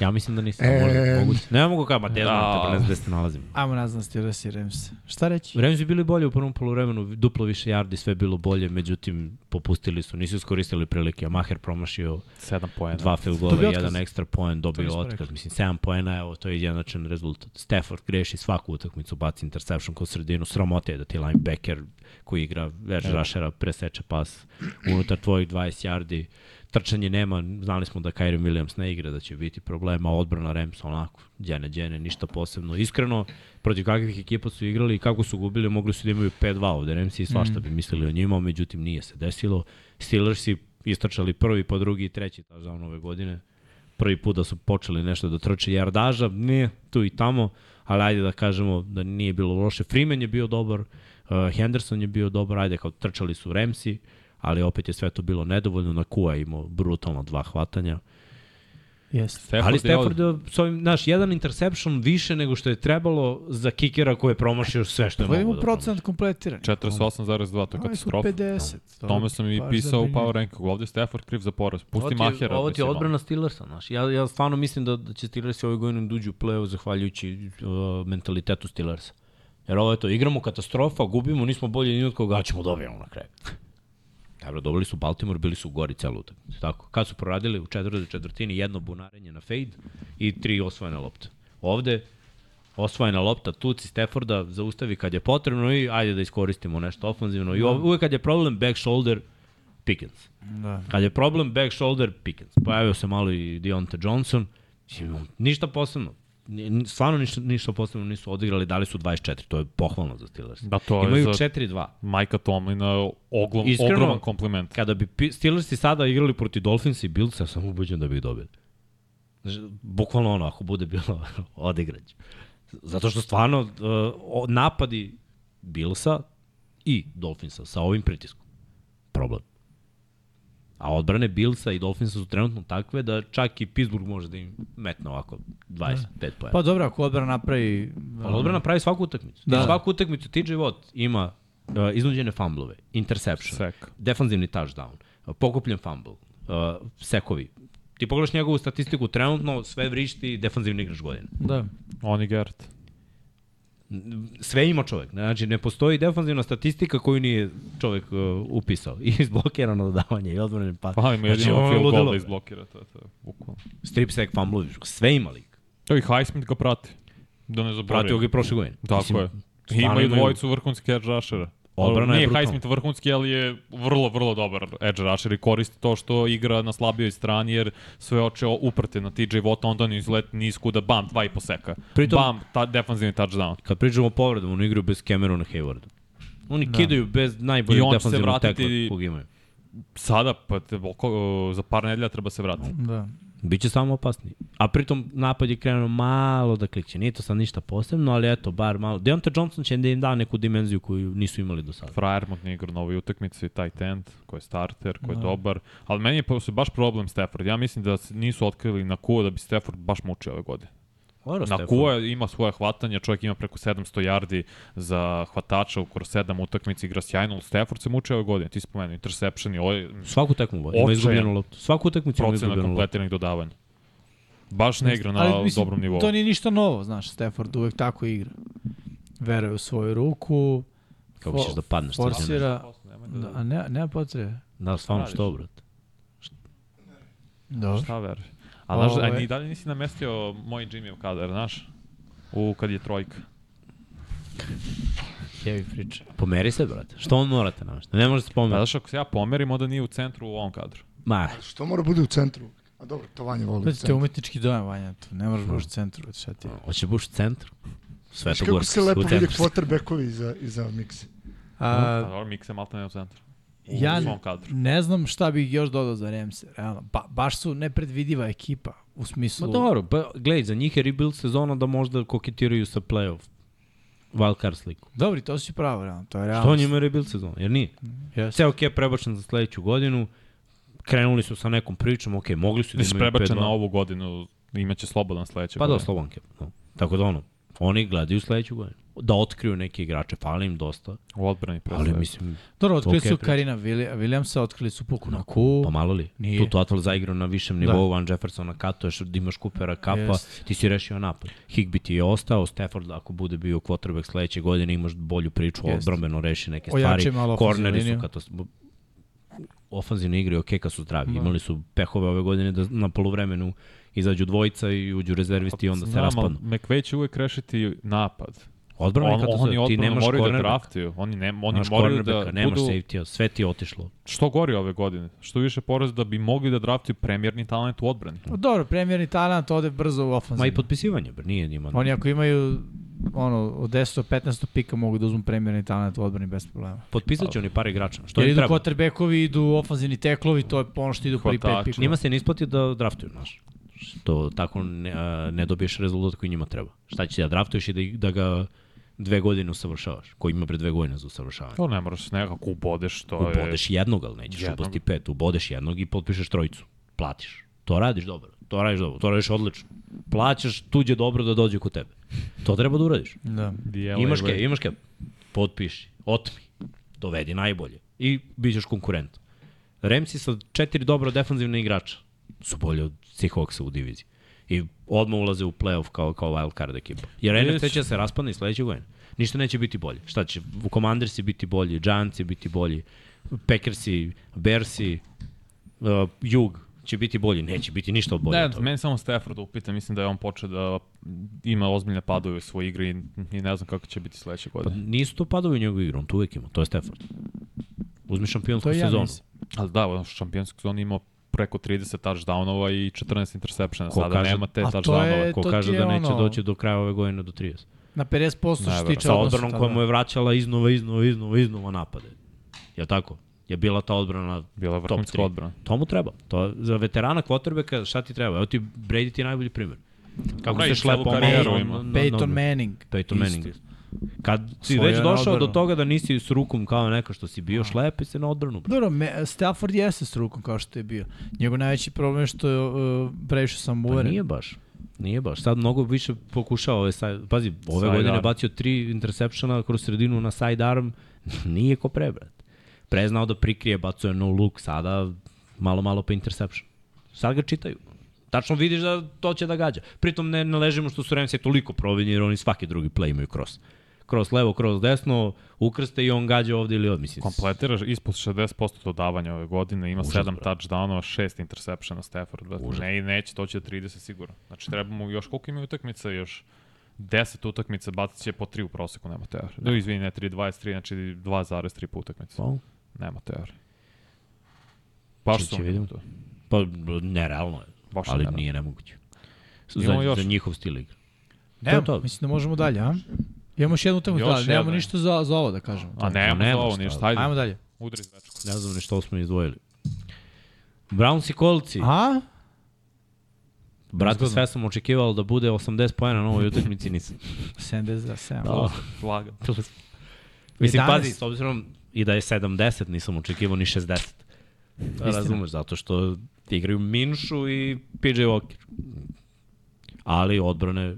Speaker 2: ja mislim da nisam,
Speaker 5: E,
Speaker 2: e... možda, moguće. Ne mogu kao, ma te
Speaker 4: Da.
Speaker 2: znam, te ne znam gde se nalazim.
Speaker 3: Ajmo nazvan Steelers i Rams. Šta reći?
Speaker 2: Remzi bili bolje u prvom polovremenu, duplo više yardi, sve bilo bolje, međutim popustili su, nisu iskoristili prilike, a Maher promašio
Speaker 4: Sedam poena.
Speaker 2: dva field
Speaker 3: Dobio
Speaker 2: gola,
Speaker 3: otkaz.
Speaker 2: jedan ekstra poen, dobio
Speaker 3: nismo
Speaker 2: otkaz,
Speaker 3: rekli.
Speaker 2: mislim 7 poena, evo to je jednačan rezultat. Stafford greši svaku utakmicu, baci interception kroz sredinu, sramote je da ti linebacker koji igra edge rushera preseče pas unutar tvojih 20 yardi. Trčanje nema, znali smo da Kyrie Williams ne igra, da će biti problema, odbrana Rams onako, djene, djene, ništa posebno. Iskreno, protiv kakvih ekipa su igrali i kako su gubili, mogli su da imaju 5-2 ovde. Remsi i svašta bi mislili o njima, međutim nije se desilo. Steelersi istračali prvi, pa drugi i treći tažan ove godine. Prvi put da su počeli nešto da trče jardaža, ne, tu i tamo, ali ajde da kažemo da nije bilo loše. Freeman je bio dobar, uh, Henderson je bio dobar, ajde kao trčali su Remsi, ali opet je sve to bilo nedovoljno, na Kua je imao brutalno dva hvatanja.
Speaker 3: Jeste.
Speaker 4: Stafford
Speaker 2: ali
Speaker 4: je od-
Speaker 2: Stafford je s ovim, znaš, jedan interception više nego što je trebalo za kikera koji je promašio sve što je
Speaker 3: Pogledajmo
Speaker 2: mogo da promaši.
Speaker 3: procenat kompletiranih.
Speaker 4: 48,2 to je
Speaker 3: Ovi su
Speaker 4: katastrofa.
Speaker 3: 50.
Speaker 4: Tome sam i
Speaker 3: Baš
Speaker 4: pisao u
Speaker 3: zabrinjava.
Speaker 4: Power Rankingu. Ovde je Stafford kriv za poraz. Pusti
Speaker 2: Ovo ti je-
Speaker 4: Mahera.
Speaker 2: Ovo ti je
Speaker 4: mislim, ono.
Speaker 2: odbrana Steelersa, znaš. Ja, ja stvarno mislim da, da će Steelersi ove godine duđu u play-off zahvaljujući uh, mentalitetu Steelersa. Jer ovo je to, igramo katastrofa, gubimo, nismo bolji ni od koga, a ćemo da dobijemo na kraju. Dobro, dobili su Baltimore, bili su gori celu utakmicu. Tako. Kad su proradili u četvrtoj četvrtini jedno bunarenje na fade i tri osvojene lopte. Ovde osvojena lopta tuci Stafforda zaustavi kad je potrebno i ajde da iskoristimo nešto ofanzivno.
Speaker 4: Da.
Speaker 2: I ov- uvek kad je problem back shoulder Pickens.
Speaker 3: Da.
Speaker 2: Kad je problem back shoulder Pickens, pojavio se malo i Deonta Johnson, Mislim, ništa posebno. Ni- ni- Stvarno ništa, ništa posebno nisu odigrali, dali su 24, to je pohvalno za Steelers.
Speaker 4: Da, to je
Speaker 2: Imaju
Speaker 4: za-
Speaker 2: 4-2.
Speaker 4: Majka Tomlina, oglom,
Speaker 2: Iskreno-
Speaker 4: ogroman kompliment.
Speaker 2: Kada bi Pi- Steelersi sada igrali proti Dolphins i Bills, ja sam ubeđen da bi ih dobili. Znači, bukvalno ono, ako bude bilo odigrać. Zato što stvarno uh, o- napadi Billsa i Dolphinsa sa ovim pritiskom. Problem. A odbrane Billsa i Dolphinsa su trenutno takve da čak i Pittsburgh može da im metne ovako 25 pojena.
Speaker 3: Pa dobro, ako odbrana napravi...
Speaker 2: Pa Ali odbrana pravi svaku utakmicu. Da.
Speaker 3: Da.
Speaker 2: Svaku utakmicu TJ Watt ima uh, iznuđene fumblove, interception,
Speaker 4: Sek.
Speaker 2: defanzivni touchdown, uh, pokupljen fumble, uh, sekovi. Ti pogledaš njegovu statistiku trenutno, sve vrišti defanzivni igrač godine.
Speaker 3: Da.
Speaker 4: Oni Gert.
Speaker 2: Sve ima čovek. Znači, ne postoji defanzivna statistika koju nije čovek uh, upisao. I izblokirano dodavanje, i odbrane pas.
Speaker 4: Pa ima jedino
Speaker 2: ono
Speaker 4: znači, field goal
Speaker 2: ludilo.
Speaker 4: da izblokira, to je to, bukvalno.
Speaker 2: Strip sack, fumble, sve ima lik.
Speaker 4: To i Highsmith ga prati. Da ne zaboravim.
Speaker 2: Pratio ga i prošle godine.
Speaker 4: Tako
Speaker 2: Mislim,
Speaker 4: je. I
Speaker 2: stvarno
Speaker 4: imaju
Speaker 2: imaju-
Speaker 4: dvojicu vrhunskih edge rushera.
Speaker 2: Odbrana je
Speaker 4: Nije
Speaker 2: brutalna.
Speaker 4: Highsmith vrhunski, ali je vrlo, vrlo dobar edge rusher i koristi to što igra na slabijoj strani, jer sve oče uprte na TJ Watt, onda on izleti nisku da bam, dva i poseka.
Speaker 2: Pritom-
Speaker 4: Bam, ta, defanzivni touchdown.
Speaker 2: Kad pričamo o povredama, oni igraju bez Camerona Haywarda. Oni da. kidaju bez
Speaker 4: I
Speaker 2: najboljeg
Speaker 4: on će se
Speaker 2: defanzivnog
Speaker 4: vratiti-
Speaker 2: tekla kog imaju.
Speaker 4: Sada, pa te, oko, za par nedelja treba se vratiti.
Speaker 3: Da.
Speaker 2: Biće samo opasniji. A pritom napad je krenuo malo da klikće. Nije to sad ništa posebno, ali eto, bar malo. Deonta Johnson će da im da neku dimenziju koju nisu imali do sada.
Speaker 4: Friermont ne igra na ovoj utakmici, taj tent, koji je starter,
Speaker 3: Da.
Speaker 4: koji je dobar. Ali meni je pa- se baš problem Stafford. Ja mislim da se nisu otkrili na kuo da bi Stafford baš mučio ove godine.
Speaker 2: Oro,
Speaker 4: Na kuo je- ima svoje hvatanje, čovjek ima preko 700 yardi za hvatača u kroz 7 utakmici, igra sjajno, ali Stafford se mučio ove godine. Ti spomenuo interception i ovaj
Speaker 2: Svaku tekmu vodi. Ima
Speaker 4: Očajan.
Speaker 2: izgubljenu loptu. Svaku utakmicu ima
Speaker 4: procenat
Speaker 2: izgubljenu loptu.
Speaker 4: kompletiranih dodavanja. Baš ne igra na
Speaker 3: Ali, da. mislim,
Speaker 4: dobrom nivou.
Speaker 3: To nije ništa novo, znaš, Stafford uvek tako igra. Veruje u svoju ruku,
Speaker 2: Kako ćeš da padneš? sa zemlje?
Speaker 3: forsira, da, a ne, nema potrebe.
Speaker 2: Da, stvarno što, brat.
Speaker 3: Dobro.
Speaker 4: Šta ver? A znaš,
Speaker 3: Ovo
Speaker 4: a
Speaker 3: je-
Speaker 4: ni dalje nisi namestio moj Jimmyov kadar, znaš? U, kad je trojka.
Speaker 3: Heavy priča.
Speaker 2: Pomeri se, brate. Što on morate namešta? Ne može se
Speaker 4: Pa
Speaker 2: pomeriti.
Speaker 4: znaš, ako se ja pomerim, onda nije u centru u ovom kadru.
Speaker 2: Ma,
Speaker 5: Što mora bude u centru? A dobro, to Vanja voli u
Speaker 3: Znači, to je
Speaker 5: centru.
Speaker 3: umetnički dojam, Vanja, tu. Ne možeš baš u centru, šta ti je.
Speaker 2: hoće buš u centru. Sve
Speaker 5: Znaš
Speaker 2: to
Speaker 5: kako se lepo
Speaker 2: u
Speaker 5: vide
Speaker 2: centru. si.
Speaker 5: quarterbackovi iza, iza mikse?
Speaker 4: A
Speaker 3: A,
Speaker 4: dobro, Mikse malta ne u centru. U
Speaker 3: ja
Speaker 4: svom kadru.
Speaker 3: ne znam šta bih još dodao za Remse, realno. Ba, baš su nepredvidiva ekipa, u smislu...
Speaker 2: Ma dobro, pa, gledaj, za njih je rebuild sezona da možda koketiraju sa playoff wildcard sliku.
Speaker 3: Dobri, to si pravo, realno, to je realno.
Speaker 2: Što njima je rebuild sezona, jer nije.
Speaker 3: Jeste.
Speaker 2: Ceo cap prebačen za sledeću godinu, krenuli su sa nekom pričom, ok, mogli su da
Speaker 4: Nisi
Speaker 2: imaju 5
Speaker 4: prebačen na ovu godinu, imaće slobodan sledeće
Speaker 2: Pa da,
Speaker 4: godine.
Speaker 2: slobodan cap. No. Tako da ono, oni gledaju sledeću godinu. Da otkriju neke igrače, fali im dosta,
Speaker 4: U odbrani
Speaker 3: Pa da.
Speaker 4: pre
Speaker 2: ali da
Speaker 4: svega.
Speaker 2: mislim,
Speaker 3: Dobro, otkrili
Speaker 2: Ok,
Speaker 3: su
Speaker 2: priča.
Speaker 3: Karina Willi- Williamsa, otkrili su Puku na ku.
Speaker 2: pa malo li?
Speaker 3: Nije.
Speaker 2: Tu Total zaigrao na
Speaker 4: Da.
Speaker 2: višem nivou, Van Jeffersona katuješ, da imaš Coopera kapa,
Speaker 3: Jest.
Speaker 2: ti si rešio napad. Higby ti je ostao, Stafford ako bude bio quarterback sledeće godine imaš bolju priču,
Speaker 3: Jest.
Speaker 2: odbrambeno reši neke
Speaker 3: Ojačaj
Speaker 2: stvari.
Speaker 3: malo ofenzivnu
Speaker 2: Korneri su
Speaker 3: liniju.
Speaker 2: katastrofa. Ofanzivne igre, ok, kad su zdravi.
Speaker 4: Da.
Speaker 2: Imali su pehove ove godine da na poluvremenu izađu dvojica i uđu rezervisti i onda se
Speaker 4: Znam, ali
Speaker 2: raspadnu.
Speaker 4: McVay će uvek rešiti napad.
Speaker 2: Odbrana je
Speaker 4: On,
Speaker 2: katastrofa,
Speaker 4: oni
Speaker 2: ti
Speaker 4: odbranu
Speaker 2: nemaš
Speaker 4: moraju da
Speaker 2: cornerbacka.
Speaker 4: draftuju. Oni, ne, oni
Speaker 2: Nemaš
Speaker 4: moraju da
Speaker 2: cornerbacka, nemaš
Speaker 4: budu
Speaker 2: safety, sve ti je otišlo.
Speaker 4: što gori ove godine. Što više porez da bi mogli da draftuju premjerni talent u odbrani.
Speaker 3: Pa Dobro, premjerni talent ode brzo u ofanzivu.
Speaker 2: Ma i potpisivanje, bre, nije njima.
Speaker 3: Oni ako imaju ono, od 10 do 15 pika mogu da uzmu premjerni talent u odbrani bez problema.
Speaker 2: Potpisat će oni par igrača, što
Speaker 3: Jer
Speaker 2: im
Speaker 3: idu
Speaker 2: treba.
Speaker 3: quarterbackovi, idu ofanzivni teklovi, to je ono što idu prvi pet
Speaker 4: Hvatači.
Speaker 3: pikova.
Speaker 2: Njima se ne isplati da draftuju, znaš. Što tako ne, a, ne dobiješ rezultat koji njima treba. Šta će da draftuješ i da, ih- da ga dve godine usavršavaš, koji ima pre dve godine za usavršavanje.
Speaker 4: To ne moraš nekako ubodeš, to je...
Speaker 2: Ubodeš jednog, ali nećeš
Speaker 4: Jednog.
Speaker 2: upasti pet. Ubodeš jednog i potpišeš trojicu. Platiš. To radiš dobro. To radiš dobro. To radiš odlično. Plaćaš tuđe dobro da dođe kod tebe. To treba da uradiš.
Speaker 3: Da.
Speaker 4: DLA
Speaker 2: Imaš
Speaker 4: way.
Speaker 2: ke, imaš ke. Potpiši, otmi, dovedi najbolje i bit ćeš konkurent. Remsi sa četiri dobro defanzivne igrača su bolje od svih Hawksa u diviziji. I odmah ulaze u playoff kao, kao wild card ekipa. Jer NFC će se raspadne i sledeće godine. Ništa neće biti bolje. Šta će? U Commandersi biti bolji, Giantsi biti bolji, Packersi, Bearsi, uh, Jug će biti bolji. Neće biti ništa od bolje.
Speaker 3: Da.
Speaker 4: Ne,
Speaker 2: od toga.
Speaker 4: Da, meni samo Stafford upita, mislim da je on počeo da ima ozbiljne padove u svoj igri i, i ne znam kako će biti sledeće
Speaker 2: Pa
Speaker 4: godine.
Speaker 2: nisu to padovi u njegovu igru, on to uvek ima, to je Stafford. Uzmi šampionsku
Speaker 3: To i ja
Speaker 2: sezonu.
Speaker 3: mislim.
Speaker 4: Ali da, u šampionskog zona imao preko 30 touchdownova i 14 interceptiona.
Speaker 2: Ko
Speaker 4: Sada
Speaker 2: kaže-
Speaker 4: nema te
Speaker 3: a to
Speaker 4: touchdownova.
Speaker 3: je-
Speaker 2: Ko
Speaker 3: E, to ti
Speaker 2: kaže da
Speaker 3: je
Speaker 2: neće
Speaker 3: ono-
Speaker 2: doći do kraja ove godine do 30.
Speaker 3: Na 50% što se
Speaker 4: Najverovatno.
Speaker 3: tiče
Speaker 2: Sa
Speaker 3: odnosa,
Speaker 2: odbranom
Speaker 3: tako
Speaker 2: koja
Speaker 3: da.
Speaker 2: mu je vraćala iznova, iznova, iznova, iznova napade. Je tako? Je bila ta odbrana
Speaker 4: Bila je
Speaker 2: top
Speaker 4: vrhunska
Speaker 2: 3.
Speaker 4: odbrana.
Speaker 2: To mu treba. To, je- za veterana quarterbacka šta ti treba? Evo ti Brady ti je najbolji primjer. Kako
Speaker 4: Brady
Speaker 2: se
Speaker 4: celu
Speaker 2: šlepa
Speaker 4: karijeru
Speaker 2: ono-
Speaker 4: ima.
Speaker 2: ono- ono-
Speaker 3: Peyton Manning.
Speaker 2: Peyton Manning.
Speaker 3: Isto.
Speaker 2: Kad si
Speaker 6: Svoje
Speaker 2: već
Speaker 6: na
Speaker 2: došao do
Speaker 6: odbranu.
Speaker 2: toga da nisi s rukom kao neka što si bio, šlepi se na odbranu. Bro.
Speaker 3: Dobro, me, Stafford jeste s rukom kao što je bio. Njegov najveći problem je što je uh, previše sam
Speaker 2: Pa
Speaker 3: uveren.
Speaker 2: nije baš. Nije baš. Sad mnogo više pokušao ove side, pazi, ove
Speaker 4: Side
Speaker 2: godine
Speaker 4: arm.
Speaker 2: bacio tri interceptiona kroz sredinu na side arm. Nije ko pre, brat. Pre je znao da prikrije, bacio je no look, sada malo, malo pa interception. Sad ga čitaju. Tačno vidiš da to će da gađa. Pritom ne, ne ležimo što su Remsi toliko provinjeni, jer oni svaki drugi play imaju cross. Cross levo, cross desno, ukrste i on gađa ovde ili od, mislim.
Speaker 4: Kompletiraš ispod 60% dodavanja ove godine, ima 7 touchdownova, 6 intersepšena Stafford. brate. Ne, neće, to će do 30 sigurno. Znači treba mu još, koliko ima utakmica još? 10 utakmica, bacit će po 3 u proseku, nema teorije. No, izvini, ne, 3, 23, znači 2,3 po
Speaker 2: Da.
Speaker 4: utakmicu.
Speaker 2: Pa,
Speaker 4: Nema teorije. Baš
Speaker 2: Čim
Speaker 4: su
Speaker 2: će
Speaker 4: oni
Speaker 2: vidimo.
Speaker 4: to.
Speaker 2: pa nerealno je,
Speaker 4: Baš
Speaker 2: ali
Speaker 4: nerealno.
Speaker 2: nije nemoguće.
Speaker 4: Imamo
Speaker 2: Za,
Speaker 4: još.
Speaker 2: za njihov stil igre.
Speaker 3: Ne,
Speaker 2: To je to.
Speaker 3: Mislim da možemo dalje, a? Imamo još jednu utakmicu,
Speaker 4: Još
Speaker 3: ali nemamo
Speaker 4: jedna.
Speaker 3: ništa za, za ovo da kažemo.
Speaker 4: A nema,
Speaker 2: nema
Speaker 4: za ovo
Speaker 2: šta.
Speaker 4: ništa, ajde,
Speaker 3: Ajmo da- dalje.
Speaker 4: udri znači, zvečko.
Speaker 2: Ne znam ni što smo izdvojili. Browns i Colci.
Speaker 3: A?
Speaker 2: Brate, sve sam očekivao da bude 80 pojena na ovoj utakmici, nisam.
Speaker 3: 70 za 7.
Speaker 2: Da.
Speaker 4: Laga.
Speaker 2: Mislim,
Speaker 3: 11.
Speaker 2: pazi, s obzirom i da je 70, nisam očekivao ni 60. Razumeš, zato što igraju Minšu i PJ Walker. Ali odbrane,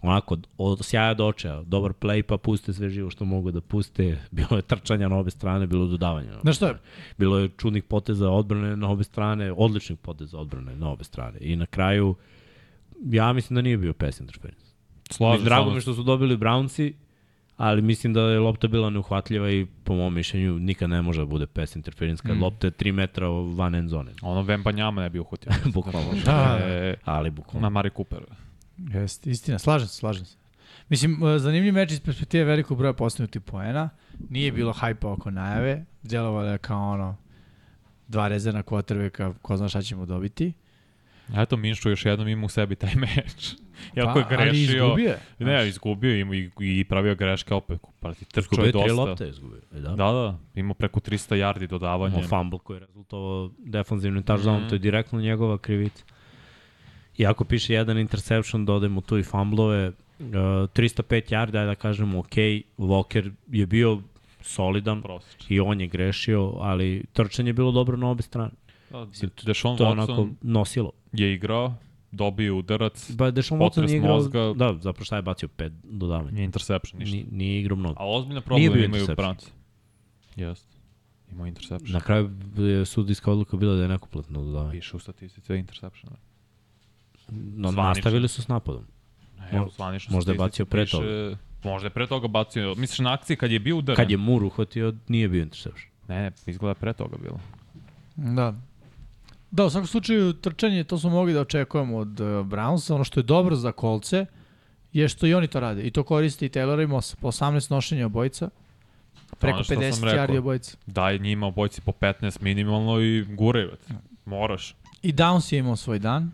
Speaker 2: onako, od sjaja do očaja, dobar play, pa puste sve živo što mogu da puste. Bilo je trčanja na obe strane, bilo je dodavanja. na obe
Speaker 3: Znaš što je?
Speaker 2: Bilo je čudnih poteza odbrane na obe strane, odličnih poteza odbrane na obe strane. I na kraju, ja mislim da nije bio pass interference. Mislim,
Speaker 4: Slažem
Speaker 2: drago mi
Speaker 4: se,
Speaker 2: je što su dobili Brownci, ali mislim da je lopta bila neuhvatljiva i po mom mišljenju nikad ne može da bude pass interference kad mm. lopta je 3 metra van end zone.
Speaker 4: ono, ono Vembanjama ne bi uhutio.
Speaker 2: Bukvalno.
Speaker 3: Da.
Speaker 4: E,
Speaker 2: Ali
Speaker 4: na
Speaker 2: bukvalno.
Speaker 4: Mari Cooper.
Speaker 3: Jeste, istina, slažem se, slažem se. Mislim, e, zanimljiv meč iz perspektive velikog broja postignutih poena. Nije bilo hajpa oko najave. Djelovalo je kao ono, dva rezervna kvotrbeka, ko zna šta ćemo dobiti.
Speaker 4: A Eto, Minšu još jednom ima u sebi taj meč. Iako je grešio...
Speaker 3: Pa, Ali izgubio je. Znači,
Speaker 4: Ne, izgubio im i, i pravio greške opet. Prati, trčao
Speaker 2: Izgubio
Speaker 4: je
Speaker 2: je tri
Speaker 4: dosta.
Speaker 2: lopte, izgubio. E, da.
Speaker 4: Da, ovaj da, imao preko 300 yardi dodavanja.
Speaker 2: Imao fumble koji je rezultovao defanzivnim touchdownom, mm. to je direktno njegova krivica. I ako piše jedan interception, da dodajemo tu i fumblove, uh, 305 yarda, ajde da kažemo, ok, Walker je bio solidan
Speaker 4: Prosječno.
Speaker 2: i on je grešio, ali trčanje je bilo dobro na obe strane.
Speaker 4: Mislim, Deshaun
Speaker 2: To je
Speaker 4: Watson
Speaker 2: onako nosilo.
Speaker 4: je igrao, dobio udarac,
Speaker 2: Ba, Dešon Watson
Speaker 4: Potres
Speaker 2: nije igrao,
Speaker 4: mozga.
Speaker 2: da, zapravo šta je bacio pet dodavanja.
Speaker 4: nije interception, ništa.
Speaker 2: Ni, nije igrao mnogo.
Speaker 4: A ozbiljna
Speaker 2: Nije
Speaker 4: problem
Speaker 2: bio
Speaker 4: imaju
Speaker 2: interception.
Speaker 4: Branci. Jeste. Imao interception.
Speaker 2: Na kraju je sudijska odluka bila da je nekoplatno dodavanje.
Speaker 4: Piše u statistici je interception.
Speaker 2: No,
Speaker 4: Zvanično.
Speaker 2: nastavili su s napadom.
Speaker 4: Ne, evo,
Speaker 2: Mo-
Speaker 4: zvanično
Speaker 2: možda je
Speaker 4: statistici
Speaker 2: bacio pre
Speaker 4: piše- Možda je pre toga bacio. Misliš na akciji kad je bio udarac?
Speaker 2: Kad je Mur uhvatio, nije bio interception.
Speaker 4: Ne, ne, izgleda pre toga bilo.
Speaker 3: Da. Da, u svakom slučaju trčanje, to smo mogli da očekujemo od uh, Brownsa. Ono što je dobro za kolce je što i oni to rade. I to koriste i Taylor i Moss. Po 18 nošenja obojica. Preko
Speaker 4: ono što
Speaker 3: 50
Speaker 4: sam rekao.
Speaker 3: yardi obojica.
Speaker 4: Daj njima obojci po 15 minimalno i guraj, vet. Moraš.
Speaker 3: I Downs je imao svoj dan.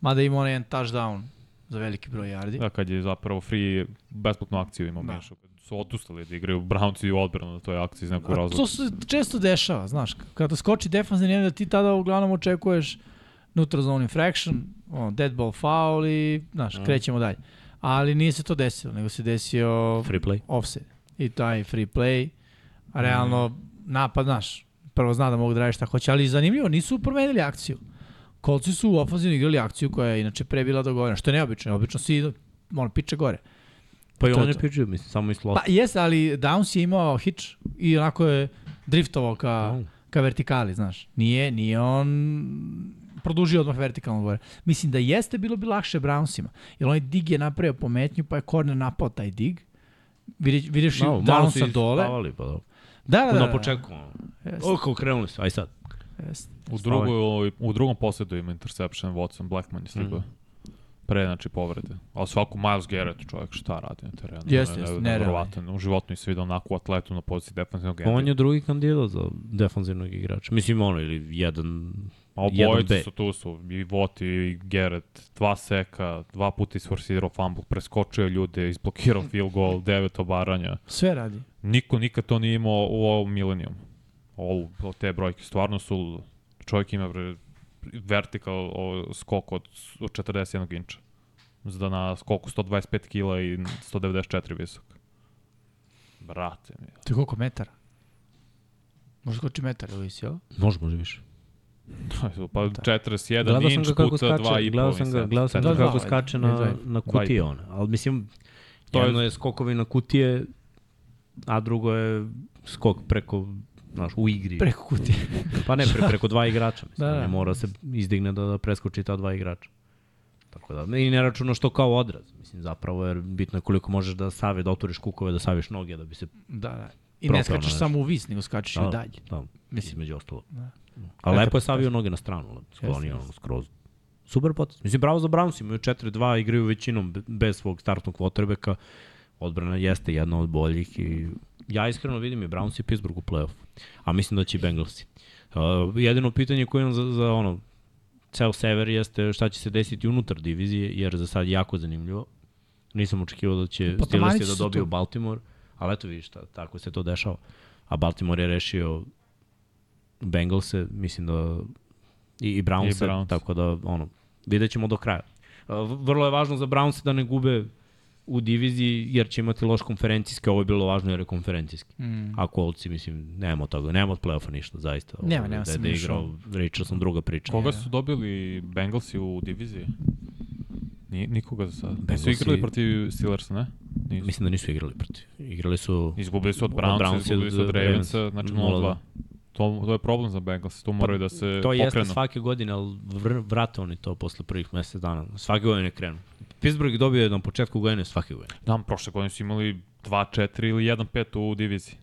Speaker 3: Mada je imao onaj jedan touchdown za veliki broj yardi.
Speaker 4: Da, kad je zapravo free besplatnu akciju imao
Speaker 3: Da.
Speaker 4: da. Mišo. Kad su odustali da igraju Brownci i odbranu na toj akciji iz nekog
Speaker 3: A Pa to
Speaker 4: razloga.
Speaker 3: se često dešava, znaš. Kada skoči defanzivni jedan, ti tada uglavnom očekuješ neutral zone infraction, ono, dead ball foul i,
Speaker 4: Da.
Speaker 3: znaš, krećemo dalje. Ali nije se to desilo, nego se desio
Speaker 2: Free play.
Speaker 3: offset i taj free play. A realno
Speaker 2: Mhm.
Speaker 3: napad, znaš, prvo zna da mogu da radi šta hoće, ali zanimljivo, nisu promenili akciju. Kolci su u ofenzivno igrali akciju koja je inače pre bila dogovorena, što je neobično, obično svi idu, ono, piče gore.
Speaker 2: Pa i
Speaker 3: To je
Speaker 2: on je
Speaker 3: to.
Speaker 2: piđio, mislim, samo i slot.
Speaker 3: Pa jes, ali Downs je imao hitch i onako je driftovao ka,
Speaker 2: Mm.
Speaker 3: ka vertikali, znaš. Nije, nije on produžio odmah vertikalno gore. Mislim da jeste bilo bi lakše Brownsima, jer onaj dig je napravio pometnju, pa je corner napao taj dig. Vidješ, vidješ no,
Speaker 2: Da, malo su
Speaker 3: Downsa dole.
Speaker 2: ispavali, pa da.
Speaker 3: Da, da, da.
Speaker 2: Na početku.
Speaker 3: Jeste.
Speaker 2: Oko krenuli su, aj sad.
Speaker 3: Jeste.
Speaker 4: U, drugoj, ovaj, u drugom posledu ima interception Watson, Blackman je stigao.
Speaker 2: Mhm.
Speaker 4: Pre, znači, povrede. A svaku Miles Garrett, čovjek, šta radi na terenu?
Speaker 3: Jeste, jeste, nerealno.
Speaker 4: nevjerovatan. U životu nisam vidio onako atletu na poziciji defensivnog enda.
Speaker 2: On je drugi kandidat za defanzivnog igrača. Mislim, ono, ili jedan...
Speaker 4: A
Speaker 2: jedan
Speaker 4: obojica
Speaker 2: B.
Speaker 4: su tu su, i Voti i Garrett, dva seka, dva puta isforsirao fumble, preskočio je ljude, isblokirao field goal, devet obaranja.
Speaker 3: Sve radi.
Speaker 4: Niko nikad to nije imao u ovom milenijumu. Ovo, te brojke stvarno su, čovjek ima bre, vertikal o, skok od, s- od 41 inča. Za na skoku 125 kila i 194 visok. Brate mi.
Speaker 3: To je koliko metara? Možda skoči metar, ili si, jel?
Speaker 2: Može, može više.
Speaker 4: Pa
Speaker 2: Da.
Speaker 4: 41
Speaker 2: Gledao sam
Speaker 4: inč
Speaker 2: ga kako
Speaker 4: puta
Speaker 2: skače,
Speaker 4: 2,5.
Speaker 2: gledao sam ga, gledao sam
Speaker 3: Da,
Speaker 2: ga
Speaker 3: dva,
Speaker 2: kako
Speaker 3: ajde,
Speaker 2: skače
Speaker 3: ne
Speaker 2: na,
Speaker 3: znam.
Speaker 2: na kutije ona. Ali mislim,
Speaker 4: To
Speaker 2: to
Speaker 4: je-
Speaker 2: jedno je, skokovi na kutije, a drugo je skok preko znaš, u igri.
Speaker 3: Preko kutije.
Speaker 2: Pa ne, pre, preko dva igrača. Mislim,
Speaker 3: Da,
Speaker 2: da,
Speaker 3: da.
Speaker 2: da. mora se izdigne da, da preskoči ta dva igrača. Tako da, i ne računaš što kao odraz. Mislim, zapravo, jer bitno je koliko možeš da save, da otvoriš kukove, da saviš noge, da bi se...
Speaker 3: Da, da. I
Speaker 2: Propeo
Speaker 3: ne
Speaker 2: na
Speaker 3: skačeš
Speaker 2: nešto.
Speaker 3: samo u vis, nego skačeš
Speaker 2: Da,
Speaker 3: i Znači, dalje.
Speaker 2: Da,
Speaker 3: Mislim.
Speaker 2: mislim, između ostalo.
Speaker 3: Da.
Speaker 2: Da. A
Speaker 3: Lepo
Speaker 2: lepo je
Speaker 3: potez.
Speaker 2: savio noge na stranu, lepo sklonio
Speaker 3: jeste.
Speaker 2: ono skroz. Super potez. Mislim, bravo za Browns, imaju 4-2, igraju većinom be- bez svog startnog quarterbacka. Odbrana jeste jedna od boljih i ja iskreno vidim i Browns i Pittsburgh u play-offu. A mislim da će i Bengalsi. Uh, jedino pitanje koje imam za, za ono, ceo sever jeste šta će se desiti unutar divizije, jer za sad jako zanimljivo. Nisam očekivao da će
Speaker 3: Pa,
Speaker 2: Steelersi
Speaker 3: tamanići
Speaker 2: da
Speaker 3: su
Speaker 2: dobiju
Speaker 3: tu.
Speaker 2: Baltimore, ali eto vidiš, šta, tako se to dešava. A Baltimore je rešio Bengalse, mislim da i, i Brownse,
Speaker 4: I Browns.
Speaker 2: tako da ono, vidjet ćemo do kraja. Uh, v- Vrlo je važno za Brownse da ne gube u diviziji, jer će imati loš konferencijski, ovo je bilo važno jer je konferencijski.
Speaker 3: Mm.
Speaker 2: A Coltsi, mislim, nema od toga, nema od play-offa ništa, zaista. Ovo,
Speaker 3: Nema, nema
Speaker 2: da,
Speaker 3: se
Speaker 2: da je
Speaker 3: ništa.
Speaker 2: igrao Richardson, druga priča.
Speaker 4: Koga su dobili Bengalsi u diviziji? Ni, nikoga za sad. Nisu
Speaker 2: Bengalsi-
Speaker 4: igrali protiv Steelersa, ne? Nisu.
Speaker 2: Mislim da nisu igrali protiv. Igrali su...
Speaker 4: Izgubili su od
Speaker 2: Od
Speaker 4: Brownsa,
Speaker 2: Brownsa
Speaker 4: izgubili su
Speaker 2: za
Speaker 4: od Ravensa,
Speaker 2: Ravens.
Speaker 4: znači
Speaker 2: 0:2.
Speaker 4: 0-2. To, to je problem za Bengals, tu moraju da se
Speaker 2: to
Speaker 4: pokrenu.
Speaker 2: jeste svake godine, ali vr- vrate oni to posle prvih mesec dana. Svake godine krenu. Pittsburgh je dobio na početku godine svake godine.
Speaker 4: Znam, prošle godine su imali 2-4 ili 1-5 u diviziji.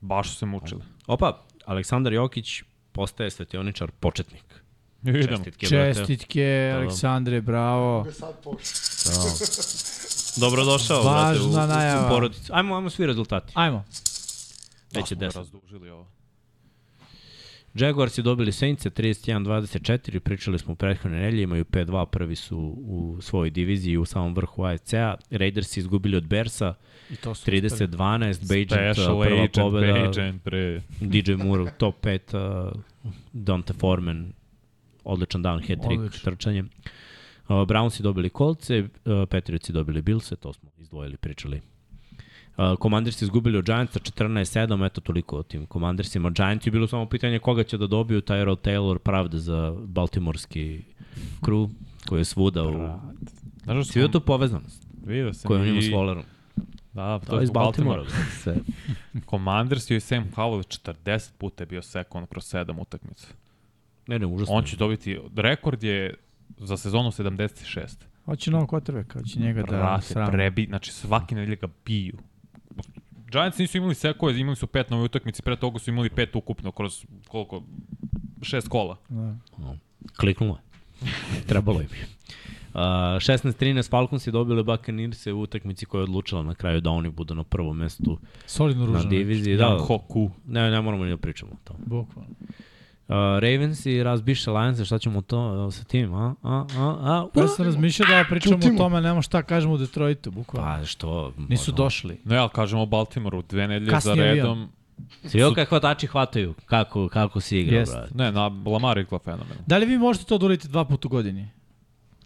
Speaker 4: Baš su se mučili.
Speaker 2: Opa, Aleksandar Jokić postaje svetioničar početnik.
Speaker 4: I Idemo.
Speaker 2: Čestitke, brate. Da,
Speaker 3: Čestitke, Aleksandre, bravo.
Speaker 5: Sad pošto.
Speaker 2: Dobrodošao, brate,
Speaker 3: Važna
Speaker 2: u, u,
Speaker 3: najava.
Speaker 2: u porodicu. Ajmo, ajmo svi rezultati.
Speaker 3: Ajmo.
Speaker 2: Već je
Speaker 4: Da
Speaker 2: 10.
Speaker 4: smo Razdužili ovo.
Speaker 2: Jaguars je dobili Saints 31-24, pričali smo u prethodne nelje, imaju 5-2, prvi su u svojoj diviziji u samom vrhu AFC-a. Raiders izgubili od Bersa
Speaker 3: I to su uspeli.
Speaker 2: 30-12, Bajent
Speaker 4: Special
Speaker 2: prva
Speaker 4: agent,
Speaker 2: pobjeda,
Speaker 4: agent, bre.
Speaker 2: DJ Moore u top 5, uh, Dante Foreman, odličan dan, hat-trick
Speaker 3: Odlično.
Speaker 2: trčanjem. Uh, Browns je dobili Colce, uh, Patriots je dobili Bilse, to smo izdvojili, pričali. Uh, Commanders je izgubili od Giantsa 14-7, eto toliko o tim Commandersima. Giants je bilo samo pitanje koga će da dobiju Tyrod Taylor pravda za baltimorski crew koji je svuda u...
Speaker 4: Znaš da su-
Speaker 2: Svi je to povezanost
Speaker 4: Vidio sam.
Speaker 2: koju on ima
Speaker 4: i-
Speaker 2: s Wallerom.
Speaker 4: Da,
Speaker 2: To je iz Baltimora. Sve.
Speaker 4: Commanders i Sam Howell 40 puta je bio sekon kroz 7 utakmica.
Speaker 2: Ne, ne, užasno.
Speaker 4: On će dobiti, rekord je za sezonu 76.
Speaker 3: Hoće novog quarterbacka, hoće njega da
Speaker 4: Prate,
Speaker 3: sram.
Speaker 4: prebi, znači svaki nedelje ga biju. Giants nisu imali sekove, imali su pet nove utakmice, pre toga su imali pet ukupno kroz koliko, šest kola.
Speaker 3: Da.
Speaker 2: Kliknulo je. Trebalo im je. Uh, 16-13 Falcons je dobili Buccaneers u utakmici koja je odlučila na kraju da oni budu na prvom mestu
Speaker 3: Solidno
Speaker 2: na
Speaker 3: ružno.
Speaker 2: diviziji. Da,
Speaker 4: Hoku.
Speaker 2: ne, ne moramo ni da pričamo o tome.
Speaker 3: Bukvalno.
Speaker 2: Uh, Ravens i razbiše Lions, šta ćemo to uh, sa tim, a? A, a, a?
Speaker 3: Ja sam razmišljao da pričamo o
Speaker 5: Čutimo.
Speaker 3: tome, nema šta kažemo u Detroitu, bukvalno.
Speaker 2: Pa što?
Speaker 3: Nisu
Speaker 2: ono,
Speaker 3: došli.
Speaker 4: No ja, kažemo Baltimoreu, dve nedelje za
Speaker 3: Kasni avion.
Speaker 4: redom.
Speaker 2: Svi ovo kako hvatači hvataju, kako, kako si igrao,
Speaker 3: Jest.
Speaker 2: brate.
Speaker 4: Ne, na Lamar igla fenomen.
Speaker 3: Da li vi možete to da uradite dva puta u godini?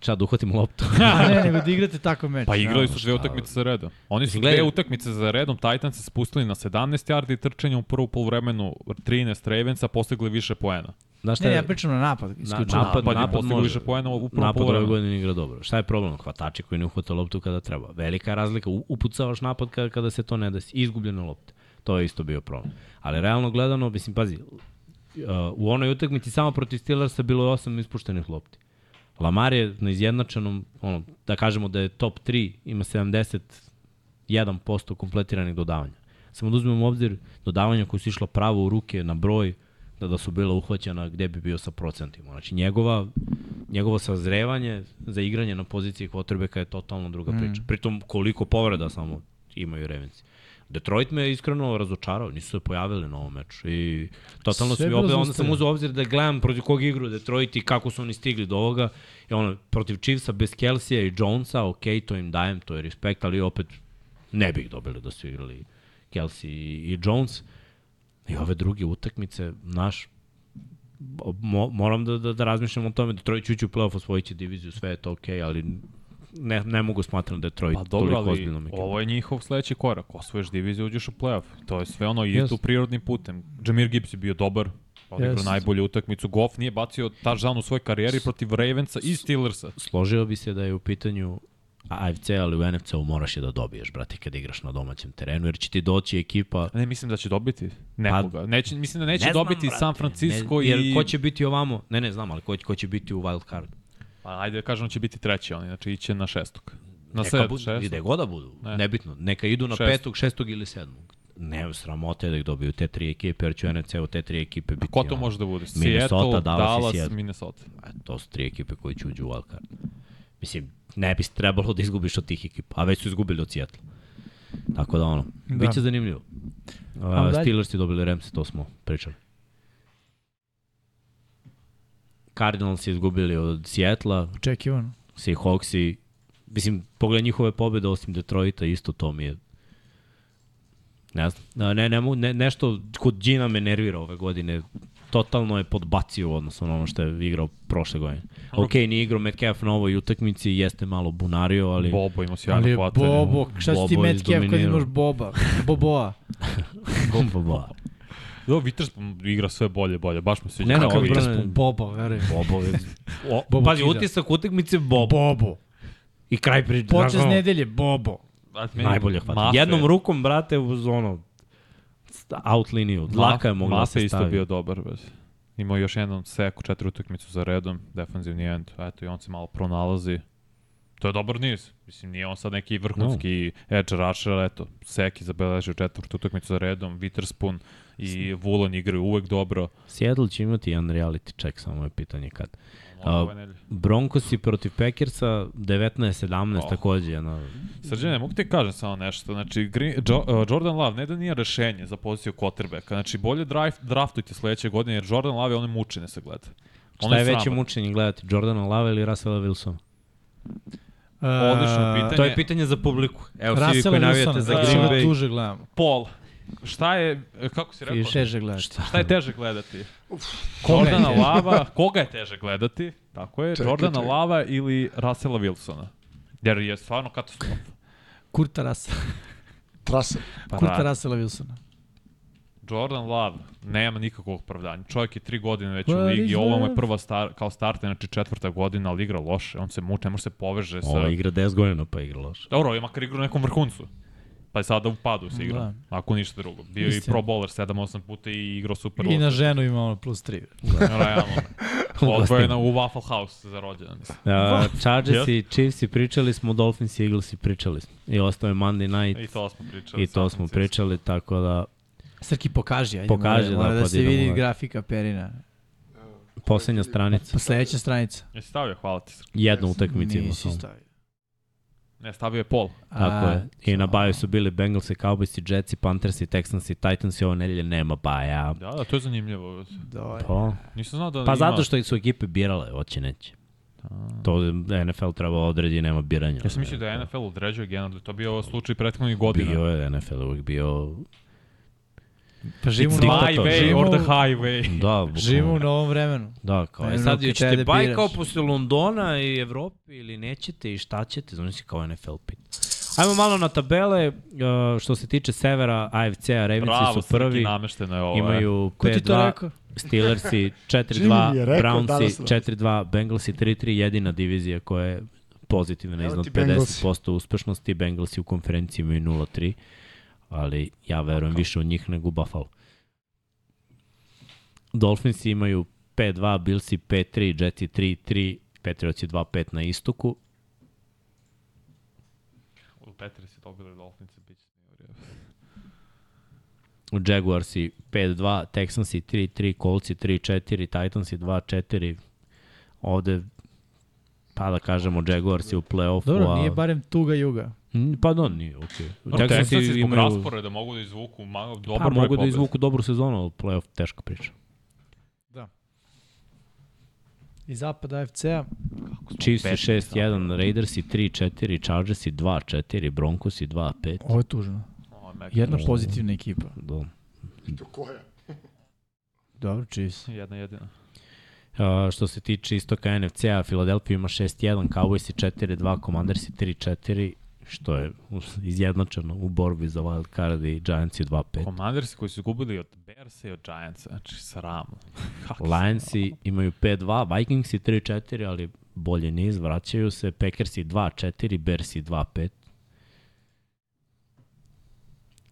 Speaker 2: Čad, uhvatim da loptu.
Speaker 3: A ne, nego da igrate tako meč.
Speaker 4: Pa
Speaker 3: da.
Speaker 4: igrali su dve utakmice za redom. Oni su
Speaker 2: Mislim,
Speaker 4: dve
Speaker 2: gledaj-
Speaker 4: utakmice za redom, Titans se spustili na 17 yardi trčanja u prvu poluvremenu 13 Ravensa, postigli više poena.
Speaker 2: Znaš šta
Speaker 3: Ne, ne,
Speaker 2: je?
Speaker 3: ja pričam na napad, isključivo.
Speaker 2: napad-
Speaker 4: Napad, napad, je
Speaker 2: napad
Speaker 4: postigli
Speaker 2: može.
Speaker 4: više poena u prvom
Speaker 2: Napad ove
Speaker 4: poluvremenu.
Speaker 2: godine igra dobro. Šta je problem? Hvatači koji ne uhvata loptu kada treba. Velika je razlika. U- Upucavaš napad kada, kada se to ne desi. Izgubljena lopta. To je isto bio problem. Ali realno gledano, mislim, pazi, uh, u onoj utakmici samo protiv Steelersa bilo je osam ispuštenih lopti. Lamar je na izjednačenom, ono, da kažemo da je top 3, ima 71% kompletiranih dodavanja. Samo da uzmemo u obzir dodavanja koja su išla pravo u ruke na broj, da, da su bila uhvaćena gde bi bio sa procentima. Znači njegova, njegovo sazrevanje za igranje na poziciji kvotrbeka je totalno druga priča. Pritom koliko povreda samo imaju Revenci. Detroit me je iskreno razočarao, nisu se pojavili na ovom meču i totalno
Speaker 3: Sve
Speaker 2: su
Speaker 3: je
Speaker 2: mi
Speaker 3: bilo
Speaker 2: opet, onda sam
Speaker 3: zaustavljeno.
Speaker 2: uzeo obzir da gledam protiv kog igru Detroit i kako su oni stigli do ovoga. I ono, protiv Chiefsa bez Kelsija i Jonesa, ok, to im dajem, to je respekt, ali opet ne bih dobili da su igrali Kelsey i i Jones. I ove druge utakmice, naš, mo, moram da, da, da razmišljam o tome, Detroit će ući u playoff, osvojit će diviziju, sve je to ok, ali ne, ne mogu smatram da je Troy
Speaker 4: Pa dobro,
Speaker 2: toliko
Speaker 4: ali
Speaker 2: ozbiljno
Speaker 4: ovo je njihov sledeći korak. Osvojiš diviziju, uđeš u playoff. To je sve ono, ide
Speaker 2: Jest.
Speaker 4: tu prirodnim putem. Jameer Gibbs je bio dobar, odigrao
Speaker 3: Jest.
Speaker 4: najbolju utakmicu. Goff nije bacio touchdown u svojoj karijeri protiv Ravensa i Steelersa.
Speaker 2: Složio bi se da je u pitanju AFC, ali u NFC-u moraš je da dobiješ, brate, kad igraš na domaćem terenu, jer će ti doći ekipa...
Speaker 4: Ne, mislim da će dobiti
Speaker 2: Pa,
Speaker 4: nekoga. Neće, mislim da neće dobiti San Francisco
Speaker 2: ne,
Speaker 4: i...
Speaker 2: jer Jer ko će biti ovamo... Ne, ne, znam, ali ko, će- ko će biti u wild card?
Speaker 4: Pa, ajde, kažem, će biti treći, oni, znači iće na šestog. Na
Speaker 2: Neka
Speaker 4: sed,
Speaker 2: budu,
Speaker 4: šestog.
Speaker 2: Gde god da budu,
Speaker 4: Ne.
Speaker 2: nebitno. Neka idu na
Speaker 4: Šest.
Speaker 2: petog, šestog ili sedmog. Ne, sramote da ih dobiju te tri ekipe, jer će u NFC-u te tri ekipe biti...
Speaker 4: Ko to
Speaker 2: ono,
Speaker 4: može da bude?
Speaker 2: Minnesota, Dallas
Speaker 4: Seattle,
Speaker 2: i
Speaker 4: Dallas,
Speaker 2: Seattle.
Speaker 4: Minnesota.
Speaker 2: A to su tri ekipe koje će uđu u wildcard. Mislim, ne bi trebalo da izgubiš od tih ekipa, a već su izgubili od Seattle. Tako da ono, da. biće zanimljivo.
Speaker 3: Ajmo
Speaker 2: Uh,
Speaker 3: dalje.
Speaker 2: Steelers je dobili Ramse, to smo pričali. Cardinals je izgubili od Seattle-a,
Speaker 3: Očekivano.
Speaker 2: Seahawksi, mislim, pogledaj njihove pobjede osim Detroita, isto to mi je ne znam, Da, ne, ne, mogu- ne, nešto kod Gina me nervira ove godine, totalno je podbacio u odnosu na ono što je igrao prošle godine. Ok, nije igrao Metcalf na ovoj utakmici, jeste malo bunario, ali...
Speaker 4: Bobo ima sjajno
Speaker 3: Ali je
Speaker 4: hvatanje.
Speaker 3: Bobo, šta si ti
Speaker 2: Bobo je
Speaker 3: Metcalf kad
Speaker 2: izdominirao.
Speaker 3: imaš Boba? Boboa.
Speaker 2: Bo- bo- bo-
Speaker 4: Do, Viters igra sve bolje, bolje, baš mu se
Speaker 2: Ne, ne,
Speaker 3: Kakav
Speaker 2: odbrana
Speaker 3: igrač
Speaker 2: je-
Speaker 3: po- Boba, verujem.
Speaker 2: Bobo je... O,
Speaker 3: Bobo
Speaker 2: pazi,
Speaker 3: kida.
Speaker 2: utisak utakmice Bobo.
Speaker 3: Bobo.
Speaker 2: I kraj priče.
Speaker 3: Počas
Speaker 2: znaš ono,
Speaker 3: nedelje, Bobo.
Speaker 2: Najbolje hvata. Jednom rukom, brate, uz ono sta- out liniju. Dlaka je mogla da
Speaker 4: Mafe
Speaker 2: se
Speaker 4: isto
Speaker 2: stavi.
Speaker 4: bio dobar. Bez. Imao je još jednom seku, četiri utakmicu za redom, defanzivni end. Eto, i on se malo pronalazi. To je dobar niz. Mislim, nije on sad neki vrhunski edge rusher, ali eto, Seki zabeležio četvrtu utakmicu za redom, Witherspoon i Vulon igraju uvek dobro.
Speaker 2: Seattle će imati jedan reality check, samo je pitanje kad.
Speaker 4: Ono,
Speaker 2: A,
Speaker 4: ove nedelje.
Speaker 2: Broncos i protiv Packersa 19-17
Speaker 4: Oh.
Speaker 2: oh. takođe. Jedna,
Speaker 4: Srđane, mogu ti kažem samo nešto. Znači, Green, jo, uh, Jordan Love ne da nije rešenje za poziciju quarterbacka. Znači, bolje draft, draftujte sledeće godine, jer Jordan Love je one mučine se gleda. Ono
Speaker 2: šta je veće
Speaker 4: sramotan.
Speaker 2: mučenje gledati, Jordana Lave ili Russella Wilsona?
Speaker 4: Odlično
Speaker 3: E,
Speaker 4: pitanje.
Speaker 2: To je pitanje za publiku. Evo, svi vi
Speaker 3: Russell
Speaker 2: koji navijate
Speaker 3: Wilson,
Speaker 2: za
Speaker 4: da,
Speaker 2: Green
Speaker 4: da.
Speaker 3: Što
Speaker 2: Bay.
Speaker 3: tuže gledamo.
Speaker 4: Pol. Šta je, e, kako si rekao?
Speaker 3: Teže gledaš.
Speaker 4: Šta je teže gledati?
Speaker 3: Kome
Speaker 4: Jordana
Speaker 3: je?
Speaker 4: Lava, koga je teže gledati? Tako je,
Speaker 5: Čekaj,
Speaker 4: Jordana
Speaker 5: čekaj.
Speaker 4: Lava ili Rasela Wilsona. Jer je stvarno katastrofa.
Speaker 3: Kurta Russell.
Speaker 5: Trasa.
Speaker 4: Pa
Speaker 3: Kurta
Speaker 4: da.
Speaker 3: Russella Wilsona.
Speaker 4: Jordan Love nema nikakvog opravdanja. Čovjek je tri godine već u
Speaker 3: What
Speaker 4: ligi,
Speaker 3: is
Speaker 4: ovo mu je
Speaker 3: love?
Speaker 4: prva star, kao starter, znači četvrta godina, ali igra loše, on se muče, ne može se poveže sa...
Speaker 3: Ovaj-
Speaker 2: Ova igra 10 godina pa igra loše.
Speaker 4: Dobro, je makar igra u nekom vrhuncu. Pa je sada u padu se igra,
Speaker 3: Da.
Speaker 4: ako ništa drugo. Bio je i
Speaker 3: Istina.
Speaker 4: pro bowler 7-8 puta i igrao super.
Speaker 3: I na
Speaker 4: Bowl.
Speaker 3: ženu ima ono plus 3.
Speaker 4: Realno. Odvojena u Waffle House za rođena, mislim.
Speaker 2: Uh, Chargers i Chiefs i pričali smo, Dolphins i Eagles i pričali smo. I ostao je Monday night
Speaker 4: I to smo pričali.
Speaker 2: i to smo
Speaker 4: Sasvim sigurno.
Speaker 2: pričali, tako da
Speaker 3: Srki pokaži, ajde.
Speaker 2: Pokaži,
Speaker 3: mora, mora
Speaker 2: da,
Speaker 3: da
Speaker 2: pa
Speaker 3: se
Speaker 2: idemo
Speaker 3: vidi
Speaker 2: dalje.
Speaker 3: grafika Perina.
Speaker 2: posljednja stranica.
Speaker 3: Pa sledeća stranica.
Speaker 4: Jesi stavio, hvala ti. Srki.
Speaker 2: Jednu utakmicu ima
Speaker 3: Nisi
Speaker 2: samo.
Speaker 3: stavio.
Speaker 4: Ne, stavio je pol.
Speaker 2: Tako
Speaker 3: A,
Speaker 2: je. I na baju su bili Bengals i Cowboys i Jets i Panthers i Texans i Titans i ovo nedelje nema baja.
Speaker 4: Da, da, to je zanimljivo.
Speaker 3: dobro.
Speaker 2: Pa,
Speaker 4: Nisam znao da
Speaker 2: pa
Speaker 4: ima...
Speaker 2: zato što su ekipe birale, hoće neće. To NFL treba odredi, nema biranja.
Speaker 4: Ja sam mislio da je NFL određuje generalno, da je to bio slučaj prethodnih godina.
Speaker 2: Bio je NFL uvijek bio...
Speaker 3: Pa živimo u
Speaker 2: It's
Speaker 3: novom-
Speaker 2: diktator.
Speaker 4: My way
Speaker 3: živimo
Speaker 4: or the
Speaker 3: u-
Speaker 4: highway.
Speaker 2: Da, bukvalno.
Speaker 3: Živimo u novom vremenu.
Speaker 2: Da, kao,
Speaker 3: Ne,
Speaker 2: e
Speaker 3: ono,
Speaker 2: sad
Speaker 3: kad
Speaker 2: ćete
Speaker 3: treba da
Speaker 2: baj
Speaker 3: biraš.
Speaker 2: kao posle Londona i Evropi ili nećete i šta ćete, znači kao NFL pit. Ajmo malo na tabele, uh, što se tiče severa, AFC-a, Ravens
Speaker 4: Bravo,
Speaker 2: su prvi,
Speaker 4: Srki, namešteno je ovo. e.
Speaker 2: imaju
Speaker 3: Ko ti to
Speaker 2: 5-2,
Speaker 3: rekao?
Speaker 2: Steelersi
Speaker 5: Jimmy
Speaker 2: 4-2,
Speaker 5: je rekao danas
Speaker 2: Brownsi
Speaker 5: da.
Speaker 2: 4-2, Bengalsi 3-3, jedina divizija koja je pozitivna
Speaker 5: Evo
Speaker 2: iznad
Speaker 5: ti Bengalsi.
Speaker 2: 50% uspešnosti, Bengalsi u konferenciji imaju 0-3, ali ja verujem više od njih nego Buffalo. Dolphinsi imaju 5-2, Billsi 5-3, Jetsi 3-3, Patriotsi 2-5 na istoku.
Speaker 4: U Petri si dobili Dolphinsi, bit će
Speaker 2: U Jaguarsi 5-2, Texansi 3-3, Coltsi 3-4, Titansi 2-4. Ovde, pa da kažemo, Jaguarsi u play-offu.
Speaker 3: Dobro,
Speaker 2: a-
Speaker 3: nije barem tuga juga.
Speaker 2: Mm, Pa da, nije, okej.
Speaker 4: Dobro, Texansi zbog rasporeda mogu da izvuku ma, dobar
Speaker 2: pa,
Speaker 4: broj
Speaker 2: mogu da
Speaker 4: pobjeda.
Speaker 2: izvuku dobru sezonu, ali play-off teška priča.
Speaker 3: I zapad AFC-a.
Speaker 2: Chiefs
Speaker 4: peti
Speaker 2: 6-1, Raidersi 3-4, Chargersi 2-4, Broncosi 2-5.
Speaker 3: Ovo je tužno.
Speaker 4: Ovo je mega.
Speaker 3: Jedna pozitivna ekipa.
Speaker 2: Da.
Speaker 5: Do koja?
Speaker 3: Dobro, Chiefs.
Speaker 4: Jedna jedina.
Speaker 2: Uh, što se tiče istoka NFC-a, Philadelphia ima 6-1, Cowboys 4-2, Commanders 3-4, što je izjednačeno u borbi za wild card i Giants 2-5.
Speaker 4: Commanders koji su gubili od Bearsa i od Giantsa, znači sramno. Kako
Speaker 2: Lionsi imaju 5-2, Vikingsi 3-4, ali bolje niz, vraćaju se, Packersi 2-4, Bearsi 2-5.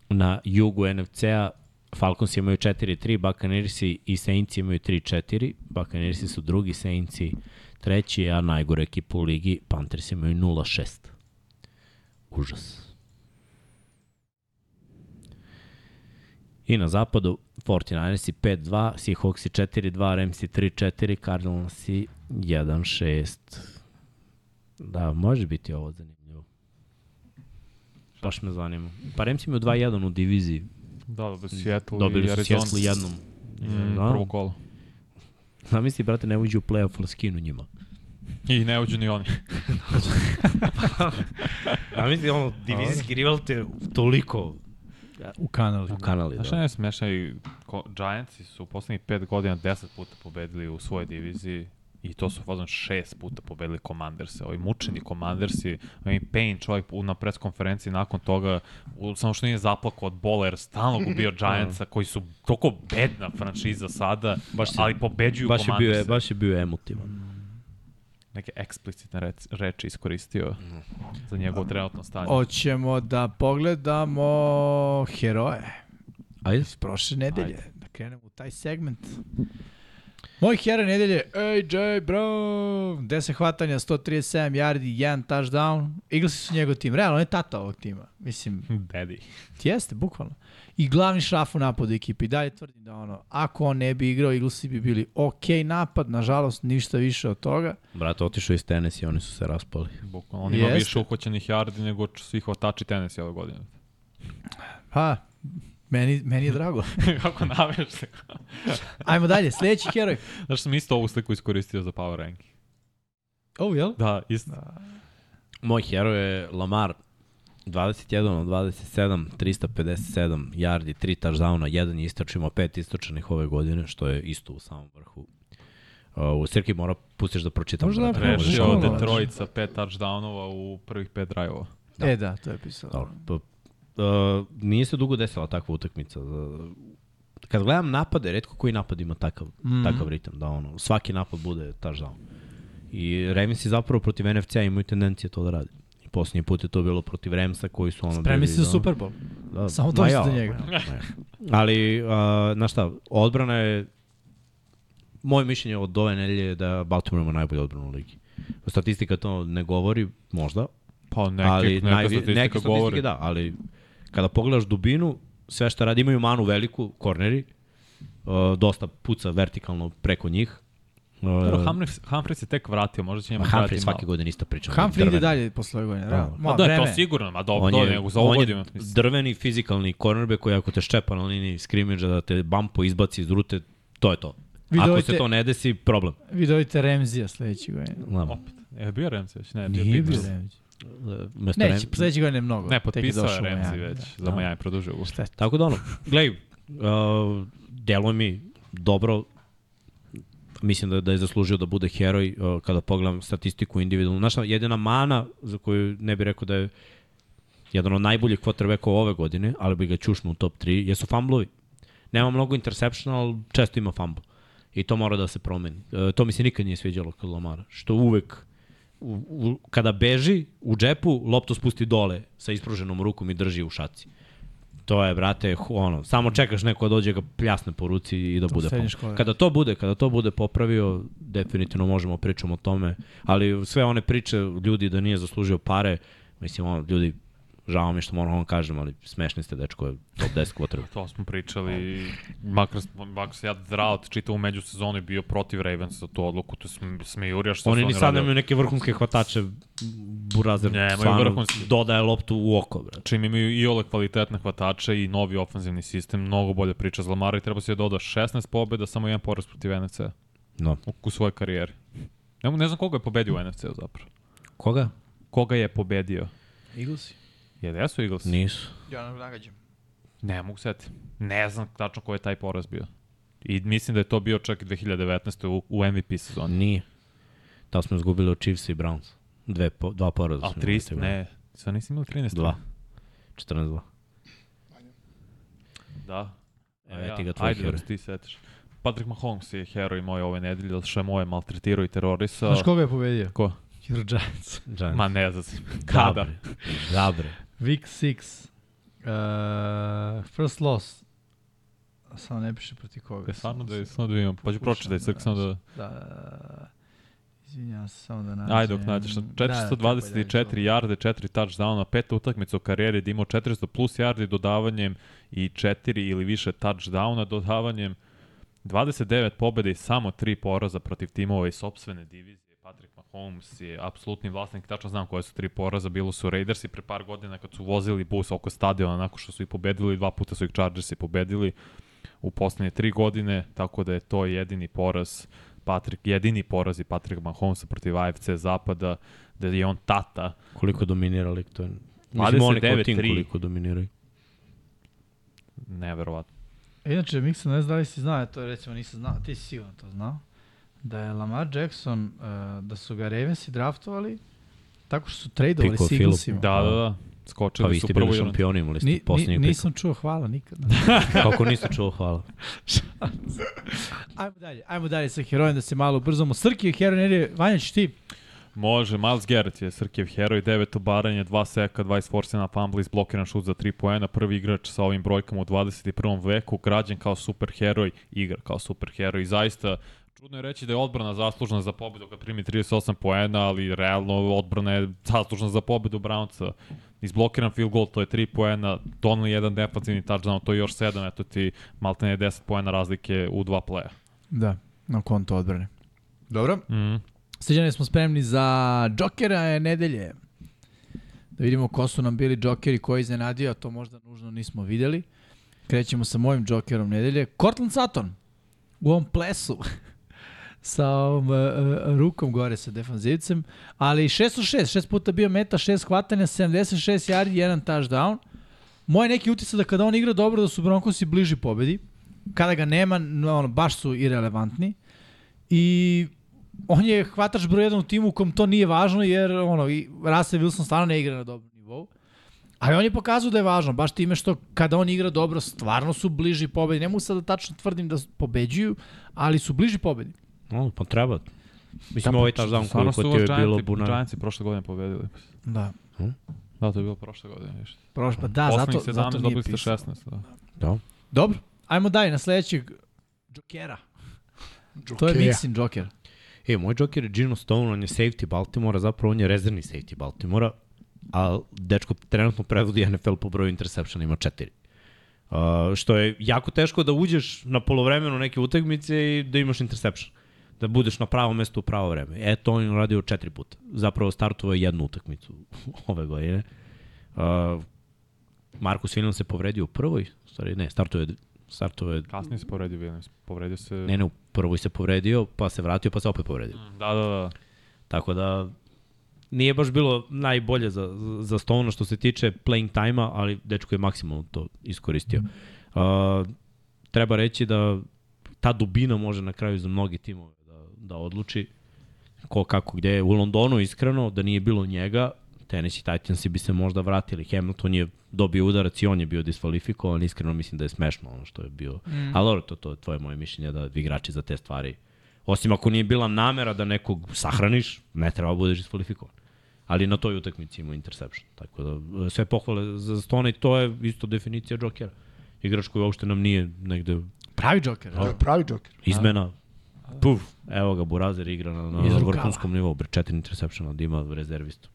Speaker 2: Na jugu NFC-a Falcons imaju 4-3, Buccaneersi i Saintsi imaju 3-4, Buccaneersi su drugi, Saintsi treći, a najgore ekipa u ligi, Panthers imaju 0-6. Užas. I na zapadu 49ersi 5-2, Seahawksi 4-2, Ramsi 3-4, Cardinalsi 1-6. Da, može biti ovo zanimljivo. Baš me zanima. Pa Ramsi imaju 2-1 u diviziji.
Speaker 4: Da, dobili su Seattle
Speaker 2: Dobili
Speaker 4: i
Speaker 2: su
Speaker 4: Arizona.
Speaker 2: Seattle jednom.
Speaker 4: Mm,
Speaker 2: Da.
Speaker 4: Prvo kolo.
Speaker 2: Zamisli, brate, ne uđu u play-off, ali skinu njima.
Speaker 4: I ne uđu ni oni.
Speaker 2: Da. Zamisli, ono, divizijski rival te toliko
Speaker 3: U kanali.
Speaker 2: u kanali. da.
Speaker 4: Znaš šta je najsmešnije? I ko- Giantsi su u poslednjih pet godina 10 puta pobedili u svojoj diviziji i to su fazon šest puta pobedili Commanderse. Ovi mučeni Commandersi, ovi Payne čovjek u- na preskonferenciji nakon toga, u, samo što nije zaplako od bola jer stalno gubio Giantsa koji su toliko bedna franšiza sada,
Speaker 2: Da. Baš si-
Speaker 4: ali pobeđuju
Speaker 2: Baš je, bio,
Speaker 4: Commanderse.
Speaker 2: baš je bio emotivan.
Speaker 4: Neke eksplicitne rec- reči iskoristio
Speaker 2: Mm.
Speaker 4: za njegovo trenutno stanje.
Speaker 3: Hoćemo da pogledamo heroje
Speaker 2: Ajde.
Speaker 3: iz prošle nedelje. Da krenemo u taj segment. Moj heroj nedelje, AJ Brown, 10 hvatanja, 137 yardi, 1 touchdown. Eaglesi su njegov tim. Realno, on je tata ovog tima. Mislim,
Speaker 4: Daddy.
Speaker 3: Jeste, bukvalno. I glavni šraf u napadu ekipe. I dalje tvrdim da ono, ako on ne bi igrao, Eaglesi bi bili ok napad, nažalost ništa više od toga.
Speaker 2: Brate, otišao iz Tennessee, oni su se raspali.
Speaker 4: Bukvalno, on ima
Speaker 3: Jeste.
Speaker 4: više uhvaćenih yardi nego svi hvatači tenisi ove godine.
Speaker 3: Ha, meni, meni je drago.
Speaker 4: Kako naveš se?
Speaker 3: Ajmo dalje, sledeći heroj.
Speaker 4: Znaš, sam isto ovu sliku iskoristio za power ranking.
Speaker 3: O, Oh, jel?
Speaker 4: Da, isto.
Speaker 2: Moj hero je Lamar. 21 od 27, 357 yardi, 3 touchdowna, jedan je istračio, imao pet istračenih ove godine, što je isto u samom vrhu. Uh, u Srki mora pustiš da pročitam.
Speaker 3: Možda
Speaker 2: brate,
Speaker 3: da
Speaker 2: ne možeš.
Speaker 3: pročitam.
Speaker 4: Rešio
Speaker 3: Možeš.
Speaker 4: Detroit sa pet touchdownova u prvih pet drive-ova.
Speaker 2: Da.
Speaker 3: E da, to je pisalo.
Speaker 2: Dobro. Pa, uh, nije se dugo desila takva utakmica. Za- Kad gledam napade, redko koji napad ima takav,
Speaker 3: Mhm.
Speaker 2: mm. takav ritam, da ono, svaki napad bude touchdown. I Remsi zapravo protiv NFC-a imaju tendencije to da radi. I poslednji put je to bilo protiv Remsa koji su ono...
Speaker 3: Spremi
Speaker 2: bili,
Speaker 3: se za
Speaker 2: da,
Speaker 3: Super Bowl.
Speaker 2: Da,
Speaker 3: Samo
Speaker 2: ma
Speaker 3: dođite
Speaker 2: ja,
Speaker 3: do njega.
Speaker 2: ma ja, ma ja. Ali, uh, znaš šta, odbrana je, moje mišljenje od ove nedelje je da Baltimore ima najbolju odbranu u ligi. Statistika to ne govori, možda,
Speaker 4: Pa neke,
Speaker 2: ali
Speaker 4: neka
Speaker 2: najvi-
Speaker 4: statistika
Speaker 2: neke statistike
Speaker 4: govori.
Speaker 2: da, ali kada pogledaš dubinu, sve šta radi, imaju manu veliku, korneri, uh, dosta puca vertikalno preko njih. Uh,
Speaker 4: Dobro, Humphries, Humphries je tek vratio, možda će njima
Speaker 2: Humphrey
Speaker 4: Humphrey
Speaker 2: svake godine isto priča.
Speaker 3: Humphrey ide
Speaker 2: Drven.
Speaker 3: dalje posle ove godine. Da. Ma,
Speaker 4: Ma da, to
Speaker 3: vreme.
Speaker 4: sigurno, ma dobro,
Speaker 2: On
Speaker 4: dobro,
Speaker 2: je,
Speaker 4: nego za ovu
Speaker 2: on je
Speaker 4: godinu. mislim.
Speaker 2: drveni fizikalni kornerbe koji ako te ščepa na liniji skrimidža da te bampo izbaci iz rute, to je to.
Speaker 3: Vi
Speaker 2: ako
Speaker 3: dovite-
Speaker 2: se to ne desi, problem.
Speaker 3: Vi dovite Remzija sledeće godine.
Speaker 2: Znam.
Speaker 4: Opet. Je E, bio Ramsey već? Ne, bio
Speaker 3: Nije bio
Speaker 4: Pickens.
Speaker 3: Remzi.
Speaker 2: Mesto
Speaker 3: Neće,
Speaker 2: Rem-
Speaker 3: sledeće godine mnogo.
Speaker 4: Ne,
Speaker 3: Tek
Speaker 4: potpisao je
Speaker 3: došao u
Speaker 4: Ramsey
Speaker 3: Miami,
Speaker 4: već,
Speaker 3: da.
Speaker 4: za Miami produžio ugovor.
Speaker 3: Šteta.
Speaker 2: Tako da ono, gledaj, uh, delo mi dobro, mislim da, da je zaslužio da bude heroj uh, kada pogledam statistiku individualno. Znaš, šta, jedina mana za koju ne bih rekao da je jedan od najboljih quarterbackova ove godine, ali bi ga čušnuo u top 3, jesu fumblovi. Nema mnogo interception, ali često ima fumble. I to mora da se promeni. E, to mi se nikad nije sviđalo kod Lamara, što uvek u, u, kada beži u džepu, loptu spusti dole sa ispruženom rukom i drži u šaci. To je, brate, hu- ono, samo čekaš neko da dođe ga pljasne po ruci i da bude fumble.
Speaker 3: srednje škole.
Speaker 2: Kada to bude, kada to bude popravio, definitivno možemo pričamo o tome, ali sve one priče ljudi da nije zaslužio pare, mislim, ono, ljudi, žao mi je što moram vam kažem, ali smešni ste, dečko, je top 10 quarterback.
Speaker 4: Pa To smo pričali, makar, makar se ja Draut čitavu međusezonu je bio protiv Ravens za tu odluku, to sme, smejurio što
Speaker 2: Oni
Speaker 4: su
Speaker 2: ni
Speaker 4: oni
Speaker 2: sad
Speaker 4: radili.
Speaker 2: nemaju neke vrhunske hvatače, Burazer
Speaker 4: Nemaju
Speaker 2: stvarno
Speaker 4: vrhunske.
Speaker 2: dodaje loptu u oko, bre.
Speaker 4: čim imaju i ole kvalitetne hvatače i novi ofanzivni sistem, mnogo bolje priča za Lamara i treba se joj doda 16 pobjeda, samo jedan poraz protiv NFC
Speaker 2: No.
Speaker 4: u, u svojoj karijeri. Ne, ne znam koga je pobedio u NFC-u zapravo.
Speaker 2: Koga?
Speaker 4: Koga je pobedio?
Speaker 3: Eaglesi?
Speaker 4: Jel jesu Eagles?
Speaker 2: Nisu.
Speaker 3: Ja ne nagađam.
Speaker 4: Ne mogu seti. Ne znam tačno ko je taj poraz bio. I mislim da je to bio čak i 2019. u, u MVP sezoni.
Speaker 2: Nije. Da smo izgubili od Chiefs i Browns. Dve, po, dva poraza.
Speaker 4: A
Speaker 2: smo
Speaker 4: 300,
Speaker 2: imali. da.
Speaker 4: ne, sve nisi imali 13?
Speaker 2: Dva. 14-2.
Speaker 4: Da. ja,
Speaker 2: Evo ja, ti ga tvoj
Speaker 4: Ajde,
Speaker 2: heroj.
Speaker 4: dok se ti setiš. Patrick Mahomes je heroj moj ove nedelje, zato što je moje maltretirao i terorisao.
Speaker 3: Znaš koga je pobedio?
Speaker 4: Ko?
Speaker 3: Hero Giants.
Speaker 2: Giants.
Speaker 4: Ma ne znam. Kada?
Speaker 2: Dabre. Dabre.
Speaker 3: Week 6. Uh, first loss. Samo ne piše proti koga.
Speaker 4: Ja stvarno da, je- samo da imam, pa ću pročitati,
Speaker 3: Pokušam
Speaker 4: sad samo da...
Speaker 3: Da, da, da. Izvinjavam se, samo da nađem.
Speaker 4: Ajde dok nađeš. 424 jarde, 4 touchdowna, peta utakmica u karijeri da je imao 400 plus jardi dodavanjem i 4 ili više touchdowna dodavanjem. 29 pobjede i samo 3 poraza protiv timova iz sopstvene divizije. Patrick Mahomes je apsolutni vlasnik, tačno znam koje su tri poraza, bilo su Raidersi pre par godina kad su vozili bus oko stadiona nakon što su ih pobedili, dva puta su ih Chargersi pobedili u poslednje tri godine, tako da je to jedini poraz Patrick, jedini poraz i Patrick Mahomesa protiv AFC Zapada, da je on tata.
Speaker 2: Koliko dominira lik to je... Mislim, oni kao tim
Speaker 4: 29-3.
Speaker 2: koliko dominiraju.
Speaker 4: Neverovatno.
Speaker 3: Inače, Miksa, ne znam da li si znao, ja to recimo nisam znao, ti si sigurno to znao, da je Lamar Jackson, uh, da su ga Ravensi draftovali, tako što su tradeovali
Speaker 2: Pikao
Speaker 3: s Eaglesima.
Speaker 4: Da, da, da. Skočili
Speaker 2: Pa vi
Speaker 4: su
Speaker 2: ste
Speaker 4: prvo
Speaker 2: bili šampioni, imali ste
Speaker 3: Ni, ni,
Speaker 2: posljednjeg pika.
Speaker 3: nisam čuo hvala nikada.
Speaker 2: Kako nisam čuo, hvala.
Speaker 3: ajmo dalje, ajmo dalje sa herojem da se malo ubrzamo. Srki je heroj, ne je, Vanja ćeš ti?
Speaker 4: Može, Miles Garrett je Srkijev heroj, 9 obaranja, 2 seka, 20 forsena fumble, izblokiran šut za 3 poena, prvi igrač sa ovim brojkama u 21. veku, građen kao superheroj, igra kao superheroj i zaista Čudno je reći da je odbrana zaslužna za pobedu kad primi 38 poena, ali realno odbrana je zaslužna za pobedu Brownca. Izblokiran field goal, to je 3 poena, donali jedan defanzivni touchdown, to je još 7, eto ti maltene 10 poena razlike u dva playa.
Speaker 3: Da, na konto odbrane. Dobro.
Speaker 2: Mhm.
Speaker 4: Mm.
Speaker 3: Sređane da smo spremni za Jokera je nedelje. Da vidimo ko su nam bili Jokeri, ko je iznenadio, a to možda nužno nismo videli. Krećemo sa mojim Jokerom nedelje. Cortland Sutton u ovom plesu sa ovom uh, uh, rukom gore sa defanzivcem, ali 6 od 6, 6 puta bio meta, 6 hvatanja, 76 yardi, jedan touchdown. Moj neki utisak da kada on igra dobro da su Broncosi bliži pobedi, kada ga nema, no, ono, baš su irelevantni. I on je hvatač broj jedan u timu u kom to nije važno jer ono, i Russell Wilson stvarno ne igra na dobrom nivou. Ali on je pokazao da je važno, baš time što kada on igra dobro, stvarno su bliži pobedi. Ne mogu sad da tačno tvrdim da pobeđuju, ali su bliži pobedi.
Speaker 2: No, pa treba. Mislim, ovaj taš dan
Speaker 4: Da, pa Stvarno
Speaker 2: koliko
Speaker 4: su
Speaker 2: ti je bilo
Speaker 4: Giantsi,
Speaker 2: bunar.
Speaker 4: Giantsi prošle godine pobedili.
Speaker 3: Da.
Speaker 4: Da, to je bilo prošle godine, više.
Speaker 3: Prošlo, pa da,
Speaker 4: Poslednjih
Speaker 3: zato,
Speaker 4: 17
Speaker 3: zato nije
Speaker 4: dobili ste
Speaker 3: pisao.
Speaker 4: 16, da.
Speaker 2: Da.
Speaker 3: Dobro, ajmo dalje na sledećeg Jokera. To je Mixin Joker.
Speaker 2: E, moj Joker je Gino Stone, on je safety Baltimora, zapravo on je rezervni safety Baltimora, a dečko trenutno prevodi NFL po broju interceptiona, ima četiri. Uh, što je jako teško da uđeš na polovremenu neke utakmice i da imaš interception. Da budeš na pravo mesto u pravo vreme. E, to on je uradio četiri puta. Zapravo startovao je jednu utakmicu ove godine. Uh, Markus Williams se povredio u prvoj, u stvari ne, startovao je, startovao je
Speaker 4: Kasnije se povredio Williams. Povredio se...
Speaker 2: ne, ne, u prvoj se povredio, pa se vratio, pa se opet povredio.
Speaker 4: Da, da, da.
Speaker 2: Tako da nije baš bilo najbolje za, za Stone što se tiče playing time-a, ali dečko je maksimalno to iskoristio. Uh, treba reći da ta dubina može na kraju za mnogi timove da, da odluči ko kako gde je. U Londonu iskreno, da nije bilo njega, Tennessee Titans bi se možda vratili. Hamilton je dobio udarac i on je bio diskvalifikovan. Iskreno mislim da je smešno ono što je bio. Mm. Ali dobro, to, to je tvoje moje mišljenje da igrači za te stvari Osim ako nije bila namera da nekog sahraniš, ne treba da budeš diskvalifikovan. Ali na toj utakmici imao interception. Tako da e, sve pohvale za Stone i to je isto definicija Jokera. Igrač koji uopšte nam nije negde
Speaker 3: Pravi Joker.
Speaker 5: To je pravi Joker.
Speaker 2: izmena. Puf, evo ga, Burazer igra na, na
Speaker 3: Iz rukava.
Speaker 2: vrhunskom nivou, bre, četiri interceptiona, da ima rezervistu.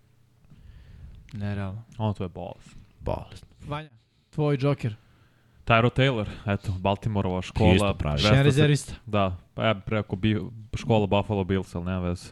Speaker 3: Nerealno.
Speaker 4: Ono to je bolas.
Speaker 2: Bolest.
Speaker 3: Vanja, tvoj Joker.
Speaker 4: Tyro Taylor, eto, Baltimorova škola.
Speaker 2: Isto pravi.
Speaker 4: Dvesta
Speaker 3: Šen
Speaker 4: se-
Speaker 3: rezervista.
Speaker 4: Da, pa ja bih preko bi, škola Buffalo Bills, ali nema veze.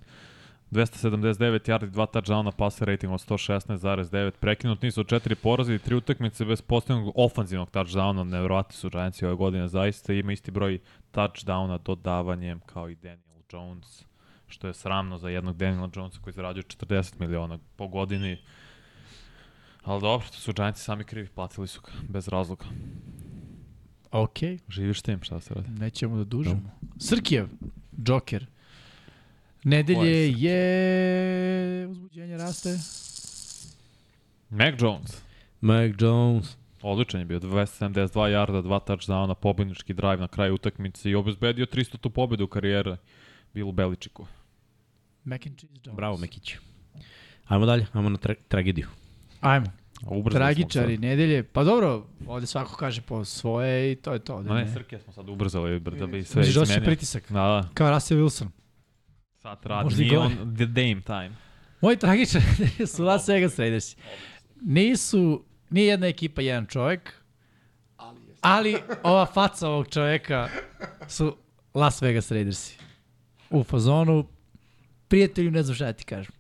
Speaker 4: 279 yardi, dva touchdowna, passer rating od 116,9. Prekinut nisu od četiri poraza i tri utakmice bez postavljenog ofanzivnog touchdowna. Nevrovati su Giantsi ove godine zaista. Ima isti broj touchdowna dodavanjem kao i Daniel Jones, što je sramno za jednog Daniela Jonesa koji zarađuje 40 miliona po godini. Ali dobro, to su Giantsi sami krivi, platili su ga, bez razloga.
Speaker 3: Ok,
Speaker 4: Živiš s tim, šta se radi?
Speaker 3: nećemo da dužimo. Srkijev, Joker. Nedelje je... Uzbuđenje raste.
Speaker 4: Mac Jones.
Speaker 2: Mac Jones.
Speaker 4: Odličan je bio, 272 yarda, dva touchdowna, pobednički drive na kraju utakmice i obezbedio 300. pobedu u karijere Bilu Beličiku.
Speaker 3: Mac and cheese Jones.
Speaker 2: Bravo, Mekić. Ajmo dalje, ajmo na tra tragediju.
Speaker 3: Ajmo.
Speaker 4: A ubrzali
Speaker 3: Tragičari
Speaker 4: Smo
Speaker 3: nedelje. Pa dobro, ovde svako kaže po svoje i to je to.
Speaker 4: sad.
Speaker 3: Ovde,
Speaker 4: Ma ne,
Speaker 3: ne.
Speaker 4: Srke smo sad ubrzali br- da bi sve
Speaker 3: Misliš da se
Speaker 4: izmenio.
Speaker 3: pritisak?
Speaker 4: Da, da.
Speaker 3: Kao Russell Wilson.
Speaker 4: Sat radi,
Speaker 3: Možda i
Speaker 4: nije
Speaker 3: gore.
Speaker 4: on the dame time.
Speaker 3: Moji tragičari su Las Vegas Raiders. Nisu, nije jedna ekipa, jedan čovek, ali ova faca ovog čoveka su Las Vegas Raidersi. U fazonu, prijatelju, ne znam šta da ti kažem.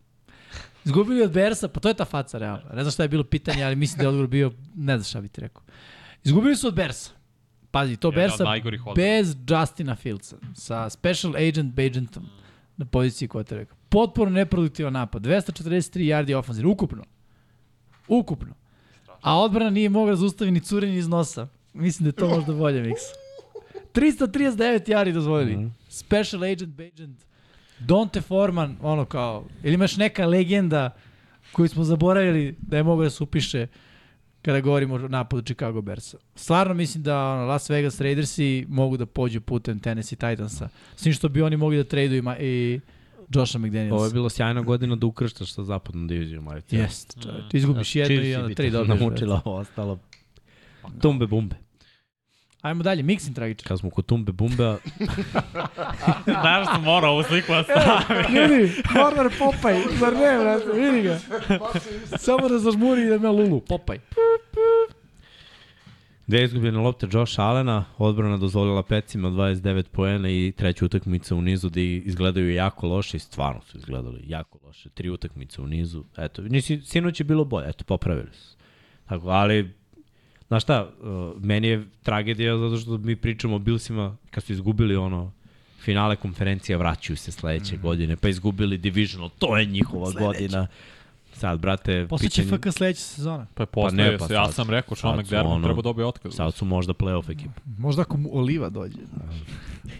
Speaker 3: Izgubili od Bersa, pa to je ta faca realno. Ne znam šta je bilo pitanje, ali mislim da je odgovor bio, ne znam šta bi ti rekao. Izgubili su od Bersa. Pazi, to
Speaker 4: Jedan od
Speaker 3: Bersa
Speaker 4: najgorih odbrana.
Speaker 3: bez Justina Fieldsa, sa special agent Bagentom na poziciji quarterbacka. Potpuno neproduktivan napad, 243 yardi ofanzivno, ukupno. Ukupno. A odbrana nije mogla da zaustavi ni curenje iz nosa. Mislim da je to možda bolje miks. 339 yardi dozvolili.
Speaker 2: Mhm.
Speaker 3: Special agent Bagent. Dante Forman, ono kao, ili imaš neka legenda koju smo zaboravili da je mogla da se upiše kada govorimo o napadu Chicago Bearsa. Stvarno mislim da ono, Las Vegas Raidersi mogu da pođu putem Tennessee Titansa. S tim što bi oni mogli da traduju i, ma- i Josha
Speaker 2: Ovo je
Speaker 3: McDanielsa.
Speaker 2: bilo sjajna godina da ukrštaš sa zapadnom divizijom. ajde.
Speaker 3: Jest, čovječ. Izgubiš
Speaker 2: Da,
Speaker 3: jedno i onda tri dobiješ.
Speaker 2: Namučila ovo ostalo. Tumbe bumbe.
Speaker 3: Ajmo dalje, Mixin tragičan.
Speaker 2: Kad smo kod tumbe bumbe,
Speaker 4: Znaš sam morao ovu sliku da
Speaker 3: Ljudi, Warner Popaj, zar ne, brate, vidi ga. Samo da zažmuri i da me lulu, Popaj.
Speaker 2: Dve izgubljene lopte Josh Allena, odbrana dozvolila pecima 29 poena i treća utakmica u nizu da izgledaju jako loše i stvarno su izgledali jako loše. Tri utakmice u nizu, eto, nisi, sinoć je bilo bolje, eto, popravili su. Tako, ali, znaš šta, uh, meni je tragedija zato što mi pričamo o Bilsima kad su izgubili ono, finale konferencija vraćaju se
Speaker 3: Mhm.
Speaker 2: sledeće mm. godine, pa izgubili divisional, to je njihova sledeće. godina. Sad, brate,
Speaker 3: Posle će FK sledeća sezona.
Speaker 4: Pa je
Speaker 2: Pa
Speaker 4: postavio
Speaker 2: ne, pa
Speaker 4: se, ja
Speaker 2: sad-
Speaker 4: sam rekao,
Speaker 2: sad
Speaker 4: Sean
Speaker 2: su
Speaker 4: McDermott
Speaker 2: ono-
Speaker 4: treba dobio otkaz.
Speaker 2: sad su možda playoff ekipa.
Speaker 3: Možda ako mu Oliva dođe.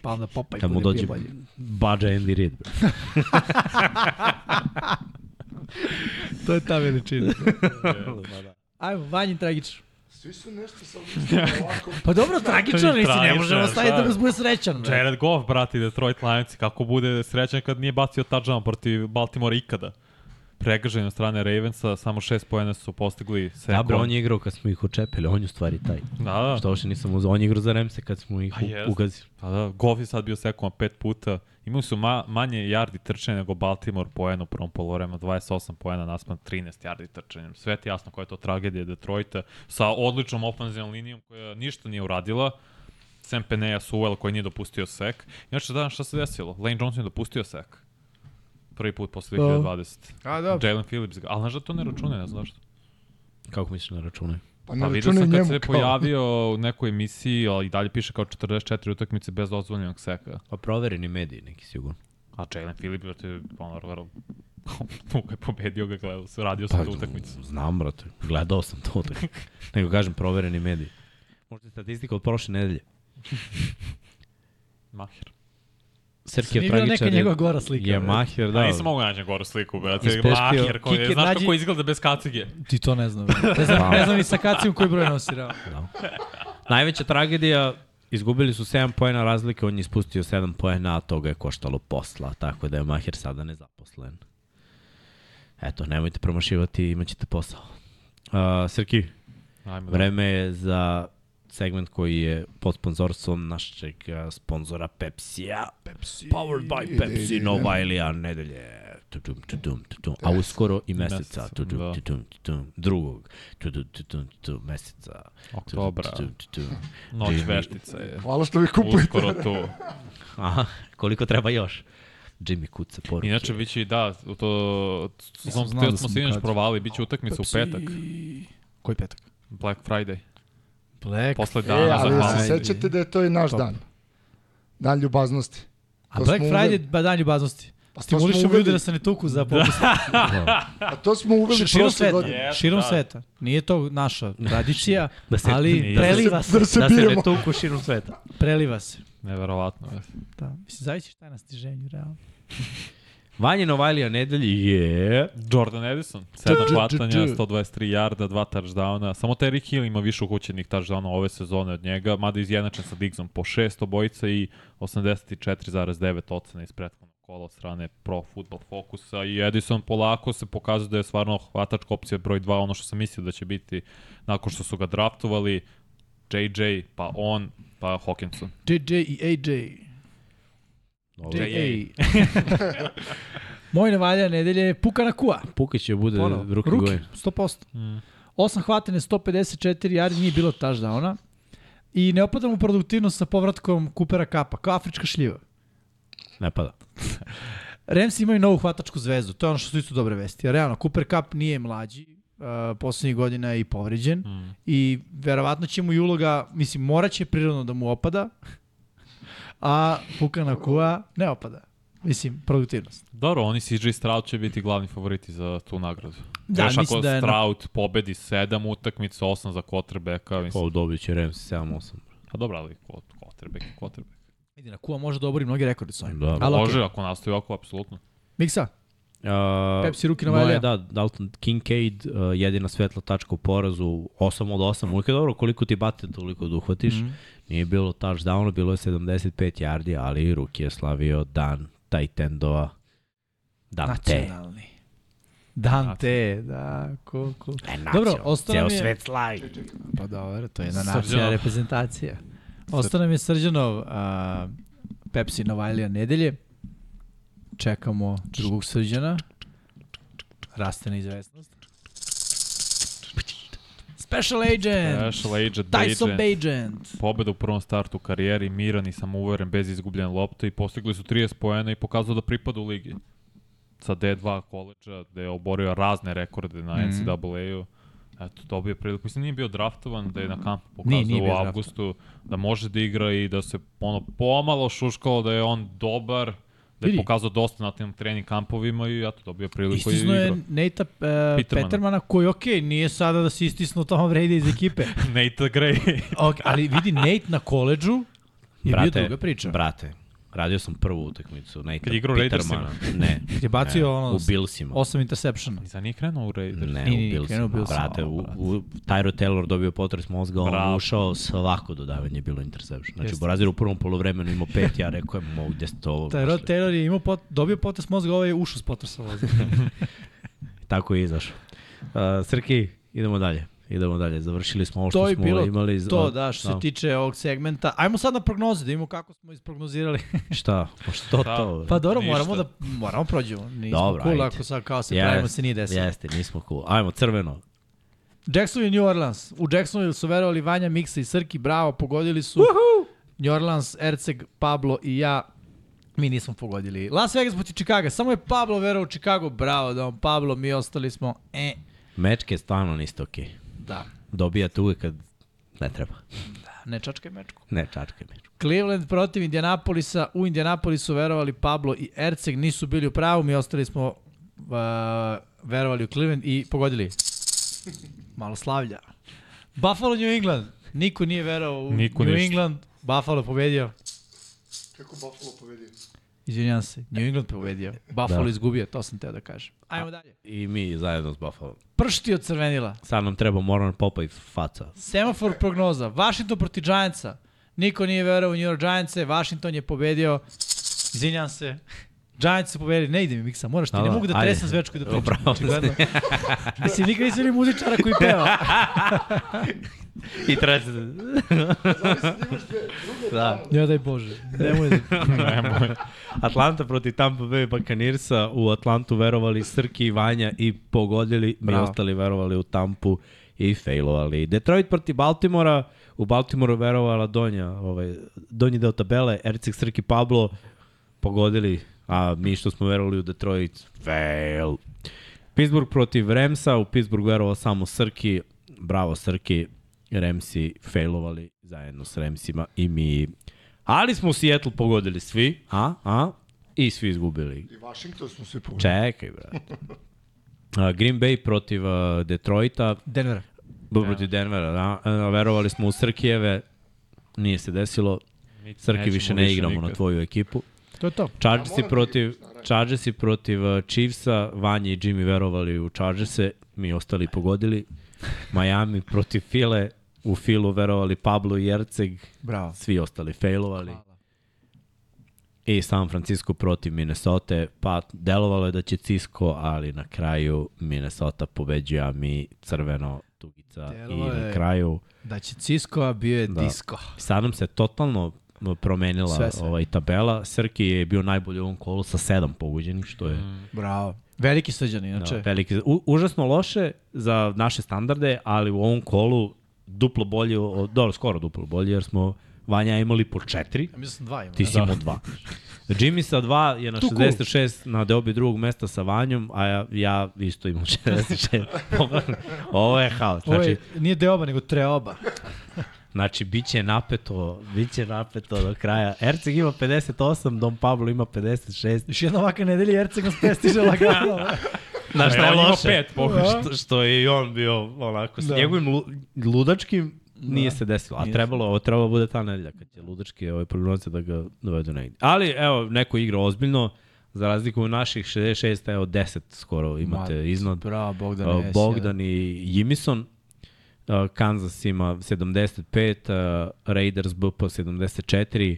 Speaker 3: Pa onda Popaj
Speaker 2: Kad mu
Speaker 3: bude
Speaker 2: dođe
Speaker 3: bio bolje.
Speaker 2: Bađa Andy Reid. bro.
Speaker 3: To je ta veličina. Ajmo, Vanjin tragičan.
Speaker 5: Svi su nešto sa ovako...
Speaker 3: Pa dobro, tragičan nisi, ne
Speaker 4: Tragičan,
Speaker 3: možemo staviti da
Speaker 4: šta?
Speaker 3: nas bude srećan. bre.
Speaker 4: Jared Goff, brati, Detroit Lions, kako bude srećan kad nije bacio touchdown protiv Baltimora ikada. Pregažen od strane Ravensa, samo šest pojena su postigli.
Speaker 2: Da, bro, on
Speaker 4: je...
Speaker 2: je igrao kad smo ih očepili, on je u stvari taj.
Speaker 4: Da, da.
Speaker 2: Što uopšte nisam uzao, on je igrao za Remse kad smo ih
Speaker 4: Pa
Speaker 2: u-
Speaker 4: jest.
Speaker 2: ugazili.
Speaker 4: Pa da, Goff je sad bio sekovan pet puta. Imali su ma, manje yardi trčanja nego Baltimore poena u prvom polovremenu, 28 poena naspram 13 yardi trčanjem. Sve ti jasno koja je to tragedija Detroita sa odličnom ofenzivnom linijom koja ništa nije uradila. Sam Peneja Suvel koji nije dopustio sek. Inače, da, šta se desilo? Lane Johnson je dopustio sek. Prvi put posle
Speaker 3: Da.
Speaker 4: 2020.
Speaker 3: A,
Speaker 4: Jalen Phillips ga, ali znaš da to ne računa, ne znam zašto.
Speaker 2: Kako misliš na račune?
Speaker 5: Pa ne
Speaker 4: Pa
Speaker 5: pa,
Speaker 4: vidio
Speaker 5: računaj
Speaker 4: sam kad
Speaker 5: njemu
Speaker 4: se
Speaker 5: kao...
Speaker 4: pojavio u nekoj emisiji, ali i dalje piše kao 44 utakmice bez dozvoljenog seka.
Speaker 2: Pa provereni mediji neki sigurno.
Speaker 4: A Jalen Phillips, brate, ono, vrlo, Luka je pobedio ga, gledao se, radio sam pa, tu utakmicu.
Speaker 2: Znam, brate, gledao sam to. Tako. Nego kažem, provereni mediji. Možda je statistika od prošle nedelje.
Speaker 4: Maher.
Speaker 2: Srki
Speaker 3: Sam
Speaker 2: je
Speaker 3: igrao
Speaker 2: tragičan.
Speaker 3: neka
Speaker 2: je-
Speaker 3: njegova gora slika,
Speaker 2: Je
Speaker 3: brate.
Speaker 2: Maher,
Speaker 4: Da,
Speaker 2: da.
Speaker 4: nisam mogu naći goru sliku, brate.
Speaker 2: Ispeškio.
Speaker 4: Maher, koji je,
Speaker 3: Kiker
Speaker 4: znaš
Speaker 3: nađi-
Speaker 4: kako izgleda bez kacige?
Speaker 3: Ti to ne znam. Ne znam, ne znam ni sa kacijom koji broj nosi. realno.
Speaker 2: Najveća tragedija, izgubili su 7 poena razlike, on je ispustio 7 poena, a toga je koštalo posla, tako da je Maher sada nezaposlen. Eto, nemojte promašivati, imaćete posao. Uh, Srki,
Speaker 4: Ajme, da.
Speaker 2: vreme je za segment koji je pod sponzorstvom našeg uh, sponzora Pepsija. Pepsi. Powered by
Speaker 5: Ide,
Speaker 2: Pepsi,
Speaker 5: ide,
Speaker 2: Novajlija, nedelje. Tudum, tudum, tudum. A uskoro i meseca.
Speaker 4: Meseca,
Speaker 2: Tudum,
Speaker 4: da.
Speaker 2: tudum, tudum. Drugog. Tudum, tudum, tudum. Meseca.
Speaker 4: Oktobra.
Speaker 2: Tudum, tudum, tudum.
Speaker 4: Noć
Speaker 2: Jimmy.
Speaker 4: veštica je.
Speaker 5: Hvala što vi kupujete.
Speaker 4: Uskoro tu.
Speaker 2: Aha, koliko treba još? Jimmy kuca poruke.
Speaker 4: Inače, bit će i da, u to... Sam,
Speaker 3: znao
Speaker 4: teo
Speaker 3: da
Speaker 4: smo
Speaker 3: sam
Speaker 4: se inače
Speaker 3: kad-
Speaker 4: provali, bit će utakmica u petak.
Speaker 3: Koji petak?
Speaker 4: Black Friday.
Speaker 3: Black.
Speaker 4: Posle
Speaker 5: E,
Speaker 4: dana za
Speaker 5: ali se
Speaker 4: Halloween.
Speaker 5: sećate da je to i naš dan. Dan ljubaznosti.
Speaker 3: A
Speaker 5: to
Speaker 3: Black
Speaker 5: smo
Speaker 3: Friday,
Speaker 5: uveli.
Speaker 3: ba dan ljubaznosti.
Speaker 5: Pa to smo
Speaker 3: Stimulišemo ljude
Speaker 5: uveli,
Speaker 3: da se ne tuku za popis.
Speaker 5: a to smo uveli
Speaker 3: Širom
Speaker 5: prošle
Speaker 3: sveta.
Speaker 5: godine.
Speaker 3: Širom
Speaker 4: da.
Speaker 3: sveta. Nije to naša tradicija,
Speaker 2: Da se-
Speaker 3: ali
Speaker 2: da se-
Speaker 3: preliva se.
Speaker 5: Da se
Speaker 2: da se ne
Speaker 5: bijemo.
Speaker 2: tuku širom sveta.
Speaker 3: Preliva se.
Speaker 4: Neverovatno. jes.
Speaker 3: Da. Mislim, zavisi šta je na stiženju, realno.
Speaker 2: Vanja Novajlija nedelji je...
Speaker 4: Jordan Edison, 7
Speaker 3: dž,
Speaker 4: hvatanja,
Speaker 3: dž.
Speaker 4: 123 jarda, 2 touchdowna. Samo Terry Hill ima više uhoćenih touchdowna ove sezone od njega, mada je izjednačen sa Diggsom po 6 obojica i 84,9 ocena iz prethodnog kola od strane Pro Football Focusa i Edison polako se pokazuje da je stvarno hvatačka opcija broj 2, ono što sam mislio da će biti nakon što su ga draftovali, JJ, pa on, pa Hawkinson.
Speaker 3: JJ i AJ.
Speaker 2: Dobro.
Speaker 3: JA. Moj nevalja nedelje je Pukana Kua.
Speaker 2: Pukić će bude
Speaker 3: Ponovo.
Speaker 2: ruki,
Speaker 3: Ruki,
Speaker 2: gojen.
Speaker 3: 100%. 8 hvatene, 154 yardi, nije bilo touchdowna. I ne opada mu produktivnost sa povratkom Kupera Kapa, kao afrička šljiva.
Speaker 2: Ne pa da. pada.
Speaker 3: Rams imaju novu hvatačku zvezdu, to je ono što su isto dobre vesti. Realno, Cooper Cup nije mlađi, uh, poslednjih godina je i povređen mm. i verovatno će mu i uloga, mislim, morat će prirodno da mu opada, a Pukana Kua ne opada. Mislim, produktivnost.
Speaker 4: Dobro, oni CJ Stroud će biti glavni favoriti za tu nagradu.
Speaker 3: Da,
Speaker 4: Još
Speaker 3: mislim
Speaker 4: ako
Speaker 3: da je na-
Speaker 4: Stroud pobedi 7 utakmica, 8 za quarterbacka, mislim.
Speaker 2: O, dobit će Rams 7-8.
Speaker 4: A dobro, ali ko- quarterback je quarterback.
Speaker 3: Vidi, na Kua može da obori mnogi rekordi s ovim.
Speaker 2: Da.
Speaker 3: Ali okej.
Speaker 4: Može, ako nastavi ovako, apsolutno.
Speaker 3: Miksa,
Speaker 2: Uh,
Speaker 3: Pepsi ruki na valja.
Speaker 2: Moje, da, Dalton Kincaid, uh, jedina svetla tačka u porazu, 8 od 8, uvijek je dobro, koliko ti bate, toliko da uhvatiš.
Speaker 3: Mhm.
Speaker 2: Mm -hmm. Nije bilo touchdowna, bilo je 75 yardi, ali Ruki je slavio dan Tajtendova. Dan te.
Speaker 3: Nacionalni. Dante, da, cool, cool.
Speaker 2: E, nacional.
Speaker 3: Dobro, ostao
Speaker 2: Ceo
Speaker 3: nam je-
Speaker 2: svet slavi.
Speaker 3: Pa dobro, to je jedna
Speaker 4: Srđanov.
Speaker 3: nacionalna reprezentacija. Ostao nam je Srđanov a, Pepsi Novajlija nedelje. Čekamo drugog Srđana. Raste neizvestnost. Special Agent!
Speaker 4: Special agent,
Speaker 3: E, Tyson
Speaker 4: agent.
Speaker 3: Agent!
Speaker 4: Pobeda u prvom startu u karijeri, miran i samouveren, bez izgubljene lopte i postigli su 30 poena i pokazao da pripada u ligi. Sa D2 koleđa, gde je oborio razne rekorde na NCAA-u. Eto, dobio je priliku. Mislim, nije bio draftovan, da je na kampu pokazao
Speaker 3: Nije, nije bio
Speaker 4: u
Speaker 3: draftovan.
Speaker 4: avgustu da može da igra i da se ono pomalo šuškalo da je on dobar, da je
Speaker 3: Vidi.
Speaker 4: pokazao dosta na tim trening kampovima i eto, dobio je priliku i
Speaker 3: Istisno je
Speaker 4: igrao.
Speaker 3: Nate uh,
Speaker 4: Petermana.
Speaker 3: Petermana koji, ok, nije sada da se istisnu Tom Brady iz ekipe.
Speaker 4: Nate Gray.
Speaker 3: Ok, ali vidi, Nate na koleđu je bio
Speaker 2: Brate,
Speaker 3: druga priča.
Speaker 2: Brate, radio sam prvu utakmicu. Nate
Speaker 4: Kad je igrao u
Speaker 2: Petermana. Ne,
Speaker 3: Je bacio ono
Speaker 2: u Billsima.
Speaker 3: osam interceptiona.
Speaker 4: Zar nije krenuo u Raiders?
Speaker 2: Ne,
Speaker 3: Ni, ni,
Speaker 2: u
Speaker 3: ni,
Speaker 2: Billsima.
Speaker 3: krenuo Billsima.
Speaker 2: Brate, u, u, Tyro Taylor dobio potres mozga, on
Speaker 4: Bravo.
Speaker 2: ušao, svako dodavanje je bilo interception. Znači,
Speaker 3: Jeste.
Speaker 2: Borazir u prvom polovremenu imao pet, ja rekao, mo, gde ste ovo?
Speaker 3: Taj
Speaker 2: našli?"
Speaker 3: Rod Taylor je imao pot, dobio potres mozga, ovaj je ušao s potresa mozga.
Speaker 2: Tako je izašao. Uh, Srki, idemo dalje. Idemo dalje. Završili smo ovo što
Speaker 3: to je
Speaker 2: smo
Speaker 3: bilo
Speaker 2: imali. iz-
Speaker 3: to, da, što
Speaker 2: da.
Speaker 3: se tiče ovog segmenta. Ajmo sad na prognoze, da vidimo kako smo isprognozirali.
Speaker 2: Šta? Pa Što
Speaker 4: Šta?
Speaker 2: to?
Speaker 3: pa dobro,
Speaker 4: Ništa.
Speaker 3: moramo da moramo prođemo. Nismo
Speaker 2: Dobro,
Speaker 3: cool
Speaker 2: ajde.
Speaker 3: ako sad kao se
Speaker 2: Jest,
Speaker 3: pravimo se nije desilo.
Speaker 2: Jeste, nismo cool. Ajmo, crveno.
Speaker 3: Jacksonville i New Orleans. U Jacksonville su verovali Vanja, Miksa i Srki, bravo, pogodili su. Uhu! New Orleans, Erceg, Pablo i ja, mi nismo pogodili. Las Vegas protiv Chicago, samo je Pablo verao u Chicago, bravo, da on Pablo, mi ostali smo, e,
Speaker 2: Mečke stvarno niste okej.
Speaker 3: da,
Speaker 2: Dobijate uvek kad ne treba.
Speaker 3: ne čačkaj mečku.
Speaker 2: Ne, čačkaj mečku.
Speaker 3: Cleveland protiv Indianapolisa, u Indianapolisu verovali Pablo i Erceg, nisu bili u pravu, mi ostali smo uh, verovali u Cleveland i pogodili. Malo slavlja. Buffalo New England, niko nije verovao u
Speaker 4: Niko
Speaker 3: New
Speaker 4: ništa.
Speaker 3: England, Buffalo pobedio.
Speaker 5: Kako Buffalo pobedio?
Speaker 3: Izvinjam se, New England pobedio. Buffalo
Speaker 2: Da.
Speaker 3: da. izgubio, to sam teo da kažem. Ajmo dalje.
Speaker 2: I mi zajedno s Buffalo.
Speaker 3: Pršti od crvenila.
Speaker 2: Sad nam treba Moran Popa i faca.
Speaker 3: Semafor prognoza. Washington proti Giantsa. Niko nije verao u New York Giantse. Washington je pobedio. Izvinjam se. Giants su pobedili. Ne ide mi miksa, moraš ti.
Speaker 2: Da,
Speaker 3: Ne
Speaker 2: da,
Speaker 3: mogu da
Speaker 2: ajde.
Speaker 3: tresam zvečku i da pričam.
Speaker 2: Upravo si.
Speaker 3: Očigledno. Mislim, nikad nisi vidio muzičara koji peva.
Speaker 2: I trese. da.
Speaker 3: Ja daj Bože. Nemoj da...
Speaker 4: Nemoj.
Speaker 2: Atlanta proti Tampa Bay Buccaneersa. U Atlantu verovali Srki i Vanja i pogodili. Mi
Speaker 3: Bravo.
Speaker 2: ostali verovali u Tampu i failovali. Detroit proti Baltimora. U Baltimoru verovala Donja, ovaj, donji deo tabele, Ercik Srki Pablo pogodili, a mi što smo verovali u Detroit, fail. Pittsburgh protiv Remsa, u Pittsburghu verovao samo Srki, bravo Srki, Remsi failovali zajedno s Remsima i mi. Ali smo u Seattle pogodili svi, a, a, I svi izgubili.
Speaker 5: I Washington smo svi pogledali.
Speaker 2: Čekaj, brate. A, Green Bay protiv uh, Detroita,
Speaker 3: Denvera.
Speaker 2: Bo protiv Denvera, da. A, Verovali smo u Srkijeve, nije se desilo. Srki
Speaker 4: nećemo
Speaker 2: više ne
Speaker 4: više
Speaker 2: igramo na
Speaker 4: nikad.
Speaker 2: tvoju ekipu.
Speaker 3: To je to.
Speaker 2: Chargersi
Speaker 5: moram
Speaker 2: protiv,
Speaker 5: Chiefs, naravno.
Speaker 2: Chargersi protiv uh, Chiefsa, Vanja i Jimmy verovali u Chargerse, mi ostali pogodili. Miami protiv File, u Filu verovali Pablo i Jerceg,
Speaker 3: Bravo.
Speaker 2: svi ostali failovali. I San Francisco protiv Minnesota, pa delovalo je da će Cisco, ali na kraju Minnesota pobeđuje, a mi crveno tugica
Speaker 3: Delovalo
Speaker 2: i na
Speaker 3: je.
Speaker 2: kraju.
Speaker 3: Da će Cisco, a bio je
Speaker 2: Da.
Speaker 3: da. Disco.
Speaker 2: Sad nam se totalno promenila
Speaker 3: Sve, sve.
Speaker 2: ovaj tabela. Srki je bio najbolji u ovom kolu sa sedam pogođenih, što je
Speaker 3: Mm. Bravo. Veliki srđan, inače.
Speaker 2: Da, veliki, u, užasno loše za naše standarde, ali u ovom kolu duplo bolje, od- dobro, skoro duplo bolje, jer smo Vanja imali po četiri,
Speaker 3: Ja mislim dva ima. da.
Speaker 2: ti si imao dva. Jimmy sa dva je na 66 na deobi drugog mesta sa Vanjom, a ja, ja isto imam 66. Ovo- Ovo je haos.
Speaker 3: Ovo
Speaker 2: Znači,
Speaker 3: je, nije deoba, nego treoba.
Speaker 2: znači bit će napeto, bit će napeto do kraja. Erceg ima 58, Dom Pablo ima 56.
Speaker 3: Još jedna ovakva nedelja, Erceg nas prestiže lagano.
Speaker 2: Znaš šta je
Speaker 4: on ima
Speaker 2: loše?
Speaker 4: pet pokušaja.
Speaker 2: što, što je i on bio onako, sa
Speaker 3: Da.
Speaker 2: njegovim lu, ludačkim nije se desilo. A
Speaker 3: Nije
Speaker 2: trebalo, ovo trebalo da bude ta nedelja kad će ludački ovaj prognoze da ga dovedu negdje. Ali evo, neko igra ozbiljno, za razliku od naših 66, evo 10 skoro imate
Speaker 3: Ma,
Speaker 2: iznad.
Speaker 3: Bravo, Bogdan.
Speaker 2: Uh, Bogdan i Jimison. Uh, Kansas ima 75, uh, Raiders BP 74,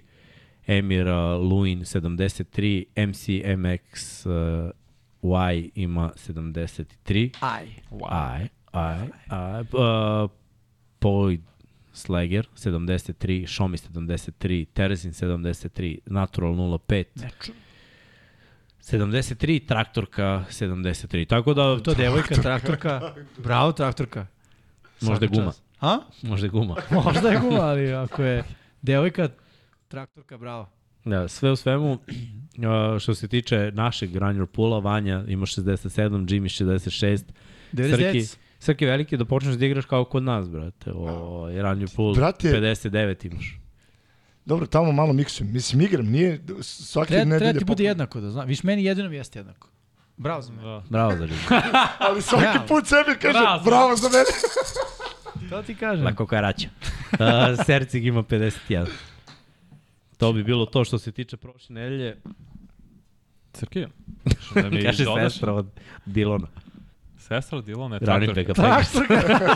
Speaker 2: Emir uh, Luin 73, MCMX uh, Y ima 73.
Speaker 3: Aj.
Speaker 2: Aj, aj, aj. Uh, Poid Slager 73, Šomi 73, Terezin 73, Natural 05. Neču. 73, Traktorka 73. Tako da,
Speaker 3: To devojka, traktorka. Bravo, traktorka.
Speaker 2: možda je
Speaker 3: Svaka
Speaker 2: guma.
Speaker 3: čast. Ha?
Speaker 2: Možda je guma.
Speaker 3: Možda je guma, ali ako je devojka, traktorka, bravo.
Speaker 2: Da, sve u svemu, uh, što se tiče našeg Granjor Pula, Vanja ima 67, Jimmy 66,
Speaker 3: 99.
Speaker 2: Srki, Srki veliki da počneš da igraš kao kod nas, brate. O, Ranjor Pul,
Speaker 5: Brate-
Speaker 2: 59 imaš.
Speaker 5: Dobro, tamo malo miksujem. Mislim, igram, nije svaki
Speaker 3: Treba,
Speaker 5: nedelje...
Speaker 3: treba ti bude jednako da znam. Viš, meni jedinom jeste jednako. Bravo za mene.
Speaker 4: Da.
Speaker 2: Bravo za Jimmy.
Speaker 5: Ali svaki
Speaker 3: Bravo.
Speaker 5: put sebi kaže, bravo,
Speaker 4: Bravo.
Speaker 5: za mene.
Speaker 3: To ti kažem.
Speaker 2: Na kokaraća. Uh, Sercik ima 51. To bi bilo to što se tiče prošle nedelje.
Speaker 4: Crkija. Što da mi
Speaker 2: Kaže
Speaker 4: dodaš?
Speaker 2: sestra od Dilona.
Speaker 4: Sestra Dilone,
Speaker 2: Running
Speaker 4: traktor.
Speaker 2: backa.
Speaker 3: Traktorka.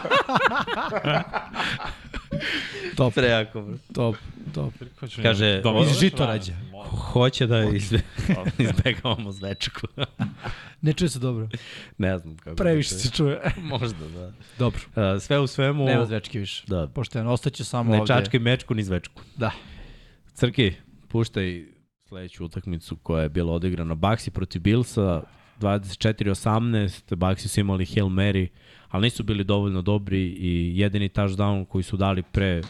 Speaker 2: Top. Prejako, bro.
Speaker 3: top, top.
Speaker 2: Kaže,
Speaker 4: Dobro,
Speaker 3: iz žito
Speaker 4: dobro.
Speaker 3: rađa.
Speaker 2: Hoće da izbe... izbegavamo zvečku.
Speaker 3: Ne čuje se dobro.
Speaker 2: ne znam kako.
Speaker 3: Previše
Speaker 2: da
Speaker 3: se čuje.
Speaker 2: čuje. Možda, da.
Speaker 3: Dobro.
Speaker 2: Uh, sve u svemu,
Speaker 3: Nema zvečke više.
Speaker 2: da,
Speaker 3: Pošteno, ostaće samo
Speaker 2: ne
Speaker 3: ovdje.
Speaker 2: čačke mečku ni zvečku.
Speaker 3: Da.
Speaker 2: Crki, puštaj sledeću utakmicu koja je bila odigrana. Baxi protiv Bilsa, 24-18, Baxi su imali Hail Mary, ali nisu bili dovoljno dobri i jedini touchdown koji su dali pre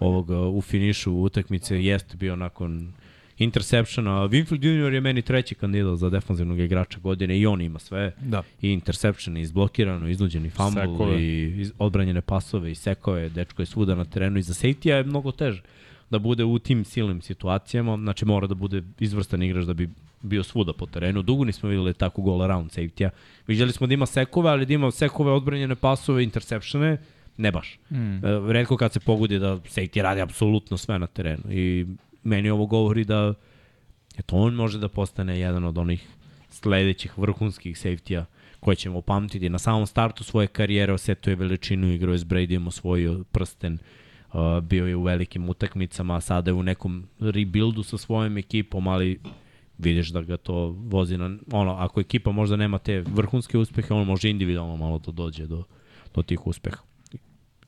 Speaker 2: ovog uh, u finišu utakmice jeste bio nakon interceptiona. Winfield Junior je meni treći kandidat za defanzivnog igrača godine i on ima sve.
Speaker 3: Da.
Speaker 2: I interception, i izblokirano, iznuđeni fumble,
Speaker 4: Sekove.
Speaker 2: i iz, odbranjene pasove, i sekove, dečko je svuda na terenu i za safety je mnogo teže da bude u tim silnim situacijama, znači mora da bude izvrstan igrač da bi bio svuda po terenu. Dugo nismo videli tako goal around safety-a. Viđali smo da ima sekove, ali da ima sekove, odbranjene pasove, interceptione, ne baš. Mm. Redko kad se pogodi da safety radi apsolutno sve na terenu i meni ovo govori da Eto, on može da postane jedan od onih sledećih vrhunskih safety-a koje ćemo pamtiti. Na samom startu svoje karijere osetio je veličinu, igrao je s Bradyom, osvojio prsten, uh, bio je u velikim utakmicama, a sada je u nekom rebuildu sa svojom ekipom, ali vidiš da ga to vozi na... Ono, ako ekipa možda nema te vrhunske uspehe, on može individualno malo to dođe do, do tih uspeha.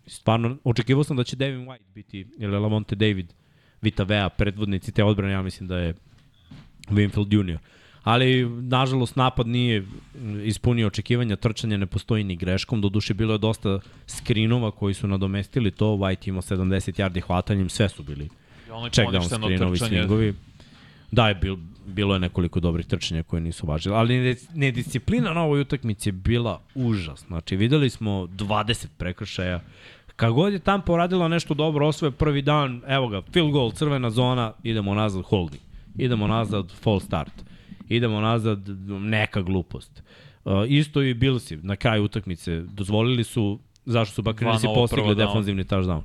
Speaker 2: Stvarno, očekivao sam da će Devin White biti, ili Lamonte David, Vita Vea, predvodnici te odbrane, ja mislim da je Winfield Junior. Ali, nažalost, napad nije ispunio očekivanja, trčanje ne postoji ni greškom, doduše bilo je dosta skrinova koji su nadomestili to, White imao 70 yardi hvatanjem, sve su bili
Speaker 4: I ono je
Speaker 2: checkdown
Speaker 4: poništeno
Speaker 2: skrinovi,
Speaker 4: trčanje.
Speaker 2: swingovi. Da, je bil, bilo je nekoliko dobrih trčanja koje nisu važile, ali nedis- nedisciplina na ovoj utakmici je bila užas. Znači, videli smo 20 prekršaja. Kad god je Tampa uradila nešto dobro, osvoje prvi dan, evo ga, field goal, crvena zona, idemo nazad, holding. idemo nazad, fall start. Idemo nazad, neka glupost. Uh, isto i Bilsi, na kraju utakmice, dozvolili su, zašto su Bakrinisi
Speaker 4: Dva nova
Speaker 2: postigli
Speaker 4: prva down.
Speaker 2: defanzivni touchdown.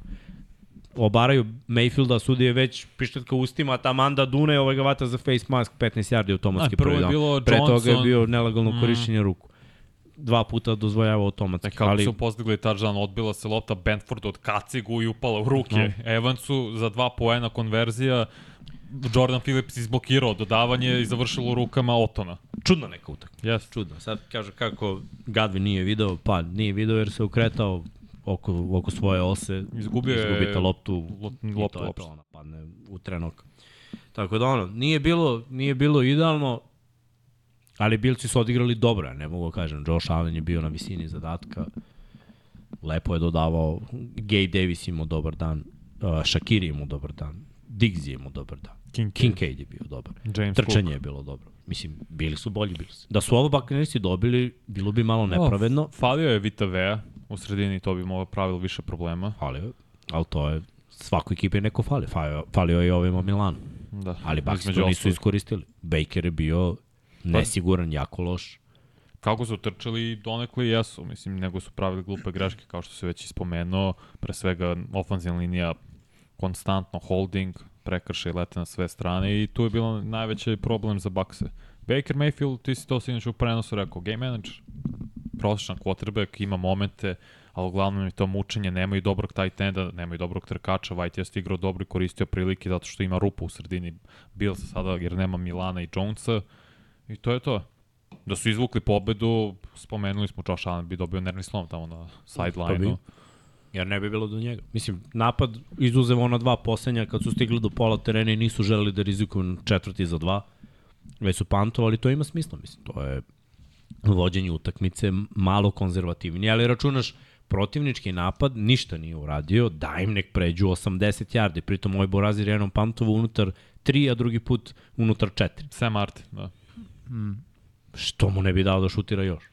Speaker 2: Obaraju Mayfielda, sudi je već pištetka u ustima, ta manda dune, ovaj ga vata za face mask, 15 yardi automatski
Speaker 4: A, prvo je
Speaker 2: prvi down.
Speaker 4: bilo
Speaker 2: Pre toga je
Speaker 4: Johnson.
Speaker 2: bio nelegalno
Speaker 4: Mm.
Speaker 2: korišćenje ruku. Dva puta dozvojava automatski.
Speaker 4: E, kako
Speaker 2: ali...
Speaker 4: ali... su postigli touchdown, odbila se lopta Benfordu od kacigu i upala u ruke.
Speaker 2: No.
Speaker 4: Evansu za dva poena konverzija, Jordan Phillips izblokirao dodavanje i završilo u rukama Otona.
Speaker 2: čudna neka utakmica.
Speaker 4: Yes.
Speaker 2: Čudno. Sad kažu kako Gadvin nije video, pa nije video jer se ukretao oko, oko svoje ose.
Speaker 4: Izgubio je
Speaker 2: Izgubite loptu.
Speaker 4: lop-
Speaker 2: i
Speaker 4: loptu
Speaker 2: to je to,
Speaker 4: uopšte.
Speaker 2: ona padne u trenok. Tako da ono, nije bilo, nije bilo idealno, ali Bilci su odigrali dobro, ja ne mogu da kažem. Josh Allen je bio na visini zadatka. Lepo je dodavao. Gay Davis imao dobar dan. Uh, Shakiri imao dobar dan. Diggs je imao dobar dan.
Speaker 4: Kincaid.
Speaker 2: Kincaid je bio dobar.
Speaker 4: James
Speaker 2: Trčanje je bilo dobro. Mislim, bili su bolji bili su. Da su ovo Buccaneersi dobili, bilo bi malo nepravedno,
Speaker 4: Falio je Vita Vea u sredini, to bi mo pravilo više problema.
Speaker 2: falio je, ali to je, svakoj ekipi je neko falio. Falio, falio je i ovima Milanu.
Speaker 4: Da.
Speaker 2: Ali Bucks
Speaker 4: Između
Speaker 2: to nisu
Speaker 4: ostalog.
Speaker 2: iskoristili. Baker je bio nesiguran, jako loš.
Speaker 4: Kako su trčali, donekle jesu, mislim, nego su pravili glupe greške, kao što se već ispomenuo, pre svega ofanzivna linija konstantno holding, prekrše i lete na sve strane i tu je bilo najveći problem za Bakse. Baker Mayfield, ti si to sinoć u prenosu rekao, game manager, prosječan quarterback, ima momente, ali uglavnom je to mučenje, nemaju dobrog tight enda, nemaju dobrog trkača, White je stigrao dobro i koristio prilike zato što ima rupu u sredini Bilsa sada jer nema Milana i Jonesa i to je to. Da su izvukli pobedu, spomenuli smo Josh Allen bi dobio nervni slom tamo na sideline-u.
Speaker 2: Jer ne bi bilo do njega. Mislim, napad izuzev ona dva posljednja kad su stigli do pola terena i nisu želeli da rizikuju na četvrti za dva. Već su pantovali, to ima smisla. Mislim, to je vođenje utakmice malo konzervativnije, ali računaš protivnički napad, ništa nije uradio, daj im nek pređu 80 yardi, pritom ovaj Borazir jednom pantovu unutar 3, a drugi put unutar 4
Speaker 4: Sam Martin, da.
Speaker 2: što mu ne bi dao da šutira još?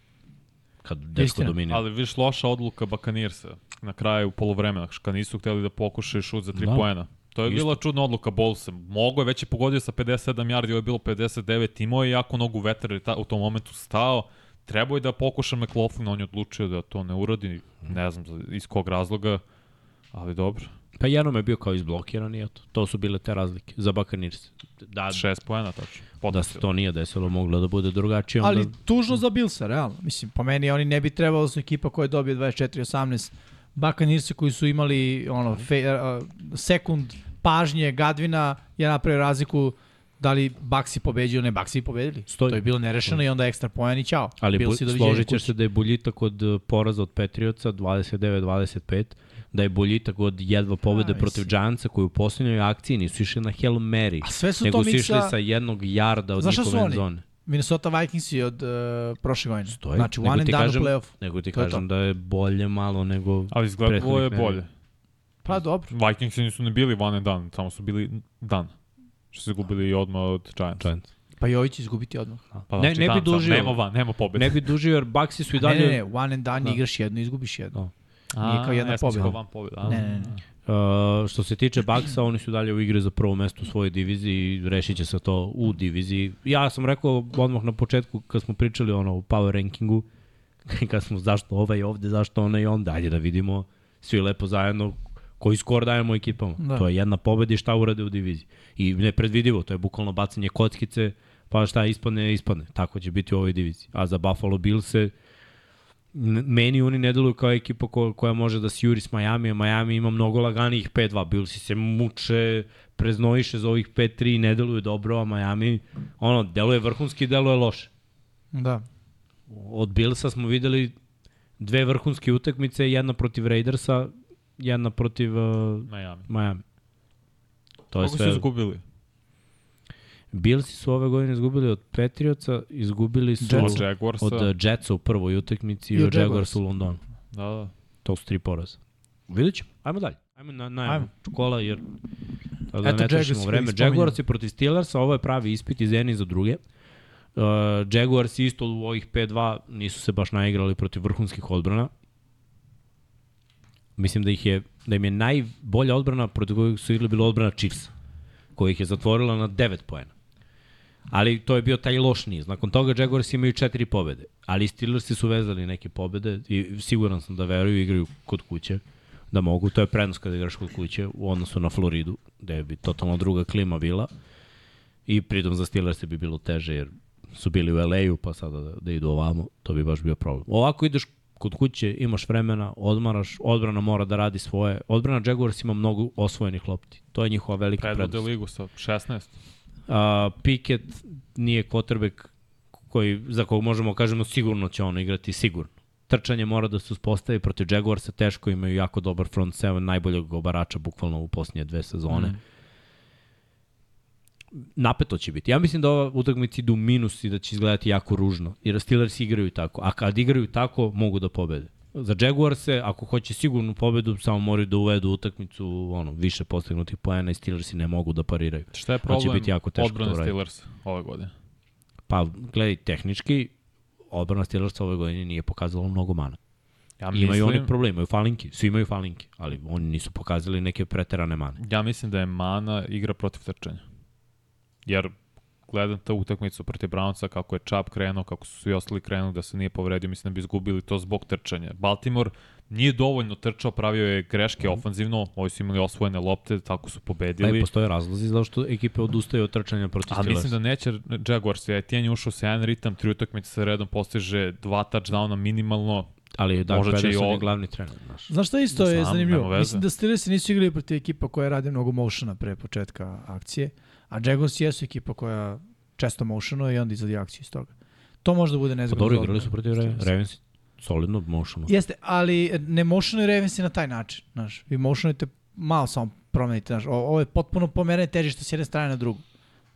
Speaker 2: Kad dečko
Speaker 3: Istina.
Speaker 2: dominira.
Speaker 4: Ali viš loša odluka Bakanirsa na kraju polovremena, kad nisu hteli da pokušaju šut za 3
Speaker 2: Da.
Speaker 4: da. poena. To je
Speaker 2: Isto.
Speaker 4: bila čudna odluka Bolsa. Mogo je, već je pogodio sa 57 yardi, ovo je bilo 59, imao je jako nogu vetra jer je ta, u tom momentu stao. Trebao je da pokuša McLaughlin, on je odlučio da to ne uradi, ne znam za- iz kog razloga, ali dobro.
Speaker 2: Pa jednom je bio kao izblokiran i eto, to su bile te razlike za Bakanirse. Da,
Speaker 4: 6 poena tačno.
Speaker 2: da se to nije desilo, moglo da bude drugačije. Onda...
Speaker 3: Ali tužno za Bilsa, realno. Mislim, po meni oni ne bi trebalo da su ekipa koja je dobio 24-18. Bakanirse koji su imali ono, fe, a, sekund pažnje Gadvina je napravio razliku da li Baksi pobeđio, ne Baksi pobedili.
Speaker 2: Stoji.
Speaker 3: To je bilo nerešeno i onda ekstra poen i ćao.
Speaker 2: Ali bu,
Speaker 3: Bilsi doviđenja
Speaker 2: složit ćeš
Speaker 3: kući.
Speaker 2: se da je buljitak od uh, poraza od Patriotsa 29-25, da je buljitak od jedva pobede
Speaker 3: A,
Speaker 2: protiv
Speaker 3: mislim.
Speaker 2: Giantsa koji u posljednjoj akciji nisu išli na Hail Mary,
Speaker 3: A sve su
Speaker 2: nego
Speaker 3: to
Speaker 2: su išli
Speaker 3: miksa...
Speaker 2: sa jednog jarda od
Speaker 3: Zašto su
Speaker 2: njihove
Speaker 3: oni?
Speaker 2: zone.
Speaker 3: Minnesota Vikingsi od uh, prošle godine.
Speaker 2: Stoji.
Speaker 3: Znači,
Speaker 2: Nego
Speaker 3: one and
Speaker 2: ti
Speaker 3: done
Speaker 2: kažem-
Speaker 3: u playoff.
Speaker 2: Nego ti
Speaker 3: To je to.
Speaker 2: kažem da je bolje malo nego...
Speaker 4: Ali izgledalo je
Speaker 2: prethodnih nedelja.
Speaker 4: bolje.
Speaker 3: Pa dobro.
Speaker 4: Vikingsi nisu ne bili one and done, samo su bili dan. Što su gubili i odmah od Giants.
Speaker 2: Giants.
Speaker 3: Pa i ovi će izgubiti odmah.
Speaker 4: Pa
Speaker 2: Ne-
Speaker 4: znači
Speaker 2: ne bi
Speaker 4: dan sam,
Speaker 2: dužio.
Speaker 4: Nema van, nema pobjede.
Speaker 2: Ne bi dužio jer Baksi su i
Speaker 3: A Ne,
Speaker 2: dalje... Da.
Speaker 3: ne, ne, one and done
Speaker 4: Da.
Speaker 3: igraš jedno, izgubiš jedno.
Speaker 4: A,
Speaker 3: Nije kao jedna
Speaker 4: ja sam mislio
Speaker 3: pobjeda.
Speaker 4: van pobjeda. a.
Speaker 3: Ne, ne, ne.
Speaker 2: Uh, što se tiče Baksa, oni su dalje u igri za prvo mesto u svojoj diviziji i rešit će se to u diviziji. Ja sam rekao odmah na početku kad smo pričali ono o power rankingu, kad smo zašto ovaj ovde, zašto onaj onda, ajde da vidimo svi lepo zajedno koji skor dajemo ekipama. Da.
Speaker 3: Da.
Speaker 2: To je jedna pobeda i šta urade u diviziji. I nepredvidivo, to je bukvalno bacanje kockice, pa šta ispadne, ispadne. Tako će biti u ovoj diviziji. A za Buffalo Bills se N- meni oni ne deluju kao ekipa ko, koja može da se juri s Miami, a Miami ima mnogo laganijih 5-2. Bilsi se muče, preznojiše za ovih 5-3 i ne deluju dobro, a Miami, ono, deluje vrhunski, deluje loše.
Speaker 3: Da.
Speaker 2: Od Bilsa smo videli dve vrhunske utakmice, jedna protiv Raidersa, jedna protiv uh,
Speaker 4: Miami.
Speaker 2: Miami. To je
Speaker 4: Kako su
Speaker 2: sve.
Speaker 4: izgubili?
Speaker 2: Bilsi su ove godine izgubili od Patriotsa, izgubili su
Speaker 4: Od
Speaker 2: od,
Speaker 4: Jaguarsa.
Speaker 2: od uh, Jetsa u prvoj utakmici i od Jaguarsa u Londonu.
Speaker 4: Da, da.
Speaker 2: To su tri poraza. Vidjet ćemo. Ajmo dalje. Ajmo na, na Ajmo.
Speaker 3: Ajmo.
Speaker 2: kola jer da
Speaker 3: Eto,
Speaker 2: ne trošimo
Speaker 3: Jaguars
Speaker 2: vreme.
Speaker 3: već spominjali.
Speaker 2: Jaguars je protiv Steelers, a ovo je pravi ispit iz jedni za druge. Uh, Jaguars isto u ovih 5-2 nisu se baš naigrali protiv vrhunskih odbrana. Mislim da ih je da im je najbolja odbrana protiv kojih su igrali bila odbrana Chiefs, koja ih je zatvorila na 9 poena. Ali to je bio taj loš niz. Nakon toga Jaguars imaju četiri pobede. Ali Steelersi su vezali neke pobede i siguran sam da veruju igraju kod kuće. Da mogu. To je prednost kada igraš kod kuće u odnosu na Floridu, gde bi totalno druga klima bila. I pritom za Steelersi bi bilo teže jer su bili u LA-u pa sada da, da idu ovamo, to bi baš bio problem. Ovako ideš kod kuće, imaš vremena, odmaraš, odbrana mora da radi svoje. Odbrana Jaguars ima mnogo osvojenih lopti. To je njihova velika prednost.
Speaker 4: Predvode ligu sa 16.
Speaker 2: A, Piket nije kotrbek koji, za kog možemo kažemo sigurno će on igrati sigurno. Trčanje mora da se uspostavi protiv Jaguarsa, teško imaju jako dobar front seven, najboljeg obarača bukvalno u posljednje dve sezone. Mm. Napeto će biti. Ja mislim da ova utakmica idu u minus i da će izgledati jako ružno. Jer Steelers igraju tako. A kad igraju tako, mogu da pobede. Za Jaguarse, ako hoće sigurnu pobedu, samo moraju da uvedu utakmicu ono, više postignutih poena i Steelersi ne mogu da pariraju.
Speaker 4: Šta je
Speaker 2: To će
Speaker 4: problem
Speaker 2: biti jako teško
Speaker 4: odbrane
Speaker 2: to uraditi.
Speaker 4: Steelers ove godine?
Speaker 2: Pa, gledaj, tehnički, odbrana Steelersa ove godine nije pokazala mnogo mana.
Speaker 4: Ja
Speaker 2: Imaju
Speaker 4: mislim,
Speaker 2: oni probleme, imaju falinki, svi imaju falinki, ali oni nisu pokazali neke preterane mane.
Speaker 4: ja mislim da je mana igra protiv trčanja. Jer gledam ta utakmicu protiv Brownsa, kako je Čap krenuo, kako su svi ostali krenuli, da se nije povredio, mislim da bi izgubili to zbog trčanja. Baltimore nije dovoljno trčao, pravio je greške
Speaker 2: Mhm.
Speaker 4: mm. ofanzivno, ovi su imali osvojene lopte, tako su pobedili.
Speaker 2: Ne, postoje razlozi zašto ekipe odustaju od trčanja protiv
Speaker 4: A
Speaker 2: Steelersa.
Speaker 4: mislim da neće Jaguars, jer Etienne je ušao sa jedan ritam, tri utakmice sa redom, postiže dva touchdowna minimalno.
Speaker 2: ali Doug
Speaker 4: da možda će i
Speaker 2: Pederson je
Speaker 4: ovo-
Speaker 2: glavni trener, znaš.
Speaker 3: Znaš šta isto
Speaker 4: Znam,
Speaker 3: je
Speaker 4: nema
Speaker 3: zanimljivo?
Speaker 4: veze.
Speaker 3: Mislim da Steelersi nisu igrali protiv ekipa koja rade mnogo motiona pre početka akcije, a Jaguars jesu ekipa koja često motionuje i onda izvodi akciju iz toga. To može da bude
Speaker 2: Pa
Speaker 3: nezgodno.
Speaker 2: dobro,
Speaker 3: za
Speaker 2: igrali su
Speaker 3: odbranu
Speaker 2: protiv Ravens.
Speaker 3: Steelersa.
Speaker 2: Ravens solidno, mošano.
Speaker 3: Jeste, ali ne motionuje Ravensi na taj način, znaš. Vi motionujete malo samo promenite, znaš. O- Ovo je potpuno pomeranje težišta s jedne strane na drugu.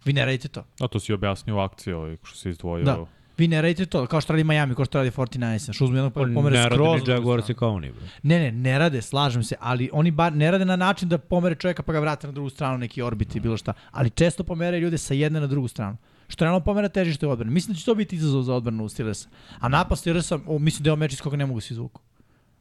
Speaker 3: Vi ne radite to.
Speaker 4: A to si objasnio u akciji ovaj, što se izdvojio.
Speaker 3: Da. Vi ne radite to, kao što radi Miami, kao što radi 49ers, znaš, uzme jednog pa pomere
Speaker 2: ne
Speaker 3: skroz.
Speaker 2: radi ni Jaguars kao oni, bre.
Speaker 3: Ne, ne, ne rade, slažem se, ali oni bar ne rade na način da pomere čovjeka pa ga vrate na drugu stranu neki orbit i bilo šta, ali često pomere ljude sa jedne na drugu stranu. Što realno pomera težište u odbrani. Mislim da će to biti izazov za odbranu Steelersa. A napad Steelersa, o, mislim da je ovo meč iz koga ne mogu se izvuku.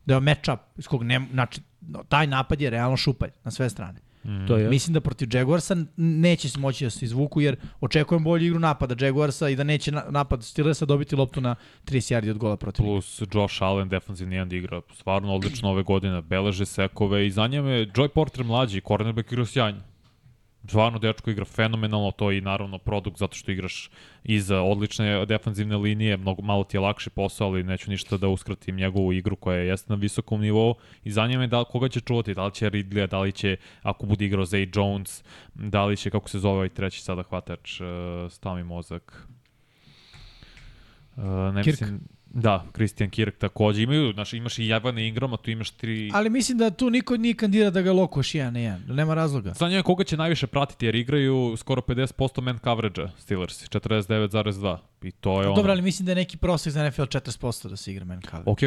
Speaker 3: Da je ovo matchup iz koga ne, znači, no, taj napad je realno šupalj na sve strane.
Speaker 4: Mm.
Speaker 2: To je.
Speaker 3: Mislim da protiv Jaguarsa n- neće se moći da se izvuku jer očekujem bolju igru napada Jaguarsa i da neće na, napad Steelersa dobiti loptu na 30 yardi od gola protiv.
Speaker 4: Plus Josh Allen, defensivni end igra stvarno odlično ove godine, beleže sekove i za njeme je Joy Porter mlađi, cornerback igra sjajno. Stvarno dečko igra fenomenalno, to je i naravno produkt zato što igraš iza odlične defanzivne linije, mnogo, malo ti je lakši posao, ali neću ništa da uskratim njegovu igru koja jeste na visokom nivou i zanima me da, li- koga će čuvati, da li će Ridley, da li će, ako bude igrao Zay Jones, da li će, kako se zove ovaj treći sada hvatač, uh, stavi mozak. Uh, ne
Speaker 3: Kirk.
Speaker 4: mislim, da, Christian Kirk takođe. Imaju, znači imaš i Javana Ingrama, tu imaš tri...
Speaker 3: Ali mislim da tu niko nije kandida da ga lokuješ jedan na jedan. Nema razloga.
Speaker 4: Zanima me koga će najviše pratiti, jer igraju skoro 50% man coverage-a Steelers, 49,2. I to je ono...
Speaker 3: Dobro, ali mislim da je neki prosek za NFL 40% da se igra man cover.
Speaker 4: Ok,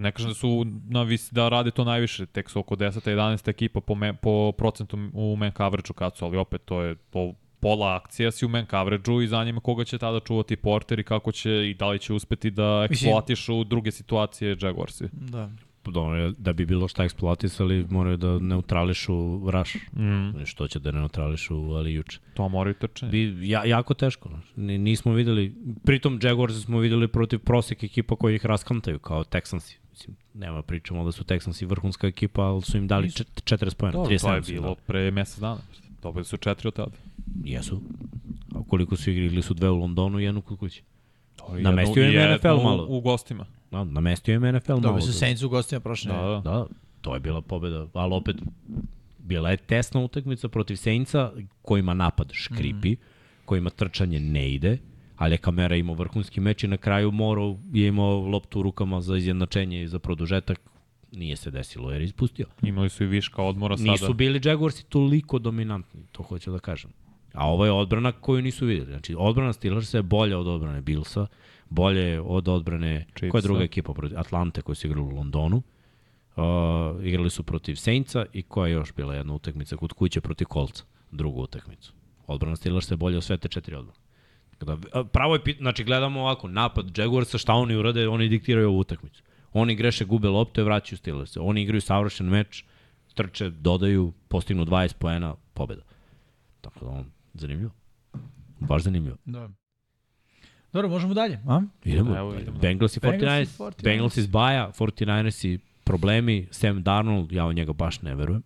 Speaker 4: ne kažem da su na vis, da rade to najviše, tek su oko 10. 11. ekipa po, me, po procentu u man coverage-u kad su, ali opet to je po, pola akcija si u man coverage-u i zanima koga će tada čuvati Porter i kako će i da li će uspeti da
Speaker 3: Mislim-
Speaker 4: eksploatišu druge situacije Jaguarsi.
Speaker 3: Da.
Speaker 2: Dobro, da bi bilo šta eksploatisali, moraju da neutrališu Rush.
Speaker 4: Mm,
Speaker 2: Što će da neutrališu, ali juče.
Speaker 4: to moraju trčanje.
Speaker 2: Bi, ja, jako teško. znaš. Ni- Nismo videli, pritom Jaguars smo videli protiv prosek ekipa koji ih raskantaju, kao Texansi. Mislim, nema pričamo da su Texansi vrhunska ekipa, ali su im dali čet- 40 pojena.
Speaker 4: Dobro,
Speaker 2: 37
Speaker 4: to je
Speaker 2: su im
Speaker 4: bilo
Speaker 2: dali.
Speaker 4: pre mesec dana. Dobili su četiri od tada.
Speaker 2: Jesu. A koliko su igri, igli su dve u Londonu i jednu kod kuće.
Speaker 4: Dobro,
Speaker 2: Namestio im je
Speaker 4: jednu
Speaker 2: NFL malo.
Speaker 4: U, u gostima.
Speaker 2: Na, namestio im NFL malo.
Speaker 3: Dobili su
Speaker 2: da-
Speaker 3: Saints u gostima prošle.
Speaker 4: Da,
Speaker 3: nedelje.
Speaker 4: da.
Speaker 2: Da, to je bila pobeda, ali opet bila je tesna utakmica protiv Saintsa kojima napad škripi, mm. kojima trčanje ne ide, ali je Kamera imao vrhunski meč i na kraju Morov je imao loptu u rukama za izjednačenje i za produžetak. Nije se desilo jer je ispustio.
Speaker 4: Imali su i viška odmora Pa sada.
Speaker 2: Nisu bili Jaguarsi toliko dominantni, to hoću da kažem. A ovo je odbrana koju nisu videli. Znači, odbrana Steelersa je bolja od odbrane Billsa, bolje je od odbrane, Chiefsa. koja je
Speaker 4: Chiefsa.
Speaker 2: druga ekipa protiv Atlante koji su igrali u Londonu. Uh, igrali su protiv Saintsa i koja je još bila jedna utakmica kod kuće protiv Coltsa, drugu utakmicu. Odbrana Steelersa je bolja od sve te četiri odbrane. Kada, a, pravo je pitanje, znači gledamo ovako, napad Jaguarsa, šta oni urade, oni diktiraju ovu utakmicu. Oni greše, gube lopte, vraćaju Steelersa. Oni igraju savršen meč, trče, dodaju, postignu 20 poena, pobeda. Tako da on, zanimljivo. Baš zanimljivo.
Speaker 3: Da. Dobro, možemo dalje, a?
Speaker 2: Idemo.
Speaker 4: Evo, idemo.
Speaker 2: Bengals i
Speaker 3: Bengals i
Speaker 2: 49ers.
Speaker 3: 49ers.
Speaker 2: Bengals iz Baja, 49ers i problemi. Sam Darnold, ja u njega baš ne verujem.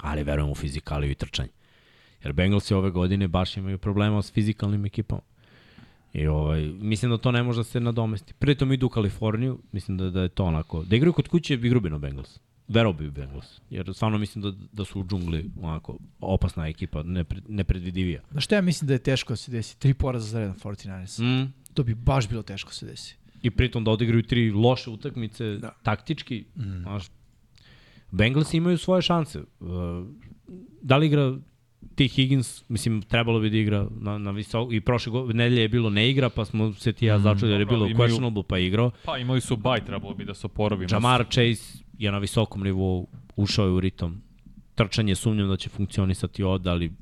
Speaker 2: Ali verujem u fizikaliju i trčanje. Jer Bengalsi ove godine baš imaju problema s fizikalnim ekipama. I ovaj, mislim da to ne može da se nadomesti. Pritom idu u Kaliforniju, mislim da, da je to onako. Da igraju kod kuće, igru bi na Bengals. Verao bi u Bengals. Jer stvarno mislim da, da su u džungli onako opasna ekipa, nepre, nepredvidivija.
Speaker 3: Znaš šta ja mislim da je teško da se desi? Tri poraza za redom 49ers.
Speaker 2: Mm.
Speaker 3: To bi baš bilo teško da se desi.
Speaker 2: i pritom da odigraju tri loše utakmice da. taktički. Mm. Znaš, Bengals imaju svoje šanse. Uh, Da li igra ti Higgins, mislim, trebalo bi da igra na, na visoko, i prošle go, nedelje je bilo ne igra, pa smo se ti i ja začuli jer je
Speaker 4: Mm, dobro,
Speaker 2: bilo
Speaker 4: imaju-
Speaker 2: questionable, pa je igrao.
Speaker 4: Pa imali su baj, trebalo bi da se oporavi.
Speaker 2: Jamar Chase je na visokom nivou, ušao je u ritam. Trčanje sumnjam da će funkcionisati ovde, ali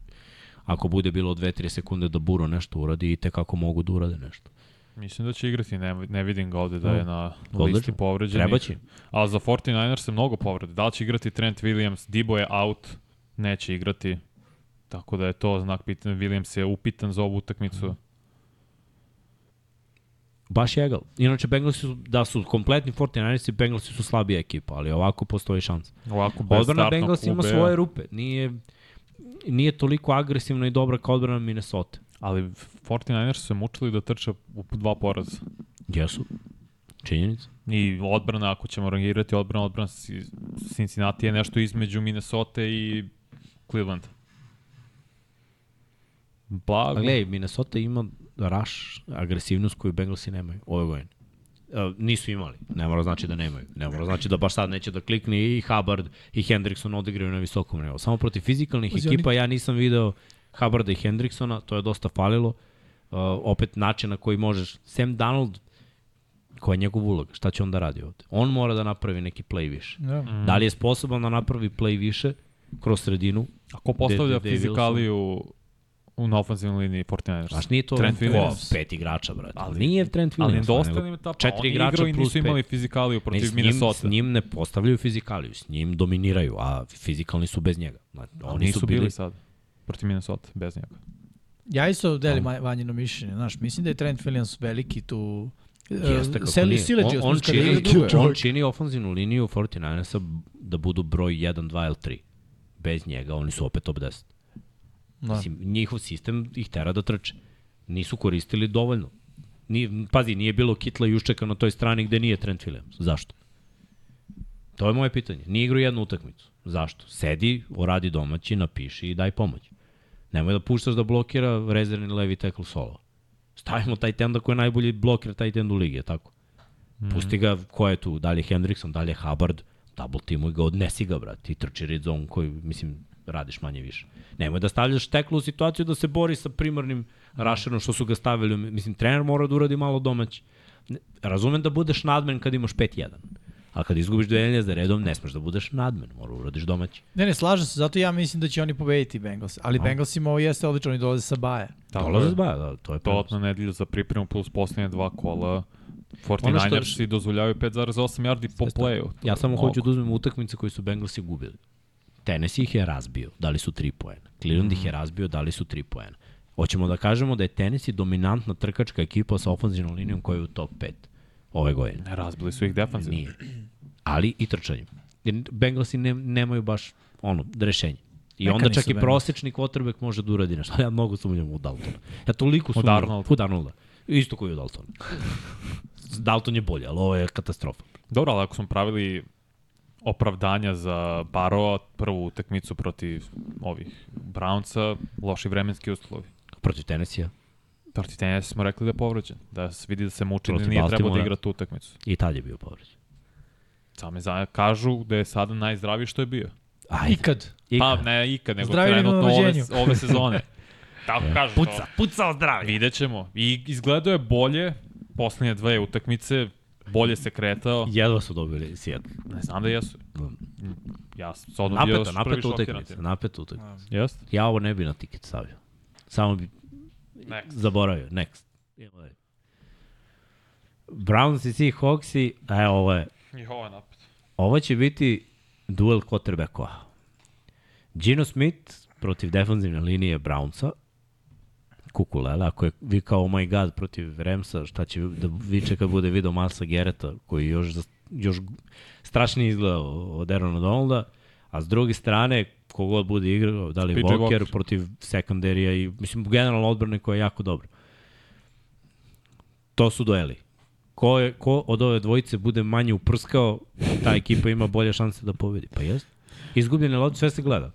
Speaker 2: ako bude bilo 2-3 sekunde da Buro nešto uradi, i tekako mogu da urade nešto.
Speaker 4: Mislim da će igrati, ne, ne vidim ga ovde da je na
Speaker 2: Odlično.
Speaker 4: listi povređenih.
Speaker 2: Treba će.
Speaker 4: A za 49ers je mnogo povreda. Da li će igrati Trent Williams? Dibo je out, neće igrati. Tako da je to znak pitanja. Williams je upitan za ovu
Speaker 2: Mhm.
Speaker 4: utakmicu.
Speaker 2: Baš jegal. Inače, Bengalsi su, da su kompletni 49ersi, Bengalsi su slabija ekipa, ali ovako postoji šans.
Speaker 4: Ovako bez
Speaker 2: Odbrana
Speaker 4: startnog
Speaker 2: Bengalsi ima
Speaker 4: QB-a.
Speaker 2: svoje rupe. Nije, nije toliko agresivna i dobra kao odbrana Minnesota.
Speaker 4: Ali 49ers su se mučili da trče u dva poraza.
Speaker 2: Jesu. Činjenica.
Speaker 4: I odbrana, ako ćemo rangirati odbrana, odbrana Si- Cincinnati je nešto između Minnesota i Cleveland.
Speaker 2: Pa
Speaker 4: Blago.
Speaker 2: gledaj, Minnesota ima raš, agresivnost koju Bengalsi nemaju ove godine. E, nisu imali. Ne mora znači da nemaju. Ne mora znači da baš sad neće da klikne i Hubbard i Hendrickson odigraju na visokom nivou. Samo protiv fizikalnih
Speaker 3: Pazi,
Speaker 2: ekipa ja nisam video Hubbarda i Hendricksona, to je dosta falilo. Uh, opet način na koji možeš. Sam Donald, koja je njegov ulog, šta će on da radi ovde? On mora da napravi neki play više.
Speaker 3: Da.
Speaker 2: Mm. Da li je sposoban da napravi play više kroz sredinu?
Speaker 4: Ako postavlja
Speaker 2: David Wilson.
Speaker 4: fizikaliju u na ofenzivnoj liniji 49ers.
Speaker 2: Znaš, nije to
Speaker 4: Trent
Speaker 2: ko,
Speaker 4: Williams.
Speaker 2: pet igrača, brate. Ali, nije Trent Williams.
Speaker 4: Ali dosta
Speaker 2: nego
Speaker 4: im je ta pa
Speaker 2: četiri
Speaker 4: oni
Speaker 2: igrača
Speaker 4: igraju i
Speaker 2: plus
Speaker 4: nisu imali
Speaker 2: pet.
Speaker 4: fizikaliju
Speaker 2: Ne,
Speaker 4: protiv
Speaker 2: s njim,
Speaker 4: Minnesota.
Speaker 2: s njim ne postavljaju fizikaliju, s njim dominiraju, a fizikalni su bez njega. Znači, oni
Speaker 4: nisu
Speaker 2: su
Speaker 4: bili,
Speaker 2: bili...
Speaker 4: sad protiv Minnesota bez njega.
Speaker 3: Ja isto delim Ma- vanjino mišljenje, znaš, mislim da je Trent Williams veliki tu... e,
Speaker 2: Jeste, kako
Speaker 3: Seli
Speaker 2: nije.
Speaker 3: Sileđi,
Speaker 2: on, on, čini,
Speaker 5: čovjek.
Speaker 2: on čini ofenzivnu liniju 49ersa da budu broj 1, 2 ili 3. Bez njega oni su opet top 10.
Speaker 3: Da.
Speaker 2: Mislim, njihov sistem ih tera da trče. Nisu koristili dovoljno. Ni, pazi, nije bilo kitla juščeka na toj strani gde nije Trent Williams. Zašto? To je moje pitanje. Nije igrao jednu utakmicu. Zašto? Sedi, oradi domaći, napiši i daj pomoć. Nemoj da puštaš da blokira rezervni levi tackle solo. Stavimo taj tenda koji je najbolji blokir taj tend u ligi, je tako? Pusti ga, ko je tu, da li je Hendrickson, da li je Hubbard, double timuj ga, odnesi ga, brate, i trči red zone koju, mislim, radiš manje više. Nemoj da stavljaš teklu u situaciju da se bori sa primarnim rašerom što su ga stavili. Mislim, trener mora da uradi malo domaći. Ne- Razumem da budeš nadmen kad imaš 5-1, ali kad izgubiš duelje za redom, ne smeš da budeš nadmen, mora uradiš domaći.
Speaker 3: Ne, ne, slažem se, zato ja mislim da će oni pobediti Bengals. Ali Bengals im ovo jeste odlično, oni dolaze sa baja.
Speaker 4: Tako
Speaker 2: Dolaze
Speaker 4: je.
Speaker 2: zbaja, da, to je prednost.
Speaker 4: Dodatna nedelja za pripremu plus posljednje dva kola.
Speaker 2: Ono
Speaker 4: 49ers
Speaker 2: što-
Speaker 4: i dozvoljavaju 5,8 yardi po playu. To
Speaker 2: Ja
Speaker 4: je
Speaker 2: samo
Speaker 4: mnogo.
Speaker 2: hoću da uzmem utakmice koje su Bengalsi gubili. Tennessee ih je razbio, dali su 3 poena. Cleveland ih je razbio, dali su 3 poena. Hoćemo da kažemo da je Tennessee dominantna trkačka ekipa sa ofenzivnom linijom koja je u top 5 ove godine.
Speaker 4: Ne, razbili su ih defanzivno.
Speaker 2: Nije. Ali i trčanjem. Jer Bengalsi ne, nemaju baš ono, rešenje. I
Speaker 3: Mekani
Speaker 2: onda čak
Speaker 3: su
Speaker 2: i
Speaker 3: Bengalsi.
Speaker 2: prosečni quarterback može da uradi nešto. Ja mnogo sumnjam u Daltona. Ja toliko sumnjam.
Speaker 4: Darnolda.
Speaker 2: U Darnolda. Isto koji u Daltona. Dalton je bolje, ali ovo je katastrofa.
Speaker 4: Dobro, ali ako smo pravili opravdanja za Baroa, prvu utakmicu protiv ovih Brownca, loši vremenski uslovi.
Speaker 2: Protiv Tennessee
Speaker 4: Protiv Tennessee smo rekli da je povređen, da se vidi da se muči, da
Speaker 2: Protiv
Speaker 4: nije trebao da
Speaker 2: Baltimora.
Speaker 4: igra tu utakmicu.
Speaker 2: i tad je bio povređen.
Speaker 4: Same za, kažu da je sada najzdraviji što je bio.
Speaker 2: Ajde.
Speaker 3: Ikad.
Speaker 4: Pa ne ikad, nego
Speaker 3: Zdravi nego na
Speaker 4: trenutno ove,
Speaker 3: rođenju.
Speaker 4: ove sezone. Tako kažu.
Speaker 2: Da. Puca, pa pucao
Speaker 4: To.
Speaker 2: zdravlje.
Speaker 4: Vidjet ćemo. I izgledao je bolje, posljednje dve utakmice, bolje se kretao.
Speaker 2: Jedva su dobili Seattle.
Speaker 4: Ne znam da jesu. Ja sam se odmah bio
Speaker 2: Napeta,
Speaker 4: još prvi Da.
Speaker 2: napeta
Speaker 4: šokiran.
Speaker 2: utakmica, napeta utakmica.
Speaker 4: Jeste?
Speaker 2: Ja ovo ne bi na tiket stavio. Samo bi
Speaker 4: Next.
Speaker 2: zaboravio. Next. Idemo dalje. Browns i Seahawks i, e, ovo je,
Speaker 4: I ovo je napad.
Speaker 2: ovo će biti duel quarterbackova. Gino Smith protiv defanzivne linije Brownsa kukulele, ako je vi kao oh my god protiv Remsa, šta će da viče kad bude video Masa Gereta, koji još, za- još strašnije izgleda od Aarona Donalda, a s druge strane, kogod bude igrao, da li
Speaker 4: PJ
Speaker 2: Walker,
Speaker 4: Walker.
Speaker 2: protiv sekunderija i, mislim, generalno odbrane koja je jako dobra. To su dueli. Ko, je, ko od ove dvojice bude manje uprskao, ta ekipa ima bolje šanse da pobedi. Pa jest. Izgubljene lopte sve se gleda.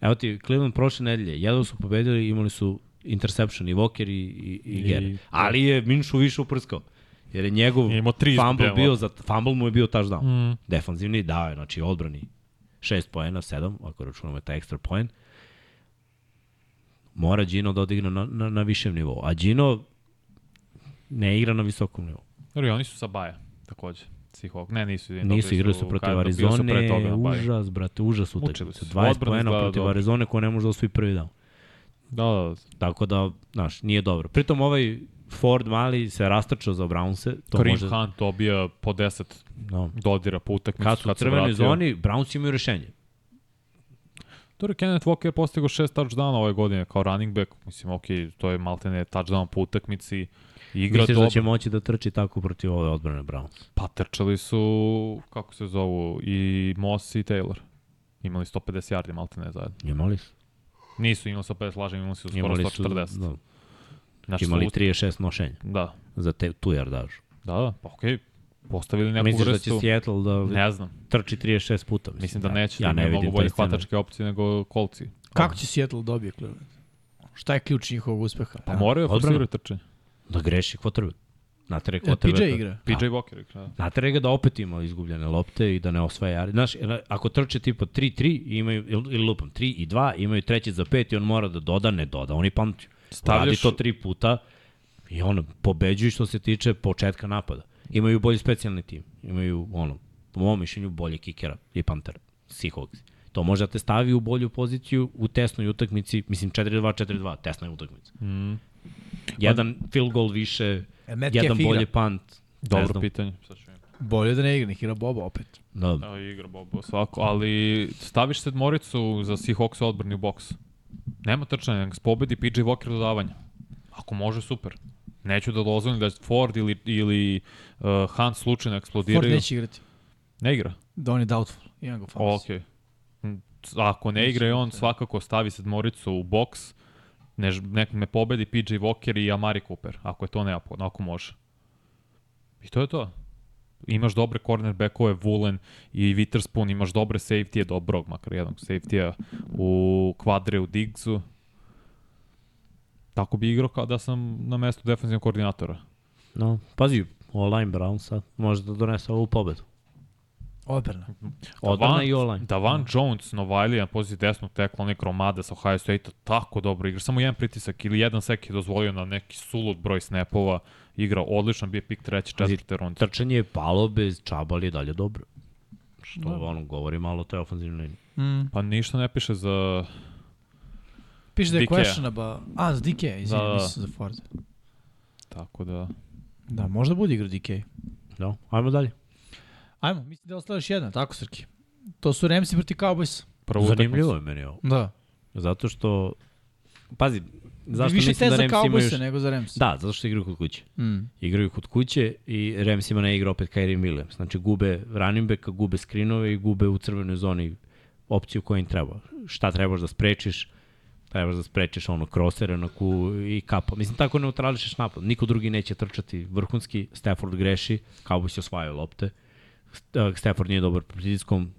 Speaker 2: Evo ti, Cleveland prošle nedelje, jedva su pobedili, imali su interception i Walker i, i, i, I Gere. Ali je Minšu više uprskao. Jer je njegov
Speaker 4: da. Je imao tri
Speaker 2: fumble,
Speaker 4: izgubljene
Speaker 2: bio
Speaker 4: lopte.
Speaker 2: za, fumble mu je bio touchdown. Mm. Defanzivni dao je, znači odbrani 6 poena, 7, ako računamo taj ekstra poen. Mora Gino da odigne na, na, na višem nivou. A Gino ne igra na visokom nivou.
Speaker 4: Jer i oni su sa Baja, takođe. Seahawk. Ne, nisu.
Speaker 2: Nisu
Speaker 4: dobili
Speaker 2: igrali su protiv
Speaker 4: Cardinals, bili su pre toga
Speaker 2: Arizone,
Speaker 4: na Baji.
Speaker 2: užas, brate, užas utakmica.
Speaker 4: su.
Speaker 2: 20
Speaker 4: Odbrana
Speaker 2: poena
Speaker 4: izgleda
Speaker 2: protiv
Speaker 4: dobro.
Speaker 2: Arizone koja ne može da osvoji prvi dan.
Speaker 4: Da, da, da.
Speaker 2: Tako da, znaš, nije dobro. Pritom ovaj Ford mali se rastrčao za Brownse. To
Speaker 4: Karim
Speaker 2: može,
Speaker 4: Hunt dobija po 10
Speaker 2: No.
Speaker 4: dodira po utakmicu.
Speaker 2: Kad su u
Speaker 4: se
Speaker 2: crvenoj
Speaker 4: vratio.
Speaker 2: zoni, Browns imaju rešenje.
Speaker 4: Dobro, Kenneth Walker postigao šest touchdowna ove godine kao running back. Mislim, ok, to je maltene touchdown po utakmici. I Igra
Speaker 2: Misliš
Speaker 4: dobro.
Speaker 2: da će moći da trči tako protiv ove odbrane Browns?
Speaker 4: Pa trčali su, kako se zovu, i Moss i Taylor. Imali 150 yardi maltene zajedno.
Speaker 2: Imali su.
Speaker 4: Nisu imali 150, lažem, imali su skoro
Speaker 2: Imali su,
Speaker 4: 140.
Speaker 2: da,
Speaker 4: Znači,
Speaker 2: imali
Speaker 4: su-
Speaker 2: 36 nošenja
Speaker 4: Da,
Speaker 2: za te, tu jardažu.
Speaker 4: da, da, pa okej. Postavili neku
Speaker 2: Misliš da će
Speaker 4: vrstu.
Speaker 2: Seattle da
Speaker 4: Ne znam,
Speaker 2: trči 36 puta? Mislim,
Speaker 4: mislim da neće,
Speaker 2: ja
Speaker 4: da
Speaker 2: ne
Speaker 4: imaju
Speaker 2: vidim
Speaker 4: mnogo
Speaker 2: taj
Speaker 4: bolje
Speaker 2: scenarij.
Speaker 4: hvatačke opcije nego kolci.
Speaker 3: Kako će Seattle da dobije Cleveland? Šta je ključ njihovog uspeha?
Speaker 4: Pa moraju da
Speaker 2: Odbrana.
Speaker 4: forsiraju trče.
Speaker 2: Da greši quarterback. Natere
Speaker 3: Jel
Speaker 2: quarterback.
Speaker 3: PJ igra?
Speaker 4: PJ Walker igra.
Speaker 2: Natere ga da opet ima izgubljene lopte i da ne osvaja jari. Znaš, jer ako trče tipa 3-3 i imaju, ili- ili lupam, 3 i 2, imaju treći za 5 i on mora da doda, ne doda, oni pamti.
Speaker 4: Stavljaš-
Speaker 2: Radi to tri puta i ono, pobeđuju što se tiče početka napada. Imaju bolji specijalni tim, imaju ono, po mom mišljenju bolje kikera i pantera, Seahawks. To može da te stavi u bolju poziciju u tesnoj utakmici, mislim 4-2, 4-2, tesna je utakmica. Mm. Jedan field goal više,
Speaker 3: E, Metcalf
Speaker 2: jedan
Speaker 3: igra.
Speaker 2: bolji pant. ne
Speaker 4: Dobro
Speaker 2: znam.
Speaker 4: pitanje. Sad ću im-
Speaker 3: Bolje da ne igra, nek igra Boba opet.
Speaker 2: Da.
Speaker 4: Evo igra Bobo svako, ali staviš sedmoricu za Seahawks odbrani u boks. Nema trčanja, nek pobedi PJ Walker dodavanja. Ako može, super. Neću da dozvolim da Ford ili, ili uh, Hunt slučajno
Speaker 3: Ford
Speaker 4: eksplodiraju.
Speaker 3: neće igrati.
Speaker 4: Ne igra?
Speaker 3: Da on je doubtful. Imam ga u fantasy.
Speaker 4: Okej. Mm, Ako ne igra i on svakako stavi sedmoricu u boks, ne, ž- nek me pobedi PJ Walker i Amari Cooper, ako je to neophodno, ako može. I to je to. Imaš dobre cornerbackove, Woolen i Witherspoon, imaš dobre safety-e, dobrog makar jednog safety-a u kvadre u Diggsu. Tako bi igrao kao da sam na mestu defensivnog koordinatora.
Speaker 2: No, pazi, online Brownsa može da donese ovu pobedu.
Speaker 3: Odbrana.
Speaker 4: Da
Speaker 2: Odbrana i online. Da.
Speaker 4: Davan Jones, Novajlija na poziciji desnog tekla, on je gromada sa Ohio State-a, tako dobro igra. Samo jedan pritisak ili jedan sek je dozvolio na neki sulud broj snapova. Igra odlično, bio je pik treće,
Speaker 2: Ali
Speaker 4: četvrte runde.
Speaker 2: Trčanje je palo bez čaba, ali je dalje dobro. Što ono, govori malo o toj ofenzivnoj liniji.
Speaker 3: Mm.
Speaker 4: Pa ništa ne piše za...
Speaker 3: Piše da je
Speaker 4: Dikea.
Speaker 3: questionable. A, za Dikea, izvinim,
Speaker 4: Da, da.
Speaker 3: mislim za Ford.
Speaker 4: Tako da...
Speaker 3: Da, možda bude igra Dikea.
Speaker 2: No, Da, ajmo dalje.
Speaker 3: Ajmo, mislim da je ostala još jedna, tako Srki. To su Remsi proti Cowboys.
Speaker 4: Prvo
Speaker 2: Zanimljivo je meni ovo.
Speaker 3: Da.
Speaker 2: Zato što... Pazi, zašto
Speaker 3: Više
Speaker 2: mislim
Speaker 3: te
Speaker 2: da
Speaker 3: za
Speaker 2: Rams imaju...
Speaker 3: Cowboys
Speaker 2: još-
Speaker 3: nego za Remsi.
Speaker 2: Da, zato što igraju kod kuće.
Speaker 3: Mm.
Speaker 2: Igraju kod kuće i Rams ima ne igra opet Kyrie Williams. Znači gube running backa, gube screenove i gube u crvenoj zoni opciju koja im treba. Šta trebaš da sprečiš? Trebaš da sprečiš ono krosere na ku i kapa. Mislim, tako neutrališeš napad. Niko drugi neće trčati vrhunski. Stafford greši, Cowboys osvajaju lopte. St- eh, Stafford nije dobar pod pritiskom.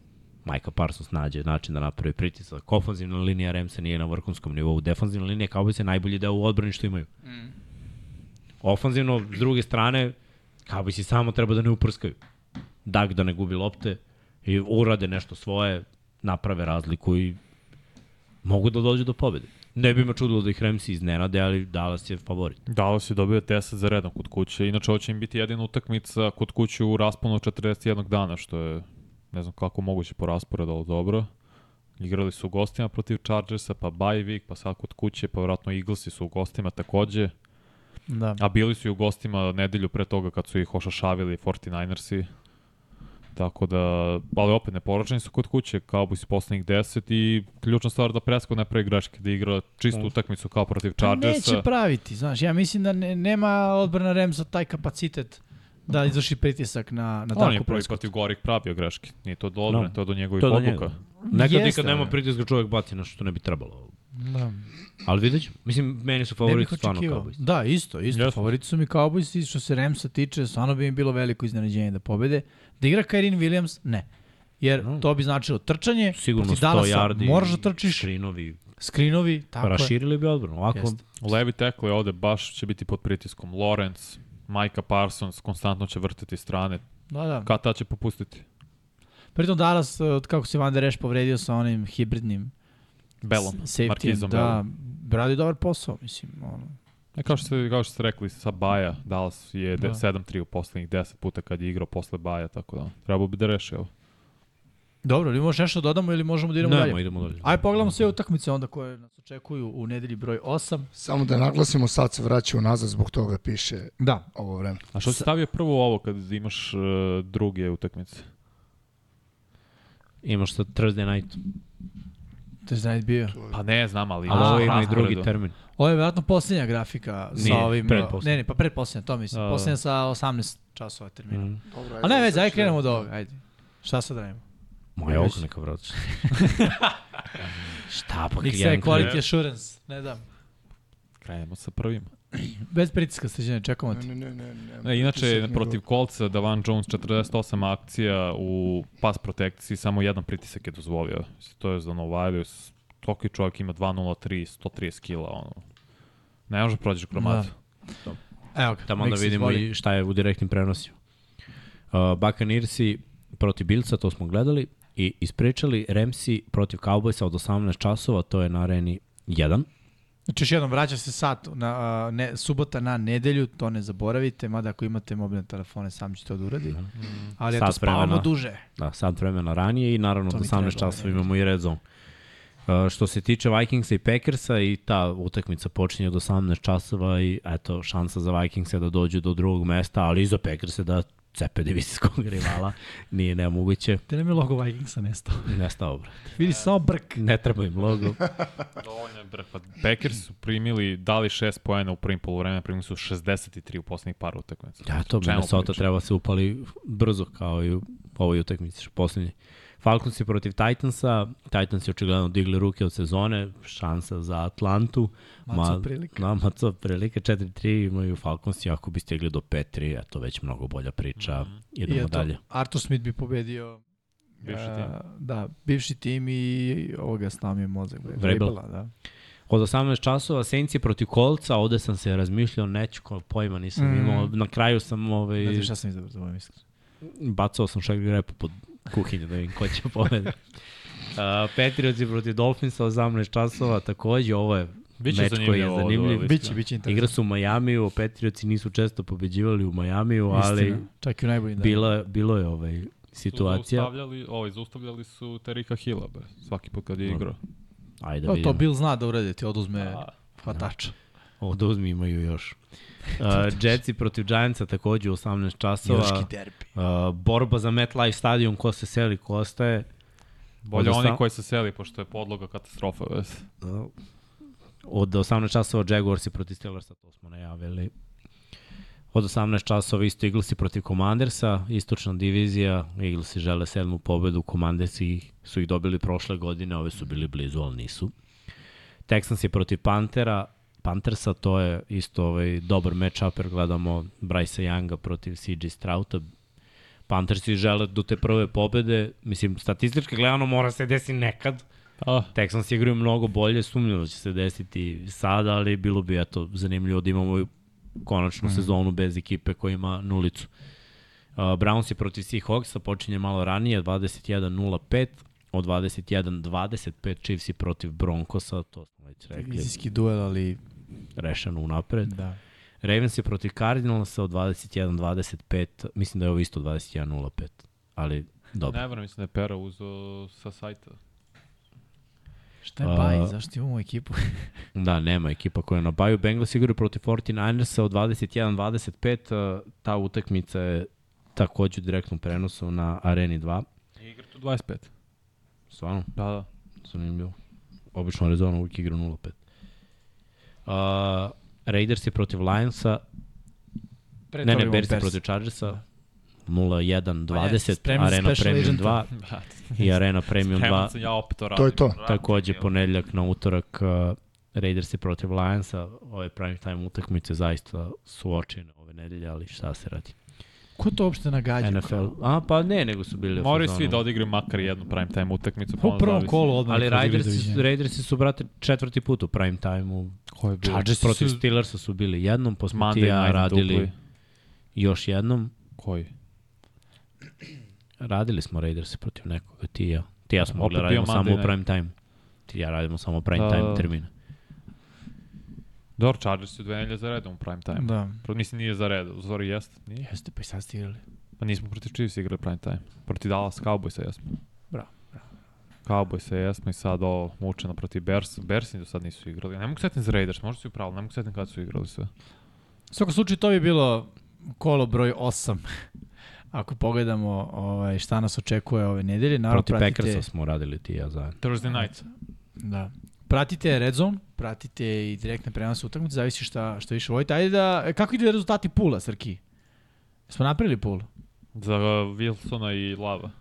Speaker 2: Micah Parsons nađe način da napravi pritisak. Ofanzivna linija Remsa nije na vrhunskom nivou. Defanzivna linija Cowboys je najbolji deo u odbrani što imaju ofanzivno, s druge strane, kao bi si samo treba da ne uprskaju. Dak da ne gubi lopte i urade nešto svoje, naprave razliku i mogu da dođu do pobede. Ne bi me čudilo da ih Remsi iznenade, ali Dallas je favorit.
Speaker 4: Dallas je dobio 10 za redom kod kuće. Inače, ovo će im biti jedina utakmica kod kuće u rasponu od 41 dana, što je ne znam kako moguće po rasporedu, ali dobro. Igrali su u gostima protiv Chargersa, pa bye week, pa sad kod kuće, pa vratno Eaglesi su u gostima takođe.
Speaker 3: Da.
Speaker 4: A bili su i u gostima nedelju pre toga kad su ih ošašavili 49ersi. Tako da, ali opet neporočeni su kod kuće, Cowboys poslednjih 10 i ključna stvar da Prescott ne pravi greške, da igra čistu utakmicu kao protiv
Speaker 3: Pa
Speaker 4: Chargersa.
Speaker 3: Neće praviti, znaš, ja mislim da ne, nema odbrana Remsa taj kapacitet da izvrši pritisak na, na
Speaker 4: On je
Speaker 3: tako
Speaker 4: prvi
Speaker 3: presku.
Speaker 4: protiv Gorik pravio greške, nije to do odbrane,
Speaker 2: No.
Speaker 4: to je do njegovih
Speaker 2: To je do
Speaker 4: odluka.
Speaker 2: njega. Nekad
Speaker 3: da Jeste,
Speaker 2: nikad nema
Speaker 3: ne.
Speaker 2: pritiska čovjek baci na što ne bi trebalo.
Speaker 3: Da.
Speaker 2: Ali vidjet ćemo. Mislim, meni su
Speaker 3: Ne bih
Speaker 2: favoriti stvarno
Speaker 3: očekivao.
Speaker 2: Cowboys.
Speaker 3: Da, isto, isto.
Speaker 4: Jasno.
Speaker 3: Favoriti su mi Cowboys i što se Remsa tiče, stvarno bi mi bilo veliko iznenađenje da pobede. Da igra Kyrin Williams, ne. Jer
Speaker 2: Mm.
Speaker 3: to bi značilo trčanje,
Speaker 2: Sigurno
Speaker 3: protiv
Speaker 2: 100
Speaker 3: Dallasa
Speaker 2: yardi.
Speaker 3: moraš da trčiš,
Speaker 2: Šrinovi.
Speaker 3: skrinovi, tako je.
Speaker 2: Raširili bi odbranu. Ovako,
Speaker 3: Jeste.
Speaker 4: Levi tackle je ovde baš će biti pod pritiskom. Lawrence, Micah Parsons konstantno će vrtati strane.
Speaker 3: Da, da.
Speaker 4: Kad ta će popustiti?
Speaker 3: Pritom Dallas, e, od kako se Van Der Esch povredio sa onim hibridnim
Speaker 4: Belom,
Speaker 3: safety,
Speaker 4: Markizom da.
Speaker 3: da,
Speaker 4: Belom.
Speaker 3: radi dobar posao, mislim, ono.
Speaker 4: E, kao, što ste, kao što ste rekli, sa Baja, Dallas je de,
Speaker 3: Da.
Speaker 4: 7-3 u poslednjih 10 puta kad je igrao posle Baja, tako da trebao bi da reši ovo.
Speaker 3: Dobro, ili možeš nešto dodamo ili možemo da idemo
Speaker 2: Nemo,
Speaker 3: dalje?
Speaker 2: idemo dalje.
Speaker 3: Ajde pogledamo sve utakmice onda koje nas očekuju u nedelji broj 8.
Speaker 5: Samo da naglasimo, sad se vraća unazad, zbog toga piše
Speaker 3: Da.
Speaker 5: ovo vreme.
Speaker 4: A što si stavio prvo ovo kad imaš uh, druge utakmice?
Speaker 2: Imaš sad Thursday night.
Speaker 3: To je znači bio.
Speaker 4: Pa ne znam, ali...
Speaker 2: Ali ovo ima i
Speaker 4: rasporedu.
Speaker 2: drugi termin.
Speaker 3: Ovo je vjerojatno posljednja grafika
Speaker 2: Nije,
Speaker 3: sa ovim...
Speaker 2: pretposlednja.
Speaker 3: Ne, ne, pa predposljednja, to mislim.
Speaker 4: Da, da.
Speaker 3: Posljednja sa 18 časova termina.
Speaker 2: Mm. Da.
Speaker 5: Dobro,
Speaker 3: A ne, već, ajde krenemo od ovoga, ajde. Šta sad da radimo?
Speaker 2: Moje oko neka vratiš. Šta pa
Speaker 3: Nick sve
Speaker 2: klijent?
Speaker 3: quality assurance, ne dam.
Speaker 4: Krenemo sa prvim.
Speaker 3: Bez pritiska sređene, čekamo
Speaker 5: Ne,
Speaker 3: ti.
Speaker 5: ne, ne, ne, ne,
Speaker 4: E, inače,
Speaker 5: pritisak
Speaker 4: protiv kolca, Davan Jones 48 akcija u pas protekciji, samo jedan pritisak je dozvolio. To je za Novajlius. Toki čovjek ima 2.03, 130 kila, ono. Ne može prođeš gromadu.
Speaker 3: Evo ga,
Speaker 2: Tamo Da onda
Speaker 3: Mix
Speaker 2: vidimo
Speaker 3: izvoli.
Speaker 2: i šta je u direktnim prenosima. Uh, Bakanirsi protiv Bilca, to smo gledali, i ispričali Remsi protiv Cowboysa od 18 časova, to je na areni 1.
Speaker 3: Znači još jednom, vraća se sat, na, a, ne, subota na nedelju, to ne zaboravite, mada ako imate mobilne telefone, sam ćete to da uradi. Ali eto,
Speaker 2: Sat
Speaker 3: spavamo
Speaker 2: vremena.
Speaker 3: duže.
Speaker 2: Da, sad vremena ranije i naravno
Speaker 3: To
Speaker 2: od
Speaker 3: mi
Speaker 2: 18
Speaker 3: treba,
Speaker 2: časova imamo i red zone. Uh, što se tiče Vikingsa i Packersa i ta utakmica počinje od 18 časova i eto šansa za Vikingsa da dođu do drugog mesta, ali i za Packersa da cepe divizijskog rivala nije nemoguće.
Speaker 3: Te nam je logo Vikingsa nestao.
Speaker 2: Nestao, brate.
Speaker 3: Vidi, samo brk.
Speaker 2: Ne treba im logo.
Speaker 4: Dovoljno je, bre, pa Packers su primili, dali 6 poena u prvim polovremena, primili su 63 u poslednjih par utakmica.
Speaker 2: Ja, to
Speaker 4: Čemu
Speaker 2: Minnesota
Speaker 4: pričamo?
Speaker 2: treba da se upali brzo kao i u ovoj utakmici poslednji. Falcons je protiv Titansa, Titans je očigledno digli ruke od sezone, šansa za Atlantu.
Speaker 3: Maco prilika.
Speaker 2: Da, maco prilike, 4-3 imaju Falcons i ako bi stigli do 5-3, eto već mnogo bolja priča, idemo
Speaker 3: Mhm. I eto,
Speaker 2: dalje.
Speaker 3: Arthur Smith bi pobedio
Speaker 4: Bivši
Speaker 3: e,
Speaker 4: tim.
Speaker 3: Da, bivši tim i ovoga snamio mozak. bre,
Speaker 2: Vrabel.
Speaker 3: Vrabela, da.
Speaker 2: Od 18 časova Saints je protiv Kolca, ovde sam se razmišljao, neću ko pojma nisam
Speaker 3: Mhm.
Speaker 2: imao, na kraju sam ovaj,
Speaker 3: Ne znam šta sam izabrao, da budem iskren.
Speaker 2: bacao sam šak repu pod kuhinju da vidim ko će pobedi. Uh, Patriots je protiv Dolphinsa 18 časova, takođe ovo je
Speaker 4: Biće
Speaker 2: meč koji je
Speaker 4: zanimljivo ovo
Speaker 2: zanimljiv.
Speaker 4: duel,
Speaker 3: Biće,
Speaker 2: Igra
Speaker 3: biće interesantno.
Speaker 2: su u Majamiju, Patriotsi nisu često pobeđivali u Majamiju, ali
Speaker 3: Istina, čak i u da. najboljim danima.
Speaker 2: bilo, je- bilo je ovaj situacija.
Speaker 4: Zaustavljali, ovaj, zaustavljali su Terika Hilla, bre, svaki put kad je
Speaker 2: Da.
Speaker 4: igrao.
Speaker 2: Ajde
Speaker 3: To, to
Speaker 2: vidimo.
Speaker 3: Bill zna da uradi, ti oduzme
Speaker 4: A,
Speaker 3: hvatača.
Speaker 2: Oduzmi imaju još. Uh, Jetsi protiv Giantsa takođe u 18 časova.
Speaker 3: Njurški derbi.
Speaker 2: Uh, borba za MetLife stadion, ko se seli, ko ostaje.
Speaker 4: Bolje
Speaker 2: Odnosno-
Speaker 4: oni koji se seli, pošto je podloga katastrofa. Ves.
Speaker 2: Da. Od 18 časova Jaguars i protiv Steelersa, to smo najavili. Od 18 časova isto Eaglesi protiv Commandersa, istočna divizija, Eaglesi žele sedmu pobedu, Commandersi su ih dobili prošle godine, ove su bili blizu, ali nisu. Texans je protiv Pantera, Panthersa, to je isto ovaj dobar match-up, jer gledamo Bryce Younga protiv CJ Strouta. Panthersi žele do te prve pobede, mislim, statistički gledano mora se desi nekad,
Speaker 4: Ah,
Speaker 2: Texans igraju mnogo bolje, sumnjam da će se desiti sada, ali bilo bi eto zanimljivo da imamo i konačnu mm. sezonu bez ekipe koja ima nulicu. Uh, Browns je protiv Seahawksa, počinje malo ranije, 21-05, od 21-25 Chiefs je protiv Broncosa, to smo već rekli,
Speaker 3: Divizijski duel, ali
Speaker 2: rešeno unapred.
Speaker 3: da.
Speaker 2: Ravens je protiv Cardinalsa od 21-25, mislim da je ovo isto 21-05, ali dobro.
Speaker 4: ne vrem, mislim da je Pera uzao sa sajta.
Speaker 3: Šta je
Speaker 2: A-
Speaker 3: Baj, zašto imamo ekipu?
Speaker 2: Da, nema ekipa koja je na baju. Bengals igraju protiv 49ersa od 21-25. uh, Ta e, utakmica je takođe u direktnom prenosu na Areni 2.
Speaker 4: Igra tu 25.
Speaker 2: Stvarno,
Speaker 4: Da, da.
Speaker 2: zanimljivo. Obično Arizona uvijek igra 0-5. Uh, Raiders je protiv Lionsa,
Speaker 3: Pre
Speaker 2: ne,
Speaker 3: toga
Speaker 2: ne,
Speaker 3: imamo
Speaker 2: Bears je
Speaker 3: Bears.
Speaker 2: protiv Chargersa, 0-1,
Speaker 3: Pa je,
Speaker 2: 20,
Speaker 3: spremni su
Speaker 2: Arena
Speaker 3: Special
Speaker 2: Premium
Speaker 3: Agent.
Speaker 2: 2 i Arena Premium 2
Speaker 4: Spreman sam, Da. ja opet to radim.
Speaker 5: To je to.
Speaker 4: Radim,
Speaker 2: Takođe
Speaker 4: jel?
Speaker 2: ponedljak na utorak uh, Raiders je protiv Lionsa, ove prime time utakmice zaista su očine ove nedelje, ali šta se radi?
Speaker 3: Ko to uopšte nagađa?
Speaker 2: NFL, a pa ne, nego su bili u
Speaker 4: Moraju
Speaker 2: fazonu.
Speaker 4: svi da odigraju makar jednu prime time utakmicu. pa
Speaker 3: U
Speaker 4: onda
Speaker 3: prvom
Speaker 4: zavisi.
Speaker 3: kolu odmah.
Speaker 2: Ali
Speaker 3: neko odigra
Speaker 2: Raidersi, su-
Speaker 3: doviđenja.
Speaker 2: Raidersi su, brate, četvrti put u prime time-u.
Speaker 4: Ko je bio?
Speaker 2: Chargersi protiv su... Steelersa su bili jednom, pa smo ti i
Speaker 4: Monday
Speaker 2: ja
Speaker 4: Night
Speaker 2: radili
Speaker 4: dupli.
Speaker 2: još jednom.
Speaker 4: Koji?
Speaker 2: Radili smo Raidersi protiv nekoga, ti i ja. Ti i ja smo mogli da
Speaker 4: Opet bio
Speaker 2: radimo
Speaker 4: Monday
Speaker 2: samo u
Speaker 4: night.
Speaker 2: prime time. Ti i ja radimo samo u prime
Speaker 4: Da, da,
Speaker 2: time
Speaker 4: da.
Speaker 2: termine.
Speaker 4: Dobro, Chargers su dve nedelje za redom u prime time. Da.
Speaker 3: Da.
Speaker 4: Mislim, nije za red, u stvari jeste, nije.
Speaker 3: Jeste, pa i sad stigli.
Speaker 4: Pa nismo protiv Chiefs igrali prime time. Protiv Dallas Cowboysa jesmo.
Speaker 3: Bravo,
Speaker 4: Cowboysa jesmo i sad ovo mučeno protiv Bears. Bersi do sad nisu igrali. Ne mogu setim za Raiders, možda su i pravo, ne mogu setim kada su igrali sve.
Speaker 3: U svakom slučaju to bi bilo kolo broj 8. Ako pogledamo ovaj, šta nas očekuje ove nedelje, naravno
Speaker 2: Protiv
Speaker 3: pratite...
Speaker 2: Packersa smo radili ti i ja zajedno.
Speaker 4: Thursday night.
Speaker 3: Da. Pratite Red Zone, pratite i direktne prenose utakmice, zavisi šta, što više volite. Ajde da, e, kako idu rezultati pula, Srki? Smo napravili pul?
Speaker 4: Za uh, Wilsona i Lava.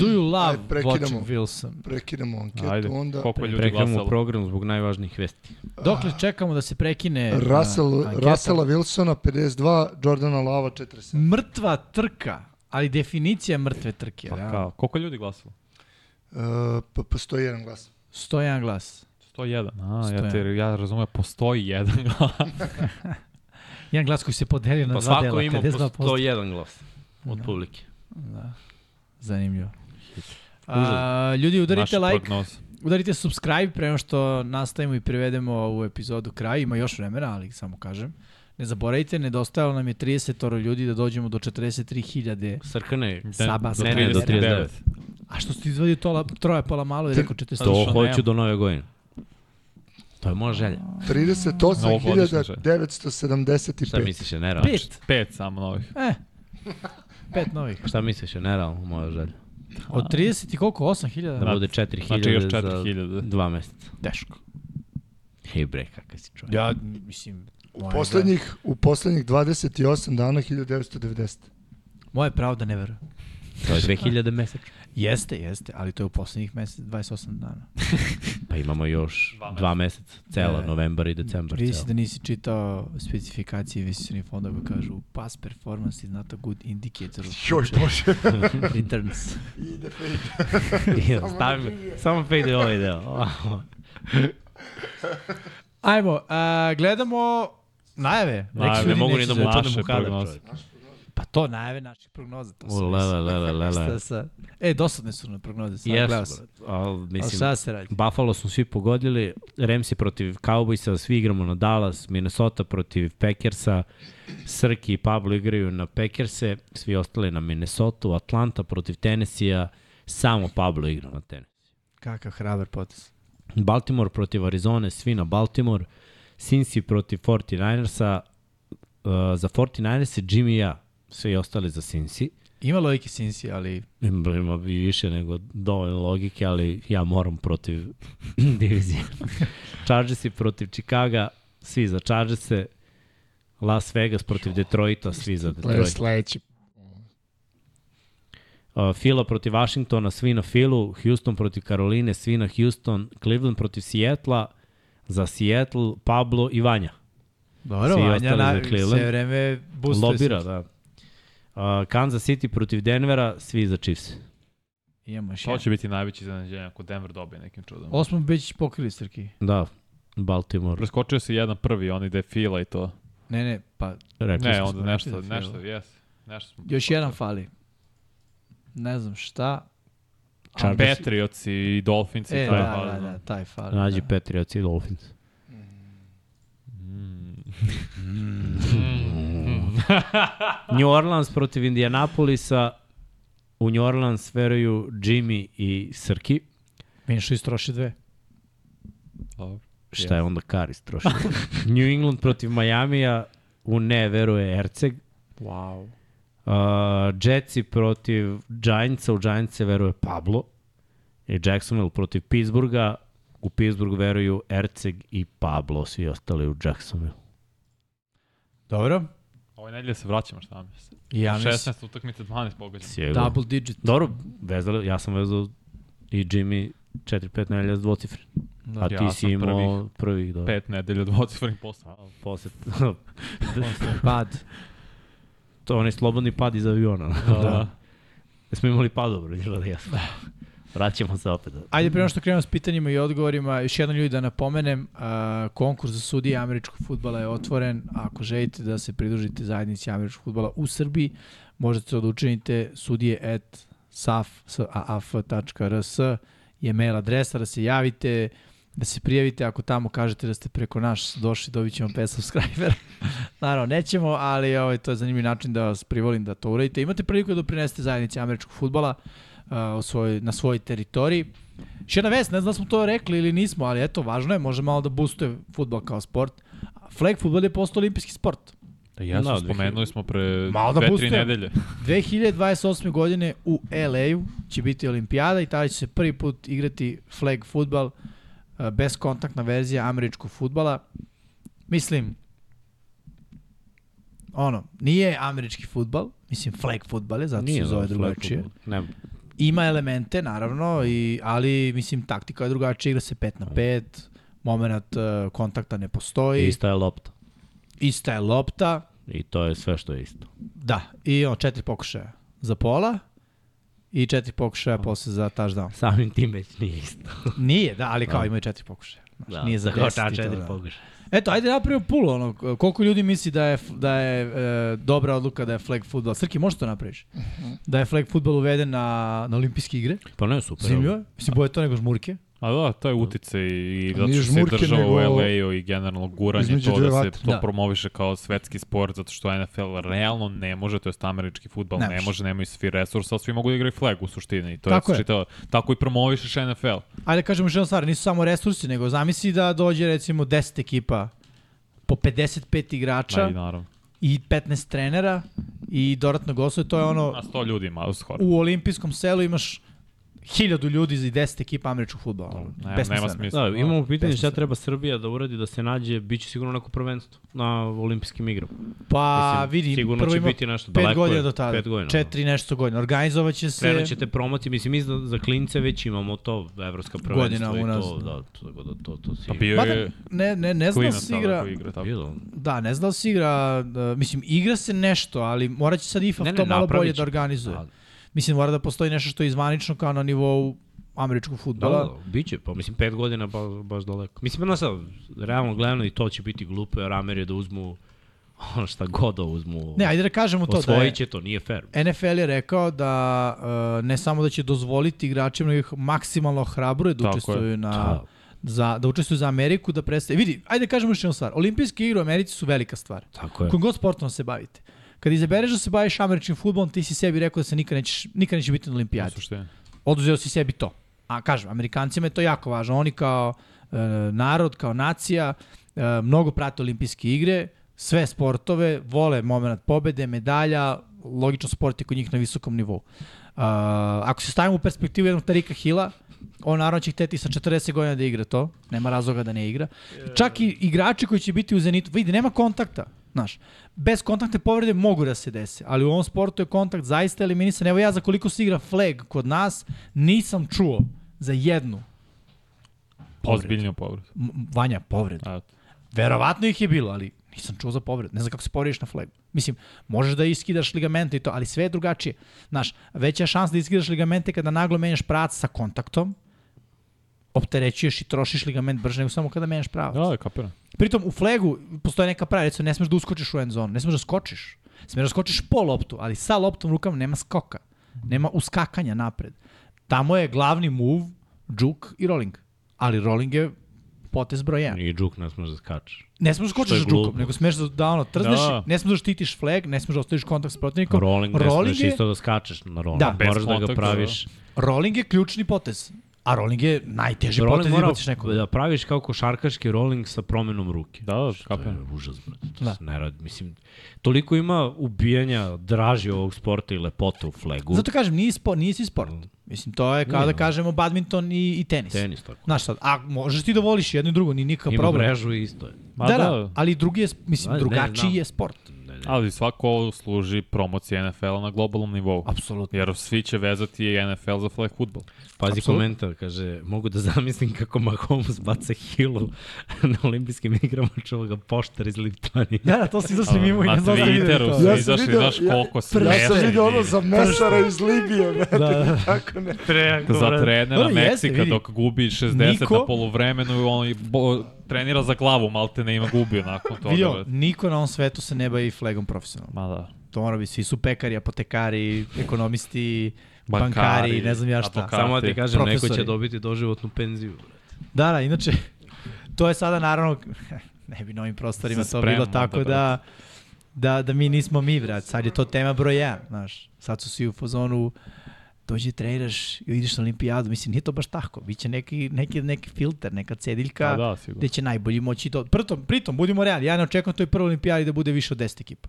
Speaker 3: Do you love
Speaker 5: Ajde, prekidamo.
Speaker 3: watching Wilson?
Speaker 5: Prekidamo anketu
Speaker 4: Ajde,
Speaker 5: onda.
Speaker 4: koliko je ljudi
Speaker 2: Prekrenemo
Speaker 4: glasalo?
Speaker 2: program zbog najvažnijih vesti.
Speaker 3: Dokle čekamo da se prekine a,
Speaker 5: Russell,
Speaker 3: da, anketa?
Speaker 5: Russella Wilsona 52, Jordana Lava 47.
Speaker 3: Mrtva trka, ali definicija mrtve trke.
Speaker 4: Pa
Speaker 3: Da.
Speaker 4: kao, koliko je ljudi glasalo?
Speaker 5: Uh, pa postoji jedan glas.
Speaker 3: Stoji jedan glas.
Speaker 4: 101. A, ja,
Speaker 3: 101.
Speaker 4: te, ja razumem, postoji jedan glas.
Speaker 3: Jedan glas koji se podelio na
Speaker 2: Pa
Speaker 3: dva
Speaker 2: svako
Speaker 3: dela.
Speaker 2: ima
Speaker 3: 52%.
Speaker 2: po 101 glas od publike.
Speaker 3: Da. Zanimljivo. A, ljudi, udarite
Speaker 4: Naša
Speaker 3: like,
Speaker 4: prognoza.
Speaker 3: udarite subscribe prema što nastavimo i privedemo ovu epizodu kraju. Ima još vremena, ali samo kažem. Ne zaboravite, nedostajalo nam je 30 ljudi da dođemo do 43.000.
Speaker 2: Srkane, da.
Speaker 3: Saba,
Speaker 4: Do
Speaker 3: ne, ne, do
Speaker 2: 39.
Speaker 3: A što ste izvadio tola, troja pola malo i rekao
Speaker 2: to
Speaker 3: 40.
Speaker 4: što
Speaker 2: hoću
Speaker 4: nemam.
Speaker 2: do nove godine. To je moja želja.
Speaker 4: Novogodišnja želja.
Speaker 5: 38.975.
Speaker 2: Šta misliš je nerealno?
Speaker 3: Pet.
Speaker 4: Pet samo novih.
Speaker 3: E. Pet novih.
Speaker 2: Šta misliš je nerealno moja želja?
Speaker 3: Od 30 i koliko? 8.000?
Speaker 2: Da bude 4000
Speaker 4: Znači još
Speaker 2: za
Speaker 4: 4000.
Speaker 2: dva meseca.
Speaker 3: Teško.
Speaker 2: Hej bre, kakav si čovjek.
Speaker 3: Ja, mislim...
Speaker 5: U poslednjih, u poslednjih 28 dana 1990.
Speaker 3: Moje pravo da ne verujem.
Speaker 2: To je 2000 mesečno.
Speaker 3: Jeste, jeste, ali to je u poslednjih mesec, 28 dana.
Speaker 2: Pa imamo još
Speaker 4: Dva
Speaker 2: dva meseca. Cela,
Speaker 3: Ne.
Speaker 2: novembar i decembar.
Speaker 3: Vidi si
Speaker 2: cela.
Speaker 3: da nisi čitao specifikacije investicionih fondova, kažu past performance is not a good indicator of
Speaker 5: Joj bože.
Speaker 3: future returns.
Speaker 5: Ide fejt.
Speaker 2: Ja, Stavim, samo pejde ovaj deo.
Speaker 3: Ajmo, a, gledamo najave.
Speaker 4: Najave,
Speaker 3: Neki
Speaker 4: ne
Speaker 3: ljudi
Speaker 4: mogu
Speaker 3: neće
Speaker 4: ni da
Speaker 3: za-
Speaker 4: mu-
Speaker 2: upadnem
Speaker 4: naše
Speaker 2: u kadar,
Speaker 4: prognoze.
Speaker 2: čovjek.
Speaker 3: Pa to najave naših prognoza. To
Speaker 2: U, lele, lele, lele.
Speaker 3: Sa, sa, e, dosadne su na prognoze, sad yes, gledao
Speaker 2: Jesu,
Speaker 3: sam.
Speaker 2: brate. Al,
Speaker 3: Ali
Speaker 2: mislim,
Speaker 3: šta se radi?
Speaker 2: Buffalo smo svi pogodili, Ramsey protiv Cowboysa, svi igramo na Dallas, Minnesota protiv Packersa, Srki i Pablo igraju na Packerse, svi ostali na Minnesota, Atlanta protiv Tennessee-a, samo Pablo igra na Tennessee.
Speaker 3: Kakav hrabar potes.
Speaker 2: Baltimore protiv Arizone, svi na Baltimore, Cincy protiv 49ersa, uh, za 49erse Jimmy i ja, svi ostali za Cincy.
Speaker 3: Ima logike Sinsi, ali
Speaker 2: Ima ima i više nego dovoljno logike, ali ja moram protiv divizije. Chargersi protiv Chicaga, svi za Chargerse. Las Vegas protiv Detroita, svi za Detroit.
Speaker 5: sledeći.
Speaker 2: Uh, Fila protiv Washingtona, svi na Filu. Houston protiv Karoline, svi na Houston. Cleveland protiv Sijetla, za Seattle, Pablo i Vanja.
Speaker 3: dobro,
Speaker 2: Svi
Speaker 3: Vanja
Speaker 2: ostali
Speaker 3: na,
Speaker 2: za Cleveland.
Speaker 3: sve vreme boostuje
Speaker 2: Lobira, da. Uh, Kansas City protiv Denvera, svi za Chiefs. da.
Speaker 3: Imamo još
Speaker 4: To
Speaker 3: jedan.
Speaker 4: će biti najveći iznenađenje ako Denver dobije nekim čudom.
Speaker 3: Osmo već pokrili, Srki.
Speaker 2: Da, Baltimore.
Speaker 4: Preskočio si jedan prvi, on ide fila i to.
Speaker 3: Ne, ne, pa
Speaker 2: Rekli
Speaker 4: Ne,
Speaker 2: smo.
Speaker 4: onda
Speaker 3: rekli
Speaker 4: nešto,
Speaker 3: da fila.
Speaker 4: nešto, jes. Nešto smo
Speaker 3: Još jedan fali. Ne znam šta. A
Speaker 4: A
Speaker 3: Pet-
Speaker 4: Patriots i Dolphins i
Speaker 3: E, da,
Speaker 4: taj fazon.
Speaker 3: da, da, taj fali.
Speaker 2: Nađi
Speaker 3: da.
Speaker 2: Patriots i Dolphins.
Speaker 4: Mm.
Speaker 2: New Orleans protiv Indianapolisa. U New Orleans veruju Jimmy i Srki.
Speaker 3: Minšu istroši dve.
Speaker 4: Dobro.
Speaker 2: Šta je onda Karis trošio? New England protiv Majamija. U ne veruje Erceg.
Speaker 3: Wow.
Speaker 2: Uh, Uh, Jetsi protiv Giantsa, u Giantsa veruje Pablo. I Jacksonville protiv Pittsburgha, u Pittsburgh veruju Erceg i Pablo, svi ostali u Jacksonville.
Speaker 3: Dobro.
Speaker 4: Ove nedelje se vraćamo, šta mi se?
Speaker 3: Ja mislim,
Speaker 4: 16 utakmice, 12 pogađamo.
Speaker 2: Sigurno.
Speaker 3: double digit.
Speaker 2: Dobro, vezali, ja sam vezao i Jimmy 4-5 nedelja s dvocifre.
Speaker 3: Da.
Speaker 2: A ti
Speaker 4: Ja
Speaker 2: si
Speaker 4: sam
Speaker 2: imao prvih, dobro.
Speaker 4: Pet nedelja, dvocifren posao.
Speaker 2: A, Posle,
Speaker 3: Pad.
Speaker 2: to je onaj slobodni pad iz aviona. Da. Jesmo imali pad dobro, ili da jesmo. Vraćamo se opet.
Speaker 3: Ajde, prema što krenemo s pitanjima i odgovorima, još jednom ljudi da napomenem, a, konkurs za sudije američkog futbala je otvoren. Ako želite da se pridružite zajednici američkog futbala u Srbiji, možete to da učinite sudije at saf.rs je mail adresa da se javite, da se prijavite. Ako tamo kažete da ste preko naš došli, dobit ćemo 5 subscribera. Naravno, nećemo, ali ovaj, to je zanimljiv način da vas privolim da to uradite. Imate priliku da doprinesete zajednici američkog futbala a, u svoj, na svojoj teritoriji. Još jedna vest, ne znam da smo to rekli ili nismo, ali eto, važno je, može malo da boostuje futbol kao sport. Flag futbol je postao olimpijski sport.
Speaker 4: Da, jasno,
Speaker 2: Da,
Speaker 4: da, spomenuli smo pre
Speaker 3: Malo da
Speaker 4: dve, tri
Speaker 3: pustujem.
Speaker 4: nedelje.
Speaker 3: 2028. godine u LA-u će biti olimpijada i tada će se prvi put igrati flag futbal, e, beskontaktna verzija američkog futbala. Mislim, ono, nije američki futbal, mislim flag futbal je, zato nije, da se zove drugačije.
Speaker 2: da, Ne,
Speaker 3: Ima elemente, naravno, i, ali mislim taktika je drugačija, igra se 5 na 5, moment uh, kontakta ne postoji, Ist.
Speaker 2: ista je lopta.
Speaker 3: ista je lopta,
Speaker 2: I to je sve što je isto.
Speaker 3: da, i ono, četiri pokušaja za pola i četiri pokušaja posle za touchdown.
Speaker 2: Samim tim već nije isto.
Speaker 3: Nije, da, ali kao imaju četiri pokušaja. Znaš, da, nije za deset i to,
Speaker 2: četiri
Speaker 3: da.
Speaker 2: pokušaja.
Speaker 3: Eto, ajde napravimo pulo, ono, koliko ljudi misli da je, da je e, dobra odluka da je flag futbol. Srki, možeš to napraviš? Da je flag futbol uveden na, na olimpijske igre?
Speaker 2: Pa ne, super.
Speaker 3: Zimljivo je. Mislim, boje to nego žmurke.
Speaker 4: A da, to je utice i, i zato
Speaker 5: Nije
Speaker 4: što se
Speaker 5: žmurke,
Speaker 4: država u
Speaker 5: nego-
Speaker 4: LA-u i generalno guranje
Speaker 5: Između
Speaker 4: to
Speaker 5: dve
Speaker 4: da se
Speaker 5: vatre.
Speaker 4: to
Speaker 3: Da.
Speaker 4: promoviše kao svetski sport zato što NFL realno ne može, to je američki futbal
Speaker 3: Ne
Speaker 4: ne,
Speaker 3: može.
Speaker 4: može, nemaju svi resursa, ali svi mogu da igraju flag u suštini. I to
Speaker 3: Tako
Speaker 4: tako
Speaker 3: je.
Speaker 4: je, čitao, tako i promovišeš NFL.
Speaker 3: Ajde kažemo još jednu stvar, nisu samo resursi, nego zamisli da dođe recimo 10 ekipa po 55 igrača
Speaker 4: Da, i naravno.
Speaker 3: i 15 trenera i dodatno gostuje, to je ono
Speaker 4: Na 100 ljudi malo skoro.
Speaker 3: u olimpijskom selu imaš 1000 ljudi i 10 ekipa američkog fudbala. Ono,
Speaker 4: Nema-
Speaker 3: besmisleno.
Speaker 4: nema smisla.
Speaker 2: Da, imamo pitanje šta
Speaker 3: besmisleno.
Speaker 2: treba Srbija da uradi da se nađe, bit će sigurno neko prvenstvo na olimpijskim igrama.
Speaker 3: Pa
Speaker 2: Mislim,
Speaker 3: vidi,
Speaker 2: sigurno
Speaker 3: prvo
Speaker 2: će
Speaker 3: ima
Speaker 2: biti nešto,
Speaker 3: 5
Speaker 2: daleko
Speaker 3: godina
Speaker 2: je,
Speaker 3: do tada.
Speaker 2: pet godina, da.
Speaker 3: 4 nešto godina. Organizovaće se
Speaker 2: Krenut ćete promocije, mislim mi za, za klince već imamo to, evropska
Speaker 3: Godina
Speaker 2: prvenstva i to,
Speaker 3: unazad.
Speaker 2: da, to, da, to, to,
Speaker 4: Pa
Speaker 2: sigurno.
Speaker 4: bio
Speaker 3: Mada,
Speaker 4: je
Speaker 3: ne, ne, ne znam da
Speaker 4: klinac
Speaker 3: se
Speaker 4: tada
Speaker 3: igra,
Speaker 4: koji igra tako.
Speaker 2: Bilo.
Speaker 3: da, ne znam da se igra, da, mislim, igra se nešto, ali morat će sad IFAF
Speaker 2: Ne, ne,
Speaker 3: to malo
Speaker 2: napravit
Speaker 3: bolje
Speaker 2: će.
Speaker 3: da organizuje.
Speaker 2: Da,
Speaker 3: Mislim, mora da postoji nešto što je izvanično kao na nivou američkog
Speaker 2: Da,
Speaker 3: futbala.
Speaker 2: da, bit će, pa mislim, pet godina ba, baš daleko. Mislim, no sad, realno gledano i to će biti glupo, jer Amer je da uzmu ono šta god da uzmu.
Speaker 3: Ne, ajde da kažemo to da je,
Speaker 2: Osvojit će to, nije fair.
Speaker 3: NFL je rekao da uh, ne samo da će dozvoliti igračima, nego ih maksimalno hrabruje da
Speaker 4: Tako je.
Speaker 3: učestvuju na...
Speaker 2: Da.
Speaker 3: Za, da učestvuju za Ameriku, da predstave... Vidi, ajde da kažemo još jednu stvar. Olimpijske igre u Americi su velika stvar.
Speaker 2: Tako je.
Speaker 3: Kojim god sportom se bavite. Kad izabereš da se baviš američkim futbolom, ti si sebi rekao da se nikad nećeš, nikad neće biti na
Speaker 4: u
Speaker 3: olimpijadi.
Speaker 4: suštini.
Speaker 3: oduzeo si sebi to. A kažem, Amerikancima je to jako važno. Oni kao e, narod, kao nacija, e, mnogo prate olimpijske igre, sve sportove, vole moment pobede, medalja, logično sport je kod njih na visokom nivou. Uh, ako se stavimo u perspektivu jednog Tarika Hila, on naravno će hteti sa 40 godina da igra to, nema razloga da ne igra. Čak i igrači koji će biti u Zenitu, vidi, nema kontakta, znaš. Bez kontakte povrede mogu da se dese, ali u ovom sportu je kontakt zaista eliminisan. Evo ja za koliko se igra flag kod nas, nisam čuo za jednu Povredu.
Speaker 4: Ozbiljniju povredu.
Speaker 3: M- Vanja povredu.
Speaker 4: A,
Speaker 3: Verovatno ih je bilo, ali nisam čuo za povredu. Ne znam kako se povrediš na flagu. Mislim, možeš da iskidaš ligamente i to, ali sve je drugačije. Znaš, veća je šansa da iskidaš ligamente kada naglo menjaš pravac sa kontaktom, opterećuješ i trošiš ligament brže nego samo kada menjaš pravac.
Speaker 4: Da, da, kapiram.
Speaker 3: Pritom u flagu postoje neka pravila, recimo ne smeš da uskočiš u end zonu, ne smeš da skočiš. Smeš da skočiš po loptu, ali sa loptom u rukama nema skoka. Nema uskakanja napred. Tamo je glavni move, džuk i rolling. Ali rolling je potez broj 1.
Speaker 2: I džuk nas može da skače.
Speaker 3: Ne smeš da
Speaker 2: Što je
Speaker 3: skočiš
Speaker 2: glupo.
Speaker 3: džukom, nego smeš da, da ono, trzneš, da.
Speaker 4: Da.
Speaker 3: ne smeš da štitiš flag, ne smeš da ostaviš kontakt s protivnikom.
Speaker 2: Rolling,
Speaker 3: rolling
Speaker 2: rolling ne smeš
Speaker 3: je,
Speaker 2: isto da skačeš na rolling.
Speaker 3: Da.
Speaker 2: Da,
Speaker 4: Bez
Speaker 2: Moraš da ga
Speaker 4: kontakta,
Speaker 2: praviš.
Speaker 3: rolling je ključni potez. A rolling je najteži
Speaker 2: Rolling
Speaker 3: potez da
Speaker 2: mora
Speaker 3: baciš nekog.
Speaker 2: da praviš kao košarkaški rolling sa promenom ruke.
Speaker 4: Da, da,
Speaker 2: To je
Speaker 4: kapiram.
Speaker 2: užas, brate. To da. se ne radi. Mislim, toliko ima ubijanja draži ovog sporta i lepota u flegu.
Speaker 3: Zato kažem, nije, spo, nije si sport. Mislim, to je kao da kažemo badminton i, i tenis.
Speaker 2: Tenis, tako.
Speaker 3: Znaš sad, a možeš ti da voliš jedno i drugo, ni nikakav
Speaker 2: Ima
Speaker 3: problem.
Speaker 2: mrežu i isto je.
Speaker 4: Ma
Speaker 3: da, da,
Speaker 4: da.
Speaker 3: ali drugi je, sp- mislim,
Speaker 2: Da, ne,
Speaker 3: drugačiji
Speaker 2: znam.
Speaker 3: je sport.
Speaker 2: Ne, ne.
Speaker 4: Ali svako ovo služi promociji NFL-a na globalnom nivou.
Speaker 3: Apsolutno.
Speaker 4: Jer svi će vezati NFL za flag futbol.
Speaker 2: Pazi
Speaker 3: Apsolutno.
Speaker 2: komentar, kaže, mogu da zamislim kako Mahomes baca hilu na olimpijskim igrama čuva ga poštar iz Liptanije.
Speaker 3: Da, da, to si izašli mimo i ne
Speaker 4: na
Speaker 3: znam da li vidim
Speaker 4: Twitteru
Speaker 3: to.
Speaker 4: si
Speaker 5: Ja sam
Speaker 4: izašli,
Speaker 5: video-
Speaker 4: znaš
Speaker 5: ja-
Speaker 4: koliko
Speaker 5: Ja sam
Speaker 4: smešno
Speaker 5: vidio ono
Speaker 4: je.
Speaker 5: za mesara iz Libije, brate,
Speaker 3: da.
Speaker 5: tako ne.
Speaker 4: za trenera
Speaker 3: Dobro, jeste,
Speaker 4: Meksika
Speaker 3: vidi.
Speaker 4: dok gubi 60
Speaker 3: Niko-
Speaker 4: na polovremenu i on i bo, trenira za glavu, malte ne ima gubio nakon toga.
Speaker 3: Vidio,
Speaker 4: brate.
Speaker 3: niko na ovom svetu se ne bavi flagom profesionalno.
Speaker 4: Ma da.
Speaker 3: To mora biti, svi su pekari, apotekari, ekonomisti, bankari,
Speaker 4: Bankari,
Speaker 3: ne znam ja šta.
Speaker 4: advokati.
Speaker 2: Samo da ti kažem, neko će
Speaker 3: Profesori.
Speaker 2: dobiti doživotnu penziju.
Speaker 3: Da, da, inače, to je sada naravno, ne bi na ovim prostorima
Speaker 4: Se
Speaker 3: to bilo
Speaker 4: spremamo
Speaker 3: tako
Speaker 4: da
Speaker 3: da, da, da mi nismo mi, brat. Sad je to tema broj 1, znaš. Sad su svi u fazonu, dođi treniraš i ideš na olimpijadu. Mislim, nije to baš tako. Biće neki, neki, neki filter, neka cediljka
Speaker 4: Pa da, sigurno.
Speaker 3: gde će najbolji moći do... Pritom, pritom, budimo realni, ja ne očekujem toj prvoj olimpijadi da bude više od 10 ekipa.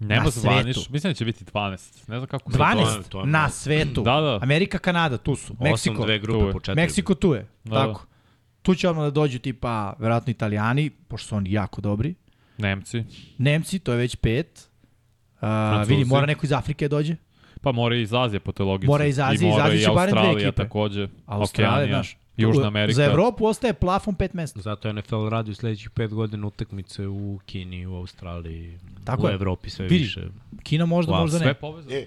Speaker 3: na
Speaker 4: Nema
Speaker 3: svetu.
Speaker 4: zvaniš, mislim da će biti 12. Ne znam kako...
Speaker 3: 12
Speaker 2: to je
Speaker 3: na
Speaker 2: mnogo.
Speaker 3: svetu.
Speaker 4: Da, da.
Speaker 3: Amerika, Kanada, tu su. Meksiko.
Speaker 2: Osam, dve
Speaker 4: Tu
Speaker 2: grupe
Speaker 4: je.
Speaker 2: po četiri.
Speaker 3: Meksiko tu je,
Speaker 4: Da,
Speaker 3: tako. Tu će odmah da dođu tipa, verovatno Italijani, pošto su oni jako dobri.
Speaker 4: Nemci.
Speaker 3: Nemci, to je već pet. A,
Speaker 4: Francuzi.
Speaker 3: vidi, mora neko iz Afrike da dođe.
Speaker 4: Pa mora i iz Azije po toj logici.
Speaker 3: Mora iz Azije,
Speaker 4: I
Speaker 3: iz
Speaker 4: mora
Speaker 3: Azije
Speaker 4: i
Speaker 3: će barem dve
Speaker 4: Australija
Speaker 3: ekipe.
Speaker 4: takođe.
Speaker 3: Australija,
Speaker 4: Australija,
Speaker 3: znaš.
Speaker 4: Južna Amerika.
Speaker 3: Za Evropu ostaje plafon pet mesta.
Speaker 2: Zato NFL radi u sledećih pet godina utakmice u Kini, u Australiji,
Speaker 3: Tako
Speaker 2: u
Speaker 3: je.
Speaker 2: Evropi sve
Speaker 3: Vidi.
Speaker 2: više.
Speaker 3: Kina možda,
Speaker 2: Wow,
Speaker 3: možda
Speaker 4: Sve
Speaker 3: ne.
Speaker 4: povezano.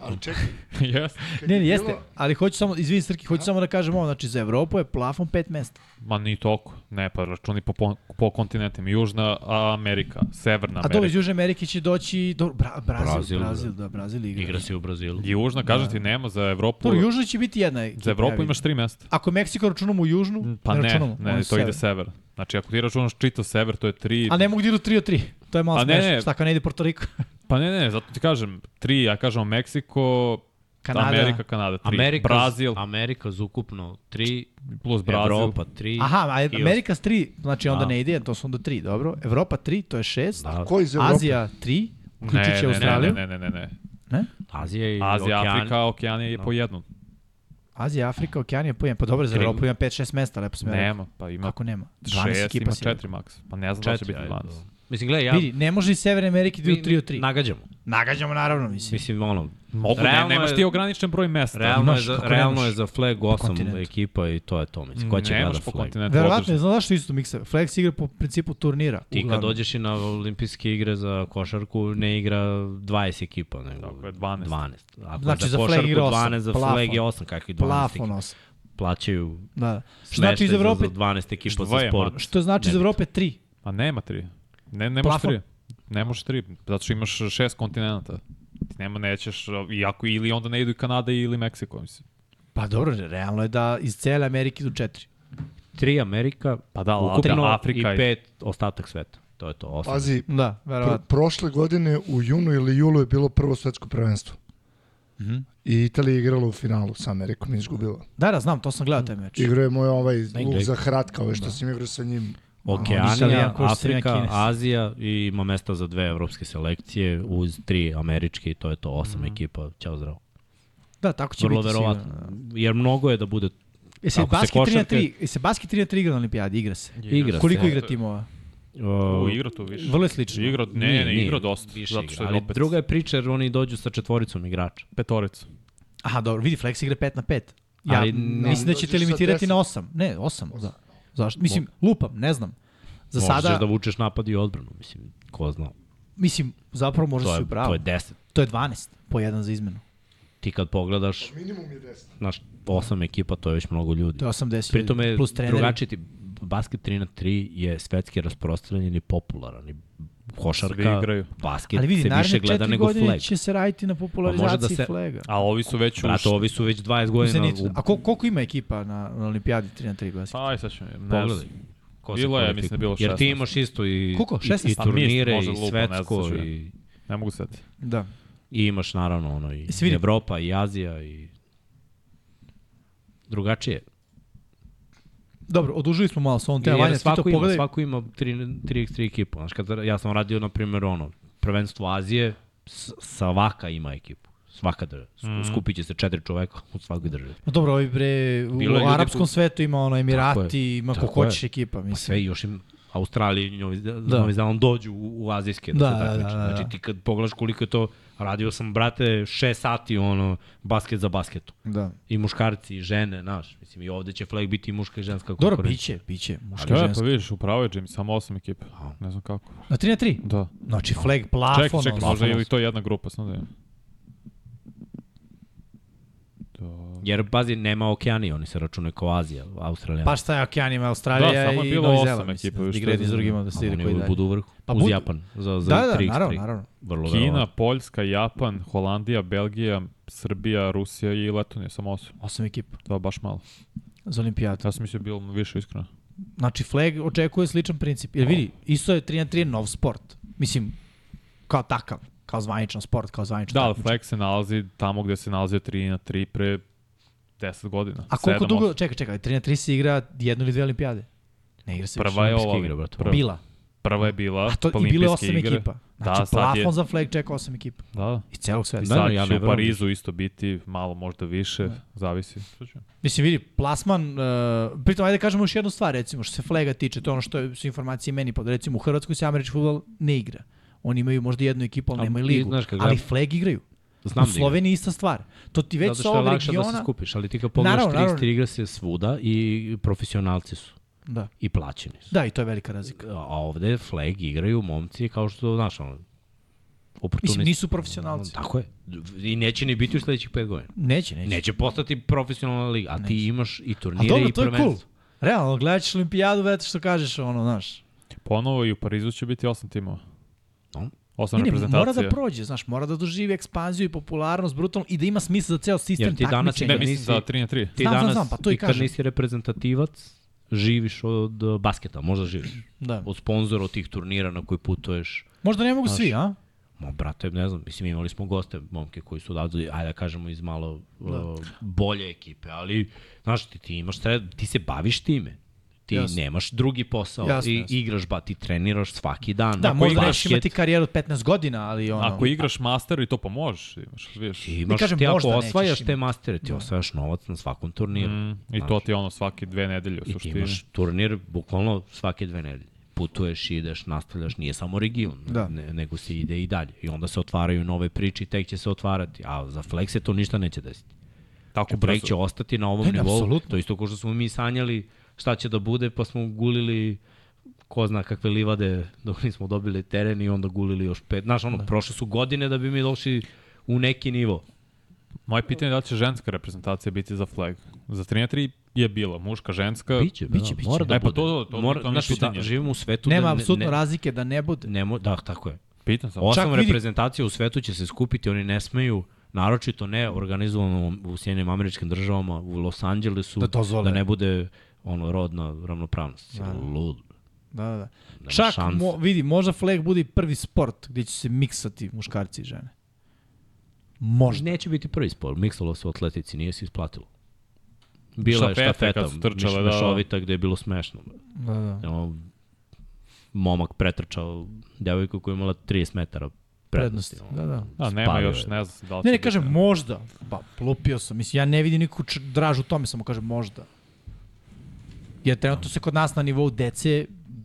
Speaker 5: E, ali čekaj,
Speaker 4: Jeste.
Speaker 3: Ne, ne,
Speaker 5: je
Speaker 3: jeste,
Speaker 5: bilo-
Speaker 3: ali hoću samo, izvini Srki, hoću samo da kažem ovo, znači za Evropu je plafon pet mesta.
Speaker 4: Ma ni toliko. Ne, pa računi po, po, po kontinentima. Južna Amerika, Severna
Speaker 3: A dobro, iz
Speaker 4: Amerika.
Speaker 3: Južne Amerike će doći, do, Bra, Brazil,
Speaker 2: Brazil,
Speaker 3: Brazil, Brazil, da, Brazil igra.
Speaker 2: Igra se i u Brazilu.
Speaker 4: Južna, kažem ti, nema za Evropu.
Speaker 3: Dobro, Južno će biti jedna ekipa,
Speaker 4: Za
Speaker 3: ja
Speaker 4: Evropu
Speaker 3: vidim.
Speaker 4: imaš tri mesta.
Speaker 3: Ako Meksiko računamo u Južnu,
Speaker 4: Pa
Speaker 3: ne
Speaker 4: ne,
Speaker 3: računamo.
Speaker 4: ne,
Speaker 3: oni
Speaker 4: to
Speaker 3: su
Speaker 4: ide sever. Znači, ako ti računaš čito sever, to je tri...
Speaker 3: A ne mogu da idu 3 od 3. To je malo
Speaker 4: Pa ne,
Speaker 3: smešno.
Speaker 4: ne.
Speaker 3: Šta kao ne ide Porto Riko?
Speaker 4: Pa ne, ne, zato ti kažem, tri, ja kažem Meksiko,
Speaker 3: Kanada.
Speaker 4: Amerika, Kanada, tri.
Speaker 2: Amerika,
Speaker 4: Brazil,
Speaker 2: Amerika za ukupno tri,
Speaker 4: plus Brazil.
Speaker 2: Evropa tri.
Speaker 3: Aha, a
Speaker 2: i
Speaker 3: Amerika s 3, znači onda
Speaker 4: Da.
Speaker 3: ne ide, to su onda 3, dobro. Evropa 3, to je 6.
Speaker 2: Da.
Speaker 5: ko iz Evrope?
Speaker 3: Azija 3,
Speaker 4: Ne,
Speaker 3: uključujući
Speaker 4: ne,
Speaker 3: Australiju.
Speaker 4: Ne, ne, ne, ne, ne.
Speaker 3: Ne?
Speaker 2: Azija i
Speaker 4: Azija,
Speaker 2: Okean.
Speaker 4: Afrika, Okeanija je po jednom.
Speaker 3: Azija, Afrika, Okeanija, pa imam, pa dobro, za
Speaker 2: Tri.
Speaker 3: Evropu ima 5-6 mesta, lepo smo ja rekao.
Speaker 4: Nema, pa ima
Speaker 3: Kako nema? 12
Speaker 4: šest, ima
Speaker 3: ekipa si rekao.
Speaker 4: četiri maks. Pa ne znam da će
Speaker 2: Četiri,
Speaker 4: biti
Speaker 2: ajde,
Speaker 4: 12.
Speaker 2: dobro. Mislim, gledaj, ja...
Speaker 3: Vidi, ne može i Severne Amerike da
Speaker 2: mi-
Speaker 3: idu 3 od 3.
Speaker 2: Nagađamo.
Speaker 3: Nagađamo naravno, mislim.
Speaker 2: Mislim, ono,
Speaker 4: Mogu, ne,
Speaker 2: Realno
Speaker 4: nemaš
Speaker 2: je-
Speaker 4: ti ograničen broj mesta.
Speaker 2: realno, je
Speaker 3: Imaš,
Speaker 2: za,
Speaker 3: kako
Speaker 2: realno
Speaker 3: nemaš?
Speaker 2: je za flag osam
Speaker 3: kontinentu.
Speaker 2: ekipa i to je to. Mislim, ko će gleda
Speaker 4: Nemaš po
Speaker 2: flag?
Speaker 4: kontinentu.
Speaker 3: Verovatno,
Speaker 4: održan.
Speaker 3: ne znam zašto isto miksa. Flex igra po principu turnira.
Speaker 2: Ti kad
Speaker 3: uglavnom.
Speaker 2: dođeš i na olimpijske igre za košarku, ne igra 20 ekipa, nego
Speaker 4: Tako je, 12.
Speaker 2: 12. Ako
Speaker 3: Znači,
Speaker 2: znači,
Speaker 3: za
Speaker 2: za,
Speaker 3: flag
Speaker 2: košarku
Speaker 3: igra
Speaker 2: 12,
Speaker 3: osam,
Speaker 2: za
Speaker 3: plafon.
Speaker 2: flag je 8, kakvi 12
Speaker 3: Plafon
Speaker 2: ekipa.
Speaker 3: os.
Speaker 2: Plaćaju
Speaker 3: Da, da. Što znači
Speaker 2: smeštaj
Speaker 3: iz Evrope,
Speaker 2: za, za 12 ekipa za
Speaker 4: Dva je,
Speaker 2: sport.
Speaker 4: ma.
Speaker 3: što znači iz
Speaker 2: Ne bi-
Speaker 3: Evrope 3.
Speaker 4: Pa nema tri. Ne, ne možeš
Speaker 3: Plafon.
Speaker 4: tri. Ne možeš tri, zato što imaš šest kontinenta. Ti nema, nećeš, iako ili onda ne idu i Kanada ili Meksiko, mislim.
Speaker 3: Pa dobro, realno je da iz cele Amerike idu 4.
Speaker 2: 3 Amerika,
Speaker 4: Pa da, ali
Speaker 2: ukupno i
Speaker 4: Afrika i-
Speaker 2: 5 ostatak sveta. To je to, 8.
Speaker 5: Pazi,
Speaker 3: Da,
Speaker 5: pro,
Speaker 3: verovatno.
Speaker 5: prošle godine u junu ili julu je bilo prvo svetsko prvenstvo. I Italija je igrala u finalu sa Amerikom i izgubila.
Speaker 3: Da, da, znam, to sam gledao taj meč.
Speaker 5: Igrao je moj ovaj luk
Speaker 2: igraj.
Speaker 5: za hratka, ovaj što
Speaker 2: Da.
Speaker 5: sam igrao sa njim.
Speaker 2: Okeanija,
Speaker 3: Italijan, ko što sam ja
Speaker 2: Afrika,
Speaker 3: Kinez.
Speaker 2: Azija i ima mesta za dve evropske selekcije uz tri američke i to je to, osam
Speaker 4: Mhm.
Speaker 2: ekipa. Ćao zdravo.
Speaker 3: Da, tako će
Speaker 2: Vrlo
Speaker 3: biti
Speaker 2: verovatno.
Speaker 3: sigurno.
Speaker 2: Jer mnogo je da bude
Speaker 3: E se
Speaker 2: Ako se
Speaker 3: basket 3 na
Speaker 2: košarke-
Speaker 3: 3, e se basket 3 na 3 igra na olimpijadi, igra se.
Speaker 2: igra.
Speaker 3: Koliko
Speaker 2: se.
Speaker 3: igra timova?
Speaker 2: Uh,
Speaker 4: U igra tu više.
Speaker 3: Vrlo je slično.
Speaker 4: Igra, ne,
Speaker 2: Nije,
Speaker 4: ne,
Speaker 2: nije.
Speaker 4: igra dosta.
Speaker 2: Više
Speaker 4: zato što
Speaker 2: igra,
Speaker 4: je
Speaker 2: ali
Speaker 4: opet
Speaker 2: druga je priča jer oni dođu sa četvoricom igrača.
Speaker 4: petorica.
Speaker 3: Aha, dobro, vidi Flex igra 5 na 5. Ja
Speaker 2: Ali,
Speaker 3: mislim da
Speaker 5: ne,
Speaker 3: ćete
Speaker 5: dođeš sa
Speaker 3: limitirati
Speaker 5: 10.
Speaker 3: na 8. Ne, 8. Da. Zašto? Mislim, lupam, ne znam. Za
Speaker 2: Možeš
Speaker 3: sada,
Speaker 2: da vučeš napad i odbranu, mislim, ko zna.
Speaker 3: mislim, zapravo možda
Speaker 2: To
Speaker 3: si
Speaker 2: je,
Speaker 3: u pravu.
Speaker 2: to je 10.
Speaker 3: To je 12, po jedan za izmenu.
Speaker 2: Ti kad pogledaš,
Speaker 5: Minimum je 10.
Speaker 2: znaš, osam ekipa, to je već mnogo ljudi.
Speaker 3: To je 80
Speaker 2: Pri tome,
Speaker 3: ljudi, plus treneri.
Speaker 2: drugačiji ti, basket 3 na 3 je svetski rasprostranjen i popularan. I
Speaker 4: Svi
Speaker 2: košarka,
Speaker 4: igraju.
Speaker 2: basket
Speaker 3: Ali vidi,
Speaker 2: se više
Speaker 3: naredne
Speaker 2: gleda
Speaker 3: 4
Speaker 2: nego
Speaker 3: godine
Speaker 2: flag.
Speaker 3: će se raditi na
Speaker 2: Pa može
Speaker 3: popularizaciji
Speaker 2: da se-
Speaker 3: flaga.
Speaker 4: A ovi su već
Speaker 2: Brato,
Speaker 4: ušli.
Speaker 2: ovi su već 20 godina
Speaker 3: Zenit.
Speaker 2: u
Speaker 3: A kol, koliko ima ekipa na, na olimpijadi 3 na 3 basket?
Speaker 4: Pa, aj sad ću, ne znam.
Speaker 2: pogledaj. Ko se
Speaker 4: Bilo je,
Speaker 2: kvalifikuje.
Speaker 4: mislim da je bilo
Speaker 2: Jer ti
Speaker 4: 16.
Speaker 2: imaš isto i,
Speaker 3: Koliko?
Speaker 2: i,
Speaker 3: 16?
Speaker 2: i
Speaker 4: Pa, mislim,
Speaker 2: turnire,
Speaker 4: možda
Speaker 2: i
Speaker 4: lupam, ne znam
Speaker 2: svetsko,
Speaker 4: tačno.
Speaker 2: i,
Speaker 4: Ne mogu setiti.
Speaker 3: Da. E,
Speaker 2: i imaš naravno ono i
Speaker 3: Svi vidi-
Speaker 2: Evropa, i Azija, i drugačije.
Speaker 3: Dobro, odužili smo malo sa ovom tema.
Speaker 2: Jer
Speaker 3: Da, Vanja, ti to
Speaker 2: svako, ima,
Speaker 3: pogledaj.
Speaker 2: svako ima 3x3 ekipu. Znaš, kad ja sam radio, na primjer, ono, prvenstvo Azije, s- svaka ima ekipu. Svaka država. Mm.
Speaker 3: Mhm.
Speaker 2: Skupit će se četiri čoveka u svakoj državi.
Speaker 3: Ma Dobro, ovi bre, u
Speaker 2: Bilo je ljudi
Speaker 3: arapskom
Speaker 2: ko-
Speaker 3: svetu ima ono
Speaker 2: Tako
Speaker 3: Emirati,
Speaker 2: je,
Speaker 3: ima ko
Speaker 2: tako
Speaker 3: hoćeš
Speaker 2: je.
Speaker 3: ekipa,
Speaker 2: Pa
Speaker 3: mislim.
Speaker 2: sve još im Australiji, Novi,
Speaker 3: Da.
Speaker 2: da. Novi Zeland dođu u, u azijske da,
Speaker 3: Da,
Speaker 2: se
Speaker 3: da,
Speaker 2: takmiče.
Speaker 3: da, da.
Speaker 2: Znači ti kad pogledaš koliko je to, radio sam brate 6 sati ono basket za basketom.
Speaker 3: Da.
Speaker 2: I muškarci i žene, znaš, mislim i ovde će flag biti i muška i ženska
Speaker 3: Dobro,
Speaker 2: konkurencija.
Speaker 3: biće, biće, muški
Speaker 4: Da,
Speaker 3: i
Speaker 4: da, pa
Speaker 3: ženski.
Speaker 4: vidiš, upravo je Jimmy, samo osam ekipa. Ne znam kako.
Speaker 3: Na 3 na 3?
Speaker 4: Da.
Speaker 3: Znači, flag, plafon.
Speaker 4: Čekaj, čekaj,
Speaker 3: ono.
Speaker 4: možda ili to jedna grupa, sam da je. Da.
Speaker 2: Jer, pazi, nema okeani, oni se računaju kao Azija, Australija.
Speaker 3: Pa šta je Okeanima, Australija
Speaker 4: Da, samo je
Speaker 3: i
Speaker 4: bilo
Speaker 3: Novi
Speaker 4: osam
Speaker 3: Zeland.
Speaker 4: ekipa,
Speaker 3: Ekipa,
Speaker 4: još
Speaker 3: da igra jedni s
Speaker 4: to je-
Speaker 3: drugima da se ide
Speaker 2: oni
Speaker 3: koji dalje.
Speaker 2: budu u vrhu,
Speaker 3: Pa
Speaker 2: pa uz
Speaker 3: budu-
Speaker 2: Japan, za, za
Speaker 3: Da, da,
Speaker 2: 3x3.
Speaker 3: naravno, naravno.
Speaker 2: Vrlo
Speaker 4: Kina,
Speaker 2: verovatno.
Speaker 4: Poljska, Japan, Holandija, Belgija, Srbija, Rusija i Letonija, samo osam.
Speaker 3: Osam ekipa
Speaker 4: To je baš malo.
Speaker 3: za olimpijadu.
Speaker 4: Ja sam mislio bilo više iskreno.
Speaker 3: Znači, flag očekuje sličan princip. Jer vidi, isto je 3 na 3 nov sport. Mislim, kao takav, kao zvaničan sport, kao zvanično.
Speaker 4: Da, ali Flex se nalazi tamo gde se nalazio 3 na 3 pre 10 godina.
Speaker 3: A koliko
Speaker 4: Sedam,
Speaker 3: dugo,
Speaker 4: osam.
Speaker 3: čekaj, čekaj, 3 na 3 se igra jednu ili dve olimpijade? Ne igra se
Speaker 4: Prva je
Speaker 2: olimpijske
Speaker 4: ova.
Speaker 2: igre, brate.
Speaker 4: Prva,
Speaker 3: Bila.
Speaker 4: prva je bila,
Speaker 3: A to
Speaker 4: pa
Speaker 3: i bilo je
Speaker 4: olimpijske
Speaker 3: osam
Speaker 4: igre.
Speaker 3: ekipa. Znači,
Speaker 4: da, sad
Speaker 3: plafon
Speaker 4: je,
Speaker 3: za flag čeka osam ekipa.
Speaker 4: da,
Speaker 3: Iz celog
Speaker 4: I
Speaker 3: sveta.
Speaker 2: Da,
Speaker 4: sad
Speaker 2: ja
Speaker 4: će
Speaker 2: ne
Speaker 4: u
Speaker 2: verujem.
Speaker 4: Parizu isto biti, malo možda više,
Speaker 3: Da.
Speaker 4: zavisi.
Speaker 3: Mislim, vidi, plasman, uh, pritom, ajde kažemo još jednu stvar, recimo, što se flaga tiče, to je ono što je- su informacije meni, pa recimo u Hrvatskoj se američki futbol ne igra. Oni imaju možda jednu ekipu, ali
Speaker 2: Ali
Speaker 3: nemaju
Speaker 2: ti
Speaker 3: ligu.
Speaker 2: znaš kad
Speaker 3: ali
Speaker 2: ga-
Speaker 3: flag igraju.
Speaker 2: Znam
Speaker 3: u
Speaker 2: da igra.
Speaker 3: Sloveniji ista stvar. To ti već
Speaker 2: Zato
Speaker 3: sa
Speaker 2: što je
Speaker 3: ovog
Speaker 2: lakše da se
Speaker 3: regiona...
Speaker 2: skupiš, ali ti kad pogledaš
Speaker 3: Naravno,
Speaker 2: 3x3
Speaker 3: naravno.
Speaker 2: igra se svuda i profesionalci su
Speaker 3: Da.
Speaker 2: i plaćeni su.
Speaker 3: da, i to je velika razlika.
Speaker 2: A ovde flag igraju momci kao što, znaš, ono,
Speaker 3: Mislim,
Speaker 2: oportunisti.
Speaker 3: nisu profesionalci.
Speaker 2: Tako je. I neće ni biti u sledećih pet godina.
Speaker 3: Neće, neće.
Speaker 2: Neće postati profesionalna liga, a ti imaš i
Speaker 3: A
Speaker 2: turnire
Speaker 3: dobro,
Speaker 2: i
Speaker 3: to je cool.
Speaker 2: prvenstvo.
Speaker 3: Realno, gledat ćeš olimpijadu, već što kažeš, ono, znaš.
Speaker 4: Ponovo i u Parizu će biti osam timova.
Speaker 2: No.
Speaker 4: Osam
Speaker 3: Ne, ne,
Speaker 4: reprezentacija.
Speaker 3: mora da prođe, znaš, mora da doživi ekspanziju i popularnost brutalno i da ima smisla za ceo sistem
Speaker 2: Jer ti danas
Speaker 3: takmičenja.
Speaker 4: Ne,
Speaker 2: Nisi-
Speaker 4: mislim za 3 na 3.
Speaker 2: Ti
Speaker 3: Znam, znam,
Speaker 2: danas,
Speaker 3: znam, pa to i
Speaker 2: i kad
Speaker 3: kažem.
Speaker 2: nisi reprezentativac, živiš od uh, basketa, možda živiš.
Speaker 3: Da.
Speaker 2: Od sponzora, od tih turnira na koji putuješ.
Speaker 3: Možda ne mogu svi, a?
Speaker 2: Ma, brate, ne znam, mislim, imali smo goste, momke koji su odavde, ajde da kažemo, iz malo
Speaker 3: Da.
Speaker 2: uh, bolje ekipe, ali, znaš, ti, ti imaš, tre- ti se baviš time. Ti
Speaker 3: Jasno.
Speaker 2: nemaš drugi posao,
Speaker 3: Jasno,
Speaker 2: i
Speaker 3: jasno.
Speaker 2: igraš, ba, ti treniraš svaki dan.
Speaker 3: Da,
Speaker 2: Ako
Speaker 3: možda
Speaker 2: igraš
Speaker 3: igraš
Speaker 2: basket,
Speaker 3: imati karijeru od 15 godina, ali ono...
Speaker 4: Ako igraš master i to pomožeš, imaš, vidiš.
Speaker 2: Ti imaš,
Speaker 3: kažem,
Speaker 2: ti ako
Speaker 3: možda nećeš
Speaker 2: osvajaš
Speaker 3: imati. Da.
Speaker 2: te mastere, ti osvajaš novac na svakom turniru. Znači,
Speaker 4: Mm, I to ti je ono svake dve nedelje u
Speaker 2: I ti
Speaker 4: suštini.
Speaker 2: imaš turnir bukvalno svake dve nedelje. Putuješ, ideš, nastavljaš, nije samo region,
Speaker 3: Da.
Speaker 2: ne, nego se ide i dalje. I onda se otvaraju nove priče i tek će se otvarati. A za Flex se to ništa neće desiti. Znači,
Speaker 4: Tako
Speaker 2: Flex će
Speaker 4: brzo.
Speaker 2: ostati na ovom
Speaker 3: Ne, ne,
Speaker 2: nivou.
Speaker 3: apsolutno.
Speaker 2: To isto kao što smo mi sanjali šta će da bude, pa smo gulili ko zna kakve livade dok nismo dobili teren i onda gulili još pet. Znaš, ono, prošle su godine da bi mi došli u neki nivo.
Speaker 4: Moje pitanje je da li će ženska reprezentacija biti za flag. Za 3 na 3 je bilo, muška, ženska.
Speaker 2: Biće, biće, biće. Mora da
Speaker 4: E, pa
Speaker 2: bude.
Speaker 4: to- to- to
Speaker 2: Mora,
Speaker 4: mi je
Speaker 2: znaš, da,
Speaker 4: pitanje.
Speaker 2: živimo u svetu
Speaker 3: Nema
Speaker 2: da
Speaker 3: apsolutno
Speaker 2: ne,
Speaker 3: razlike da ne bude.
Speaker 2: ne, mo, da, tako je.
Speaker 4: Pitam sam.
Speaker 2: Osam
Speaker 3: vidi-
Speaker 2: reprezentacija u svetu će se skupiti, oni ne smeju, naročito ne organizovano u Sjedinim američkim državama, u Los Angelesu,
Speaker 3: Da dozvole.
Speaker 2: da ne bude ono rodna ravnopravnost. Da. Lud.
Speaker 3: Da, da, da.
Speaker 2: Nema
Speaker 3: Čak,
Speaker 2: šanse.
Speaker 3: mo, vidi, možda flag bude i prvi sport gdje će se miksati muškarci i žene. Možda.
Speaker 2: Neće biti prvi spor, miksalo se u atletici, nije se isplatilo. Bila je
Speaker 4: Štafete
Speaker 2: štafeta,
Speaker 4: kad su trčale,
Speaker 2: miš-
Speaker 4: da.
Speaker 2: mešovita gde je bilo smešno.
Speaker 3: Da, da.
Speaker 2: Ono, momak pretrčao devojku koja je imala 30 metara prednosti.
Speaker 3: Prednost.
Speaker 2: ono.
Speaker 3: Da, da.
Speaker 4: Da, nema
Speaker 2: Spalio
Speaker 4: još,
Speaker 2: je.
Speaker 4: ne znam da li
Speaker 3: Ne,
Speaker 4: će
Speaker 3: ne,
Speaker 4: biti.
Speaker 3: kažem možda. Pa, lupio sam. Mislim, ja ne vidim nikakvu č- draž u tome, samo kažem možda. Jer
Speaker 2: Da.
Speaker 3: trenutno se kod nas na nivou dece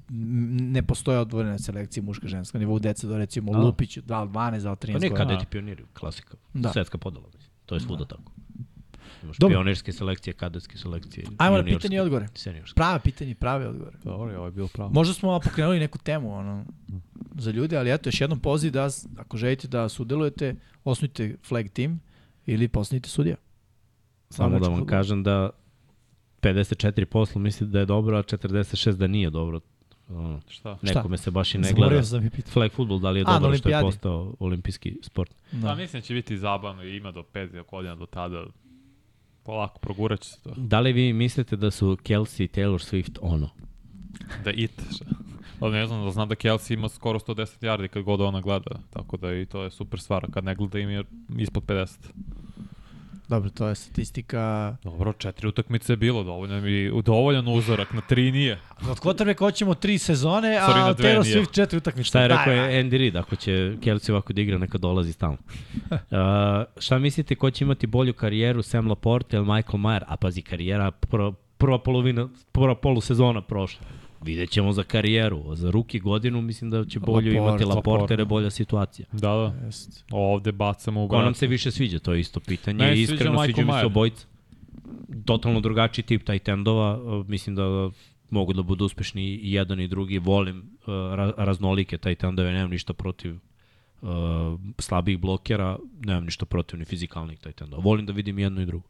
Speaker 3: m, ne postoje odvojene selekcije muška i ženska. Na nivou dece do recimo
Speaker 2: Da.
Speaker 3: Lupić, da li 12, da li 13
Speaker 2: Pa ne,
Speaker 3: godina.
Speaker 2: kadeti pioniri, klasika.
Speaker 3: Da.
Speaker 2: Da. Svetska podela, mislim. To je svuda tako. Imaš
Speaker 3: Dobro.
Speaker 2: pionirske selekcije, kadetske selekcije,
Speaker 3: Ajmo na
Speaker 2: juniorske,
Speaker 3: pitanje i odgovore.
Speaker 2: Seniorske.
Speaker 3: Prava pitanje, i prave odgovore.
Speaker 4: Dobro, je, ovo je bilo pravo.
Speaker 3: Možda smo pokrenuli neku temu ono, za ljude, ali eto, još jednom poziv da, s- ako želite da sudelujete, osnujte flag team ili postanite sudija. Znači,
Speaker 2: Samo da
Speaker 3: Američkog
Speaker 2: vam
Speaker 3: fudbala.
Speaker 2: kažem da 54% misli da je dobro, a 46% da nije dobro. Ono,
Speaker 3: Šta?
Speaker 4: Šta?
Speaker 2: Nekome se baš i ne gleda.
Speaker 3: Zaboravio sam da mi pitao.
Speaker 2: Flag futbol, da li je
Speaker 3: A, na
Speaker 2: dobro što je
Speaker 3: olimpijadi.
Speaker 2: postao olimpijski sport?
Speaker 4: Da.
Speaker 3: Da.
Speaker 4: mislim da će biti zabavno i ima do 5 godina do tada. Polako progurat će se to.
Speaker 2: Da li vi mislite da su Kelsey i Taylor Swift ono?
Speaker 4: Da it. šta? Ali ne znam, da znam da Kelsey ima skoro 110 yardi kad god ona gleda. Tako da i to je super stvar. Kad ne gleda im je ispod 50.
Speaker 1: Dobro, to je statistika.
Speaker 4: Dobro, četiri utakmice je bilo, dovoljno mi dovoljan uzorak, na tri nije.
Speaker 3: Od Kotrbek hoćemo tri sezone, a
Speaker 4: Sorry, na
Speaker 3: od
Speaker 4: dve
Speaker 3: Taylor
Speaker 4: nije.
Speaker 3: Swift četiri utakmice.
Speaker 2: Šta je
Speaker 3: Da,
Speaker 2: rekao
Speaker 3: da.
Speaker 2: je Andy Reid, ako će Kelci ovako da igra, neka dolazi tamo. Uh, šta mislite, ko će imati bolju karijeru, Sam Laporte ili Michael Mayer? A pazi, karijera prva, prva polovina, prva polusezona prošla. Vidjet ćemo za karijeru. Za ruki godinu mislim da će bolju
Speaker 1: Laporte,
Speaker 2: imati Laporte, jer je
Speaker 4: Laporte.
Speaker 2: bolja situacija.
Speaker 4: Da, da,
Speaker 1: Jest.
Speaker 4: ovde bacamo u
Speaker 2: Ko nam
Speaker 4: vrat.
Speaker 2: se više sviđa, to je isto pitanje.
Speaker 4: Meni
Speaker 2: i
Speaker 4: se sviđa
Speaker 2: Iskreno
Speaker 4: Michael
Speaker 2: sviđa mi se
Speaker 4: Mayer.
Speaker 2: obojica. Totalno drugačiji tip taj tendova. Uh, Mislim da mogu da budu uspešni i jedan i drugi. Volim uh, ra- raznolike taj tendove, nemam ništa protiv uh, slabih blokera, nemam ništa protiv ni fizikalnih taj tendova. Volim da vidim jedno i drugo.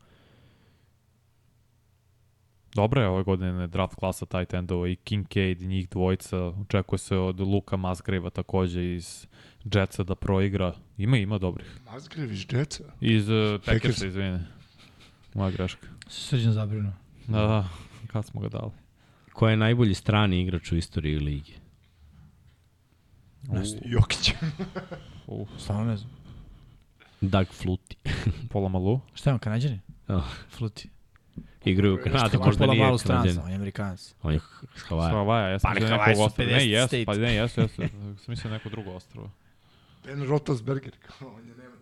Speaker 4: Dobro je ove godine draft klasa tight endova i Kincaid i njih dvojica. Očekuje se od Luka Musgrave-a takođe iz Jetsa da proigra. Ima, ima dobrih.
Speaker 5: Mazgreviš djeca.
Speaker 4: Iz uh,
Speaker 5: Packersa.
Speaker 4: Packersa, izvine. Moja greška.
Speaker 3: Srđan zabrinu.
Speaker 4: Da, da, kad smo ga dali.
Speaker 2: Ko je najbolji strani igrač u istoriji lige?
Speaker 5: Jokić.
Speaker 4: U,
Speaker 1: Stvarno ne znam.
Speaker 2: Doug Flutie.
Speaker 4: pola malu.
Speaker 3: Šta je on, kanadjani?
Speaker 2: Ah.
Speaker 3: Fluti.
Speaker 2: Igraju u Kanadi,
Speaker 1: Kako
Speaker 2: možda
Speaker 1: pola
Speaker 2: nije
Speaker 1: malu stranca,
Speaker 2: kanadjan.
Speaker 1: on je Amerikanac.
Speaker 2: On je s Havaja.
Speaker 4: Savaja, ja sam
Speaker 1: Pa ne,
Speaker 4: mislio nekog
Speaker 1: Havaji su
Speaker 4: ostrava.
Speaker 1: 50
Speaker 4: Ne, jes,
Speaker 1: state.
Speaker 4: pa ne, jes, jes. Sam mislio neko drugo ostrava.
Speaker 5: Ben Roethlisberger. kao, On je nema.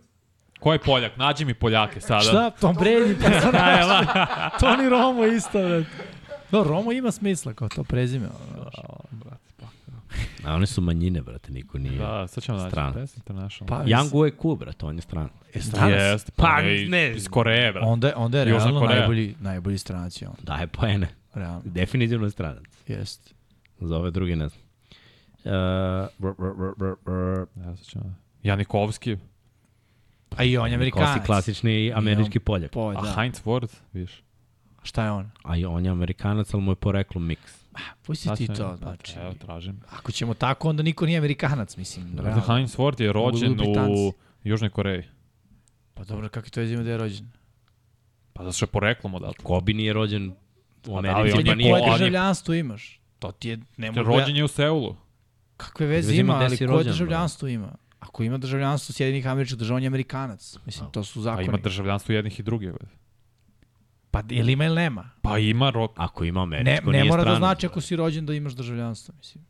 Speaker 4: Ko je Poljak? Nađi mi Poljake sada.
Speaker 3: Šta? Tom Brady, pa sam Tony Romo isto, vrat. No, Romo ima smisla kao to prezime. ono, znaš.
Speaker 4: A, brate, pa.
Speaker 2: A one su manjine, brate, niko nije.
Speaker 4: Da, sad ćemo naći.
Speaker 2: Stranac.
Speaker 4: Stranac. International.
Speaker 3: Pa,
Speaker 2: Young Ueku, brate, on je stran.
Speaker 3: je stranac.
Speaker 4: Jest, pa,
Speaker 2: Pa,
Speaker 4: ne,
Speaker 2: ne
Speaker 4: iz
Speaker 2: znam.
Speaker 4: Koreje, brate.
Speaker 3: Onda, je- onda je
Speaker 4: Južna
Speaker 3: realno
Speaker 4: Koreja.
Speaker 3: najbolji, najbolji stranac je on.
Speaker 2: Daje poene.
Speaker 3: Realno,
Speaker 2: Definitivno je stranac.
Speaker 3: jest.
Speaker 2: Za ove druge ne znam. Uh, br, br, br, br, br.
Speaker 4: Ja sad ćemo. Janikovski.
Speaker 3: A i on je Amerikanac.
Speaker 2: Klasi, klasični američki poljak.
Speaker 3: Poj,
Speaker 4: A
Speaker 3: da.
Speaker 4: Heinz Ward, viš.
Speaker 3: Šta je on?
Speaker 2: A i on je amerikanac, ali mu je poreklo miks.
Speaker 3: Pusti ti to, znači.
Speaker 4: Pa, Evo, tražim.
Speaker 3: Ako ćemo tako, onda niko nije Amerikanac, mislim.
Speaker 4: Brate,
Speaker 3: realno.
Speaker 4: Heinz Ward je rođen
Speaker 3: budu
Speaker 4: u
Speaker 3: Britanci.
Speaker 4: Južnoj Koreji.
Speaker 3: Pa dobro, kako to je da je rođen?
Speaker 4: Pa zato što je poreklom odatle.
Speaker 2: Ko bi nije rođen u
Speaker 4: A da,
Speaker 2: Americi,
Speaker 4: ali
Speaker 2: pa
Speaker 4: on je
Speaker 2: nije
Speaker 4: poljak.
Speaker 3: Koje
Speaker 4: on
Speaker 3: državljanstvo imaš? To ti je, ne mogu ja-
Speaker 4: Rođen je u Seulu.
Speaker 3: Kakve veze
Speaker 2: Vezi ima
Speaker 3: ima,
Speaker 2: gde
Speaker 3: ali
Speaker 2: si
Speaker 3: koje
Speaker 2: rođen,
Speaker 3: državljanstvo ima? Ako ima državljanstvo Sjedinih američkih država, on je Amerikanac. Mislim, to su
Speaker 4: A
Speaker 3: zakoni.
Speaker 4: ima državljanstvo jednih i drugih. brate.
Speaker 3: Pa je li ima ili nema?
Speaker 4: Pa ima rok.
Speaker 2: Ako ima
Speaker 3: Ne,
Speaker 2: američko,
Speaker 3: ne
Speaker 2: nije
Speaker 3: mora
Speaker 2: stranac.
Speaker 3: da znači ako si rođen da imaš državljanstvo, mislim.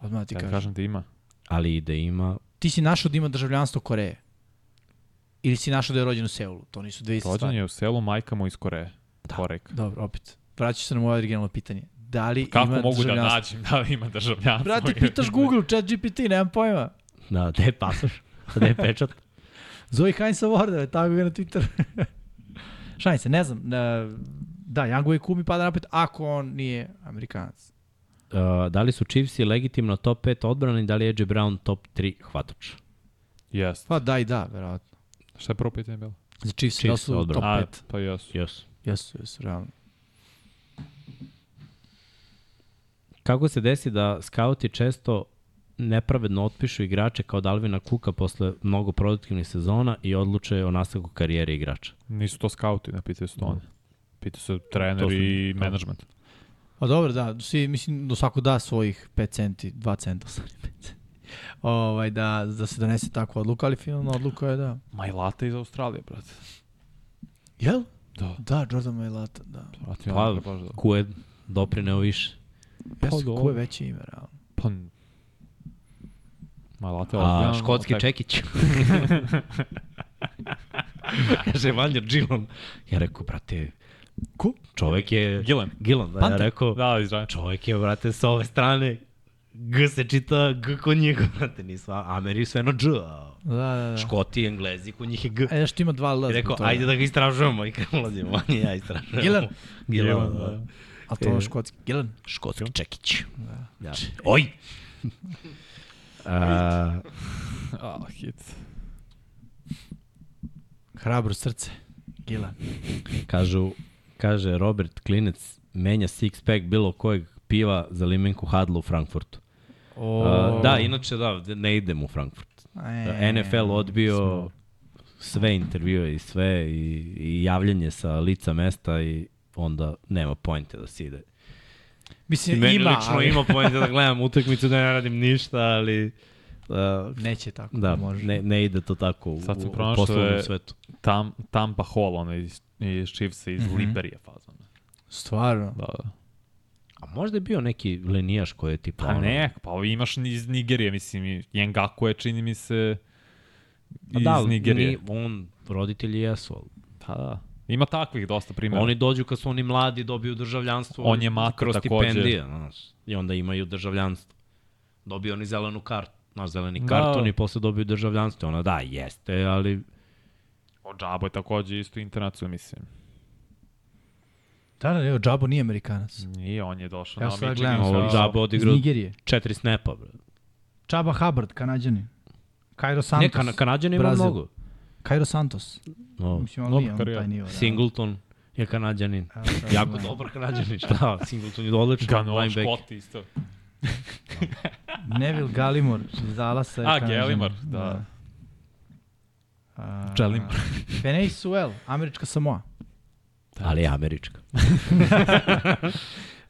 Speaker 3: Odmah ti
Speaker 4: Ja
Speaker 3: kažem.
Speaker 4: kažem da ima.
Speaker 2: Ali i da ima...
Speaker 3: Ti si našao da ima državljanstvo Koreje. Ili si našao da je rođen u Seulu. To nisu dve iste
Speaker 4: Rođen
Speaker 3: stvari.
Speaker 4: je u selu, majka mu iz Koreje.
Speaker 3: Da.
Speaker 4: Korejka.
Speaker 3: Dobro, opet. Vraćaš se na moje originalno pitanje. Da li
Speaker 4: Kako
Speaker 3: ima
Speaker 4: mogu da
Speaker 3: državljanstvo?
Speaker 4: nađem da li ima državljanstvo?
Speaker 3: Brate, pitaš Google, chat GPT, nemam pojma.
Speaker 2: Da, gde je pasoš? Gde je pečat?
Speaker 3: Zoe Heinz Award, e, tako ga na Twitter. Šalim se, ne znam. Ne, da, Young Wei mi pada napet ako on nije Amerikanac.
Speaker 2: Uh, da li su Chiefs i legitimno top 5 odbrana i da li je AJ Brown top 3 hvatač?
Speaker 4: Jes.
Speaker 3: Pa da i da, verovatno.
Speaker 4: Šta je prvo pitanje bilo?
Speaker 3: Za Chiefs,
Speaker 2: Chiefs
Speaker 3: da su u top
Speaker 2: odbrana.
Speaker 4: A,
Speaker 3: 5.
Speaker 4: pa jesu.
Speaker 2: Jesu.
Speaker 3: Jesu, jesu, realno.
Speaker 2: Kako se desi da skauti često nepravedno otpišu igrače kao Dalvina Kuka posle mnogo produktivnih sezona i odluče o nastavku karijere igrača?
Speaker 4: Nisu to skauti, ne pitaju se
Speaker 3: Da.
Speaker 4: to oni. Pitaju se trener
Speaker 2: To su-
Speaker 4: i menadžment.
Speaker 3: Pa dobro, da, svi, mislim, do svako da svojih 5 centi, 2 centa, sorry, 5 centi. Ovaj, da, da se donese takva odluka, ali finalna odluka je da.
Speaker 4: Majlata iz Australije, brate.
Speaker 3: Jel?
Speaker 4: Da.
Speaker 3: Da, Jordan Mailata, da.
Speaker 4: Brate,
Speaker 2: Pa,
Speaker 4: on je baš da.
Speaker 2: Ko je doprineo više?
Speaker 3: Jesu,
Speaker 4: dobro.
Speaker 3: ko je veće ime, realno.
Speaker 4: Pa... n- Majlata je
Speaker 2: A,
Speaker 4: ozbiljan
Speaker 2: škotski
Speaker 4: atak.
Speaker 2: Čekić. Kaže, Vanja Gillan. Ja rekao, brate,
Speaker 3: Ko?
Speaker 2: čovek je...
Speaker 4: Gillen.
Speaker 2: Gillan, da, ja
Speaker 3: Panther.
Speaker 2: rekao,
Speaker 4: Da, izrađen.
Speaker 2: čovek je, brate, sa ove strane, G se čita, G kod njega, brate, nisu, Ameri su eno G, a
Speaker 3: Da, da, da.
Speaker 2: Škoti i Englezi, kod njih je G.
Speaker 3: E, znaš, ti ima dva L.
Speaker 2: I
Speaker 3: zbog
Speaker 2: rekao,
Speaker 3: toga.
Speaker 2: ajde da ga istražujemo. I kad ulazimo, on i ja istražujemo.
Speaker 3: Gillan.
Speaker 2: Gilan, da.
Speaker 3: A to je škotski. Gilan.
Speaker 2: Škotski čekić. Da. Oj! A,
Speaker 4: A, hit.
Speaker 3: Hrabro srce. Gilan.
Speaker 2: kažu, kaže Robert Klinec, menja six pack bilo kojeg piva za limenku Hadlu u Frankfurtu.
Speaker 3: O,
Speaker 2: A, da, inače da, ne idem u Frankfurt.
Speaker 3: E,
Speaker 2: NFL odbio sve intervjue i sve i, i javljanje sa lica mesta i onda nema pojente da se ide.
Speaker 3: Mislim,
Speaker 2: Meni
Speaker 3: ima,
Speaker 2: lično
Speaker 3: ali-
Speaker 2: ima pojenta da gledam utakmicu, da ne radim ništa, ali Uh,
Speaker 3: Neće tako,
Speaker 2: da,
Speaker 3: može.
Speaker 2: ne, ne ide to tako u,
Speaker 4: Sad sam
Speaker 2: u, u
Speaker 4: pronašao
Speaker 2: poslovnom
Speaker 4: je-
Speaker 2: svetu.
Speaker 4: Tam, Tampa Hall, ona iz, iz Chiefsa, iz mm
Speaker 3: Mhm.
Speaker 4: -hmm. Liberije fazon.
Speaker 3: Stvarno.
Speaker 4: Da, da.
Speaker 2: A možda je bio neki lenijaš koji je tipa...
Speaker 4: Pa
Speaker 2: ono-
Speaker 4: ne, pa ovi imaš ni iz Nigerije, mislim, i Jengaku je, čini mi se,
Speaker 2: A
Speaker 4: iz
Speaker 2: da,
Speaker 4: Nigerije.
Speaker 2: Ni, on, roditelji jesu. ali
Speaker 4: Pa da. Ima takvih dosta primjera.
Speaker 2: Oni dođu kad su oni mladi, dobiju državljanstvo.
Speaker 4: Da. On je mata
Speaker 2: kroz
Speaker 4: takođe.
Speaker 2: stipendije, znaš. I onda imaju državljanstvo. Dobiju oni zelenu kartu. Naš zeleni
Speaker 4: Da.
Speaker 2: karton i posle dobiju državljanstvo. Ona da, jeste, ali
Speaker 4: O Džabo je takođe isto internaciju, mislim.
Speaker 3: Da, da, evo, Džabo nije Amerikanac.
Speaker 4: Nije, on je došao
Speaker 3: Evo
Speaker 4: na da,
Speaker 3: sad
Speaker 4: Michigan.
Speaker 3: gledam,
Speaker 4: sa-
Speaker 2: ovo Džabo
Speaker 3: Iz
Speaker 2: odigrao
Speaker 3: Nigerije.
Speaker 2: četiri snapa, bre.
Speaker 3: Čaba Hubbard, kanadjanin. Cairo Santos.
Speaker 2: Ne, kan Kanadjan ima
Speaker 3: Brazil.
Speaker 2: mnogo.
Speaker 3: Cairo Santos.
Speaker 2: No.
Speaker 3: Mislim, on
Speaker 4: Dobra
Speaker 3: nije on
Speaker 4: karijera.
Speaker 3: taj nivo. Da.
Speaker 2: Singleton je Kanadjanin.
Speaker 3: A, da,
Speaker 2: Jako
Speaker 3: da.
Speaker 2: dobar Kanadjanin, šta? Singleton je odličan.
Speaker 4: Gano,
Speaker 2: linebacker.
Speaker 4: Škoti isto.
Speaker 3: Neville Gallimore iz Dalasa. je
Speaker 4: A,
Speaker 3: Kanadjanin.
Speaker 4: Gallimore, da.
Speaker 3: A,
Speaker 4: Želim.
Speaker 3: Feney Suel, američka Samoa.
Speaker 2: Ali je američka.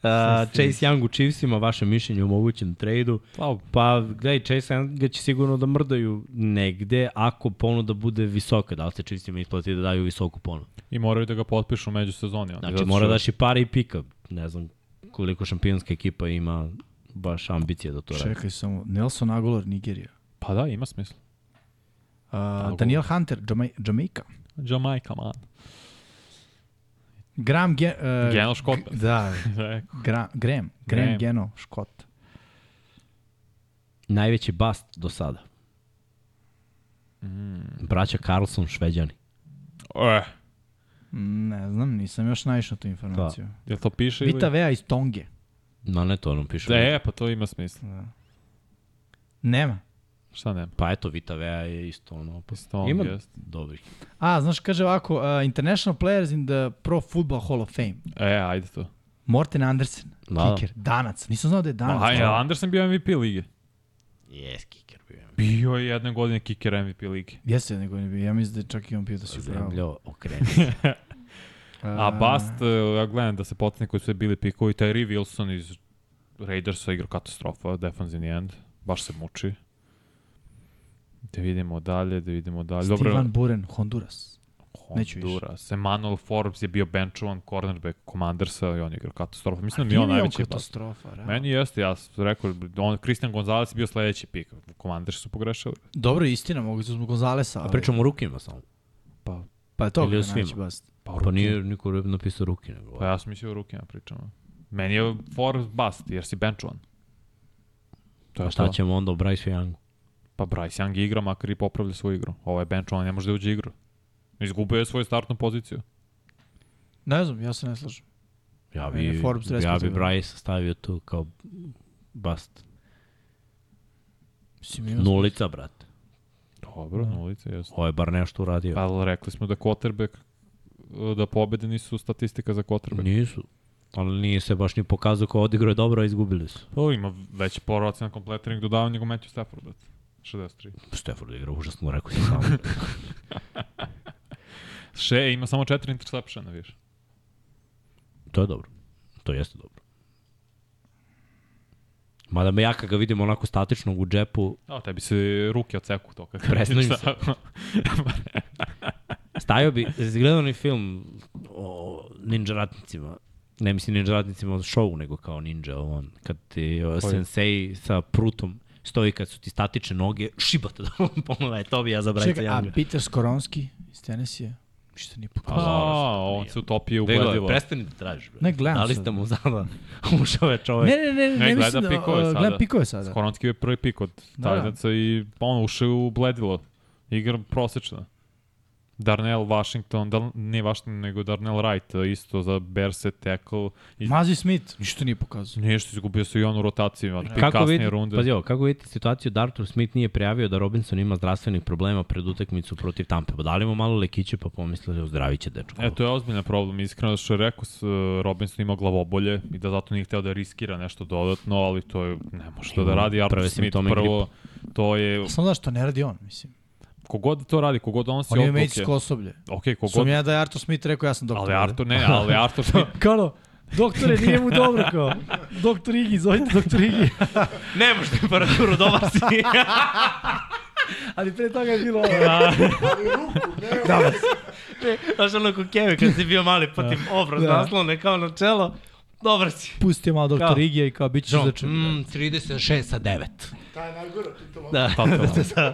Speaker 2: A, Chase Young u Chiefsima, vaše mišljenje o mogućem tradu.
Speaker 4: Pa,
Speaker 2: Pa, gledaj, Chase Young ga će sigurno da mrdaju negde ako ponuda bude visoka. Da li se Chiefsima isplati da daju visoku ponudu?
Speaker 4: I moraju da ga potpišu u međusezoni. onda,
Speaker 2: Znači,
Speaker 4: zato
Speaker 2: mora
Speaker 4: što-
Speaker 2: daš i pare i pika. Ne znam koliko šampionska ekipa ima baš ambicije da to radi.
Speaker 3: Čekaj samo, Nelson Aguilar, Nigerija.
Speaker 4: Pa da, ima smisla.
Speaker 3: Uh, Daniel Hunter, Jama- Jamaica.
Speaker 4: Jamaica, man.
Speaker 3: Graham Ge uh,
Speaker 4: Geno Škot.
Speaker 3: Da,
Speaker 4: Rekao.
Speaker 3: Gra Graham. Graham
Speaker 4: Graham.
Speaker 3: Geno, Škot.
Speaker 2: Najveći bast do sada.
Speaker 4: Mm.
Speaker 2: Braća Carlson, Šveđani.
Speaker 4: E,
Speaker 3: Ne znam, nisam još naišao na tu informaciju.
Speaker 4: jel to piše ili...
Speaker 3: Vita Vea iz Tonge.
Speaker 2: Ma ne, to nam piše.
Speaker 4: E, pa to ima smisla.
Speaker 3: Nema.
Speaker 4: Šta nema?
Speaker 2: Pa eto, Vita Vea je isto ono... Pa,
Speaker 4: Isto on
Speaker 2: ima
Speaker 4: jest.
Speaker 2: dobrih.
Speaker 3: A, znaš, kaže ovako, uh, International Players in the Pro Football Hall of Fame.
Speaker 4: E, ajde to.
Speaker 3: Morten Andersen,
Speaker 2: Da.
Speaker 3: kiker, danac. Nisam znao da je danac.
Speaker 4: Ma, ajde, Anderson bio MVP lige.
Speaker 2: Yes, kicker bio.
Speaker 4: Bio je jedne godine kicker MVP lige.
Speaker 3: Jeste, nego je bio. Ja mislim da je čak i on bio
Speaker 2: Pa
Speaker 3: da si upravo.
Speaker 2: Zemljo, okreni.
Speaker 4: A Bast, e, ja gledam da se potsne koji su sve bili pikovi, taj Ree Wilson iz Raidersa igra katastrofa, defensivni end, baš se muči. Da vidimo dalje, da vidimo dalje.
Speaker 3: Dobro.
Speaker 4: Dobro,
Speaker 3: Stevan Buren, Honduras. neću više.
Speaker 4: Honduras. Emanuel Forbes je bio benchovan cornerback Commandersa i on je igrao katastrofa. Mislim da mi
Speaker 3: Ili
Speaker 4: je on najveći bast.
Speaker 3: katastrofa, realno.
Speaker 4: Meni jeste, ja sam rekao, on, Christian Gonzalez je bio sledeći pik. Commanders su pogrešili.
Speaker 3: Dobro, istina, mogli su zbog Gonzalesa.
Speaker 2: A
Speaker 3: ali-
Speaker 2: pričamo o rukima samo.
Speaker 4: Pa,
Speaker 3: Pa je to
Speaker 2: ili o
Speaker 3: gde
Speaker 2: svima.
Speaker 3: najveći bast.
Speaker 4: pa,
Speaker 2: Pa
Speaker 4: ruke.
Speaker 2: nije niko re- napisao ruki. Nego.
Speaker 4: Pa ja sam mislio o rukima pričamo. Meni je Forbes bast, jer si benchovan. To je
Speaker 2: šta
Speaker 4: to.
Speaker 2: ćemo onda o Bryce Youngu?
Speaker 4: Pa Bryce Young igra, makar i popravlja svoju igru. Ovo je bench, on ne može da uđe u igru. Izgubio je svoju startnu poziciju.
Speaker 3: Ne znam, ja se ne slažem.
Speaker 2: Ja
Speaker 4: E,
Speaker 3: Meni je
Speaker 2: bi,
Speaker 3: Forbes
Speaker 2: ja bi
Speaker 3: respektabilan.
Speaker 2: Bryce stavio tu kao bast.
Speaker 3: Mislim, ima...
Speaker 2: Nulica, brate.
Speaker 4: Dobro, nulice, jesu.
Speaker 2: Ovo je bar nešto uradio.
Speaker 4: Pa ali rekli smo da quarterback, e, da pobede nisu statistika za quarterback.
Speaker 2: Nisu. Ali nije se baš ni pokazao kao odigrao je dobro, a izgubili su.
Speaker 4: To ima veći procenat kompletanih dodavanja nego Matthew Stafford, brate. 63.
Speaker 2: Stafford igra užasno, rekao si sam.
Speaker 4: Še, ima samo četiri intersepšena, više.
Speaker 2: to je dobro. To jeste dobro. Mada me ja kad ga vidim onako statičnog u džepu,
Speaker 4: A, tebi se ruke odseku to. Kako
Speaker 2: Prestanji se. Stavio bi, gledao onaj film o ninja ratnicima, ne mislim ninja ratnicima od show, nego kao ninja, on, kad ti o, sensei sa prutom stoji kad su ti statične noge, šibate da on pomala je to bi ja za Brajca
Speaker 3: Čekaj, a
Speaker 2: Younga.
Speaker 3: Peter Skoronski iz Tenesije? Ništa nije
Speaker 2: Pa,
Speaker 3: pokazao.
Speaker 4: A,
Speaker 2: dobro,
Speaker 4: on se utopio u
Speaker 2: Degla,
Speaker 4: gledilo.
Speaker 2: prestani da tražiš. bre.
Speaker 3: Ne, gledam
Speaker 2: Da li
Speaker 3: sad.
Speaker 2: ste mu zada ušao je čovek?
Speaker 3: Ne, ne, ne, ne, ne
Speaker 4: ovaj, gleda
Speaker 3: mislim da...
Speaker 4: pikove
Speaker 3: uh,
Speaker 4: sada.
Speaker 3: Gleda pikove sada.
Speaker 4: Skoronski je prvi pik od
Speaker 3: Da, da.
Speaker 4: Tajnaca i on ušao je u Bledilo. Igra prosečno. Darnell Washington, da, ne Washington, nego Darnell Wright, isto za Berse tackle. I
Speaker 3: Mazi Smith, ništa nije pokazao.
Speaker 4: nešto izgubio se i on u rotaciji, ali
Speaker 2: Kako
Speaker 4: kasnije
Speaker 2: vidite,
Speaker 4: runde.
Speaker 2: pazi ovo, kako vidite situaciju da Arthur Smith nije prijavio da Robinson ima zdravstvenih problema pred utakmicu protiv Tampe? Pa dali mu malo lekiće pa pomislili ozdravit će dečko.
Speaker 4: E, to je ozbiljna problem, iskreno što je rekao, s, Robinson imao glavobolje i da zato nije hteo da riskira nešto dodatno, ali to je, ne može to da
Speaker 2: Ima
Speaker 4: radi Arthur
Speaker 2: prve
Speaker 4: Smith
Speaker 2: simptome
Speaker 4: prvo, to je,
Speaker 3: Samo znaš što ne radi on, mislim.
Speaker 4: kogod da to radi, kogod donosi
Speaker 3: On ima
Speaker 4: odluke,
Speaker 3: medicinsko osoblje.
Speaker 4: ok,
Speaker 3: Sam
Speaker 4: kogod,
Speaker 3: ja da je Arthur Smith rekao, ja sam doktor.
Speaker 4: ali Arthur, ne, ali Arthur Smith,
Speaker 3: Kao, doktore, nije mu dobro, kao.
Speaker 6: Doktor Igi, zovite Doktor Igi.
Speaker 2: Ne pa možeš temperaturu dobaci.
Speaker 6: Ali pre toga je bilo ovo.
Speaker 2: Znaš ono ko Keve kad si bio mali pa ti obraz naslone kao na čelo. Dobar si.
Speaker 6: Pustio malo Doktor
Speaker 2: Kao?
Speaker 6: Igija i kao bit ćeš začepljen.
Speaker 4: Mm,
Speaker 2: 36 Mm, sa 9.
Speaker 5: Ta je najgora titula.
Speaker 2: Da.
Speaker 6: A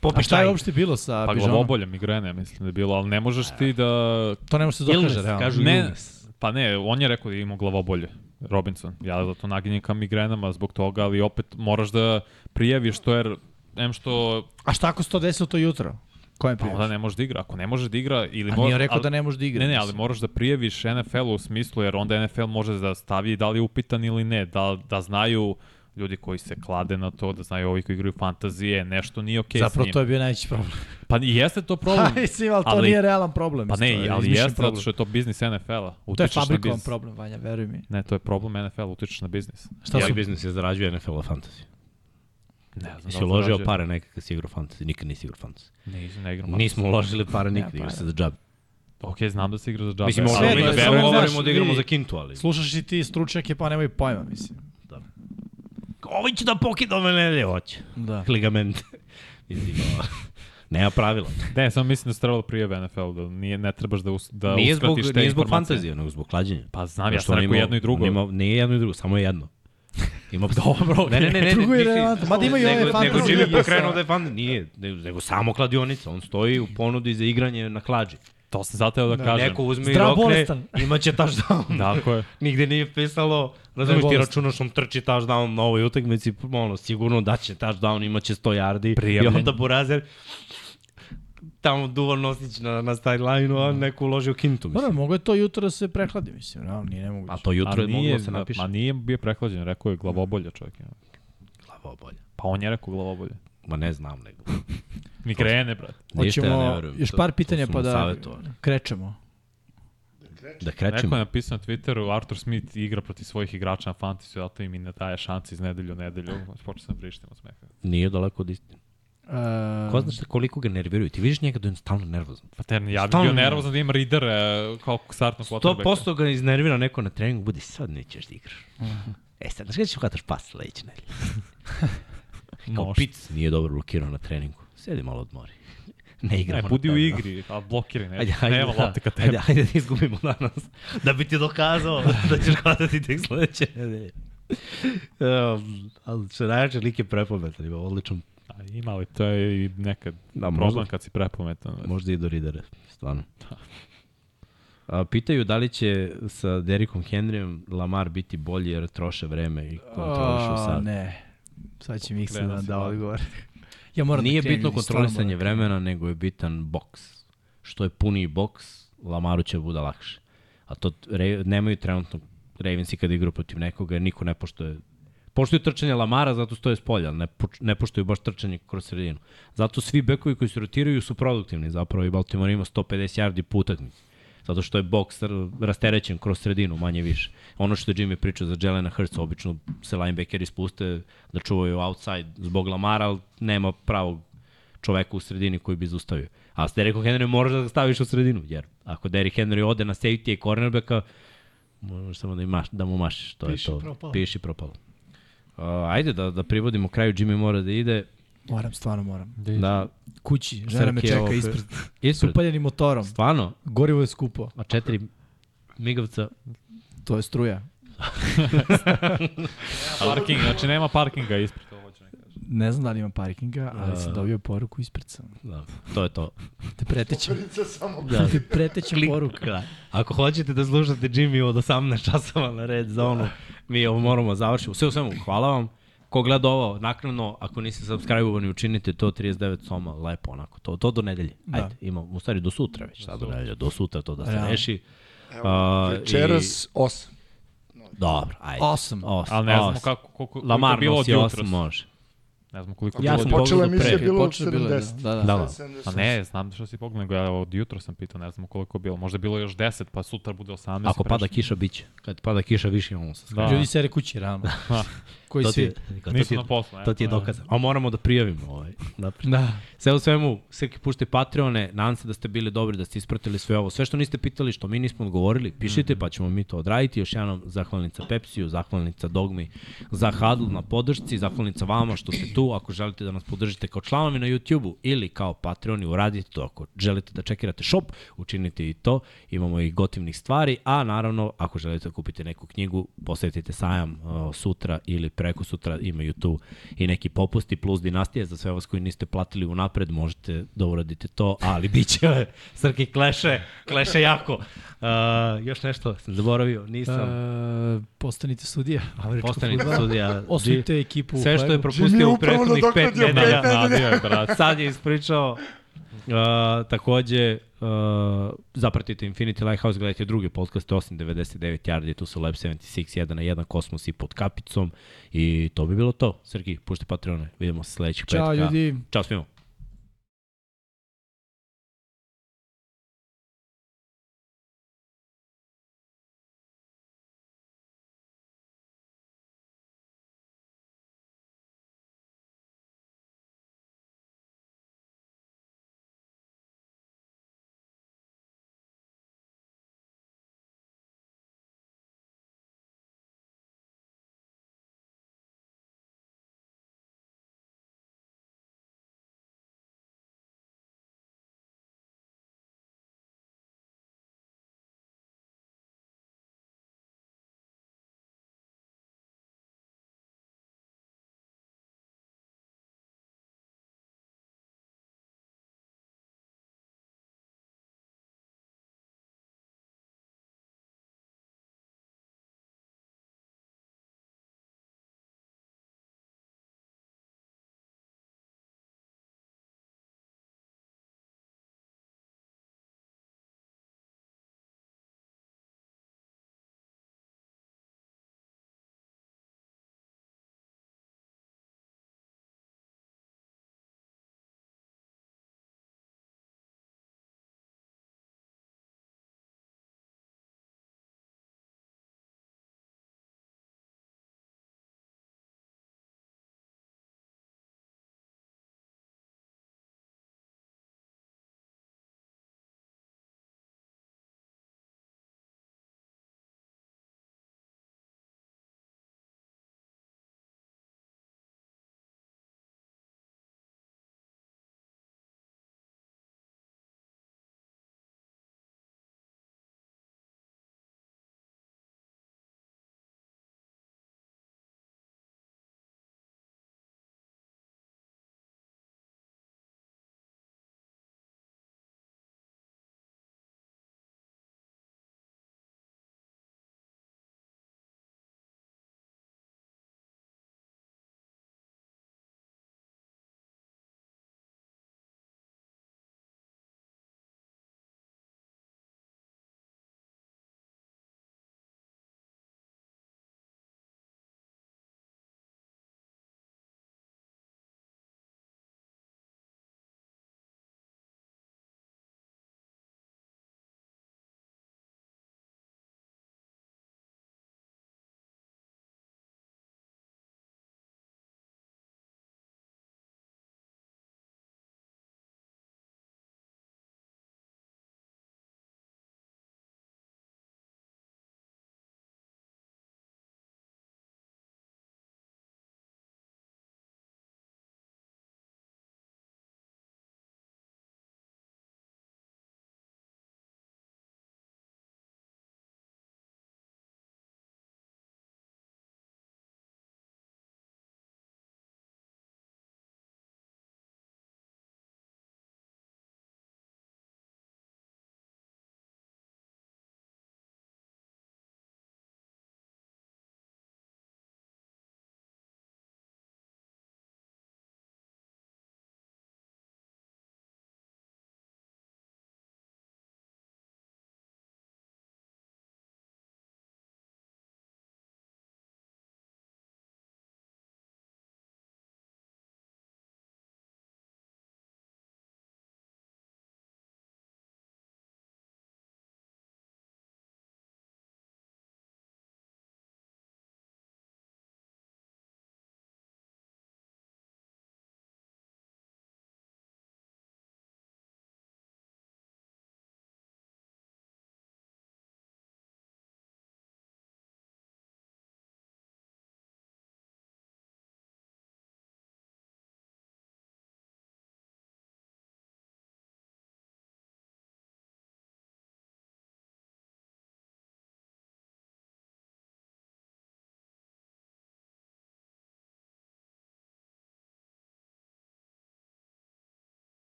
Speaker 2: Popiš
Speaker 6: šta je
Speaker 2: taj.
Speaker 6: uopšte bilo sa
Speaker 4: Pa
Speaker 6: Bižonom?
Speaker 4: glavobolja, migrene, mislim da je bilo, ali ne možeš ti da...
Speaker 6: To ne može se
Speaker 2: Illness,
Speaker 6: dokaže, realno.
Speaker 2: kažu
Speaker 4: Ne,
Speaker 2: illness.
Speaker 4: pa ne, on je rekao da je imao glavobolje, Robinson. Ja zato naginjem ka migrenama zbog toga, ali opet moraš da prijaviš to jer, em što
Speaker 6: A šta ako se to desilo to jutro? Kojem
Speaker 4: Pa onda
Speaker 6: prijaviš?
Speaker 4: ne može da igra. Ako ne može da igra ili
Speaker 6: A
Speaker 4: mora-
Speaker 6: nije rekao
Speaker 4: ali-
Speaker 6: da ne može da igra.
Speaker 4: Ne, ne, ali
Speaker 6: mislim.
Speaker 4: moraš da prijaviš NFL-u u smislu, jer onda NFL može da stavi da li je upitan ili ne, da, da znaju ljudi koji se klade na to, da znaju ovi koji igraju fantazije, nešto nije okej okay s
Speaker 6: Zapravo
Speaker 4: njim.
Speaker 6: to je bio najveći problem.
Speaker 4: Pa i jeste to problem.
Speaker 6: Pa mislim, ali to
Speaker 4: Ali-
Speaker 6: nije realan problem.
Speaker 4: pa
Speaker 6: isto,
Speaker 4: ne, ali
Speaker 6: izmišljen
Speaker 4: jeste
Speaker 6: problem.
Speaker 4: zato što je to biznis NFL-a.
Speaker 6: To je
Speaker 4: Utičeš na
Speaker 6: fabrikovan
Speaker 4: biznis.
Speaker 6: problem, Vanja, veruj mi.
Speaker 4: Ne, to je problem NFL-a, utičeš na biznis.
Speaker 6: Šta su
Speaker 2: biznis je zarađuje NFL-a fantasy?
Speaker 4: Ne znam
Speaker 2: Jesi
Speaker 4: li
Speaker 2: uložio
Speaker 4: zarađuje-
Speaker 2: pare nekad kad si igrao fantasy? Nikad nisi igrao fantasy.
Speaker 4: Ne, ne igram.
Speaker 2: Nismo uložili pare Pa nikad, igra se za džabe.
Speaker 4: Ok, znam da se igra za džabe.
Speaker 2: Mislim, možda
Speaker 6: sve
Speaker 4: ali-
Speaker 6: to
Speaker 2: mi
Speaker 6: je sve,
Speaker 2: da govorimo
Speaker 6: znaš,
Speaker 2: da igramo
Speaker 6: vidi.
Speaker 2: za kintu, ali...
Speaker 6: Slušaš i ti stručnjake, pa nemoj pojma, mislim.
Speaker 2: Ovi će da pokida ove nedelje, hoće.
Speaker 6: Da.
Speaker 2: Ligamente. Mislim, ovo, Nema pravila.
Speaker 4: Ne, samo mislim da se trebalo prijeve NFL, da nije, ne trebaš da, us, da
Speaker 2: nije zbog,
Speaker 4: uskratiš te
Speaker 2: nije zbog
Speaker 4: informacije.
Speaker 2: fantazije, nego zbog klađenja.
Speaker 4: Pa znam, ja
Speaker 2: Pošto
Speaker 4: sam
Speaker 2: on
Speaker 4: rekao
Speaker 2: ima-
Speaker 4: jedno i drugo.
Speaker 2: on Ima, nije jedno i drugo, samo je jedno. Ima Dobro, ne, ne, ne, ne,
Speaker 6: Drugo je
Speaker 2: nisi-
Speaker 6: relevantno. Mada imaju
Speaker 2: nego,
Speaker 6: ove
Speaker 2: Nego
Speaker 6: fantasy
Speaker 2: Jimmy
Speaker 6: lige
Speaker 2: pokrenuo
Speaker 6: sa-
Speaker 2: da je fan, nije, nego, nego samo kladionica, on stoji u ponudi za igranje na klađi.
Speaker 4: To sam zateo da, kažem.
Speaker 2: Neko uzme i
Speaker 6: Zdrav,
Speaker 2: rokne,
Speaker 6: bolestan.
Speaker 2: imaće touchdown.
Speaker 4: Tako je.
Speaker 2: Nigde nije pisalo, razumiješ ti
Speaker 6: bolestan.
Speaker 2: računaš on trči touchdown na ovoj utakmici, ono, sigurno da će touchdown, imaće 100 yardi.
Speaker 4: Prijavljen.
Speaker 2: I onda Burazer tamo duva nosić na, na sideline-u, a neko uložio kintu,
Speaker 6: Pa Dobro,
Speaker 2: mislim.
Speaker 6: mogo je to jutro da se prehladi, mislim, realno, nije nemoguće.
Speaker 2: A Pa to jutro
Speaker 4: Jutro
Speaker 2: je
Speaker 4: nije,
Speaker 2: moglo da se napiše.
Speaker 4: Ma nije bio prehlađen, rekao je glavobolja čovjek.
Speaker 2: Glava bolje.
Speaker 4: Pa on je rekao glavobolja.
Speaker 2: Ma ne znam nego.
Speaker 4: Migrene, brate.
Speaker 2: Ništa ja ne
Speaker 6: Hoćemo
Speaker 2: verujem.
Speaker 6: još
Speaker 2: To-
Speaker 6: par
Speaker 2: to
Speaker 6: pitanja
Speaker 2: su
Speaker 6: pa
Speaker 2: mu
Speaker 6: da
Speaker 2: savjetovali.
Speaker 6: krećemo.
Speaker 2: Da
Speaker 4: Neko je
Speaker 2: krećemo.
Speaker 4: napisao na Twitteru, Arthur Smith igra protiv svojih igrača na fantasy, zato im i ne daje šanci iz nedelju u nedelju. Počeo sam da vrištim od smeha.
Speaker 2: Nije daleko od istine.
Speaker 6: Uh,
Speaker 2: Ko znaš koliko ga nerviraju? Ti vidiš njega da je stalno nervozan.
Speaker 4: Pa te, ja bih
Speaker 2: Stalno
Speaker 4: bio
Speaker 2: mi je.
Speaker 4: nervozan da imam reader e, kao startnog quarterbacka.
Speaker 2: 100% ga iznervira neko na treningu, budi sad nećeš da igraš. E sad, znaš kada ćeš hvataš pas sledeće nedelje? Kao
Speaker 4: Može.
Speaker 2: pic nije dobro blokirao na treningu. Sedi malo odmori. Ne
Speaker 4: Ne,
Speaker 2: igramo. na
Speaker 4: E, budi u
Speaker 2: treningu.
Speaker 4: igri, a blokiri, ne,
Speaker 2: Ajde, ajde,
Speaker 4: nema
Speaker 2: da,
Speaker 4: lopte kad tebe.
Speaker 2: ajde, ajde da izgubimo danas. Da bi ti dokazao da ćeš hvatati tek sledeće nedelje. Um, ali će najjače lik je prepametan, ima odličan
Speaker 4: A ima li, to je i nekad
Speaker 2: Da,
Speaker 4: problem
Speaker 2: možda.
Speaker 4: kad si prepametan. znaš.
Speaker 2: Možda i do Ridera, stvarno.
Speaker 6: Da.
Speaker 2: A, pitaju da li će sa Derikom Henryjem Lamar biti bolji jer troše vreme i kontrolišu sad.
Speaker 6: Ehm, Ne, sad će Miksa
Speaker 4: Gledao
Speaker 6: da
Speaker 4: si
Speaker 6: da
Speaker 4: malo.
Speaker 6: odgovor. ja moram
Speaker 2: Nije
Speaker 6: da krenem,
Speaker 2: bitno
Speaker 6: ljudi, stvarno moram
Speaker 2: kontrolisanje
Speaker 6: da krenem.
Speaker 2: vremena, nego je bitan boks. Što je puniji boks, Lamaru će bude lakše. A to t- re, nemaju trenutno Ravensi kada igraju protiv nekoga, jer niko ne poštoje Poštuju trčanje Lamara, zato stoje s polja, ali ne, poč- ne poštuju baš trčanje kroz sredinu. Zato svi bekovi koji se rotiraju su produktivni, zapravo i Baltimore ima 150 yardi po utakmici. Zato što je boks r- rasterećen kroz sredinu, manje više. Ono što je Jimmy pričao za Jelena Hurts, obično se linebackeri spuste da čuvaju outside zbog Lamara, ali nema pravog čoveka u sredini koji bi zaustavio. A s Derrick Henry moraš da ga staviš u sredinu, jer ako Derrick Henry ode na safety i cornerbacka, možeš samo da, ima, da mu mašiš. To
Speaker 5: Piši
Speaker 2: je to.
Speaker 5: propalo.
Speaker 2: Piši propalo. Uh, ajde da, da privodimo kraju, Jimmy mora da ide.
Speaker 6: Moram, stvarno moram.
Speaker 2: Da,
Speaker 6: Kući, žena me
Speaker 2: Srki je
Speaker 6: čeka
Speaker 2: ovo-
Speaker 6: ispred. S
Speaker 2: ispred.
Speaker 6: upaljenim motorom.
Speaker 2: Stvarno,
Speaker 6: Gorivo je skupo,
Speaker 2: a četiri migavca.
Speaker 6: to je struja.
Speaker 4: Parking, znači nema parkinga ispred.
Speaker 6: Ne znam da li ima parkinga, ali sam dobio poruku ispred sam.
Speaker 2: Da, to je to.
Speaker 6: Te pretećem.
Speaker 5: Prica samo
Speaker 2: Da.
Speaker 6: Te pretećem poruka.
Speaker 2: Da. Ako hoćete da slušate Jimmy od 18 časova na red za ono, mi ovo moramo završiti. Sve u svemu, hvala vam. Ko gleda ovo, naknadno, ako niste subscribe-ovani, učinite to 39 soma, lepo onako, to, to do nedelje.
Speaker 4: Da.
Speaker 2: Ajde, ima, u stvari do sutra već, sad do nedelje, do sutra to da se
Speaker 6: Realno.
Speaker 2: reši.
Speaker 5: Evo,
Speaker 2: A,
Speaker 5: večeras 8.
Speaker 2: I, dobro, ajde.
Speaker 6: Osam.
Speaker 2: Osam.
Speaker 4: Ali ne znamo
Speaker 2: osam. Da,
Speaker 4: kako, koliko, koliko je
Speaker 2: Lamar
Speaker 4: bilo od
Speaker 2: nosi 8
Speaker 4: jutros.
Speaker 2: može.
Speaker 4: Ne znam koliko je
Speaker 2: Ja
Speaker 4: bilo
Speaker 2: sam
Speaker 4: od jutros.
Speaker 5: Počela
Speaker 2: pogledao
Speaker 5: emisija
Speaker 2: pre.
Speaker 5: bilo u
Speaker 6: Počelo bilo je,
Speaker 5: 70.
Speaker 6: da, da,
Speaker 2: Da,
Speaker 6: da.
Speaker 2: da.
Speaker 4: Pa ne, znam što si pogledao, nego ja od jutro sam pitao, ne znam koliko je bilo. Možda je bilo još 10, pa sutra bude 18. i
Speaker 2: Ako
Speaker 4: prešli.
Speaker 2: pada kiša, bit će. Kad pada kiša, više imamo sa
Speaker 4: Da.
Speaker 6: Ljudi sere kući rano. Koji
Speaker 2: To ti je-
Speaker 6: svi?
Speaker 2: to ti
Speaker 4: Nisu
Speaker 2: je-
Speaker 4: na poslu.
Speaker 2: To ti je
Speaker 4: eto.
Speaker 2: dokaz. A moramo da prijavimo ovaj. Napred.
Speaker 6: Da.
Speaker 2: Sve u svemu, Srki pušte Patreone, nadam se da ste bili dobri, da ste ispratili sve ovo. Sve što niste pitali, što mi nismo odgovorili, pišite pa ćemo mi to odraditi. Još jednom zahvalnica Pepsiju, zahvalnica Dogmi za Hadl na podršci, zahvalnica vama što ste tu. Ako želite da nas podržite kao članovi na YouTube-u ili kao Patreoni, uradite to. Ako želite da čekirate shop, učinite i to. Imamo i gotivnih stvari, a naravno, ako želite da kupite neku knjigu, posetite sajam uh, sutra ili preko sutra, imaju tu i neki popusti plus dinastije za sve vas koji niste platili unapred, možete da uradite to, ali bit će Srki kleše, kleše jako. Uh, još nešto sam zaboravio, nisam. Uh,
Speaker 6: E, postanite sudija.
Speaker 3: E,
Speaker 2: Postanite sudija. Dži-
Speaker 6: Osvojite ekipu. u
Speaker 2: Sve što je
Speaker 6: Flyboru.
Speaker 5: Jimmy je
Speaker 2: propustio u
Speaker 5: upravo
Speaker 2: prethodnih pet
Speaker 5: nadoknadio
Speaker 4: Da,
Speaker 2: nedelja,
Speaker 5: pet
Speaker 4: da, nadio je, brat.
Speaker 2: sad je ispričao. Uh, takođe, uh, zapratite Infinity Lighthouse, gledajte druge podcaste, 899 Yardi, tu su Lab 76, 1 na 1, Kosmos i pod kapicom. I to bi bilo to. Srki, pušte Patreone, vidimo se sledećeg petka.
Speaker 6: Ćao ljudi.
Speaker 2: Ćao svima.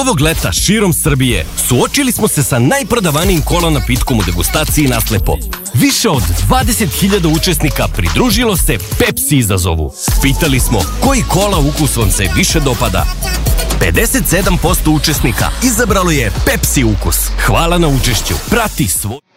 Speaker 1: Ovog leta širom Srbije suočili smo se sa najprodavanijim kola napitkom u degustaciji Naslepo. Više od 20.000 učesnika pridružilo se Pepsi izazovu. Pitali smo koji kola ukus vam se više dopada. 57% učesnika izabralo je Pepsi ukus. Hvala na učešću. Prati svoj